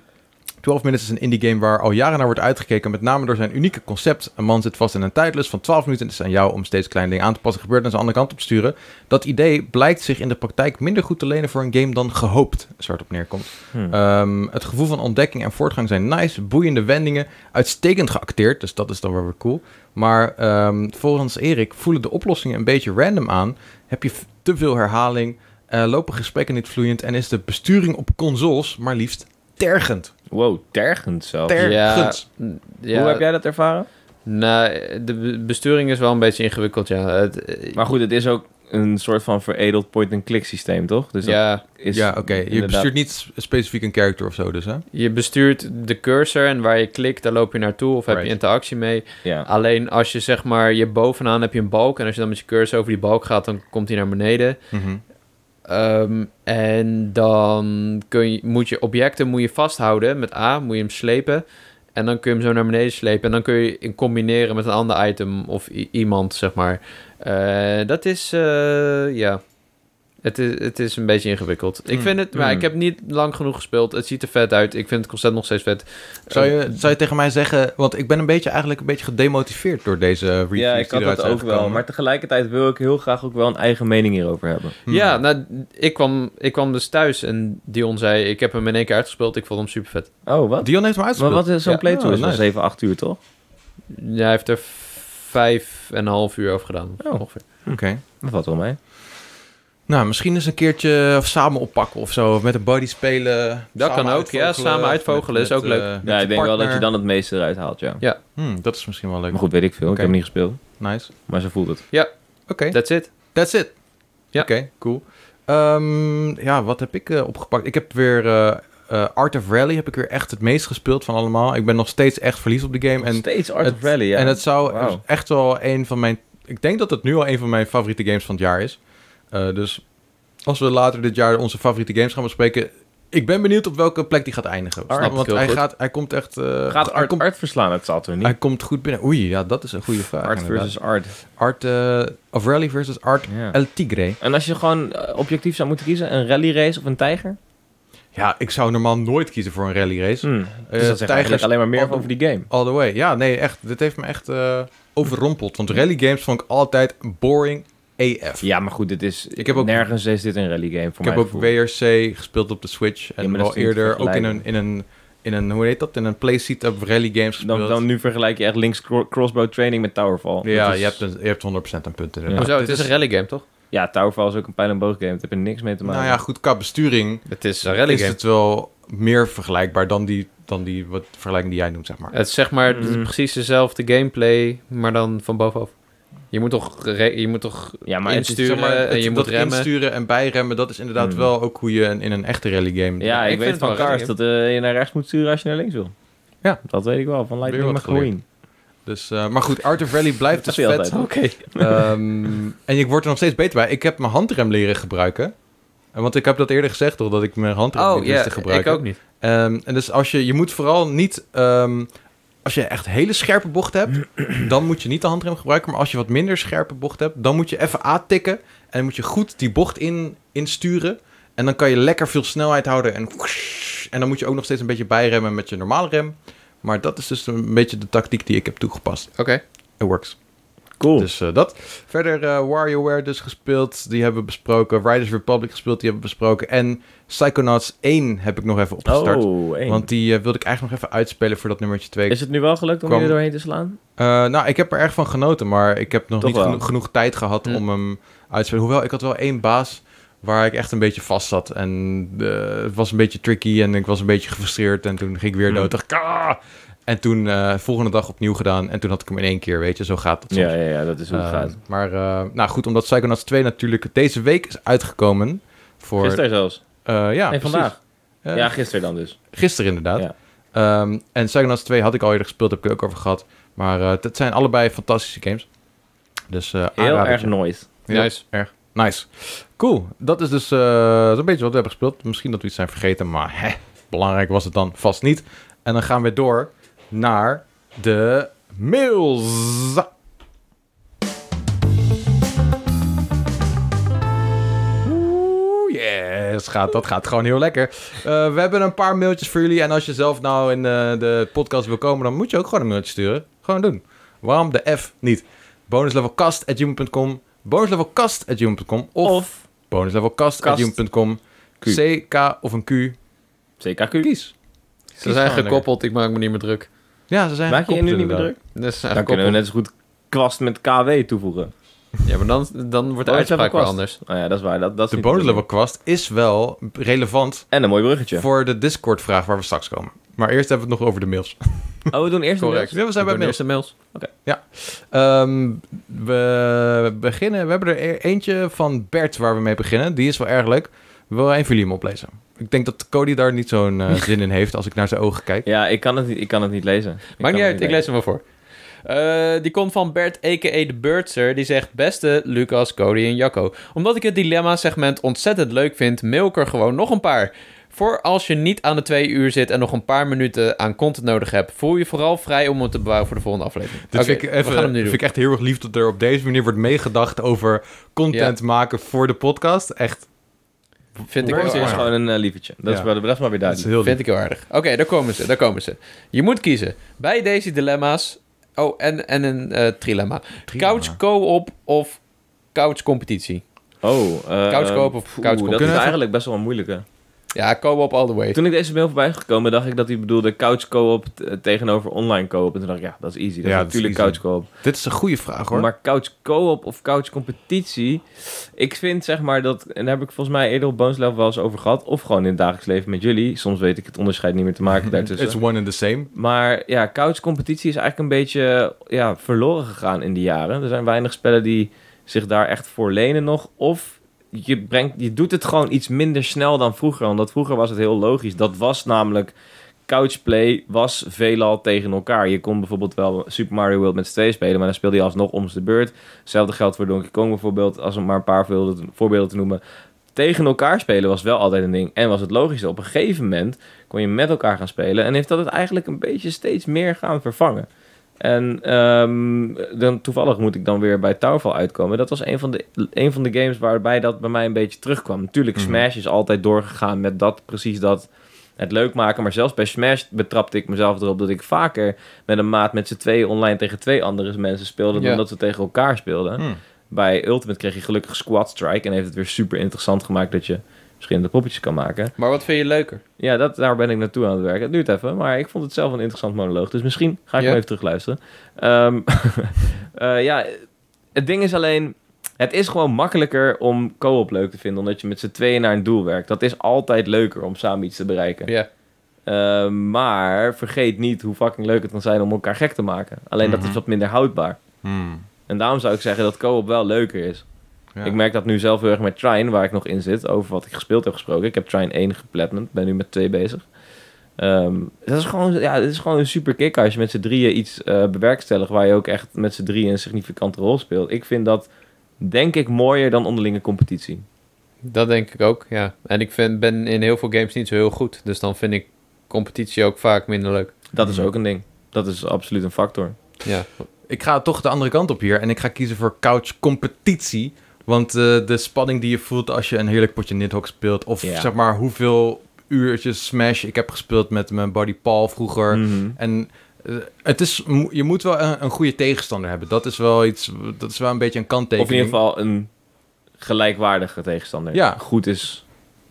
[SPEAKER 1] 12 Minutes is een indie game waar al jaren naar wordt uitgekeken. Met name door zijn unieke concept. Een man zit vast in een tijdlus van 12 minuten. en Het is aan jou om steeds kleine dingen aan te passen. Gebeurt en ze aan de andere kant op te sturen. Dat idee blijkt zich in de praktijk minder goed te lenen voor een game dan gehoopt. Is waar het op neerkomt.
[SPEAKER 3] Hm.
[SPEAKER 1] Ehm, het gevoel van ontdekking en voortgang zijn nice. Boeiende wendingen. Uitstekend geacteerd. Dus dat is dan wel weer cool. Maar ehm, volgens Erik voelen de oplossingen een beetje random aan. Heb je f- te veel herhaling. eh, lopen gesprekken niet vloeiend. En is de besturing op consoles maar liefst tergend.
[SPEAKER 3] Wow, tergend zelf.
[SPEAKER 1] Ter-
[SPEAKER 2] ja,
[SPEAKER 1] Ergens.
[SPEAKER 2] ja,
[SPEAKER 3] Hoe heb jij dat ervaren?
[SPEAKER 2] Nou, de be- besturing is wel een beetje ingewikkeld, ja. Het, eh,
[SPEAKER 3] Maar goed, het is ook een soort van veredeld point-and-click systeem, toch? Dus dat
[SPEAKER 2] ja,
[SPEAKER 3] is
[SPEAKER 1] ja, oké. Je
[SPEAKER 3] inderdaad-
[SPEAKER 1] bestuurt niet s- specifiek een character of zo dus, hè?
[SPEAKER 2] je bestuurt de cursor en waar je klikt, daar loop je naartoe of heb je
[SPEAKER 1] Right.
[SPEAKER 2] interactie mee.
[SPEAKER 1] Ah,
[SPEAKER 3] Ja.
[SPEAKER 2] Alleen als je zeg maar, je bovenaan heb je een balk en als je dan met je cursor over die balk gaat, dan komt hij naar beneden.
[SPEAKER 3] Mhm.
[SPEAKER 2] Ehm, en dan kun je, moet je objecten moet je vasthouden met A, moet je hem slepen. En dan kun je hem zo naar beneden slepen. En dan kun je hem combineren met een ander item of i- iemand, zeg maar. Eh, dat is, eh, ja. Het is, het is een beetje ingewikkeld. Ik
[SPEAKER 1] Mm.
[SPEAKER 2] vind het, maar
[SPEAKER 3] Mm.
[SPEAKER 2] ik heb niet lang genoeg gespeeld. Het ziet er vet uit. Ik vind het concept nog steeds vet.
[SPEAKER 1] Zou,
[SPEAKER 2] Eh,
[SPEAKER 1] je, zou je tegen mij zeggen... Want ik ben een beetje, eigenlijk een beetje gedemotiveerd door deze reviews
[SPEAKER 3] ja, ik
[SPEAKER 1] dus die
[SPEAKER 3] had
[SPEAKER 1] eruit
[SPEAKER 3] dat
[SPEAKER 1] zijn
[SPEAKER 3] ook wel.
[SPEAKER 1] gekomen.
[SPEAKER 3] Maar tegelijkertijd wil ik heel graag ook wel een eigen mening hierover hebben.
[SPEAKER 1] Hmm.
[SPEAKER 2] Ja, nou, ik kwam, ik kwam dus thuis en Dion zei... Ik heb hem in één keer uitgespeeld. Ik vond hem super vet.
[SPEAKER 3] Oh, wat?
[SPEAKER 1] Dion heeft hem
[SPEAKER 3] Maar
[SPEAKER 1] uitgespeeld.
[SPEAKER 3] wat is zo'n
[SPEAKER 2] Ja.
[SPEAKER 3] playthrough?
[SPEAKER 1] Oh,
[SPEAKER 3] is wel
[SPEAKER 1] nice.
[SPEAKER 3] 7, 8 uur, toch?
[SPEAKER 2] Ja, hij heeft er vijf en een half uur over gedaan.
[SPEAKER 3] Oh.
[SPEAKER 2] Ongeveer.
[SPEAKER 1] Oké.
[SPEAKER 3] Dat valt wel mee.
[SPEAKER 1] Nou, misschien eens een keertje of samen oppakken of zo. Of met een buddy spelen.
[SPEAKER 2] Dat
[SPEAKER 1] samen
[SPEAKER 2] kan ook, ja.
[SPEAKER 1] uitvogelen,
[SPEAKER 2] Samen
[SPEAKER 1] of
[SPEAKER 2] uitvogelen is ook
[SPEAKER 1] eh,
[SPEAKER 2] leuk.
[SPEAKER 1] met
[SPEAKER 3] Ja,
[SPEAKER 1] je
[SPEAKER 3] ik denk wel dat je
[SPEAKER 1] partner.
[SPEAKER 3] dan het meeste eruit haalt, ja.
[SPEAKER 1] Hmm, dat is misschien wel leuk.
[SPEAKER 3] Maar goed, weet ik veel. Ik
[SPEAKER 1] Oké.
[SPEAKER 3] heb hem niet gespeeld.
[SPEAKER 1] Nice.
[SPEAKER 3] Maar zo voelt het.
[SPEAKER 1] Oké,
[SPEAKER 2] That's it.
[SPEAKER 1] that's it.
[SPEAKER 2] Ja.
[SPEAKER 1] Oké, cool. Ehm, ja, wat heb ik eh, opgepakt? Ik heb weer... eh, eh, Art of Rally heb ik weer echt het meest gespeeld van allemaal. Ik ben nog steeds echt verliefd op de game. En
[SPEAKER 3] Steeds Art
[SPEAKER 1] het-
[SPEAKER 3] of Rally, ja.
[SPEAKER 1] En het zou dus
[SPEAKER 3] Wauw.
[SPEAKER 1] echt wel een van mijn... Ik denk dat het nu al een van mijn favoriete games van het jaar is. Eh, dus als we later dit jaar onze favoriete games gaan bespreken... Ik ben benieuwd op welke plek die gaat eindigen.
[SPEAKER 3] Snap
[SPEAKER 2] ik
[SPEAKER 1] Want
[SPEAKER 2] heel
[SPEAKER 1] hij,
[SPEAKER 2] goed.
[SPEAKER 1] gaat, hij komt echt... eh,
[SPEAKER 3] Gaat
[SPEAKER 1] hij,
[SPEAKER 3] Art,
[SPEAKER 1] komt,
[SPEAKER 3] Art verslaan? Het zal toch niet?
[SPEAKER 1] hij komt goed binnen. Oei, ja, dat is een goede vraag.
[SPEAKER 3] Art
[SPEAKER 1] inderdaad.
[SPEAKER 3] versus Art.
[SPEAKER 1] Art eh, of Rally versus Art
[SPEAKER 3] Ja.
[SPEAKER 1] El Tigre.
[SPEAKER 3] En als je gewoon eh, objectief zou moeten kiezen, een rally race of een tijger?
[SPEAKER 1] Ja, ik zou normaal nooit kiezen voor een rally race.
[SPEAKER 3] Hm.
[SPEAKER 1] Eh,
[SPEAKER 3] dus dat zegt eigenlijk
[SPEAKER 1] tijgers-
[SPEAKER 3] alleen maar meer
[SPEAKER 1] Oh,
[SPEAKER 3] over die game.
[SPEAKER 1] All the way. Ja, nee, echt. Dit heeft me echt eh, overrompeld. Want rally games vond ik altijd boring AF.
[SPEAKER 3] Ja, maar goed, dit is,
[SPEAKER 1] Ik heb ook-
[SPEAKER 3] nergens is dit een rally game voor
[SPEAKER 1] Ik heb
[SPEAKER 3] mij.
[SPEAKER 1] ook WRC gespeeld op de Switch. En
[SPEAKER 3] Ja, maar dat
[SPEAKER 1] wel
[SPEAKER 3] is niet te
[SPEAKER 1] eerder ook in een,
[SPEAKER 3] vergelijken.
[SPEAKER 1] in, een, in een, hoe heet dat? In een playseat op rally games gespeeld.
[SPEAKER 3] dan, dan nu vergelijk je echt links cro- crossbow training met Towerfall.
[SPEAKER 1] ja,
[SPEAKER 3] Dat is-
[SPEAKER 1] je, hebt een, je hebt 100% een punt
[SPEAKER 3] Ja.
[SPEAKER 1] inderdaad.
[SPEAKER 2] Hoezo? Het
[SPEAKER 1] Dit
[SPEAKER 2] is een rally game, toch?
[SPEAKER 3] ja, Towerfall is ook een pijl en boog game. Daar heb je niks mee te maken.
[SPEAKER 1] Nou ja, goed, qua besturing
[SPEAKER 2] Het is een rally
[SPEAKER 1] is
[SPEAKER 2] game.
[SPEAKER 1] het wel meer vergelijkbaar dan die, dan die wat vergelijking die jij noemt, zeg maar.
[SPEAKER 2] Het is zeg maar
[SPEAKER 3] Mm.
[SPEAKER 2] het is precies dezelfde gameplay, maar dan van bovenaf. Je moet toch, re- je moet toch
[SPEAKER 3] ja, maar het is-
[SPEAKER 2] insturen
[SPEAKER 1] het-
[SPEAKER 2] en je moet
[SPEAKER 1] dat
[SPEAKER 2] remmen.
[SPEAKER 1] insturen en bijremmen, dat is inderdaad
[SPEAKER 3] Hmm.
[SPEAKER 1] wel ook hoe je in, in een echte rally game...
[SPEAKER 3] ja, ik,
[SPEAKER 2] ik vind
[SPEAKER 3] weet
[SPEAKER 2] het wel
[SPEAKER 3] van
[SPEAKER 2] een rally
[SPEAKER 3] Cars dat eh, je naar rechts moet sturen als je naar links wil.
[SPEAKER 1] Ja.
[SPEAKER 3] Dat weet ik wel, van
[SPEAKER 1] Weer
[SPEAKER 3] Lightning
[SPEAKER 1] wat
[SPEAKER 3] McQueen.
[SPEAKER 1] Dus, eh, maar goed, Arthur Valley blijft dus
[SPEAKER 3] Dat doe je
[SPEAKER 1] vet.
[SPEAKER 3] altijd.
[SPEAKER 2] eh,
[SPEAKER 1] Ehm, en ik word er nog steeds beter bij. Ik heb mijn handrem leren gebruiken. En Want ik heb dat eerder gezegd, toch, dat ik mijn handrem
[SPEAKER 2] Oh
[SPEAKER 1] niet wist
[SPEAKER 2] ja,
[SPEAKER 1] te
[SPEAKER 2] ik
[SPEAKER 1] gebruiken.
[SPEAKER 2] ook niet.
[SPEAKER 1] Ehm, en dus als je, je moet vooral niet... ehm, als je echt hele scherpe bocht hebt, dan moet je niet de handrem gebruiken. Maar als je wat minder scherpe bocht hebt, dan moet je even aantikken. En moet je goed die bocht in, insturen. En dan kan je lekker veel snelheid houden. En, whoosh. en dan moet je ook nog steeds een beetje bijremmen met je normale rem. Maar dat is dus een beetje de tactiek die ik heb toegepast.
[SPEAKER 2] Oké.
[SPEAKER 1] It works.
[SPEAKER 3] Cool.
[SPEAKER 1] Dus eh, dat. Verder eh, WarioWare dus gespeeld. Die hebben we besproken. Riders Republic gespeeld. Die hebben we besproken. En Psychonauts 1 heb ik nog even opgestart.
[SPEAKER 3] oh, één.
[SPEAKER 1] Want die eh, wilde ik eigenlijk nog even uitspelen voor dat nummertje 2.
[SPEAKER 3] Is het nu wel gelukt om
[SPEAKER 1] Kwam-
[SPEAKER 3] je er doorheen te slaan?
[SPEAKER 1] nou, ik heb er erg van genoten. Maar ik heb nog
[SPEAKER 3] Toch
[SPEAKER 1] niet
[SPEAKER 3] wel.
[SPEAKER 1] geno- genoeg tijd gehad
[SPEAKER 2] Hm.
[SPEAKER 1] om hem uit te spelen. Hoewel, ik had wel één baas waar ik echt een beetje vast zat. En eh, het was een beetje tricky. En ik was een beetje gefrustreerd. En toen ging ik weer
[SPEAKER 3] Hm.
[SPEAKER 1] dood. Dacht ik, "Ah!" En toen eh, volgende dag opnieuw gedaan. En toen had ik hem in één keer, weet je. Zo gaat dat soms.
[SPEAKER 3] Ja, ja, ja, dat is hoe het
[SPEAKER 1] Eh,
[SPEAKER 3] gaat.
[SPEAKER 1] Maar eh, nou goed, omdat Psychonauts 2 natuurlijk deze week is uitgekomen. Voor,
[SPEAKER 3] Gisteren zelfs.
[SPEAKER 1] Eh, ja,
[SPEAKER 3] nee,
[SPEAKER 1] precies.
[SPEAKER 3] vandaag.
[SPEAKER 1] Eh,
[SPEAKER 3] ja, gisteren dan dus.
[SPEAKER 1] Gisteren inderdaad.
[SPEAKER 3] Ja.
[SPEAKER 1] Ehm, en Psychonauts 2 had ik al eerder gespeeld, heb ik er ook over gehad. Maar eh, het zijn allebei fantastische games. Dus eh,
[SPEAKER 3] Heel erg
[SPEAKER 1] aanradertje.
[SPEAKER 3] noise.
[SPEAKER 1] Heel
[SPEAKER 2] Nice.
[SPEAKER 1] erg nice. Cool. Dat is dus eh, zo'n beetje wat we hebben gespeeld. Misschien dat we iets zijn vergeten, maar hè, belangrijk was het dan vast niet. En dan gaan we door naar de mails. Oeh, Yes, gaat, dat gaat gewoon heel lekker. Eh, we hebben een paar mailtjes voor jullie. En als je zelf nou in eh, de podcast wil komen, dan moet je ook gewoon een mailtje sturen. Gewoon doen. Waarom de F niet? bonuslevelcast.com bonuslevelcast.com of, of
[SPEAKER 3] Of
[SPEAKER 1] bonuslevelcast.com
[SPEAKER 3] Q.
[SPEAKER 1] CK of een Q.
[SPEAKER 3] CKQ.
[SPEAKER 1] Kies.
[SPEAKER 2] Ze zijn
[SPEAKER 1] gewoon
[SPEAKER 2] gekoppeld, ik maak me niet meer druk.
[SPEAKER 1] Ja, ze zijn
[SPEAKER 3] Maak je je nu niet meer
[SPEAKER 1] inderdaad.
[SPEAKER 3] druk?
[SPEAKER 2] Dus ze zijn
[SPEAKER 3] Dan kunnen we
[SPEAKER 2] gekoppeld.
[SPEAKER 3] net zo goed kwast met KW toevoegen.
[SPEAKER 2] Ja, maar dan, dan wordt de
[SPEAKER 3] Bonus level
[SPEAKER 2] uitspraak wel
[SPEAKER 3] kwast.
[SPEAKER 2] anders.
[SPEAKER 3] Nou ja, dat is waar. Dat, dat is
[SPEAKER 1] De
[SPEAKER 3] niet te doen.
[SPEAKER 1] bonuslevelkwast is wel relevant
[SPEAKER 3] En een mooi bruggetje.
[SPEAKER 1] voor de Discord-vraag waar we straks komen. Maar eerst hebben we het nog over de mails.
[SPEAKER 3] Oh, we doen eerst een
[SPEAKER 2] Correct.
[SPEAKER 1] Ja, we zijn bij
[SPEAKER 2] de
[SPEAKER 1] mails.
[SPEAKER 2] eerste mails.
[SPEAKER 1] Ehm, we beginnen. We hebben er e- eentje van Bert waar we mee beginnen. Die is wel erg leuk. We willen een van jullie hem oplezen. Ik denk dat Cody daar niet zo'n eh, zin in heeft als ik naar zijn ogen kijk.
[SPEAKER 3] mail. Ja, ik kan het niet, ik kan het niet lezen. Ik kan
[SPEAKER 2] Maakt niet
[SPEAKER 3] het
[SPEAKER 2] uit, ik lees hem wel voor. Eh, die komt van Bert, a.k.a. de Birdser. Die zegt, beste Lucas, Cody en Jacco. Omdat ik het dilemma-segment ontzettend leuk vind, mail ik er gewoon nog een paar. Voor als je niet aan de twee uur zit en nog een paar minuten aan content nodig hebt... voel je vooral vrij om het te bewaren voor de volgende aflevering.
[SPEAKER 1] Dit
[SPEAKER 2] Oké,
[SPEAKER 1] vind ik, even,
[SPEAKER 2] Dus we gaan hem nu
[SPEAKER 1] vind
[SPEAKER 2] doen.
[SPEAKER 1] ik echt heel erg lief dat er op deze manier wordt meegedacht over content maken voor de podcast. Echt,
[SPEAKER 2] Vind ik
[SPEAKER 1] Bert
[SPEAKER 2] wel
[SPEAKER 3] Burns is
[SPEAKER 2] aardig.
[SPEAKER 3] gewoon een eh, lievetje. Dat is
[SPEAKER 1] Ja.
[SPEAKER 3] wel, dat is maar weer
[SPEAKER 1] dat is
[SPEAKER 3] duidelijk.
[SPEAKER 1] heel lief.
[SPEAKER 2] Vind ik heel aardig. Oké, daar komen ze, daar komen ze. Je moet kiezen. Bij deze dilemma's... Oh, en, en een eh, trilemma.
[SPEAKER 1] Trilemma.
[SPEAKER 2] Couch co-op of couch competitie?
[SPEAKER 3] Oh, eh,
[SPEAKER 2] Couch kopen of
[SPEAKER 3] oeh,
[SPEAKER 2] couch kopen.
[SPEAKER 3] Dat
[SPEAKER 1] Kunnen
[SPEAKER 3] is
[SPEAKER 1] we-
[SPEAKER 3] eigenlijk best wel een moeilijke.
[SPEAKER 2] Ja, co-op all the way.
[SPEAKER 3] Toen ik deze mail voorbij is gekomen, dacht ik dat hij bedoelde couch co-op t- tegenover online co-op. En toen dacht ik, ja, dat is easy.
[SPEAKER 1] Ja,
[SPEAKER 3] Dat is
[SPEAKER 1] dat is
[SPEAKER 3] natuurlijk
[SPEAKER 1] easy.
[SPEAKER 3] couch co-op.
[SPEAKER 1] Dit is een goede vraag hoor.
[SPEAKER 3] Maar couch co-op of couch competitie, ik vind zeg maar dat, en daar heb ik volgens mij eerder op Bones Level wel eens over gehad, of gewoon in het dagelijks leven met jullie. Soms weet ik het onderscheid niet meer te maken daartussen.
[SPEAKER 1] It's one and the same.
[SPEAKER 3] Maar ja, couch competitie is eigenlijk een beetje ja, verloren gegaan in die jaren. Er zijn weinig spellen die zich daar echt voor lenen nog. Of je, brengt, je doet het gewoon iets minder snel dan vroeger. Omdat vroeger was het heel logisch. Dat was namelijk... Couchplay was veelal tegen elkaar. Je kon bijvoorbeeld wel Super Mario World met z'n tweeën spelen... maar dan speelde je alsnog om de beurt. Hetzelfde geldt voor Donkey Kong bijvoorbeeld... als om maar een paar voorbeelden- voorbeelden te noemen. Tegen elkaar spelen was wel altijd een ding. En was het logisch. Op een gegeven moment kon je met elkaar gaan spelen. En heeft dat het eigenlijk een beetje steeds meer gaan vervangen. En ehm, dan, toevallig moet ik dan weer bij Towerfall uitkomen. Dat was een van, de, een van de games waarbij dat bij mij een beetje terugkwam. Natuurlijk,
[SPEAKER 1] Mhm.
[SPEAKER 3] Smash is altijd doorgegaan met dat, precies dat, het leuk maken. Maar zelfs bij Smash betrapte ik mezelf erop dat ik vaker met een maat met z'n tweeën online tegen twee andere mensen speelde
[SPEAKER 2] Ja.
[SPEAKER 3] dan dat ze tegen elkaar speelden.
[SPEAKER 1] Hmm.
[SPEAKER 3] Bij Ultimate kreeg je gelukkig Squad Strike en heeft het weer super interessant gemaakt dat je verschillende poppetjes kan maken.
[SPEAKER 2] Maar wat vind je leuker?
[SPEAKER 3] Ja, dat, daar ben ik naartoe aan het werken. Het duurt even, maar ik vond het zelf een interessant monoloog. Dus misschien ga ik
[SPEAKER 2] Ja.
[SPEAKER 3] hem even terugluisteren. Ehm eh, ja, het ding is alleen... Het is gewoon makkelijker om co-op leuk te vinden... omdat je met z'n tweeën naar een doel werkt. Dat is altijd leuker om samen iets te bereiken.
[SPEAKER 2] Ja.
[SPEAKER 3] Ehm, maar vergeet niet hoe fucking leuk het kan zijn om elkaar gek te maken. Alleen dat
[SPEAKER 1] Mhm.
[SPEAKER 3] is wat minder houdbaar.
[SPEAKER 1] Hmm.
[SPEAKER 3] En daarom zou ik zeggen dat co-op wel leuker is.
[SPEAKER 1] Ja.
[SPEAKER 3] Ik merk dat nu zelf heel erg met Trine, waar ik nog in zit, over wat ik gespeeld heb gesproken. Ik heb Trine 1 geplatmend, ben nu met 2 bezig. Ehm, dat, is gewoon, ja, dat is gewoon een super kick als je met z'n drieën iets eh bewerkstelligt waar je ook echt met z'n drieën een significante rol speelt. Ik vind dat, denk ik, mooier dan onderlinge competitie.
[SPEAKER 2] Dat denk ik ook, ja. En ik vind, ben in heel veel games niet zo heel goed. Dus dan vind ik competitie ook vaak minder leuk.
[SPEAKER 3] Dat
[SPEAKER 1] Mhm.
[SPEAKER 3] is ook een ding. Dat is absoluut een factor.
[SPEAKER 2] Ja,
[SPEAKER 1] Ik ga toch de andere kant op hier en ik ga kiezen voor couch competitie. Want eh, de spanning die je voelt als je een heerlijk potje Nidhogg speelt... of
[SPEAKER 3] Ja.
[SPEAKER 1] zeg maar hoeveel uurtjes Smash ik heb gespeeld met mijn buddy Paul vroeger...
[SPEAKER 3] Mhm.
[SPEAKER 1] En eh, het is, mo- je moet wel een, een goede tegenstander hebben. Dat is wel iets, dat is wel een beetje een kanttekening.
[SPEAKER 3] Of in ieder geval een gelijkwaardige tegenstander.
[SPEAKER 1] Ja.
[SPEAKER 3] Goed is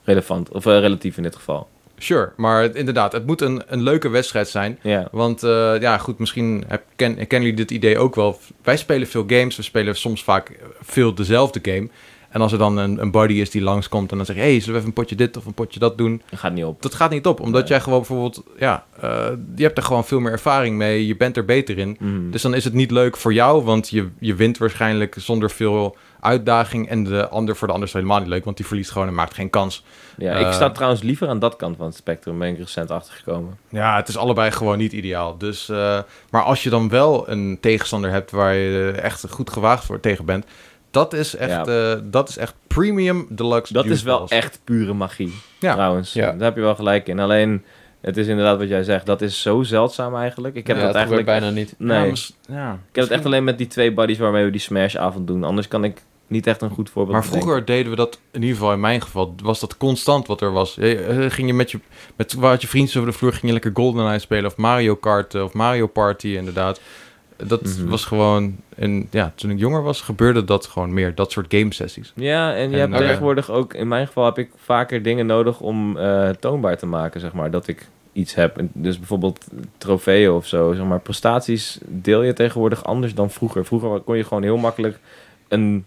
[SPEAKER 3] relevant, of eh, relatief in dit geval.
[SPEAKER 1] Sure, maar het- inderdaad, het moet een, een leuke wedstrijd zijn.
[SPEAKER 3] Ja.
[SPEAKER 1] Want eh, ja, goed, misschien heb, ken, kennen jullie dit idee ook wel. Wij spelen veel games, we spelen soms vaak veel dezelfde game. En als er dan een, een buddy is die langskomt en dan zeg je... hé, hey, zullen we even een potje dit of een potje dat doen?
[SPEAKER 3] Dat gaat niet op.
[SPEAKER 1] Dat gaat niet op, omdat
[SPEAKER 3] Nee.
[SPEAKER 1] jij gewoon bijvoorbeeld... ja, eh, je hebt er gewoon veel meer ervaring mee, je bent er beter in.
[SPEAKER 3] Mhm.
[SPEAKER 1] Dus dan is het niet leuk voor jou, want je, je wint waarschijnlijk zonder veel uitdaging. En de ander voor de ander is het helemaal niet leuk, want die verliest gewoon en maakt geen kans.
[SPEAKER 3] ja,
[SPEAKER 1] eh,
[SPEAKER 3] ik sta trouwens liever aan dat kant van het spectrum, ben ik recent achtergekomen.
[SPEAKER 1] Ja, het is allebei gewoon niet ideaal. Dus, eh, maar als je dan wel een tegenstander hebt waar je echt goed gewaagd voor tegen bent, dat is echt, eh, dat is echt premium deluxe.
[SPEAKER 3] Dat is
[SPEAKER 1] juice
[SPEAKER 3] wel
[SPEAKER 1] balls.
[SPEAKER 3] echt pure magie,
[SPEAKER 1] Ja.
[SPEAKER 3] trouwens.
[SPEAKER 2] Ja.
[SPEAKER 3] Daar heb je wel gelijk in. Alleen, het is inderdaad wat jij zegt, dat is zo zeldzaam eigenlijk. Ik heb
[SPEAKER 2] Ja,
[SPEAKER 3] dat
[SPEAKER 2] het gebeurt
[SPEAKER 3] eigenlijk...
[SPEAKER 2] bijna niet.
[SPEAKER 1] Ja,
[SPEAKER 3] Nee,
[SPEAKER 1] mis- ja.
[SPEAKER 3] ik heb het echt alleen met die twee buddies waarmee we die Smash-avond doen. Anders kan ik niet echt een goed voorbeeld
[SPEAKER 1] Maar
[SPEAKER 3] bedenken.
[SPEAKER 1] vroeger deden we dat, in ieder geval in mijn geval, was dat constant wat er was. Je, eh, ging je met je, met, waar had je vrienden over de vloer, ging je lekker GoldenEye spelen of Mario Kart eh, of Mario Party inderdaad. Dat
[SPEAKER 3] Mhm.
[SPEAKER 1] was gewoon, en ja, toen ik jonger was, gebeurde dat gewoon meer, dat soort game sessies.
[SPEAKER 3] Ja, en je
[SPEAKER 1] En, eh,
[SPEAKER 3] hebt
[SPEAKER 1] oké.
[SPEAKER 3] tegenwoordig ook, in mijn geval heb ik vaker dingen nodig om eh, toonbaar te maken, zeg maar, dat ik iets heb. En Dus bijvoorbeeld trofeeën of zo, zeg maar, prestaties deel je tegenwoordig anders dan vroeger. Vroeger kon je gewoon heel makkelijk een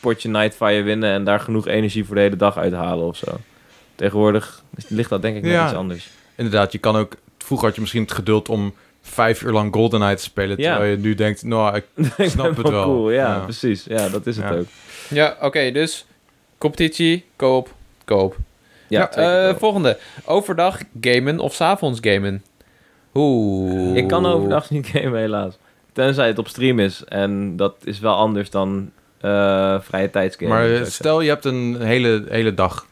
[SPEAKER 3] potje Nightfire winnen en daar genoeg energie voor de hele dag uithalen of zo. Tegenwoordig is- ligt dat denk ik net
[SPEAKER 1] Ja.
[SPEAKER 3] iets anders.
[SPEAKER 1] Inderdaad, je kan ook, vroeger had je misschien het geduld om vijf uur lang GoldenEye te spelen,
[SPEAKER 3] Ja.
[SPEAKER 1] terwijl je nu denkt, nou, ik
[SPEAKER 3] Ik
[SPEAKER 1] snap
[SPEAKER 3] ben
[SPEAKER 1] het wel.
[SPEAKER 3] Cool, ja,
[SPEAKER 1] Ja.
[SPEAKER 3] precies. Ja, dat is het
[SPEAKER 1] Ja.
[SPEAKER 3] ook.
[SPEAKER 2] Ja, oké, dus competitie, koop, koop.
[SPEAKER 3] Ja, twee
[SPEAKER 1] eh,
[SPEAKER 3] keer wel.
[SPEAKER 2] eh, volgende. Overdag gamen of s'avonds gamen? Oeh.
[SPEAKER 3] Ik kan overdag niet gamen, helaas. Tenzij het op stream is. En dat is wel anders dan eh, vrije tijdsgamen.
[SPEAKER 1] maar
[SPEAKER 3] zou
[SPEAKER 1] eh,
[SPEAKER 3] ik zeggen.
[SPEAKER 1] stel je hebt een hele, hele dag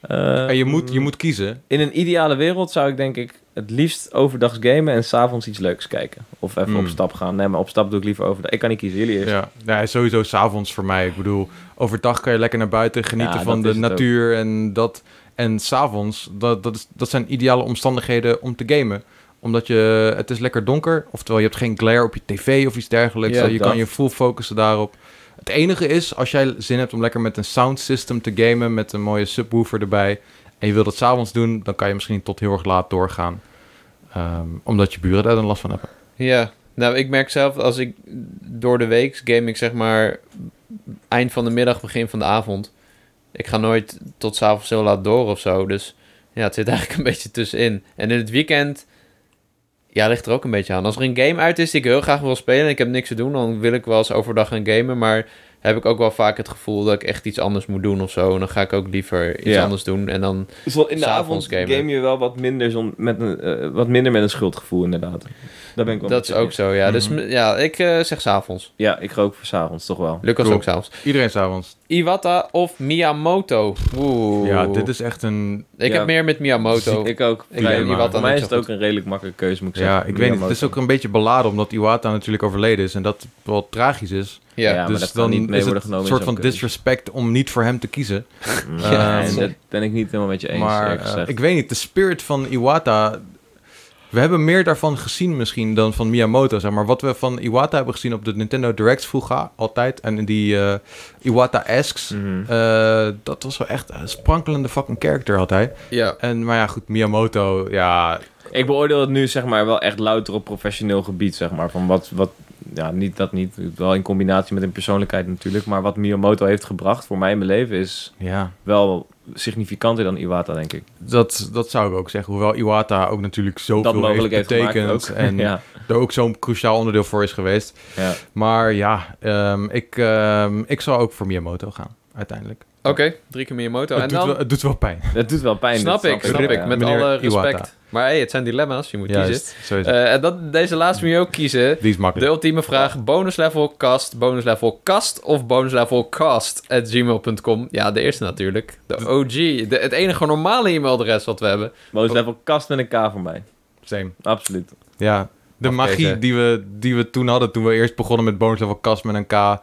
[SPEAKER 3] Eh,
[SPEAKER 1] en je moet, je moet kiezen.
[SPEAKER 3] In een ideale wereld zou ik denk ik het liefst overdags gamen en s'avonds iets leuks kijken. Of even
[SPEAKER 1] Hmm.
[SPEAKER 3] op stap gaan. Nee, maar op stap doe ik liever overdag. Ik kan niet kiezen, jullie eerst.
[SPEAKER 1] Ja, ja sowieso s'avonds voor mij. Ik bedoel, overdag kan je lekker naar buiten genieten
[SPEAKER 3] Ja,
[SPEAKER 1] van
[SPEAKER 3] dat
[SPEAKER 1] de
[SPEAKER 3] is het ook.
[SPEAKER 1] natuur en dat. En s'avonds, dat, dat, is, dat zijn ideale omstandigheden om te gamen. Omdat je, het is lekker donker, oftewel je hebt geen glare op je tv of iets dergelijks. Eh,
[SPEAKER 2] Ja,
[SPEAKER 1] je
[SPEAKER 3] dat.
[SPEAKER 1] kan je full focussen daarop. Het enige is, als jij zin hebt om lekker met een sound system te gamen, met een mooie subwoofer erbij, en je wil dat s'avonds doen, dan kan je misschien tot heel erg laat doorgaan. Ehm, omdat je buren daar dan last van hebben.
[SPEAKER 2] Ja, nou ik merk zelf als ik door de week game ik zeg maar eind van de middag, begin van de avond. Ik ga nooit tot s'avonds heel laat door of zo. Dus ja, het zit eigenlijk een beetje tussenin. En in het weekend, ja, ligt er ook een beetje aan. Als er een game uit is die ik heel graag wil spelen en ik heb niks te doen, dan wil ik wel eens overdag gaan gamen. Maar heb ik ook wel vaak het gevoel dat ik echt iets anders moet doen of zo. En dan ga ik ook liever iets
[SPEAKER 3] Ja.
[SPEAKER 2] anders doen. En dan,
[SPEAKER 3] Dus
[SPEAKER 2] in
[SPEAKER 3] in de
[SPEAKER 2] de
[SPEAKER 3] avond
[SPEAKER 2] S'avonds gamen.
[SPEAKER 3] game je wel wat minder, zon, met een, eh, wat minder met een schuldgevoel inderdaad. Daar ben ik wel
[SPEAKER 2] dat
[SPEAKER 3] met
[SPEAKER 2] is
[SPEAKER 3] je
[SPEAKER 2] ook
[SPEAKER 3] eens.
[SPEAKER 2] zo, ja. Dus
[SPEAKER 1] Mhm.
[SPEAKER 2] m- ja, ik eh, zeg s'avonds.
[SPEAKER 3] Ja, ik ga ook voor s'avonds toch wel.
[SPEAKER 2] Lucas
[SPEAKER 1] Cool.
[SPEAKER 2] ook s'avonds.
[SPEAKER 1] Iedereen s'avonds.
[SPEAKER 2] Iwata of Miyamoto? Oeh.
[SPEAKER 1] Ja, dit is echt een
[SPEAKER 2] Ik
[SPEAKER 3] Ja.
[SPEAKER 2] heb meer met Miyamoto.
[SPEAKER 3] Ik ook.
[SPEAKER 2] weet
[SPEAKER 3] Vrij-
[SPEAKER 1] niet
[SPEAKER 3] maar
[SPEAKER 1] wat
[SPEAKER 3] Voor
[SPEAKER 2] dan
[SPEAKER 3] mij
[SPEAKER 2] het
[SPEAKER 3] is het
[SPEAKER 2] zo
[SPEAKER 3] ook een redelijk makkelijke keuze, moet ik
[SPEAKER 1] Ja,
[SPEAKER 3] zeggen.
[SPEAKER 1] ik weet niet. Het
[SPEAKER 3] Miyamoto.
[SPEAKER 1] is ook een beetje beladen omdat Iwata natuurlijk overleden is en dat wel tragisch is.
[SPEAKER 2] ja.
[SPEAKER 3] Ja. maar dat
[SPEAKER 1] dus
[SPEAKER 3] kan
[SPEAKER 1] dan
[SPEAKER 3] niet mee
[SPEAKER 1] is
[SPEAKER 3] worden
[SPEAKER 1] het
[SPEAKER 3] genomen
[SPEAKER 1] een
[SPEAKER 3] in
[SPEAKER 1] soort
[SPEAKER 3] zo'n
[SPEAKER 1] van
[SPEAKER 3] keuze.
[SPEAKER 1] disrespect om niet voor hem te kiezen.
[SPEAKER 3] Ja,
[SPEAKER 1] Ehm,
[SPEAKER 3] en dat ben ik niet helemaal met je eens,
[SPEAKER 1] maar
[SPEAKER 3] eerlijk
[SPEAKER 1] eh,
[SPEAKER 3] gezegd.
[SPEAKER 1] ik weet niet, de spirit van Iwata. We hebben meer daarvan gezien misschien dan van Miyamoto. Zeg maar wat we van Iwata hebben gezien op de Nintendo Directs vroeger altijd en in die eh, Iwata-esques.
[SPEAKER 3] Mhm.
[SPEAKER 1] eh, dat was wel echt een sprankelende fucking character had hij.
[SPEAKER 2] ja.
[SPEAKER 1] En, maar ja, goed, Miyamoto, ja,
[SPEAKER 3] Ik beoordeel het nu zeg maar wel echt louter op professioneel gebied, zeg maar. Van wat, wat ja, niet dat niet, wel in combinatie met een persoonlijkheid natuurlijk. Maar wat Miyamoto heeft gebracht voor mij in mijn leven is
[SPEAKER 1] ja.
[SPEAKER 3] wel significanter dan Iwata, denk ik.
[SPEAKER 1] Dat, dat zou ik ook zeggen. Hoewel Iwata ook natuurlijk
[SPEAKER 3] dat
[SPEAKER 1] zoveel
[SPEAKER 3] mogelijk
[SPEAKER 1] heeft
[SPEAKER 3] heeft gemaakt
[SPEAKER 1] betekend.
[SPEAKER 3] ook.
[SPEAKER 1] En
[SPEAKER 3] ja,
[SPEAKER 1] er ook zo'n cruciaal onderdeel voor is geweest.
[SPEAKER 3] ja.
[SPEAKER 1] Maar ja, ehm, ik, ehm, ik zal ook voor Miyamoto gaan, uiteindelijk.
[SPEAKER 2] Oké, drie keer Miyamoto.
[SPEAKER 1] het,
[SPEAKER 2] en
[SPEAKER 1] doet
[SPEAKER 2] dan,
[SPEAKER 1] wel, het doet wel pijn.
[SPEAKER 3] Het doet wel pijn.
[SPEAKER 2] snap
[SPEAKER 3] dat
[SPEAKER 2] ik, snap
[SPEAKER 1] Rip
[SPEAKER 2] ik. Met
[SPEAKER 1] meneer
[SPEAKER 2] alle
[SPEAKER 1] Iwata.
[SPEAKER 2] respect. Maar hey, het zijn dilemma's, je moet kiezen.
[SPEAKER 1] Juist, zo is het.
[SPEAKER 2] Eh, en dat, deze laatste moet je ook kiezen.
[SPEAKER 1] Die is
[SPEAKER 2] De
[SPEAKER 1] makkelijk.
[SPEAKER 2] ultieme vraag, bonus level cast, bonus level cast of bonus level cast at gmail.com. Ja, de eerste natuurlijk. De OG, de, het enige normale e-mailadres wat we hebben.
[SPEAKER 3] Bonus level kast met een K voor mij.
[SPEAKER 1] Same.
[SPEAKER 3] Absoluut.
[SPEAKER 1] Ja, de
[SPEAKER 2] Oké,
[SPEAKER 1] magie
[SPEAKER 2] zeg.
[SPEAKER 1] die we, die we toen hadden, toen we eerst begonnen met Bonus Level Kast met een K. Ah,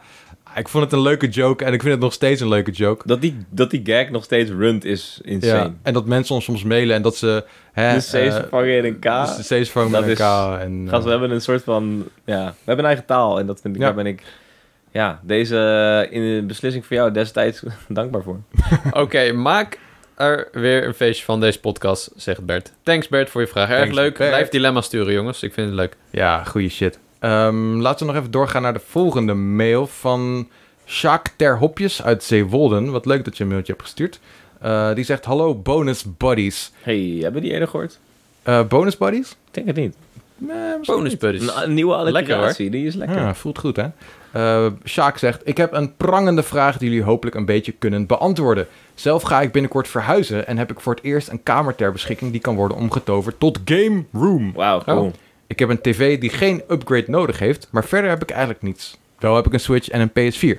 [SPEAKER 1] Ik vond het een leuke joke en ik vind het nog steeds een leuke joke.
[SPEAKER 3] Dat die, dat die gag nog steeds runt is
[SPEAKER 1] Ja,
[SPEAKER 3] insane.
[SPEAKER 1] en dat mensen ons soms mailen en dat ze... Hè,
[SPEAKER 3] Dus C
[SPEAKER 1] eh,
[SPEAKER 3] is vervangen in een K.
[SPEAKER 1] dus de C is vervangen met
[SPEAKER 3] Dat
[SPEAKER 1] een
[SPEAKER 3] is-
[SPEAKER 1] K. En,
[SPEAKER 3] Gast, we
[SPEAKER 1] eh,
[SPEAKER 3] hebben een soort van... Ja, we hebben een eigen taal. En dat vind ik...
[SPEAKER 1] Ja.
[SPEAKER 3] Daar ben ik... Ja, deze eh, in de beslissing voor jou destijds dankbaar voor.
[SPEAKER 2] Oké, maak er weer een feestje van deze podcast, zegt Bert. Thanks Bert voor je vraag. Erg
[SPEAKER 1] Thanks,
[SPEAKER 2] leuk.
[SPEAKER 1] Bert.
[SPEAKER 2] Blijf dilemma's sturen, jongens. Ik vind het leuk.
[SPEAKER 1] ja, goede shit. Ehm, laten we nog even doorgaan naar de volgende mail van Sjaak Terhopjes uit Zeewolden. Wat leuk dat je een mailtje hebt gestuurd. Eh, die zegt, hallo bonus buddies.
[SPEAKER 3] Hey, hebben we die eerder gehoord?
[SPEAKER 1] Eh, bonus buddies?
[SPEAKER 3] Ik denk het niet.
[SPEAKER 1] Nee, misschien
[SPEAKER 2] Bonus buddies.
[SPEAKER 3] Een, een nieuwe
[SPEAKER 2] Lekker,
[SPEAKER 3] alliteratie, die is Dus lekker.
[SPEAKER 1] Ja, voelt goed, hè? Eh Sjaak zegt, ik heb een prangende vraag die jullie hopelijk een beetje kunnen beantwoorden. Zelf ga ik binnenkort verhuizen en heb ik voor het eerst een kamer ter beschikking die kan worden omgetoverd tot game room.
[SPEAKER 3] Wauw, cool.
[SPEAKER 1] Ik heb een tv die geen upgrade nodig heeft, maar verder heb ik eigenlijk niets. Wel heb ik een Switch en een PS4.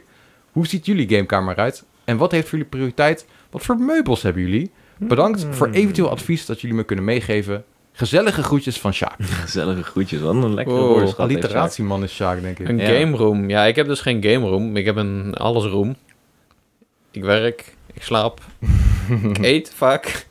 [SPEAKER 1] Hoe ziet jullie gamekamer eruit? En wat heeft voor jullie prioriteit? Wat voor meubels hebben jullie? Bedankt voor eventueel advies dat jullie me kunnen meegeven. Gezellige groetjes van Sjaak.
[SPEAKER 3] Gezellige groetjes, wat een lekkere
[SPEAKER 2] Wow,
[SPEAKER 3] woordenschat heeft Sjaak.
[SPEAKER 1] Alliteratieman is Sjaak, denk ik.
[SPEAKER 2] Een
[SPEAKER 3] Ja.
[SPEAKER 2] game room. Ja, ik heb dus geen game room. Ik heb een alles room. Ik werk, ik slaap, ik eet vaak.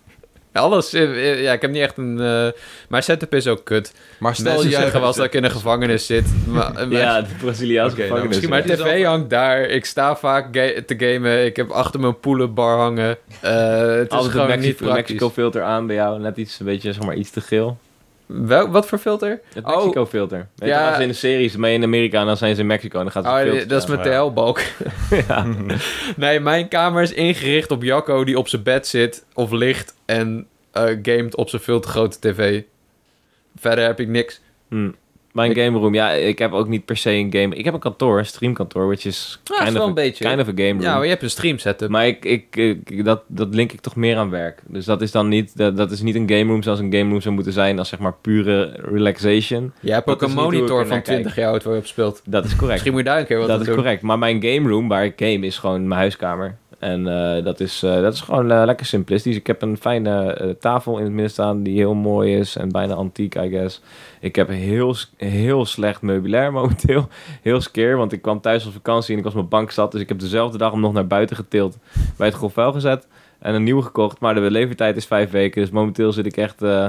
[SPEAKER 2] Alles. eh, eh, Ja, ik heb niet echt een... eh, Mijn setup is ook kut.
[SPEAKER 1] Maar
[SPEAKER 2] Stel
[SPEAKER 1] stel
[SPEAKER 2] Mensen
[SPEAKER 1] jij
[SPEAKER 2] zeggen wel eens dat ik in een gevangenis zit. Maar, eh,
[SPEAKER 3] Ja, de Braziliaanse
[SPEAKER 1] Oké, nou,
[SPEAKER 3] gevangenis.
[SPEAKER 2] Misschien mijn
[SPEAKER 1] Het is
[SPEAKER 2] tv hangt daar. Ik sta vaak ga- te gamen. Ik heb achter mijn poelenbar hangen. Eh, het is
[SPEAKER 3] Altijd
[SPEAKER 2] gewoon
[SPEAKER 3] een
[SPEAKER 2] niet
[SPEAKER 3] Mexico,
[SPEAKER 2] praktisch.
[SPEAKER 3] Mexico filter aan bij jou. Net iets, een beetje, zeg maar, iets te geel.
[SPEAKER 2] Wel- wat voor filter?
[SPEAKER 3] Het
[SPEAKER 2] Oh.
[SPEAKER 3] Mexico filter. Weet je,
[SPEAKER 2] Ja.
[SPEAKER 3] als ze in de series mee in Amerika en dan zijn ze in Mexico en dan gaat ze
[SPEAKER 2] Oh,
[SPEAKER 3] filter
[SPEAKER 2] dat is
[SPEAKER 3] staan.
[SPEAKER 2] mijn TL-balk. nee, mijn kamer is ingericht op Jacco die op zijn bed zit of ligt en eh gamet op zijn veel te grote tv. Verder heb ik niks.
[SPEAKER 3] Hm. Mijn game room, ja, ik heb ook niet per se een game. Ik heb een kantoor, een streamkantoor, which is
[SPEAKER 2] Ja, is
[SPEAKER 3] kind,
[SPEAKER 2] wel
[SPEAKER 3] of,
[SPEAKER 2] een
[SPEAKER 3] a,
[SPEAKER 2] beetje.
[SPEAKER 3] kind of a game room.
[SPEAKER 2] Ja, maar je hebt een stream setup.
[SPEAKER 3] Maar ik, ik, ik- dat, dat link ik toch meer aan werk. Dus dat is dan niet, dat, dat is niet een game room zoals een game room zou moeten zijn als zeg maar pure relaxation.
[SPEAKER 2] je hebt
[SPEAKER 3] dat
[SPEAKER 2] ook een
[SPEAKER 3] is niet hoe ik
[SPEAKER 2] monitor
[SPEAKER 3] ernaar
[SPEAKER 2] van
[SPEAKER 3] kijk.
[SPEAKER 2] 20 jaar oud waar je op speelt.
[SPEAKER 3] Dat is correct.
[SPEAKER 2] Misschien moet je daar een keer wat
[SPEAKER 3] dat
[SPEAKER 2] aan
[SPEAKER 3] is
[SPEAKER 2] doen.
[SPEAKER 3] correct. Maar mijn game room, waar ik game, is gewoon mijn huiskamer. En eh, dat, is, eh, dat is gewoon eh, lekker simplistisch. Ik heb een fijne eh, tafel in het midden staan die heel mooi is en bijna antiek, I guess. Ik heb heel, s- heel slecht meubilair momenteel. Heel skeer, want ik kwam thuis van vakantie en ik was op mijn bank zat. Dus ik heb dezelfde dag hem nog naar buiten getild, bij het grof vuil gezet en een nieuwe gekocht. Maar de levertijd is vijf weken, dus momenteel zit ik echt eh,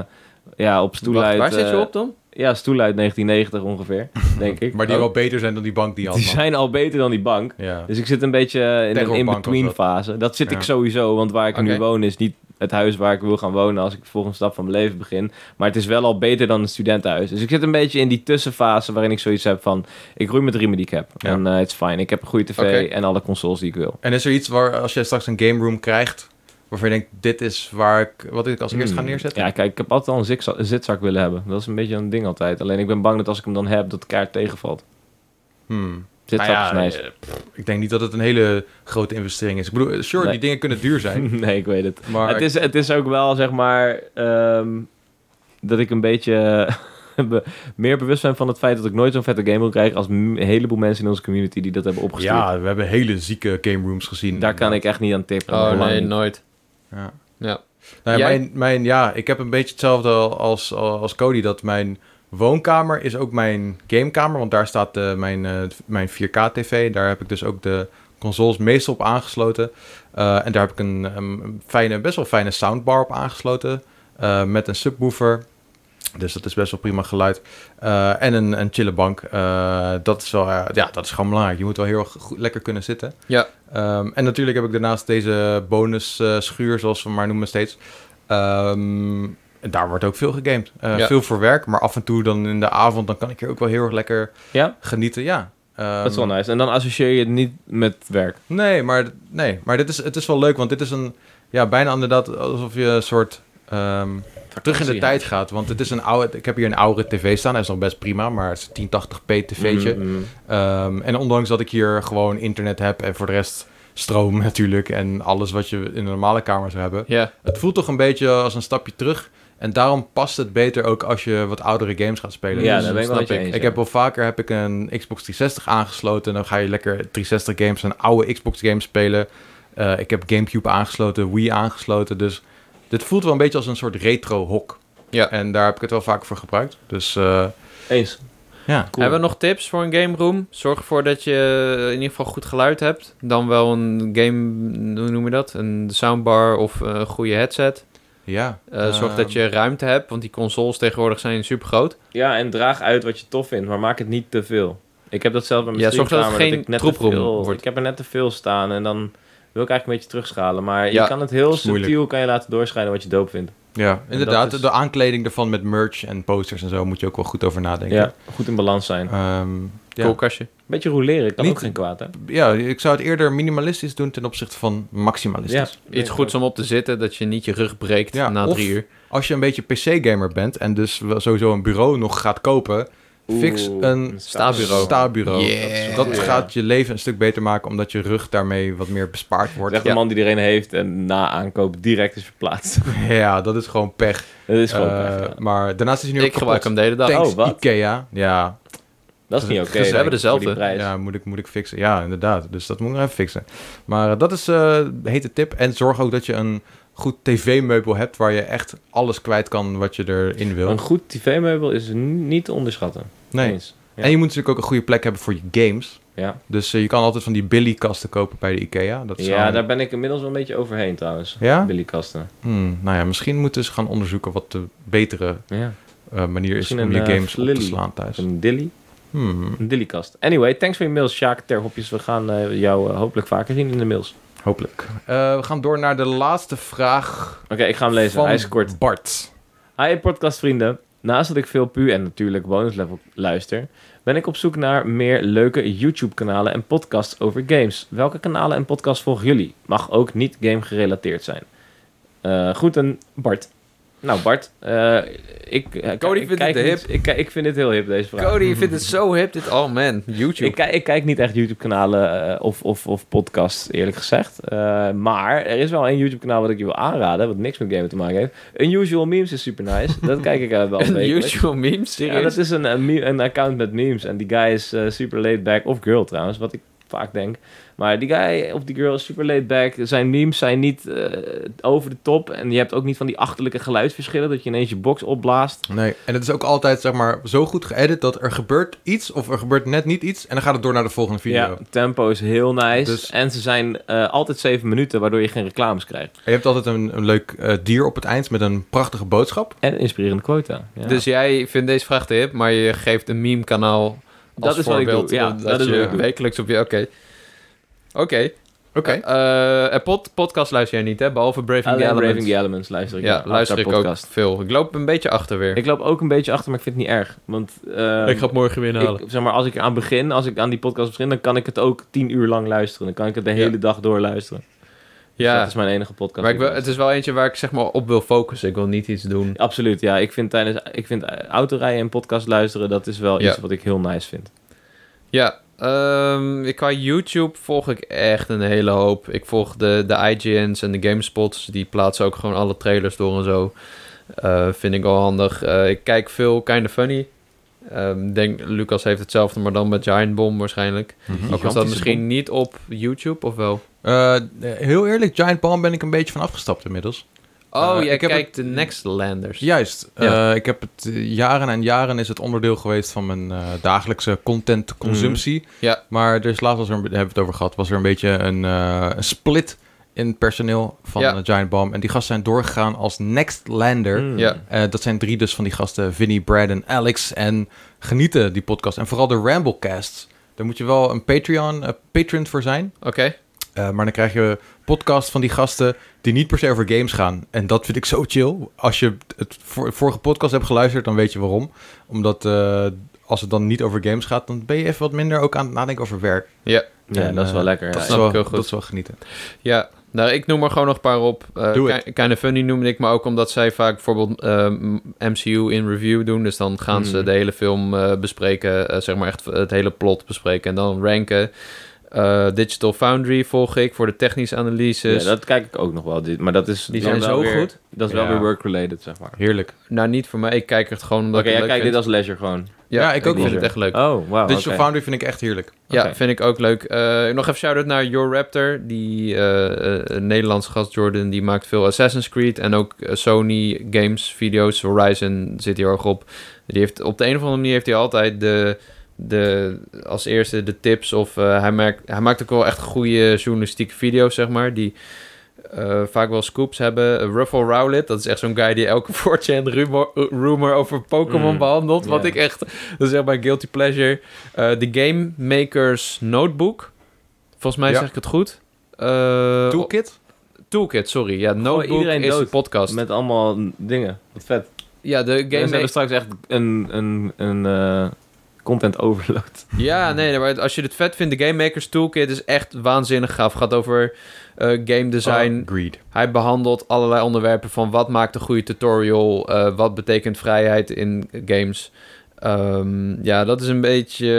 [SPEAKER 3] ja, op stoel
[SPEAKER 2] Wacht,
[SPEAKER 3] uit...
[SPEAKER 2] waar zit je
[SPEAKER 3] eh,
[SPEAKER 2] op dan?
[SPEAKER 3] Ja, stoel uit 1990 ongeveer, denk ik.
[SPEAKER 1] Maar die
[SPEAKER 3] Ook-
[SPEAKER 1] wel beter zijn dan die bank die je had.
[SPEAKER 3] Oh. die
[SPEAKER 1] man.
[SPEAKER 3] zijn al beter dan die bank.
[SPEAKER 1] Ja.
[SPEAKER 3] Dus ik zit een beetje in een
[SPEAKER 1] Terrorbank
[SPEAKER 3] in-between
[SPEAKER 1] was
[SPEAKER 3] fase. Dat zit
[SPEAKER 1] Ja.
[SPEAKER 3] ik sowieso, want waar ik nu
[SPEAKER 2] Oké.
[SPEAKER 3] woon is niet het huis waar ik wil gaan wonen als ik de volgende stap van mijn leven begin. Maar het is wel al beter dan een studentenhuis. Dus ik zit een beetje in die tussenfase waarin ik zoiets heb van... Ik roei met de riemen die ik heb.
[SPEAKER 1] Ja.
[SPEAKER 3] En eh, it's fine. Ik heb een goede tv
[SPEAKER 2] Oké.
[SPEAKER 3] en alle consoles die ik wil.
[SPEAKER 1] En is er iets waar, als jij straks een game room krijgt, waarvan je denkt, dit is waar ik, wat ik als eerst ga
[SPEAKER 3] Hmm.
[SPEAKER 1] neerzetten?
[SPEAKER 3] Ja, kijk, ik heb altijd al een zikza- een zitzak willen hebben. Dat is een beetje een ding altijd. Alleen ik ben bang dat als ik hem dan heb, dat de kaart tegenvalt.
[SPEAKER 1] Hmm.
[SPEAKER 3] Zitzak
[SPEAKER 1] Nou ja,
[SPEAKER 3] is nice.
[SPEAKER 1] eh, pff, ik denk niet dat het een hele grote investering is. Ik bedoel, eh, sure,
[SPEAKER 3] Nee.
[SPEAKER 1] die dingen kunnen duur zijn,
[SPEAKER 3] nee, ik weet het.
[SPEAKER 1] maar
[SPEAKER 3] Het is, het is ook wel, zeg maar, ehm, dat ik een beetje be- meer bewust ben van het feit dat ik nooit zo'n vette game wil krijgen als m- een heleboel mensen in onze community die dat hebben opgestuurd.
[SPEAKER 1] ja, we hebben hele zieke game rooms gezien.
[SPEAKER 3] Daar kan ik echt niet aan tippen.
[SPEAKER 2] Oh
[SPEAKER 3] Lang
[SPEAKER 2] nee,
[SPEAKER 3] niet.
[SPEAKER 2] nooit.
[SPEAKER 1] Ja.
[SPEAKER 2] Ja.
[SPEAKER 1] Nou, ja,
[SPEAKER 2] Jij?
[SPEAKER 1] mijn, mijn, ja, ik heb een beetje hetzelfde als, als Cody, dat mijn woonkamer is ook mijn gamekamer, want daar staat eh, mijn, eh, mijn 4K-tv. Daar heb ik dus ook de consoles meestal op aangesloten. Eh, en daar heb ik een, een fijne, best wel fijne soundbar op aangesloten, eh, met een subwoofer. Dus dat is best wel prima geluid. Eh, en een, een chille bank. Eh, dat, is wel, eh, ja, dat is gewoon belangrijk. Je moet wel heel erg goed, lekker kunnen zitten.
[SPEAKER 2] Ja.
[SPEAKER 1] Ehm, en natuurlijk heb ik daarnaast deze bonus eh, schuur, zoals we hem maar noemen steeds. Ehm, en daar wordt ook veel gegamed. Eh,
[SPEAKER 2] Ja.
[SPEAKER 1] Veel voor werk, maar af en toe dan in de avond... dan kan ik hier ook wel heel erg lekker
[SPEAKER 3] Ja?
[SPEAKER 1] genieten, ja. Ehm,
[SPEAKER 3] Dat is wel nice. En dan associeer je het niet met werk.
[SPEAKER 1] Nee, maar, nee, maar dit is, het is wel leuk, want dit is een... Ja, bijna inderdaad alsof je een soort... ehm, terug in de tijd gaat. Want het is een oude... Ik heb hier een oude tv staan. Hij is nog best prima, maar het is een 1080p tv'tje.
[SPEAKER 3] Mm, mm.
[SPEAKER 1] Ehm, en ondanks dat ik hier gewoon internet heb en voor de rest stroom natuurlijk en alles wat je in een normale kamer zou hebben.
[SPEAKER 2] Ja.
[SPEAKER 1] Het voelt toch een beetje als een stapje terug. En daarom past het beter ook als je wat oudere games gaat spelen.
[SPEAKER 3] Ja,
[SPEAKER 1] Dus
[SPEAKER 3] daar ben ik wel
[SPEAKER 1] snap
[SPEAKER 3] met je eens,
[SPEAKER 1] Ik
[SPEAKER 3] ja.
[SPEAKER 1] heb wel vaker heb ik een Xbox 360 aangesloten. En dan ga je lekker 360 games en oude Xbox games spelen. Eh, ik heb Gamecube aangesloten, Wii aangesloten. Dus dit voelt wel een beetje als een soort retro hok.
[SPEAKER 2] Ja.
[SPEAKER 1] En daar heb ik het wel vaker voor gebruikt. Dus eh,
[SPEAKER 3] Eens.
[SPEAKER 1] ja.
[SPEAKER 3] Cool.
[SPEAKER 2] Hebben we nog tips voor een game room? Zorg ervoor dat je eh, in ieder geval goed geluid hebt. Dan wel een game, hoe noem je dat? Een soundbar of eh, een goede headset.
[SPEAKER 1] ja.
[SPEAKER 2] Eh, zorg dat je ruimte hebt, want die consoles tegenwoordig zijn super groot.
[SPEAKER 3] Ja, en draag uit wat je tof vindt, maar maak het niet te veel. Ik heb dat zelf bij mijn
[SPEAKER 2] Ja, zorg dat het
[SPEAKER 3] streamkamer.
[SPEAKER 2] geen
[SPEAKER 3] ik net te
[SPEAKER 2] troeproem
[SPEAKER 3] veel-
[SPEAKER 2] wordt.
[SPEAKER 3] Ik heb er net te veel staan en dan wil ik eigenlijk een beetje terugschalen. Maar
[SPEAKER 2] Ja,
[SPEAKER 3] je kan het heel
[SPEAKER 1] is moeilijk.
[SPEAKER 3] subtiel kan je laten doorschijnen wat je doop vindt.
[SPEAKER 1] Ja, inderdaad.
[SPEAKER 3] is-
[SPEAKER 1] De aankleding ervan met merch en posters en zo moet je ook wel goed over nadenken.
[SPEAKER 3] Ja, goed in balans zijn.
[SPEAKER 1] Ehm, ja.
[SPEAKER 2] Koelkastje.
[SPEAKER 3] Beetje roleren kan
[SPEAKER 1] Niet-
[SPEAKER 3] ook geen kwaad, hè?
[SPEAKER 1] ja, ik zou het eerder minimalistisch doen ten opzichte van maximalistisch.
[SPEAKER 2] Iets goeds om op te zitten, dat je niet je rug breekt
[SPEAKER 1] Ja,
[SPEAKER 2] na
[SPEAKER 1] of-
[SPEAKER 2] drie uur.
[SPEAKER 1] Als je een beetje PC-gamer bent en dus wel sowieso een bureau nog gaat kopen, fix een
[SPEAKER 2] Bureau.
[SPEAKER 1] stabureau.
[SPEAKER 2] Yeah.
[SPEAKER 1] Dat
[SPEAKER 3] Ja.
[SPEAKER 1] gaat je leven een stuk beter maken, omdat je rug daarmee wat meer bespaard
[SPEAKER 3] Wordt
[SPEAKER 1] wordt.
[SPEAKER 3] echt
[SPEAKER 2] Ja.
[SPEAKER 3] een man die iedereen heeft en na aankoop direct is verplaatst.
[SPEAKER 1] Ja, dat is gewoon pech.
[SPEAKER 3] dat is gewoon
[SPEAKER 1] Eh,
[SPEAKER 3] pech, ja.
[SPEAKER 1] Maar daarnaast is hij nu
[SPEAKER 2] Ik
[SPEAKER 1] ook
[SPEAKER 2] gebruik hem
[SPEAKER 1] kapot.
[SPEAKER 2] de hele dag.
[SPEAKER 1] Thanks,
[SPEAKER 3] Oh, wat?
[SPEAKER 1] Ikea. Ja,
[SPEAKER 3] Dat is niet oké.
[SPEAKER 2] dus we hebben
[SPEAKER 3] denk ik,
[SPEAKER 2] dezelfde.
[SPEAKER 3] voor die prijs.
[SPEAKER 1] ja moet, ik, moet ik fixen. Ja, inderdaad. Dus dat moet ik nog even fixen. Maar eh, dat is eh, de hete tip. En zorg ook dat je een goed tv-meubel hebt waar je echt alles kwijt kan wat je erin wil.
[SPEAKER 3] Een goed tv-meubel is n- niet te onderschatten.
[SPEAKER 1] Nee.
[SPEAKER 3] Eens. Ja.
[SPEAKER 1] En je moet natuurlijk ook een goede plek hebben voor je games.
[SPEAKER 3] Ja,
[SPEAKER 1] Dus eh, je kan altijd van die Billy-kasten kopen bij de Ikea. Dat is
[SPEAKER 3] ja
[SPEAKER 1] zo'n-
[SPEAKER 3] daar ben ik inmiddels wel een beetje overheen trouwens.
[SPEAKER 1] Ja?
[SPEAKER 3] Billykasten.
[SPEAKER 1] Hmm, nou ja, misschien moeten ze gaan onderzoeken wat de betere
[SPEAKER 3] Ja.
[SPEAKER 1] eh, manier
[SPEAKER 3] Misschien
[SPEAKER 1] is om
[SPEAKER 3] een,
[SPEAKER 1] je
[SPEAKER 3] eh,
[SPEAKER 1] games op
[SPEAKER 3] Lily.
[SPEAKER 1] te slaan thuis.
[SPEAKER 3] Een dilly.
[SPEAKER 1] Hmm,
[SPEAKER 3] Een dillykast. Anyway, thanks voor je mails, Sjaak Terhopjes. We gaan eh, jou eh, hopelijk vaker zien in de mails.
[SPEAKER 1] hopelijk. Eh, we gaan door naar de laatste vraag
[SPEAKER 3] Oké, ik ga hem lezen.
[SPEAKER 1] van
[SPEAKER 3] Hij is kort.
[SPEAKER 1] Bart.
[SPEAKER 3] Hi podcastvrienden. Naast dat ik veel pu en natuurlijk bonuslevel luister, ben ik op zoek naar meer leuke YouTube-kanalen en podcasts over games. Welke kanalen en podcasts volgen jullie? Mag ook niet game gerelateerd zijn. Eh groeten, Bart. Nou, Bart, eh, ik, eh,
[SPEAKER 2] Cody
[SPEAKER 3] ik
[SPEAKER 2] vindt het
[SPEAKER 3] kijk
[SPEAKER 2] hip.
[SPEAKER 3] niet- Ik, kijk- ik vind dit heel hip, deze vraag.
[SPEAKER 2] Oh, Cody, je vindt het zo hip, dit. Oh man, YouTube.
[SPEAKER 3] Ik, kijk- ik kijk niet echt YouTube-kanalen eh, of, of, of podcasts, eerlijk gezegd. Eh, maar er is wel een YouTube-kanaal wat ik je wil aanraden, wat niks met gamen te maken heeft. Unusual Memes is super nice. dat kijk ik eh, wel
[SPEAKER 2] Een
[SPEAKER 3] wekelijks.
[SPEAKER 2] YouTube meme,
[SPEAKER 3] Ja,
[SPEAKER 2] serieus?
[SPEAKER 3] dat is een, een, me- een account met memes. En die guy is eh, super laid back. Of girl trouwens, wat ik vaak denk. Maar die guy of die girl is super laid back. Zijn memes zijn niet eh, over de top. En je hebt ook niet van die achterlijke geluidsverschillen. Dat je ineens je box opblaast.
[SPEAKER 1] Nee, en het is ook altijd zeg maar zo goed geëdit dat er gebeurt iets of er gebeurt net niet iets en dan gaat het door naar de volgende video.
[SPEAKER 3] Ja, tempo is heel nice.
[SPEAKER 1] Dus-
[SPEAKER 3] En ze zijn eh, altijd 7 minuten, waardoor je geen reclames krijgt.
[SPEAKER 1] En je hebt altijd een, een leuk eh, dier op het eind met een prachtige boodschap.
[SPEAKER 3] En inspirerende quota. Ja.
[SPEAKER 2] Dus jij vindt deze vraag te hip, maar je geeft een meme-kanaal als
[SPEAKER 3] Dat is wat ik
[SPEAKER 2] voorbeeld.
[SPEAKER 3] doe, ja,
[SPEAKER 2] omdat
[SPEAKER 3] dat is
[SPEAKER 2] je
[SPEAKER 3] wat ik doe.
[SPEAKER 2] wekelijks op je... Oké. Oké.
[SPEAKER 1] Oké.
[SPEAKER 2] Eh, eh, pod- podcast luister jij niet, hè? Behalve Braving
[SPEAKER 3] Alleen
[SPEAKER 2] the Elements.
[SPEAKER 3] Braving the Elements luister ik.
[SPEAKER 2] ja,
[SPEAKER 3] naar,
[SPEAKER 2] luister
[SPEAKER 3] naar
[SPEAKER 2] ik ook veel. Ik loop een beetje achter weer.
[SPEAKER 3] Ik loop ook een beetje achter, maar ik vind het niet erg. Want eh,
[SPEAKER 2] het morgen weer
[SPEAKER 3] ik, zeg maar, als ik aan begin, als ik aan die podcast begin, dan kan ik het ook tien uur lang luisteren. Dan kan ik het de
[SPEAKER 2] Ja.
[SPEAKER 3] hele dag door luisteren. Dus
[SPEAKER 2] ja,
[SPEAKER 3] dat is mijn enige podcast.
[SPEAKER 2] maar ik wil, het is wel eentje waar ik zeg maar op wil focussen. Ik wil niet iets doen.
[SPEAKER 3] Absoluut, ja. Ik vind, tijdens, ik vind eh, autorijden en podcast luisteren, dat is wel
[SPEAKER 2] Ja.
[SPEAKER 3] iets wat ik heel nice vind.
[SPEAKER 2] Ja, ehm, ik qua YouTube volg ik echt een hele hoop. Ik volg de, de IGN's en de GameSpots. Die plaatsen ook gewoon alle trailers door en zo. Eh, vind ik wel handig. Eh, ik kijk veel Kinda Funny. Ehm, denk, Lucas heeft hetzelfde, maar dan met Giant Bomb waarschijnlijk.
[SPEAKER 1] Hm.
[SPEAKER 2] Ook was dat
[SPEAKER 3] Gigantische
[SPEAKER 2] misschien
[SPEAKER 3] bom.
[SPEAKER 2] niet op YouTube, of wel?
[SPEAKER 1] Eh, heel eerlijk, Giant Bomb ben ik een beetje van afgestapt inmiddels.
[SPEAKER 2] Oh,
[SPEAKER 1] Eh,
[SPEAKER 2] jij
[SPEAKER 1] ik heb
[SPEAKER 2] kijkt de Next Landers.
[SPEAKER 1] Juist.
[SPEAKER 2] Ja.
[SPEAKER 1] Eh, ik heb het eh, jaren en jaren is het onderdeel geweest van mijn eh, dagelijkse contentconsumptie.
[SPEAKER 2] Mhm. Ja.
[SPEAKER 1] Maar er is laatst, was er, een- hebben we het over gehad, was er een beetje een, eh, een split in personeel van
[SPEAKER 2] Ja. Mhm.
[SPEAKER 1] eh, Giant Bomb. En die gasten zijn doorgegaan als Next Lander.
[SPEAKER 3] Mm.
[SPEAKER 2] Ja.
[SPEAKER 1] Eh, dat zijn drie dus van die gasten, Vinny, Brad en Alex. En genieten die podcast. En vooral de Ramblecasts. Daar moet je wel een Patreon, eh, patron voor zijn.
[SPEAKER 2] Oké.
[SPEAKER 1] Eh, maar dan krijg je podcasts van die gasten die niet per se over games gaan. En dat vind ik zo chill. Als je het vor- vorige podcast hebt geluisterd, dan weet je waarom. Omdat eh, als het dan niet over games gaat, dan ben je even wat minder ook aan het nadenken over werk.
[SPEAKER 3] Ja,
[SPEAKER 1] En,
[SPEAKER 3] dat is
[SPEAKER 1] eh,
[SPEAKER 3] wel lekker.
[SPEAKER 2] nou
[SPEAKER 1] is
[SPEAKER 2] dat
[SPEAKER 3] ja.
[SPEAKER 2] snap
[SPEAKER 1] wel,
[SPEAKER 2] ik heel goed.
[SPEAKER 1] Dat is wel genieten.
[SPEAKER 2] Ja, nou, ik noem er gewoon nog een paar op. Eh
[SPEAKER 1] Doe
[SPEAKER 2] Ki- Kinda Funny noemde ik, maar ook omdat zij vaak bijvoorbeeld ehm, MCU in review doen. Dus dan gaan ze
[SPEAKER 3] Mm.
[SPEAKER 2] de hele film eh, bespreken, eh, zeg maar echt het hele plot bespreken en dan ranken. Eh, Digital Foundry volg ik voor de technische analyses.
[SPEAKER 3] Ja, dat kijk ik ook nog wel. Dit- Maar dat is
[SPEAKER 2] Dus- Die
[SPEAKER 3] dan
[SPEAKER 2] zijn
[SPEAKER 3] wel
[SPEAKER 2] zo
[SPEAKER 3] weer-
[SPEAKER 2] goed.
[SPEAKER 3] Dat is wel
[SPEAKER 1] Ja.
[SPEAKER 3] weer work-related, zeg maar.
[SPEAKER 1] Heerlijk.
[SPEAKER 2] Nou, niet voor mij. Ik kijk het gewoon
[SPEAKER 3] Oké,
[SPEAKER 2] omdat ik
[SPEAKER 3] jij
[SPEAKER 2] het leuk
[SPEAKER 3] kijkt dit
[SPEAKER 2] vind.
[SPEAKER 3] als leisure gewoon.
[SPEAKER 1] Ja, ik ook
[SPEAKER 2] vind
[SPEAKER 1] wel.
[SPEAKER 2] het echt leuk.
[SPEAKER 3] Oh, wauw.
[SPEAKER 1] Digital
[SPEAKER 3] oké.
[SPEAKER 1] Foundry vind ik echt heerlijk.
[SPEAKER 2] Ja,
[SPEAKER 3] Oké.
[SPEAKER 2] vind ik ook leuk. Eh, nog even shout-out naar Your Raptor. Die eh, eh, Nederlandse gast Jordan, die maakt veel Assassin's Creed en ook eh, Sony games, video's. Horizon zit heel erg op. Die heeft, op de een of andere manier heeft hij altijd de, de, als eerste de tips. Of eh, hij, maakt, hij maakt ook wel echt goede journalistieke video's, zeg maar. Die eh, vaak wel scoops hebben. Eh, Ruffle Rowlet, dat is echt zo'n guy die elke 4chan rumor, eh, rumor over Pokémon
[SPEAKER 3] Mm.
[SPEAKER 2] behandelt. Wat
[SPEAKER 3] Ja.
[SPEAKER 2] ik echt, dat is echt mijn guilty pleasure. Eh, De Game Maker's Notebook. Volgens mij
[SPEAKER 1] Ja.
[SPEAKER 2] zeg ik het goed.
[SPEAKER 3] Oh,
[SPEAKER 2] Eh,
[SPEAKER 1] Toolkit?
[SPEAKER 2] toolkit, sorry. Ja, Notebook
[SPEAKER 3] iedereen
[SPEAKER 2] is
[SPEAKER 3] dood.
[SPEAKER 2] de podcast.
[SPEAKER 3] Met allemaal dingen. Wat vet.
[SPEAKER 2] Ja, de Game
[SPEAKER 3] Mensen
[SPEAKER 2] Maker...
[SPEAKER 3] hebben straks echt een, een, een eh, content overload.
[SPEAKER 2] Ja, nee, maar als je het vet vindt, de Game Maker's Toolkit is echt waanzinnig gaaf. Gaat over eh, game
[SPEAKER 3] Oh.
[SPEAKER 2] design,
[SPEAKER 1] Oh, Greed.
[SPEAKER 2] Hij behandelt allerlei onderwerpen van wat maakt een goede tutorial, eh, wat betekent vrijheid in games. Ehm, ja, dat is een beetje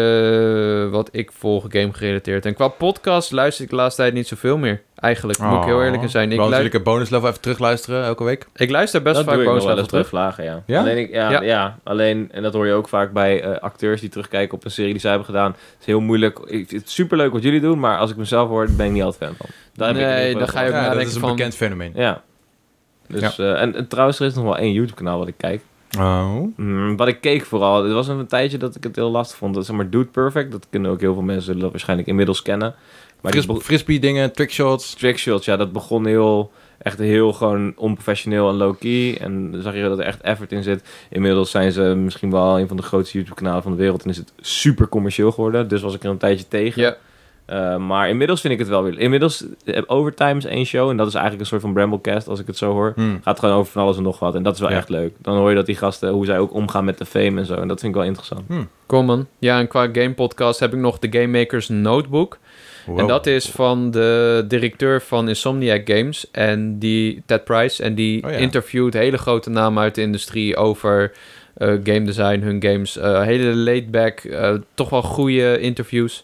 [SPEAKER 2] eh, wat ik volg game gerelateerd. En qua podcast luister ik de laatste tijd niet zoveel meer. Eigenlijk, moet ik heel eerlijk
[SPEAKER 3] Oh.
[SPEAKER 2] in zijn. Ik, Ah,
[SPEAKER 1] Wel
[SPEAKER 2] lui-
[SPEAKER 1] Oh. natuurlijk een bonus level even terugluisteren elke week.
[SPEAKER 2] ik luister best
[SPEAKER 3] dat
[SPEAKER 2] vaak
[SPEAKER 3] doe ik nog
[SPEAKER 2] Bones
[SPEAKER 3] wel
[SPEAKER 2] Level
[SPEAKER 3] eens
[SPEAKER 2] terug.
[SPEAKER 3] terugvragen, ja.
[SPEAKER 1] Ja?
[SPEAKER 3] Alleen, ik, ja,
[SPEAKER 2] Ja.
[SPEAKER 3] ja. alleen, en dat hoor je ook vaak bij eh, acteurs die terugkijken op een serie die zij hebben gedaan. Het is heel moeilijk. Ik, het is superleuk wat jullie doen, maar als ik mezelf hoor, ben ik niet altijd fan van. Daar heb ik in
[SPEAKER 2] Nee,
[SPEAKER 3] ieder geval
[SPEAKER 2] dan ga je
[SPEAKER 3] heel
[SPEAKER 2] ook
[SPEAKER 3] veel
[SPEAKER 1] Ja, dat
[SPEAKER 2] nadenken
[SPEAKER 1] is een
[SPEAKER 2] van-
[SPEAKER 1] bekend fenomeen.
[SPEAKER 3] van. Ja. Dus, eh, en, en trouwens, er is nog wel één YouTube-kanaal wat ik kijk.
[SPEAKER 1] Oh.
[SPEAKER 3] Mm, wat ik keek vooral, het was een tijdje dat ik het heel lastig vond. Dat, zeg maar, Dude Perfect, dat kunnen ook heel veel mensen zullen dat waarschijnlijk inmiddels kennen. Maar die
[SPEAKER 1] Fris-
[SPEAKER 3] be-
[SPEAKER 1] frisbee dingen, trickshots.
[SPEAKER 3] trickshots, ja, dat begon heel, echt heel gewoon onprofessioneel en low-key. En dan zag je dat er echt effort in zit. Inmiddels zijn ze misschien wel een van de grootste YouTube-kanalen van de wereld. En is het super commercieel geworden, dus was ik er een tijdje tegen.
[SPEAKER 2] Ja,
[SPEAKER 3] Eh, maar inmiddels vind ik het wel weer... Inmiddels, eh, Overtime is één show en dat is eigenlijk een soort van Bramblecast, als ik het zo hoor.
[SPEAKER 1] Hmm.
[SPEAKER 3] Gaat gewoon over van alles en nog wat. En dat is wel
[SPEAKER 1] Ja.
[SPEAKER 3] echt leuk. Dan hoor je dat die gasten, hoe zij ook omgaan met de fame en zo. En dat vind ik wel interessant.
[SPEAKER 2] kom man. Ja, en qua game podcast heb ik nog de Game Maker's Notebook.
[SPEAKER 1] Wow.
[SPEAKER 2] En dat is van de directeur van Insomniac Games en die Ted Price. En die
[SPEAKER 1] Oh ja.
[SPEAKER 2] interviewt hele grote namen uit de industrie over eh, game design, hun games. Eh, hele laid back, eh, toch wel goede interviews.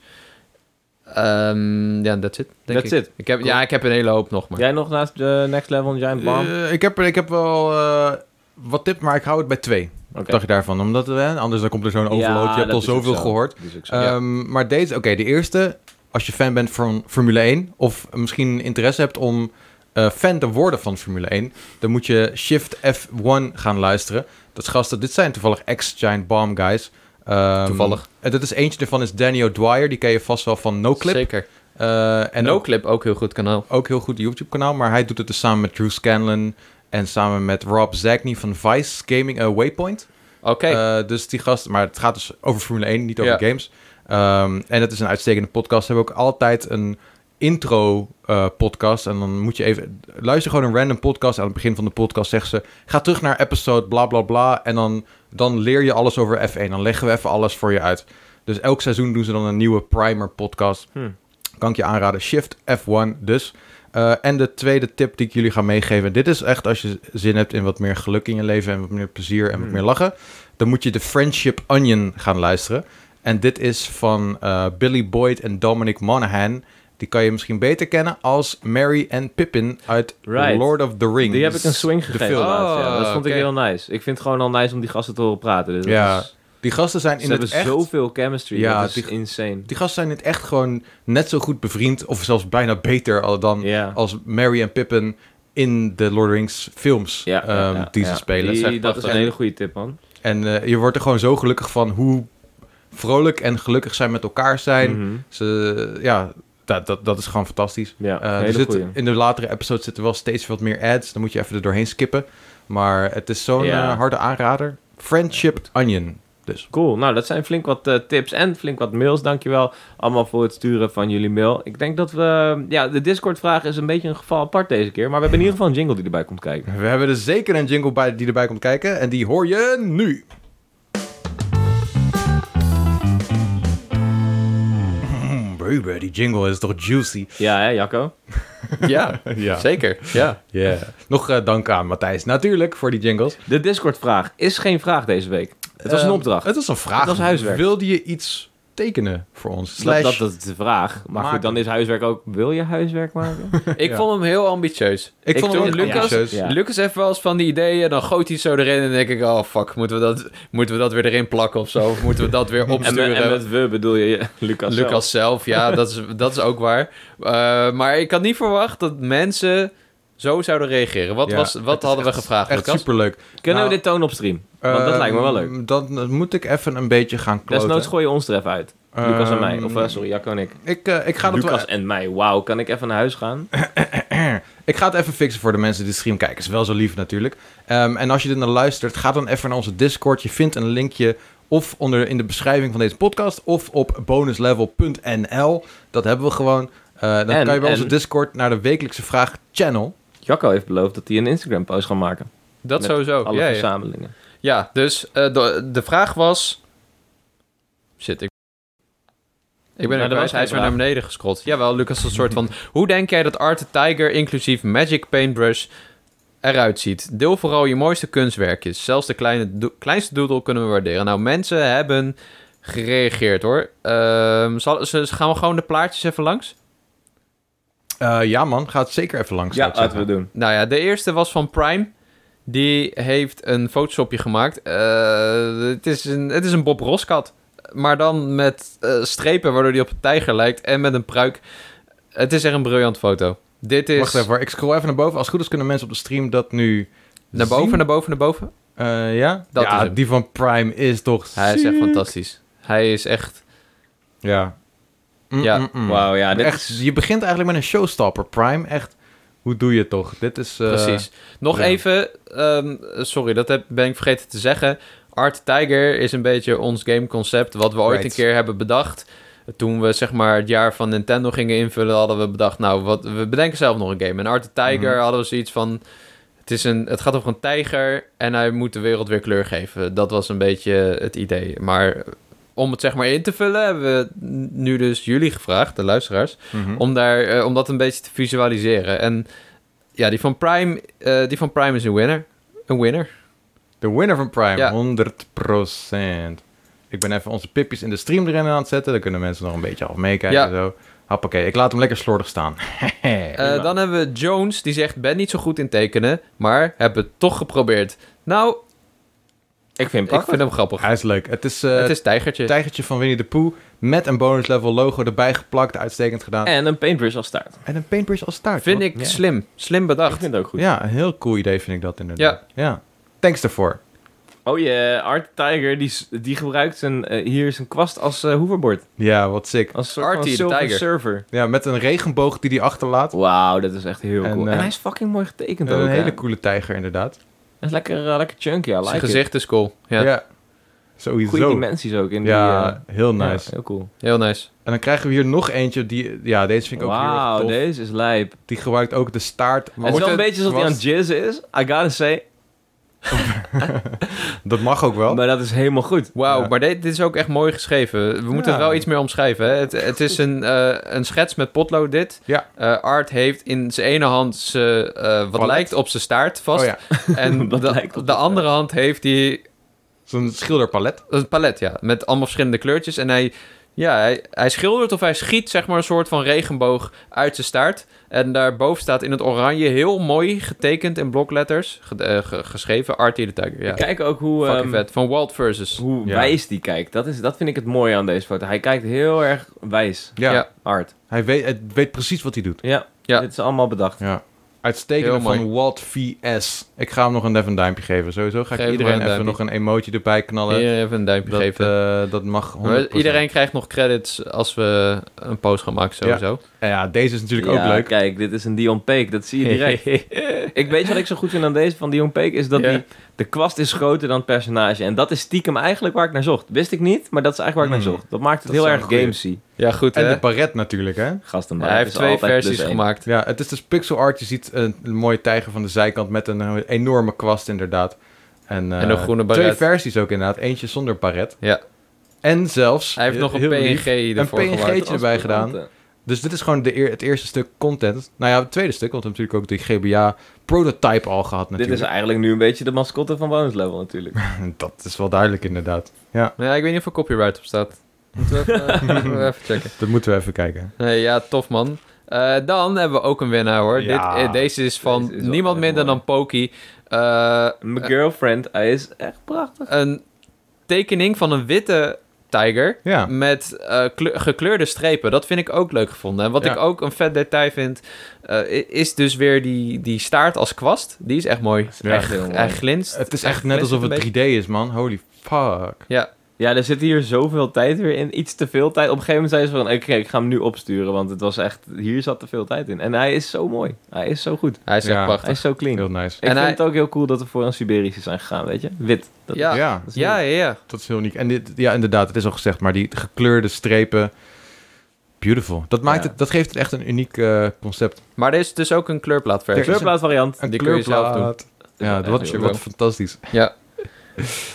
[SPEAKER 2] Ehm, Ja, that's it. Denk
[SPEAKER 3] That's
[SPEAKER 2] ik.
[SPEAKER 3] it.
[SPEAKER 2] Ik heb, Ja, ik heb een hele hoop nog, maar.
[SPEAKER 3] Jij nog naast de Next Level en Giant Bomb?
[SPEAKER 1] Eh, ik, heb, ik heb wel eh, wat tips, maar ik hou het bij twee.
[SPEAKER 3] Oké.
[SPEAKER 1] Dacht je daarvan? Omdat eh, anders dan komt er zo'n overload.
[SPEAKER 3] Ja,
[SPEAKER 1] je hebt
[SPEAKER 3] dat
[SPEAKER 1] al
[SPEAKER 3] is ook
[SPEAKER 1] zoveel
[SPEAKER 3] zo.
[SPEAKER 1] gehoord.
[SPEAKER 3] Dat is ook zo.
[SPEAKER 2] Ja.
[SPEAKER 1] Ehm, maar deze, oké, de eerste. Als je fan bent van Formule 1 of misschien interesse hebt om eh, fan te worden van Formule 1, dan moet je Shift F1 gaan luisteren. Dat is gasten, dit zijn toevallig ex-Giant Bomb guys. Ehm,
[SPEAKER 2] Toevallig.
[SPEAKER 1] En dat is eentje daarvan is Daniel Dwyer, die ken je vast wel van Noclip.
[SPEAKER 2] Zeker.
[SPEAKER 1] Eh, en
[SPEAKER 2] En
[SPEAKER 1] ook
[SPEAKER 2] Noclip, ook heel goed kanaal.
[SPEAKER 1] ook heel goed YouTube-kanaal, maar hij doet het dus samen met Drew Scanlon en samen met Rob Zagney van Vice Gaming eh, Waypoint.
[SPEAKER 2] Oké,
[SPEAKER 1] Eh, dus die gast, maar het gaat dus over Formule 1, niet over
[SPEAKER 2] Ja.
[SPEAKER 1] games. Ehm, en dat is een uitstekende podcast. Ze hebben ook altijd een intro-podcast. en dan moet je even... Luister gewoon een random podcast. Aan het begin van de podcast zegt ze... Ga terug naar episode bla bla bla. En dan, dan leer je alles over F1. Dan leggen we even alles voor je uit. Dus elk seizoen doen ze dan een nieuwe primer-podcast.
[SPEAKER 3] Hmm.
[SPEAKER 1] Kan ik je aanraden. Shift F1 dus. Eh, en de tweede tip die ik jullie ga meegeven. Dit is echt als je zin hebt in wat meer geluk in je leven en wat meer plezier en wat
[SPEAKER 3] Hmm.
[SPEAKER 1] meer lachen. Dan moet je de Friendship Onion gaan luisteren. En dit is van eh, Billy Boyd en Dominic Monaghan. Die kan je misschien beter kennen als Mary en Pippin uit
[SPEAKER 3] Right.
[SPEAKER 1] Lord of the Rings.
[SPEAKER 3] Die heb ik een swing
[SPEAKER 1] De
[SPEAKER 3] gegeven
[SPEAKER 1] film.
[SPEAKER 3] laatst, ja. Dat
[SPEAKER 2] Oh,
[SPEAKER 3] vond
[SPEAKER 2] oké.
[SPEAKER 3] ik heel nice. Ik vind het gewoon al nice om die gasten te horen praten. Dus dat
[SPEAKER 1] Ja,
[SPEAKER 3] is-
[SPEAKER 1] Die gasten zijn
[SPEAKER 3] ze
[SPEAKER 1] in het
[SPEAKER 3] hebben
[SPEAKER 1] echt...
[SPEAKER 3] zoveel chemistry.
[SPEAKER 1] Ja,
[SPEAKER 3] Ja, dat is
[SPEAKER 1] die-
[SPEAKER 3] insane.
[SPEAKER 1] Die gasten zijn in het echt gewoon net zo goed bevriend... of zelfs bijna beter al dan
[SPEAKER 3] Ja.
[SPEAKER 1] als Mary en Pippin in de Lord of the Rings films
[SPEAKER 3] Ja, ja,
[SPEAKER 1] ehm,
[SPEAKER 3] ja,
[SPEAKER 1] die
[SPEAKER 3] ja.
[SPEAKER 1] ze spelen.
[SPEAKER 3] Die-
[SPEAKER 2] Dat is echt
[SPEAKER 3] dat is
[SPEAKER 2] prachtig.
[SPEAKER 3] een hele goede tip, man.
[SPEAKER 1] En eh, je wordt er gewoon zo gelukkig van hoe vrolijk en gelukkig zij met elkaar zijn.
[SPEAKER 3] Mhm.
[SPEAKER 1] Ze, ja, dat, dat, dat is gewoon fantastisch.
[SPEAKER 3] Ja,
[SPEAKER 1] Eh,
[SPEAKER 3] een
[SPEAKER 1] er
[SPEAKER 3] hele
[SPEAKER 1] zit-
[SPEAKER 3] goeie.
[SPEAKER 1] in de latere episodes zitten wel steeds wat meer ads. Dan moet je even er doorheen skippen. Maar het is zo'n
[SPEAKER 3] Ja.
[SPEAKER 1] eh, harde aanrader. Friendship Onion. Dus.
[SPEAKER 3] Cool. Nou, dat zijn flink wat eh, tips en flink wat mails. Dankjewel allemaal voor het sturen van jullie mail. Ik denk dat we... eh, Ja, de Discord-vraag is een beetje een geval apart deze keer. Maar we hebben in ieder geval een jingle die erbij komt kijken.
[SPEAKER 1] We hebben er zeker een jingle bij die erbij komt kijken. En die hoor je nu. Mm, baby, die jingle is toch juicy.
[SPEAKER 3] Ja, hè, Jacco?
[SPEAKER 2] ja,
[SPEAKER 1] Ja.
[SPEAKER 2] zeker. Ja.
[SPEAKER 1] Yeah. Nog eh, dank aan Matthijs natuurlijk voor die jingles.
[SPEAKER 3] De Discord-vraag is geen vraag deze week. Het was een
[SPEAKER 1] Ehm,
[SPEAKER 3] opdracht.
[SPEAKER 1] Het was een vraag.
[SPEAKER 3] Het was huiswerk.
[SPEAKER 1] Wilde je iets tekenen voor ons?
[SPEAKER 3] Slash
[SPEAKER 1] Slash,
[SPEAKER 3] dat, dat is de vraag. Maar
[SPEAKER 1] maken.
[SPEAKER 3] goed, dan is huiswerk ook... Wil je huiswerk maken?
[SPEAKER 2] Ik
[SPEAKER 1] Ja.
[SPEAKER 2] vond hem heel ambitieus.
[SPEAKER 1] ik, vond
[SPEAKER 2] toen
[SPEAKER 1] het ook
[SPEAKER 2] Lucas,
[SPEAKER 1] ambitieus.
[SPEAKER 3] Ja.
[SPEAKER 2] Lucas heeft wel eens van die ideeën, dan gooit hij het zo erin en dan denk ik, oh fuck, moeten we dat, moeten we dat weer erin plakken of zo? Of moeten we dat weer
[SPEAKER 3] en, met,
[SPEAKER 2] opsturen?
[SPEAKER 3] en met we bedoel je je- Lucas zelf.
[SPEAKER 2] Lucas zelf, ja, dat is, dat is ook waar. Eh, maar ik had niet verwacht dat mensen zo zouden reageren. Wat,
[SPEAKER 1] Ja,
[SPEAKER 2] was,
[SPEAKER 1] het
[SPEAKER 2] wat
[SPEAKER 1] is
[SPEAKER 2] hadden we
[SPEAKER 1] echt-
[SPEAKER 2] gevraagd,
[SPEAKER 1] Echt
[SPEAKER 2] Lucas?
[SPEAKER 1] superleuk.
[SPEAKER 3] Kunnen
[SPEAKER 1] Nou,
[SPEAKER 3] we dit tonen op stream? Want dat lijkt me wel leuk.
[SPEAKER 1] Ehm, Dan eh, moet ik even een beetje gaan kloten.
[SPEAKER 3] Desnoods gooi je ons er even uit. Lucas en mij.
[SPEAKER 1] Ehm,
[SPEAKER 3] Of eh, sorry, Jacco en ik.
[SPEAKER 1] Ik, eh, ik, ga dat
[SPEAKER 3] Lucas
[SPEAKER 1] wel,
[SPEAKER 3] en mij. Wauw, kan ik even naar huis gaan?
[SPEAKER 1] ik ga het even fixen voor de mensen die de stream kijken. Is wel zo lief natuurlijk. Ehm, en als je er naar luistert, ga dan even naar onze Discord. Je vindt een linkje of onder in de beschrijving van deze podcast of op bonuslevel.nl. Dat hebben we gewoon. Eh, dan
[SPEAKER 3] En-
[SPEAKER 1] kan je bij
[SPEAKER 3] en-
[SPEAKER 1] onze Discord naar de wekelijkse vraag channel.
[SPEAKER 3] Jacco heeft beloofd dat hij een Instagram-post gaat maken.
[SPEAKER 2] Dat
[SPEAKER 3] met
[SPEAKER 2] sowieso.
[SPEAKER 3] Alle
[SPEAKER 2] Ja, ja.
[SPEAKER 3] verzamelingen.
[SPEAKER 2] ja, dus eh, de, de vraag was... Shit, ik... Ik ben
[SPEAKER 3] Nou,
[SPEAKER 2] er
[SPEAKER 3] dat was
[SPEAKER 2] kwijt, hij is
[SPEAKER 3] geen
[SPEAKER 2] weer naar
[SPEAKER 3] vraag.
[SPEAKER 2] beneden gescrollt. Jawel, Lucas, een soort van... Hoe denk jij dat Art the Tiger, inclusief Magic Paintbrush, eruit ziet? Deel vooral je mooiste kunstwerkjes. Zelfs de kleine do- kleinste doodle kunnen we waarderen. Nou, mensen hebben gereageerd, hoor. Ehm, zal, ze, gaan we gewoon de plaatjes even langs?
[SPEAKER 1] Eh, ja man, ga het zeker even langs. zou
[SPEAKER 3] Ja,
[SPEAKER 1] ik
[SPEAKER 3] laten we
[SPEAKER 1] zeggen.
[SPEAKER 3] doen.
[SPEAKER 2] Nou ja, de eerste was van Prime. Die heeft een photoshopje gemaakt. Eh, het, is een, het is een Bob Roskat. Maar dan met eh, strepen, waardoor hij op een tijger lijkt. En met een pruik. Het is echt een briljant foto. Dit is...
[SPEAKER 1] Wacht even, hoor. ik scroll even naar boven. Als het goed is kunnen mensen op de stream dat nu
[SPEAKER 2] Naar boven,
[SPEAKER 1] zien.
[SPEAKER 2] naar boven, naar boven.
[SPEAKER 1] Eh, ja?
[SPEAKER 2] Dat is
[SPEAKER 1] ja,
[SPEAKER 2] hem.
[SPEAKER 1] die van Prime is toch
[SPEAKER 2] Hij is echt
[SPEAKER 1] ziek.
[SPEAKER 2] fantastisch. Hij is echt...
[SPEAKER 1] Ja. Mm,
[SPEAKER 2] Ja.
[SPEAKER 1] mm, mm.
[SPEAKER 3] Wauw, ja. Dit
[SPEAKER 1] echt, Je begint eigenlijk met een showstopper. Prime, echt. Hoe doe je het toch? Dit is... eh,
[SPEAKER 2] Precies. Nog
[SPEAKER 1] ja.
[SPEAKER 2] even... ehm, sorry, dat heb, ben ik vergeten te zeggen. Art Tiger is een beetje ons gameconcept... wat we ooit
[SPEAKER 1] Right.
[SPEAKER 2] een keer hebben bedacht. Toen we zeg maar het jaar van Nintendo gingen invullen... hadden we bedacht, nou, wat, we bedenken zelf nog een game. En Art Tiger
[SPEAKER 1] Mhm.
[SPEAKER 2] hadden we zoiets van... Het, is een, het gaat over een tijger en hij moet de wereld weer kleur geven. Dat was een beetje het idee. Maar om het zeg maar in te vullen... hebben we nu dus jullie gevraagd, de luisteraars...
[SPEAKER 1] mhm.
[SPEAKER 2] om, daar, eh, om dat een beetje te visualiseren. En ja, die van Prime, eh, die van Prime is een winner. Een winner.
[SPEAKER 1] De winner van Prime,
[SPEAKER 2] Ja.
[SPEAKER 1] 100%. Ik ben even onze pipjes in de stream erin aan het zetten. Dan kunnen mensen nog een beetje af meekijken
[SPEAKER 2] Ja.
[SPEAKER 1] en zo. Hoppakee, ik laat hem lekker slordig staan.
[SPEAKER 2] Eh, dan hebben we Jones, die zegt... ben niet zo goed in tekenen, maar heb het toch geprobeerd. Nou,
[SPEAKER 3] Ik vind
[SPEAKER 2] ik
[SPEAKER 3] het
[SPEAKER 2] vind hem grappig.
[SPEAKER 1] Hij is leuk. Het is, eh
[SPEAKER 2] het
[SPEAKER 1] het
[SPEAKER 2] is tijgertje.
[SPEAKER 1] tijgertje van Winnie de Pooh met een bonus level logo erbij geplakt. Uitstekend gedaan. En,
[SPEAKER 3] En een paintbrush als staart.
[SPEAKER 1] een paintbrush als staart.
[SPEAKER 2] vind
[SPEAKER 1] Wat-
[SPEAKER 2] ik slim. Slim bedacht.
[SPEAKER 3] Ik vind het ook goed.
[SPEAKER 1] Ja, een heel cool idee vind ik dat inderdaad. Ja. Thanks daarvoor.
[SPEAKER 3] Oh ja, Art Tiger, die, s- die gebruikt zijn, eh, hier zijn kwast als eh hoverboard.
[SPEAKER 1] Ja, wat sick.
[SPEAKER 3] Als soort
[SPEAKER 2] Artie
[SPEAKER 3] van
[SPEAKER 2] de
[SPEAKER 3] silver
[SPEAKER 2] Tiger.
[SPEAKER 3] server.
[SPEAKER 1] Ja, met een regenboog die die achterlaat.
[SPEAKER 3] Wauw, dat is echt heel
[SPEAKER 1] En,
[SPEAKER 3] cool.
[SPEAKER 1] eh,
[SPEAKER 3] en hij is fucking mooi getekend
[SPEAKER 1] een
[SPEAKER 3] ook. hè.
[SPEAKER 1] hele coole tijger inderdaad.
[SPEAKER 3] Hij is lekker, eh, lekker chunky, I like
[SPEAKER 2] Zijn
[SPEAKER 3] it.
[SPEAKER 2] gezicht is cool. Ja,
[SPEAKER 1] Ja.
[SPEAKER 3] Goede
[SPEAKER 1] Sowieso.
[SPEAKER 3] dimensies ook in
[SPEAKER 1] Ja,
[SPEAKER 3] die...
[SPEAKER 1] heel
[SPEAKER 3] eh,
[SPEAKER 1] nice.
[SPEAKER 3] ja, heel cool.
[SPEAKER 2] heel nice.
[SPEAKER 1] En dan krijgen we hier nog eentje die... Ja, deze vind ik ook heel erg
[SPEAKER 3] Wauw,
[SPEAKER 1] tof.
[SPEAKER 3] deze is lijp.
[SPEAKER 1] Die gebruikt ook de staart. Maar
[SPEAKER 3] het is
[SPEAKER 1] wordt
[SPEAKER 3] wel een beetje alsof hij aan het
[SPEAKER 1] kwast-
[SPEAKER 3] jizzen is. I gotta say.
[SPEAKER 1] Dat mag ook wel.
[SPEAKER 3] Maar dat is helemaal goed.
[SPEAKER 2] Wauw,
[SPEAKER 1] Ja.
[SPEAKER 2] maar dit, dit is ook echt mooi geschreven. We moeten
[SPEAKER 1] Ja.
[SPEAKER 2] er wel iets meer omschrijven. Hè? Het, het is een, eh, een schets met potlood dit.
[SPEAKER 1] Ja.
[SPEAKER 2] Eh, Art heeft in zijn ene hand zijn, eh, wat
[SPEAKER 1] Palet.
[SPEAKER 2] lijkt op zijn staart vast.
[SPEAKER 1] Oh ja,
[SPEAKER 2] En
[SPEAKER 3] Dat
[SPEAKER 2] de,
[SPEAKER 3] lijkt op
[SPEAKER 2] de andere hand heeft hij
[SPEAKER 1] zo'n schilderpalet.
[SPEAKER 2] een palet, ja. Met allemaal verschillende kleurtjes. En hij, ja, hij, hij schildert of hij schiet, zeg maar, een soort van regenboog uit zijn staart. En daarboven staat in het oranje heel mooi getekend in blokletters. ge- eh, ge- geschreven Artie de Tiger, ja.
[SPEAKER 3] Kijk ook hoe,
[SPEAKER 2] Fucking
[SPEAKER 3] ehm,
[SPEAKER 2] vet. Van Wild Versus.
[SPEAKER 3] hoe
[SPEAKER 1] Ja.
[SPEAKER 3] wijs die kijkt. Dat, is, dat vind ik het mooie aan deze foto. Hij kijkt heel erg wijs.
[SPEAKER 1] Ja,
[SPEAKER 2] Ja.
[SPEAKER 3] Art.
[SPEAKER 1] hij weet, hij weet precies wat hij doet.
[SPEAKER 3] Ja,
[SPEAKER 2] Ja.
[SPEAKER 3] dit is allemaal bedacht.
[SPEAKER 1] Ja.
[SPEAKER 2] Heel
[SPEAKER 1] Uitstekende
[SPEAKER 2] mooi.
[SPEAKER 1] van Walt VS. Ik ga hem nog een, even een duimpje geven. Sowieso ga ik
[SPEAKER 2] Geef hem
[SPEAKER 1] iedereen
[SPEAKER 2] maar een
[SPEAKER 1] even nog
[SPEAKER 2] duimpje.
[SPEAKER 1] een emoji erbij knallen.
[SPEAKER 2] Hier even een duimpje
[SPEAKER 1] dat,
[SPEAKER 2] geven.
[SPEAKER 1] eh, dat mag 100%.
[SPEAKER 2] Maar Iedereen krijgt nog credits als we een post gaan maken, sowieso.
[SPEAKER 1] Ja, ja, deze is natuurlijk
[SPEAKER 3] Ja,
[SPEAKER 1] ook leuk.
[SPEAKER 3] Kijk, dit is een Dion Peek. Dat zie je direct. ik weet wat ik zo goed vind aan deze van Dion Peek. Is dat
[SPEAKER 2] Ja.
[SPEAKER 3] die, de kwast is groter dan het personage. En dat is stiekem eigenlijk waar ik naar zocht. Wist ik niet, maar dat is eigenlijk waar ik
[SPEAKER 1] Mm.
[SPEAKER 3] naar zocht. Dat maakt het
[SPEAKER 1] Dat
[SPEAKER 3] heel
[SPEAKER 1] is
[SPEAKER 3] erg
[SPEAKER 1] wel een goeie.
[SPEAKER 3] gamesy.
[SPEAKER 2] Ja, goed,
[SPEAKER 1] En
[SPEAKER 2] hè?
[SPEAKER 1] de paret natuurlijk, hè?
[SPEAKER 3] Gasten,
[SPEAKER 2] Ja, hij heeft twee versies gemaakt.
[SPEAKER 1] Ja, het is dus pixel art. Je ziet een mooie tijger van de zijkant met een enorme kwast inderdaad. En, eh,
[SPEAKER 2] En een groene
[SPEAKER 1] Twee
[SPEAKER 2] baret.
[SPEAKER 1] versies ook inderdaad. Eentje zonder paret.
[SPEAKER 2] Ja.
[SPEAKER 1] En zelfs...
[SPEAKER 2] Hij heeft nog een
[SPEAKER 1] heel lief,
[SPEAKER 2] PNG ervoor
[SPEAKER 1] PNG
[SPEAKER 2] gemaakt.
[SPEAKER 1] eentje erbij gedaan. Dus dit is gewoon de eer- het eerste stuk content. Nou ja, het tweede stuk, want we hebben natuurlijk ook die GBA prototype al gehad
[SPEAKER 3] Dit is
[SPEAKER 1] natuurlijk.
[SPEAKER 3] eigenlijk nu een beetje de mascotte van Bonus Level natuurlijk.
[SPEAKER 1] Dat is wel duidelijk inderdaad. Ja.
[SPEAKER 2] Ja, ik weet niet of er copyright op staat. Moeten we even, eh, moeten we even checken.
[SPEAKER 1] Dat moeten we even kijken.
[SPEAKER 2] Nee, ja, tof man. Eh, dan hebben we ook een winnaar hoor.
[SPEAKER 1] Ja.
[SPEAKER 2] Dit, eh, deze is van
[SPEAKER 3] Deze is wel
[SPEAKER 2] niemand
[SPEAKER 3] heel
[SPEAKER 2] minder
[SPEAKER 3] mooi.
[SPEAKER 2] dan Poki. Eh,
[SPEAKER 3] Mijn girlfriend, hij is echt prachtig.
[SPEAKER 2] een tekening van een witte tijger.
[SPEAKER 1] Ja.
[SPEAKER 2] Met eh, kle- gekleurde strepen. Dat vind ik ook leuk gevonden. En wat
[SPEAKER 1] Ja.
[SPEAKER 2] ik ook een vet detail vind, eh, i- is dus weer die, die staart als kwast. Die is echt mooi.
[SPEAKER 3] is echt
[SPEAKER 2] Hij-
[SPEAKER 3] heel mooi.
[SPEAKER 2] Hij glinst.
[SPEAKER 1] Het is
[SPEAKER 2] Hij
[SPEAKER 1] echt net
[SPEAKER 2] glinstert
[SPEAKER 1] alsof
[SPEAKER 2] een
[SPEAKER 1] het
[SPEAKER 2] beetje.
[SPEAKER 1] 3D is, man. Holy fuck.
[SPEAKER 2] Ja,
[SPEAKER 3] Ja, er zit hier zoveel tijd weer in. Iets te veel tijd. Op een gegeven moment zei ze van, oké, ik ga hem nu opsturen. Want het was echt, hier zat te veel tijd in. En hij is zo mooi. Hij is zo goed.
[SPEAKER 2] hij is echt
[SPEAKER 1] Ja.
[SPEAKER 2] prachtig.
[SPEAKER 3] Hij is zo clean.
[SPEAKER 1] Heel nice.
[SPEAKER 3] Ik
[SPEAKER 2] En
[SPEAKER 3] vind
[SPEAKER 2] hij-
[SPEAKER 3] het ook heel cool dat we voor een Siberische zijn gegaan, weet je? Wit. Dat
[SPEAKER 2] Ja.
[SPEAKER 1] Ja.
[SPEAKER 3] is
[SPEAKER 2] Ja, ja, ja.
[SPEAKER 1] dat is heel uniek. En dit, ja, inderdaad, het is al gezegd, maar die gekleurde strepen. Beautiful. Dat, maakt
[SPEAKER 3] Ja.
[SPEAKER 1] het, dat geeft het echt een uniek eh, concept.
[SPEAKER 2] Maar er is dus ook een
[SPEAKER 3] De
[SPEAKER 2] kleurplaatversie.
[SPEAKER 3] kleurplaat variant.
[SPEAKER 1] Een
[SPEAKER 2] Die kun je zelf
[SPEAKER 1] kleurplaat. Ja,
[SPEAKER 3] Ja,
[SPEAKER 1] wat,
[SPEAKER 3] heel
[SPEAKER 1] wat
[SPEAKER 2] leuk.
[SPEAKER 1] fantastisch.
[SPEAKER 2] Ja.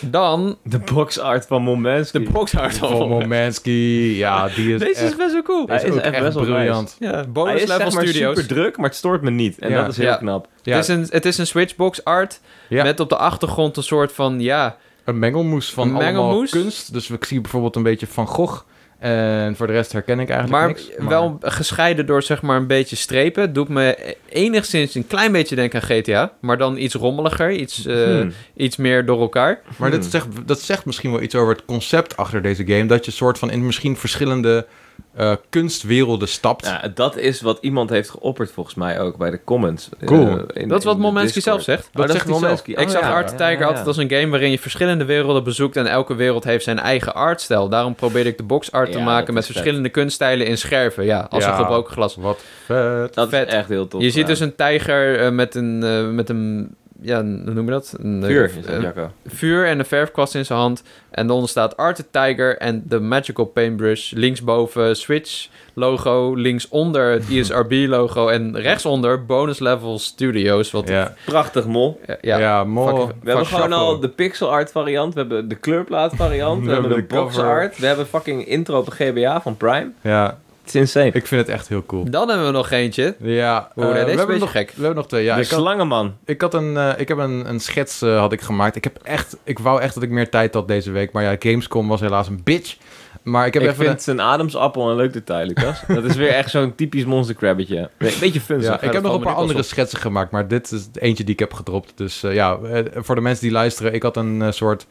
[SPEAKER 2] Dan
[SPEAKER 3] De box art van Momenski.
[SPEAKER 2] de boxhard
[SPEAKER 1] Van Momansky. Ja, die is
[SPEAKER 2] Deze is
[SPEAKER 1] echt,
[SPEAKER 2] best wel cool.
[SPEAKER 3] Hij
[SPEAKER 1] is
[SPEAKER 3] is
[SPEAKER 1] ook
[SPEAKER 3] echt
[SPEAKER 1] echt
[SPEAKER 3] best wel
[SPEAKER 1] briljant.
[SPEAKER 2] Ja,
[SPEAKER 3] Hij
[SPEAKER 2] bonus
[SPEAKER 3] is
[SPEAKER 2] level
[SPEAKER 3] zeg maar
[SPEAKER 2] studios.
[SPEAKER 3] super druk, maar het stoort me niet. En
[SPEAKER 1] Ja.
[SPEAKER 3] dat is heel
[SPEAKER 2] Ja.
[SPEAKER 3] knap.
[SPEAKER 1] Ja,
[SPEAKER 2] Het, is een, het is een Switchbox art
[SPEAKER 1] ja,
[SPEAKER 2] met op de achtergrond een soort van, ja,
[SPEAKER 1] een mengelmoes van
[SPEAKER 2] Een
[SPEAKER 1] allemaal
[SPEAKER 2] mengelmoes.
[SPEAKER 1] kunst. Dus ik zie bijvoorbeeld een beetje Van Gogh. En voor de rest herken ik eigenlijk
[SPEAKER 2] maar,
[SPEAKER 1] niks.
[SPEAKER 2] wel gescheiden door zeg maar een beetje strepen. Het Doet me enigszins een klein beetje denken aan GTA, maar dan iets rommeliger, iets, eh,
[SPEAKER 3] Hmm.
[SPEAKER 2] iets meer door elkaar.
[SPEAKER 1] Maar dat
[SPEAKER 3] Hmm.
[SPEAKER 1] zegt, dat zegt misschien wel iets over het concept achter deze game. Dat je soort van in misschien verschillende eh, kunstwerelden stapt.
[SPEAKER 3] Ja, dat is wat iemand heeft geopperd volgens mij ook bij de comments. eh,
[SPEAKER 1] Cool.
[SPEAKER 3] in-
[SPEAKER 2] Dat is wat
[SPEAKER 3] in de
[SPEAKER 2] Momenski
[SPEAKER 3] Discord.
[SPEAKER 2] zelf zegt.
[SPEAKER 1] Dat
[SPEAKER 3] Oh,
[SPEAKER 1] zegt hij zelf.
[SPEAKER 3] Momenski.
[SPEAKER 2] ik
[SPEAKER 3] Oh,
[SPEAKER 2] zag
[SPEAKER 3] ja.
[SPEAKER 2] Art Tiger
[SPEAKER 3] Ja, ja,
[SPEAKER 2] altijd als een game waarin je verschillende werelden bezoekt en elke wereld heeft zijn eigen artstijl. Daarom probeerde ik de boxart te
[SPEAKER 3] Ja,
[SPEAKER 2] maken
[SPEAKER 3] dat
[SPEAKER 2] met
[SPEAKER 3] is vet.
[SPEAKER 2] verschillende kunststijlen in scherven. Ja, als
[SPEAKER 1] Ja.
[SPEAKER 2] een gebroken glas.
[SPEAKER 1] Wat vet.
[SPEAKER 3] Dat
[SPEAKER 2] vet.
[SPEAKER 3] is echt heel tof.
[SPEAKER 2] je ziet
[SPEAKER 3] gedaan.
[SPEAKER 2] dus een tijger eh, met een, eh, met een, ja, een- hoe noem je dat? Een, eh,
[SPEAKER 3] vuur. is dat,
[SPEAKER 2] eh,
[SPEAKER 3] Jacco.
[SPEAKER 2] vuur en een verfkwast in zijn hand. En daaronder staat Art the Tiger en de Magical Paintbrush. Linksboven Switch logo, linksonder het ISRB logo en rechtsonder Bonus Level Studios. Wat
[SPEAKER 1] Ja,
[SPEAKER 3] Prachtig mol.
[SPEAKER 2] ja,
[SPEAKER 1] ja,
[SPEAKER 2] ja.
[SPEAKER 1] mooi.
[SPEAKER 2] fucking-
[SPEAKER 3] We hebben
[SPEAKER 1] Fuck
[SPEAKER 3] gewoon al
[SPEAKER 1] chapeau.
[SPEAKER 3] de pixel art variant, we hebben de kleurplaat variant, we,
[SPEAKER 1] We
[SPEAKER 3] hebben de,
[SPEAKER 1] hebben de
[SPEAKER 3] box
[SPEAKER 1] cover.
[SPEAKER 3] art, we hebben fucking intro op GBA van Prime.
[SPEAKER 1] Ja,
[SPEAKER 3] Het is insane.
[SPEAKER 1] ik vind het echt heel cool.
[SPEAKER 2] Dan hebben we nog eentje.
[SPEAKER 1] Ja,
[SPEAKER 2] Oeh,
[SPEAKER 1] eh,
[SPEAKER 2] nee, deze is een
[SPEAKER 1] we, hebben
[SPEAKER 2] beetje
[SPEAKER 1] nog,
[SPEAKER 2] gek.
[SPEAKER 1] we hebben nog twee. Ja,
[SPEAKER 3] de
[SPEAKER 1] ik, had,
[SPEAKER 3] slangenman.
[SPEAKER 1] ik, had een, eh, ik heb een, een schets eh, had ik gemaakt. Ik, heb echt, ik wou echt dat ik meer tijd had deze week. Maar ja, Gamescom was helaas een bitch. Maar ik
[SPEAKER 3] Ik,
[SPEAKER 1] heb even...
[SPEAKER 3] vind zijn adamsappel een leuk detail, Lucas. dat is weer echt zo'n typisch monster krabbetje. Be- beetje fun.
[SPEAKER 1] Ja,
[SPEAKER 3] Ja,
[SPEAKER 1] ik heb nog
[SPEAKER 2] valt
[SPEAKER 1] een
[SPEAKER 2] me
[SPEAKER 1] paar
[SPEAKER 2] niet
[SPEAKER 1] andere
[SPEAKER 2] op.
[SPEAKER 1] schetsen gemaakt, maar dit is eentje die ik heb gedropt. Dus eh, ja, eh, voor de mensen die luisteren, ik had een eh, soort,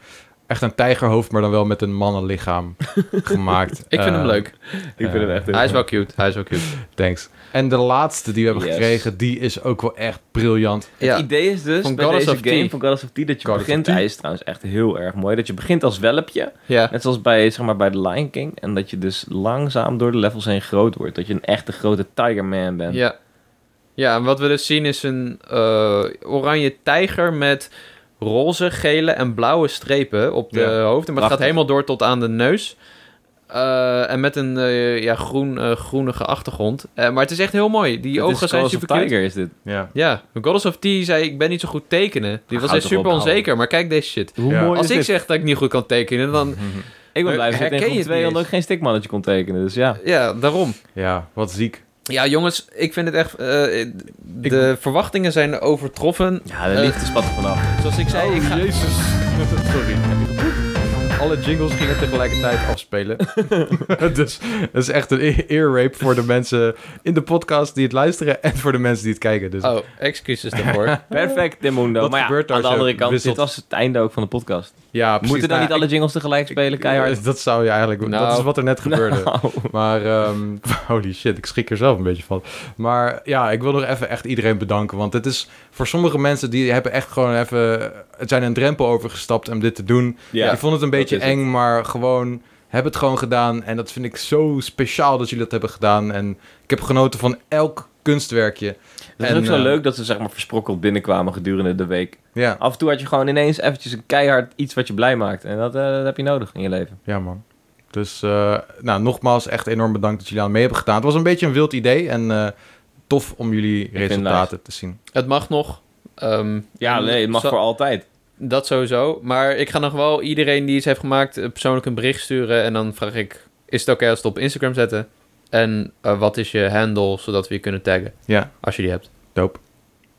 [SPEAKER 1] echt een tijgerhoofd, maar dan wel met een mannenlichaam gemaakt.
[SPEAKER 2] Ik vind hem
[SPEAKER 1] Eh,
[SPEAKER 2] leuk.
[SPEAKER 3] ik vind hem echt heel
[SPEAKER 2] Hij is
[SPEAKER 3] leuk.
[SPEAKER 2] wel cute. Hij is wel cute.
[SPEAKER 1] Thanks. En de laatste die we hebben
[SPEAKER 3] Yes.
[SPEAKER 1] gekregen, die is ook wel echt briljant.
[SPEAKER 2] Ja.
[SPEAKER 3] Het idee is dus
[SPEAKER 2] Van
[SPEAKER 3] bij
[SPEAKER 2] Goddess
[SPEAKER 3] deze
[SPEAKER 2] of
[SPEAKER 3] game
[SPEAKER 2] Tea.
[SPEAKER 3] van Goddess of Tea dat je
[SPEAKER 1] Goddess of
[SPEAKER 3] begint.
[SPEAKER 1] Tea.
[SPEAKER 3] Hij is trouwens echt heel erg mooi. Dat je begint als welpje,
[SPEAKER 2] Ja.
[SPEAKER 3] net zoals bij, zeg maar, bij The Lion King. En dat je dus langzaam door de levels heen groot wordt. Dat je een echte grote Tiger Man bent.
[SPEAKER 2] Ja. ja, en wat we dus zien is een eh, oranje tijger met roze, gele en blauwe strepen op de
[SPEAKER 1] Ja.
[SPEAKER 2] hoofd. Maar het gaat
[SPEAKER 3] Prachtig.
[SPEAKER 2] helemaal door tot aan de neus. Eh, en met een eh, ja, groen, eh, groenige achtergrond. Eh, maar het is echt heel mooi. Die
[SPEAKER 3] Die
[SPEAKER 2] ogen zijn super cute.
[SPEAKER 3] Tiger is dit.
[SPEAKER 1] Ja.
[SPEAKER 2] Ja, Goddess of Tea zei ik ben niet zo goed tekenen. Die
[SPEAKER 3] Ach,
[SPEAKER 2] was
[SPEAKER 3] houd
[SPEAKER 2] echt
[SPEAKER 3] toch
[SPEAKER 2] super
[SPEAKER 3] op, ouwe.
[SPEAKER 2] onzeker, maar kijk deze shit.
[SPEAKER 3] Hoe
[SPEAKER 1] Ja.
[SPEAKER 3] mooi
[SPEAKER 2] Als
[SPEAKER 3] is
[SPEAKER 2] ik
[SPEAKER 3] dit?
[SPEAKER 2] zeg dat ik niet goed kan tekenen, dan...
[SPEAKER 3] Ik ben blij dat ik
[SPEAKER 2] Herken
[SPEAKER 3] in
[SPEAKER 2] je
[SPEAKER 3] groep
[SPEAKER 2] het
[SPEAKER 3] 2
[SPEAKER 2] niet
[SPEAKER 3] al ook
[SPEAKER 2] eens?
[SPEAKER 3] geen stikmannetje kon tekenen. Dus ja,
[SPEAKER 2] Ja, daarom.
[SPEAKER 1] ja, wat ziek.
[SPEAKER 2] Ja, jongens, ik vind het echt... eh, de verwachtingen zijn overtroffen.
[SPEAKER 3] ja de
[SPEAKER 2] Eh,
[SPEAKER 3] liefde spat er vanaf.
[SPEAKER 2] Zoals ik zei, ik ga...
[SPEAKER 1] Jezus. Sorry. Alle jingles gingen tegelijkertijd afspelen. dus dat is echt een ear- ear rape voor de mensen in de podcast die het luisteren en voor de mensen die het kijken. Dus
[SPEAKER 2] Oh, excuses daarvoor.
[SPEAKER 3] Perfect, Demundo.
[SPEAKER 1] Wat
[SPEAKER 3] Maar ja,
[SPEAKER 1] gebeurt daar
[SPEAKER 3] aan de
[SPEAKER 1] als je
[SPEAKER 3] andere kant,
[SPEAKER 1] wisselt?
[SPEAKER 3] dit was het einde ook van de podcast.
[SPEAKER 1] ja, precies.
[SPEAKER 3] Moeten dan
[SPEAKER 1] Nou,
[SPEAKER 3] niet alle jingles tegelijk spelen, keihard?
[SPEAKER 1] Ja, Dat zou je eigenlijk...
[SPEAKER 2] Nou.
[SPEAKER 1] Dat is wat er net gebeurde.
[SPEAKER 3] Nou.
[SPEAKER 1] Maar, ehm, holy shit, ik schrik er zelf een beetje van. Maar ja, ik wil nog even echt iedereen bedanken. Want het is voor sommige mensen die hebben echt gewoon even... Het zijn een drempel overgestapt om dit te doen.
[SPEAKER 3] Ja,
[SPEAKER 1] ik vond het een beetje
[SPEAKER 3] dat is het.
[SPEAKER 1] eng, maar gewoon... Heb het gewoon gedaan. En dat vind ik zo speciaal dat jullie dat hebben gedaan. En ik heb genoten van elk kunstwerkje.
[SPEAKER 3] Het is
[SPEAKER 1] En,
[SPEAKER 3] ook zo
[SPEAKER 1] eh,
[SPEAKER 3] leuk dat ze zeg maar versprokkeld binnenkwamen gedurende de week.
[SPEAKER 1] Ja,
[SPEAKER 3] Af en toe had je gewoon ineens eventjes een keihard iets wat je blij maakt. En dat, eh, dat heb je nodig in je leven.
[SPEAKER 1] Ja, man. Dus eh, nou, nogmaals, echt enorm bedankt dat jullie aan mee hebben gedaan. Het was een beetje een wild idee en eh, tof om jullie
[SPEAKER 3] het
[SPEAKER 1] resultaten te zien.
[SPEAKER 2] Het mag nog. Ehm,
[SPEAKER 3] Ja,
[SPEAKER 2] en
[SPEAKER 3] nee, het mag
[SPEAKER 2] zo-
[SPEAKER 3] voor altijd.
[SPEAKER 2] Dat sowieso. Maar ik ga nog wel iedereen die iets heeft gemaakt eh, persoonlijk een bericht sturen. En dan vraag ik, is het oké als we het op Instagram zetten? En eh, wat is je handle, zodat we je kunnen taggen,
[SPEAKER 1] Ja,
[SPEAKER 2] als je die hebt.
[SPEAKER 1] dope.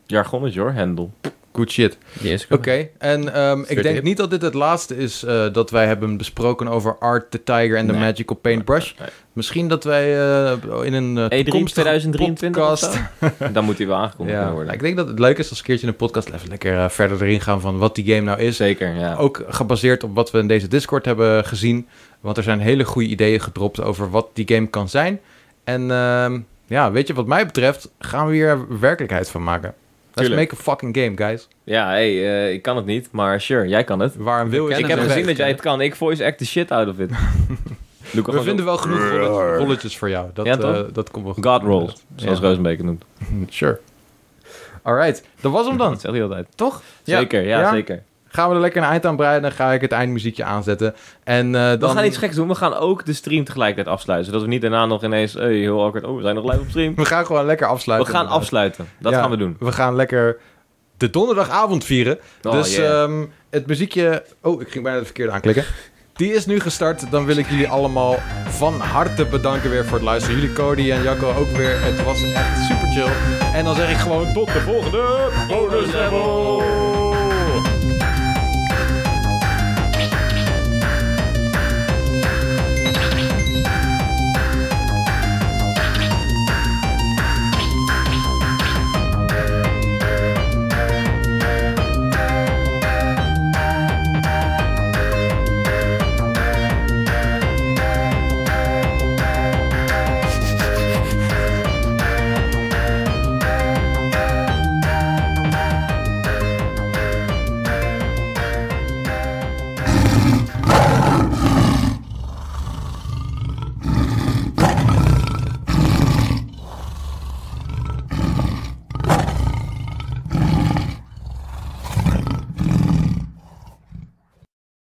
[SPEAKER 3] Jargonnetje hoor, Hendel.
[SPEAKER 1] Good shit.
[SPEAKER 2] Die is
[SPEAKER 1] Oké, en ehm, ik
[SPEAKER 2] Stuurt
[SPEAKER 1] denk
[SPEAKER 2] hip.
[SPEAKER 1] niet dat dit het laatste is eh, dat wij hebben besproken over Art the Tiger en de
[SPEAKER 3] Nee.
[SPEAKER 1] Magical Paintbrush.
[SPEAKER 3] Nee.
[SPEAKER 1] Misschien dat wij eh, in een eh,
[SPEAKER 3] E3
[SPEAKER 1] toekomstige
[SPEAKER 3] 2023 of
[SPEAKER 1] podcast...
[SPEAKER 3] zo? Dan moet hij wel aangekondigd
[SPEAKER 1] Ja,
[SPEAKER 3] kunnen worden.
[SPEAKER 1] ik denk dat het leuk is als een keertje in de podcast even lekker eh, verder erin gaan van wat die game nou is.
[SPEAKER 3] Zeker, ja.
[SPEAKER 1] Ook gebaseerd op wat we in deze Discord hebben gezien. Want er zijn hele goede ideeën gedropt over wat die game kan zijn. En ehm, ja, weet je, wat mij betreft gaan we hier werkelijkheid van maken. Let's
[SPEAKER 3] Tuurlijk.
[SPEAKER 1] make a fucking game, guys.
[SPEAKER 3] Ja, hey, eh, ik kan het niet, maar sure, jij kan het.
[SPEAKER 1] Waarom wil je
[SPEAKER 3] ik
[SPEAKER 2] kennen
[SPEAKER 3] heb
[SPEAKER 2] ze.
[SPEAKER 3] gezien dat jij het kan. Ik voice act the shit out of it. Doe ik er
[SPEAKER 1] We
[SPEAKER 3] gewoon
[SPEAKER 1] vinden
[SPEAKER 3] zo.
[SPEAKER 1] wel genoeg rolletjes, rolletjes voor jou. Dat,
[SPEAKER 3] Ja, toch?
[SPEAKER 1] eh, dat komt wel goed.
[SPEAKER 3] God rolls, zoals
[SPEAKER 1] Ja.
[SPEAKER 3] Rozenbeek het noemt.
[SPEAKER 1] Sure. Alright, dat was hem dan,
[SPEAKER 3] Dat zegt hij altijd.
[SPEAKER 1] toch?
[SPEAKER 3] Zeker, ja,
[SPEAKER 1] Ja.
[SPEAKER 3] zeker.
[SPEAKER 1] Gaan we er lekker een eind aan breiden, dan ga ik het eindmuziekje aanzetten. En eh,
[SPEAKER 3] We
[SPEAKER 1] dan...
[SPEAKER 3] gaan iets geks doen. We gaan ook de stream tegelijkertijd afsluiten. Zodat we niet daarna nog ineens... Hey, heel awkward. Oh, we zijn nog live op stream.
[SPEAKER 1] We gaan gewoon lekker
[SPEAKER 3] We
[SPEAKER 1] afsluiten.
[SPEAKER 3] gaan afsluiten. Dat
[SPEAKER 1] Ja,
[SPEAKER 3] gaan we doen.
[SPEAKER 1] We gaan lekker de donderdagavond vieren.
[SPEAKER 3] Oh,
[SPEAKER 1] dus
[SPEAKER 3] yeah.
[SPEAKER 1] ehm, het muziekje... Oh, ik ging bijna het verkeerde aanklikken. Die is nu gestart. Dan wil ik jullie allemaal van harte bedanken weer voor het luisteren. Jullie Cody en Jacco ook weer. Het eh, was echt super chill. En dan zeg ik gewoon tot de volgende bonus level.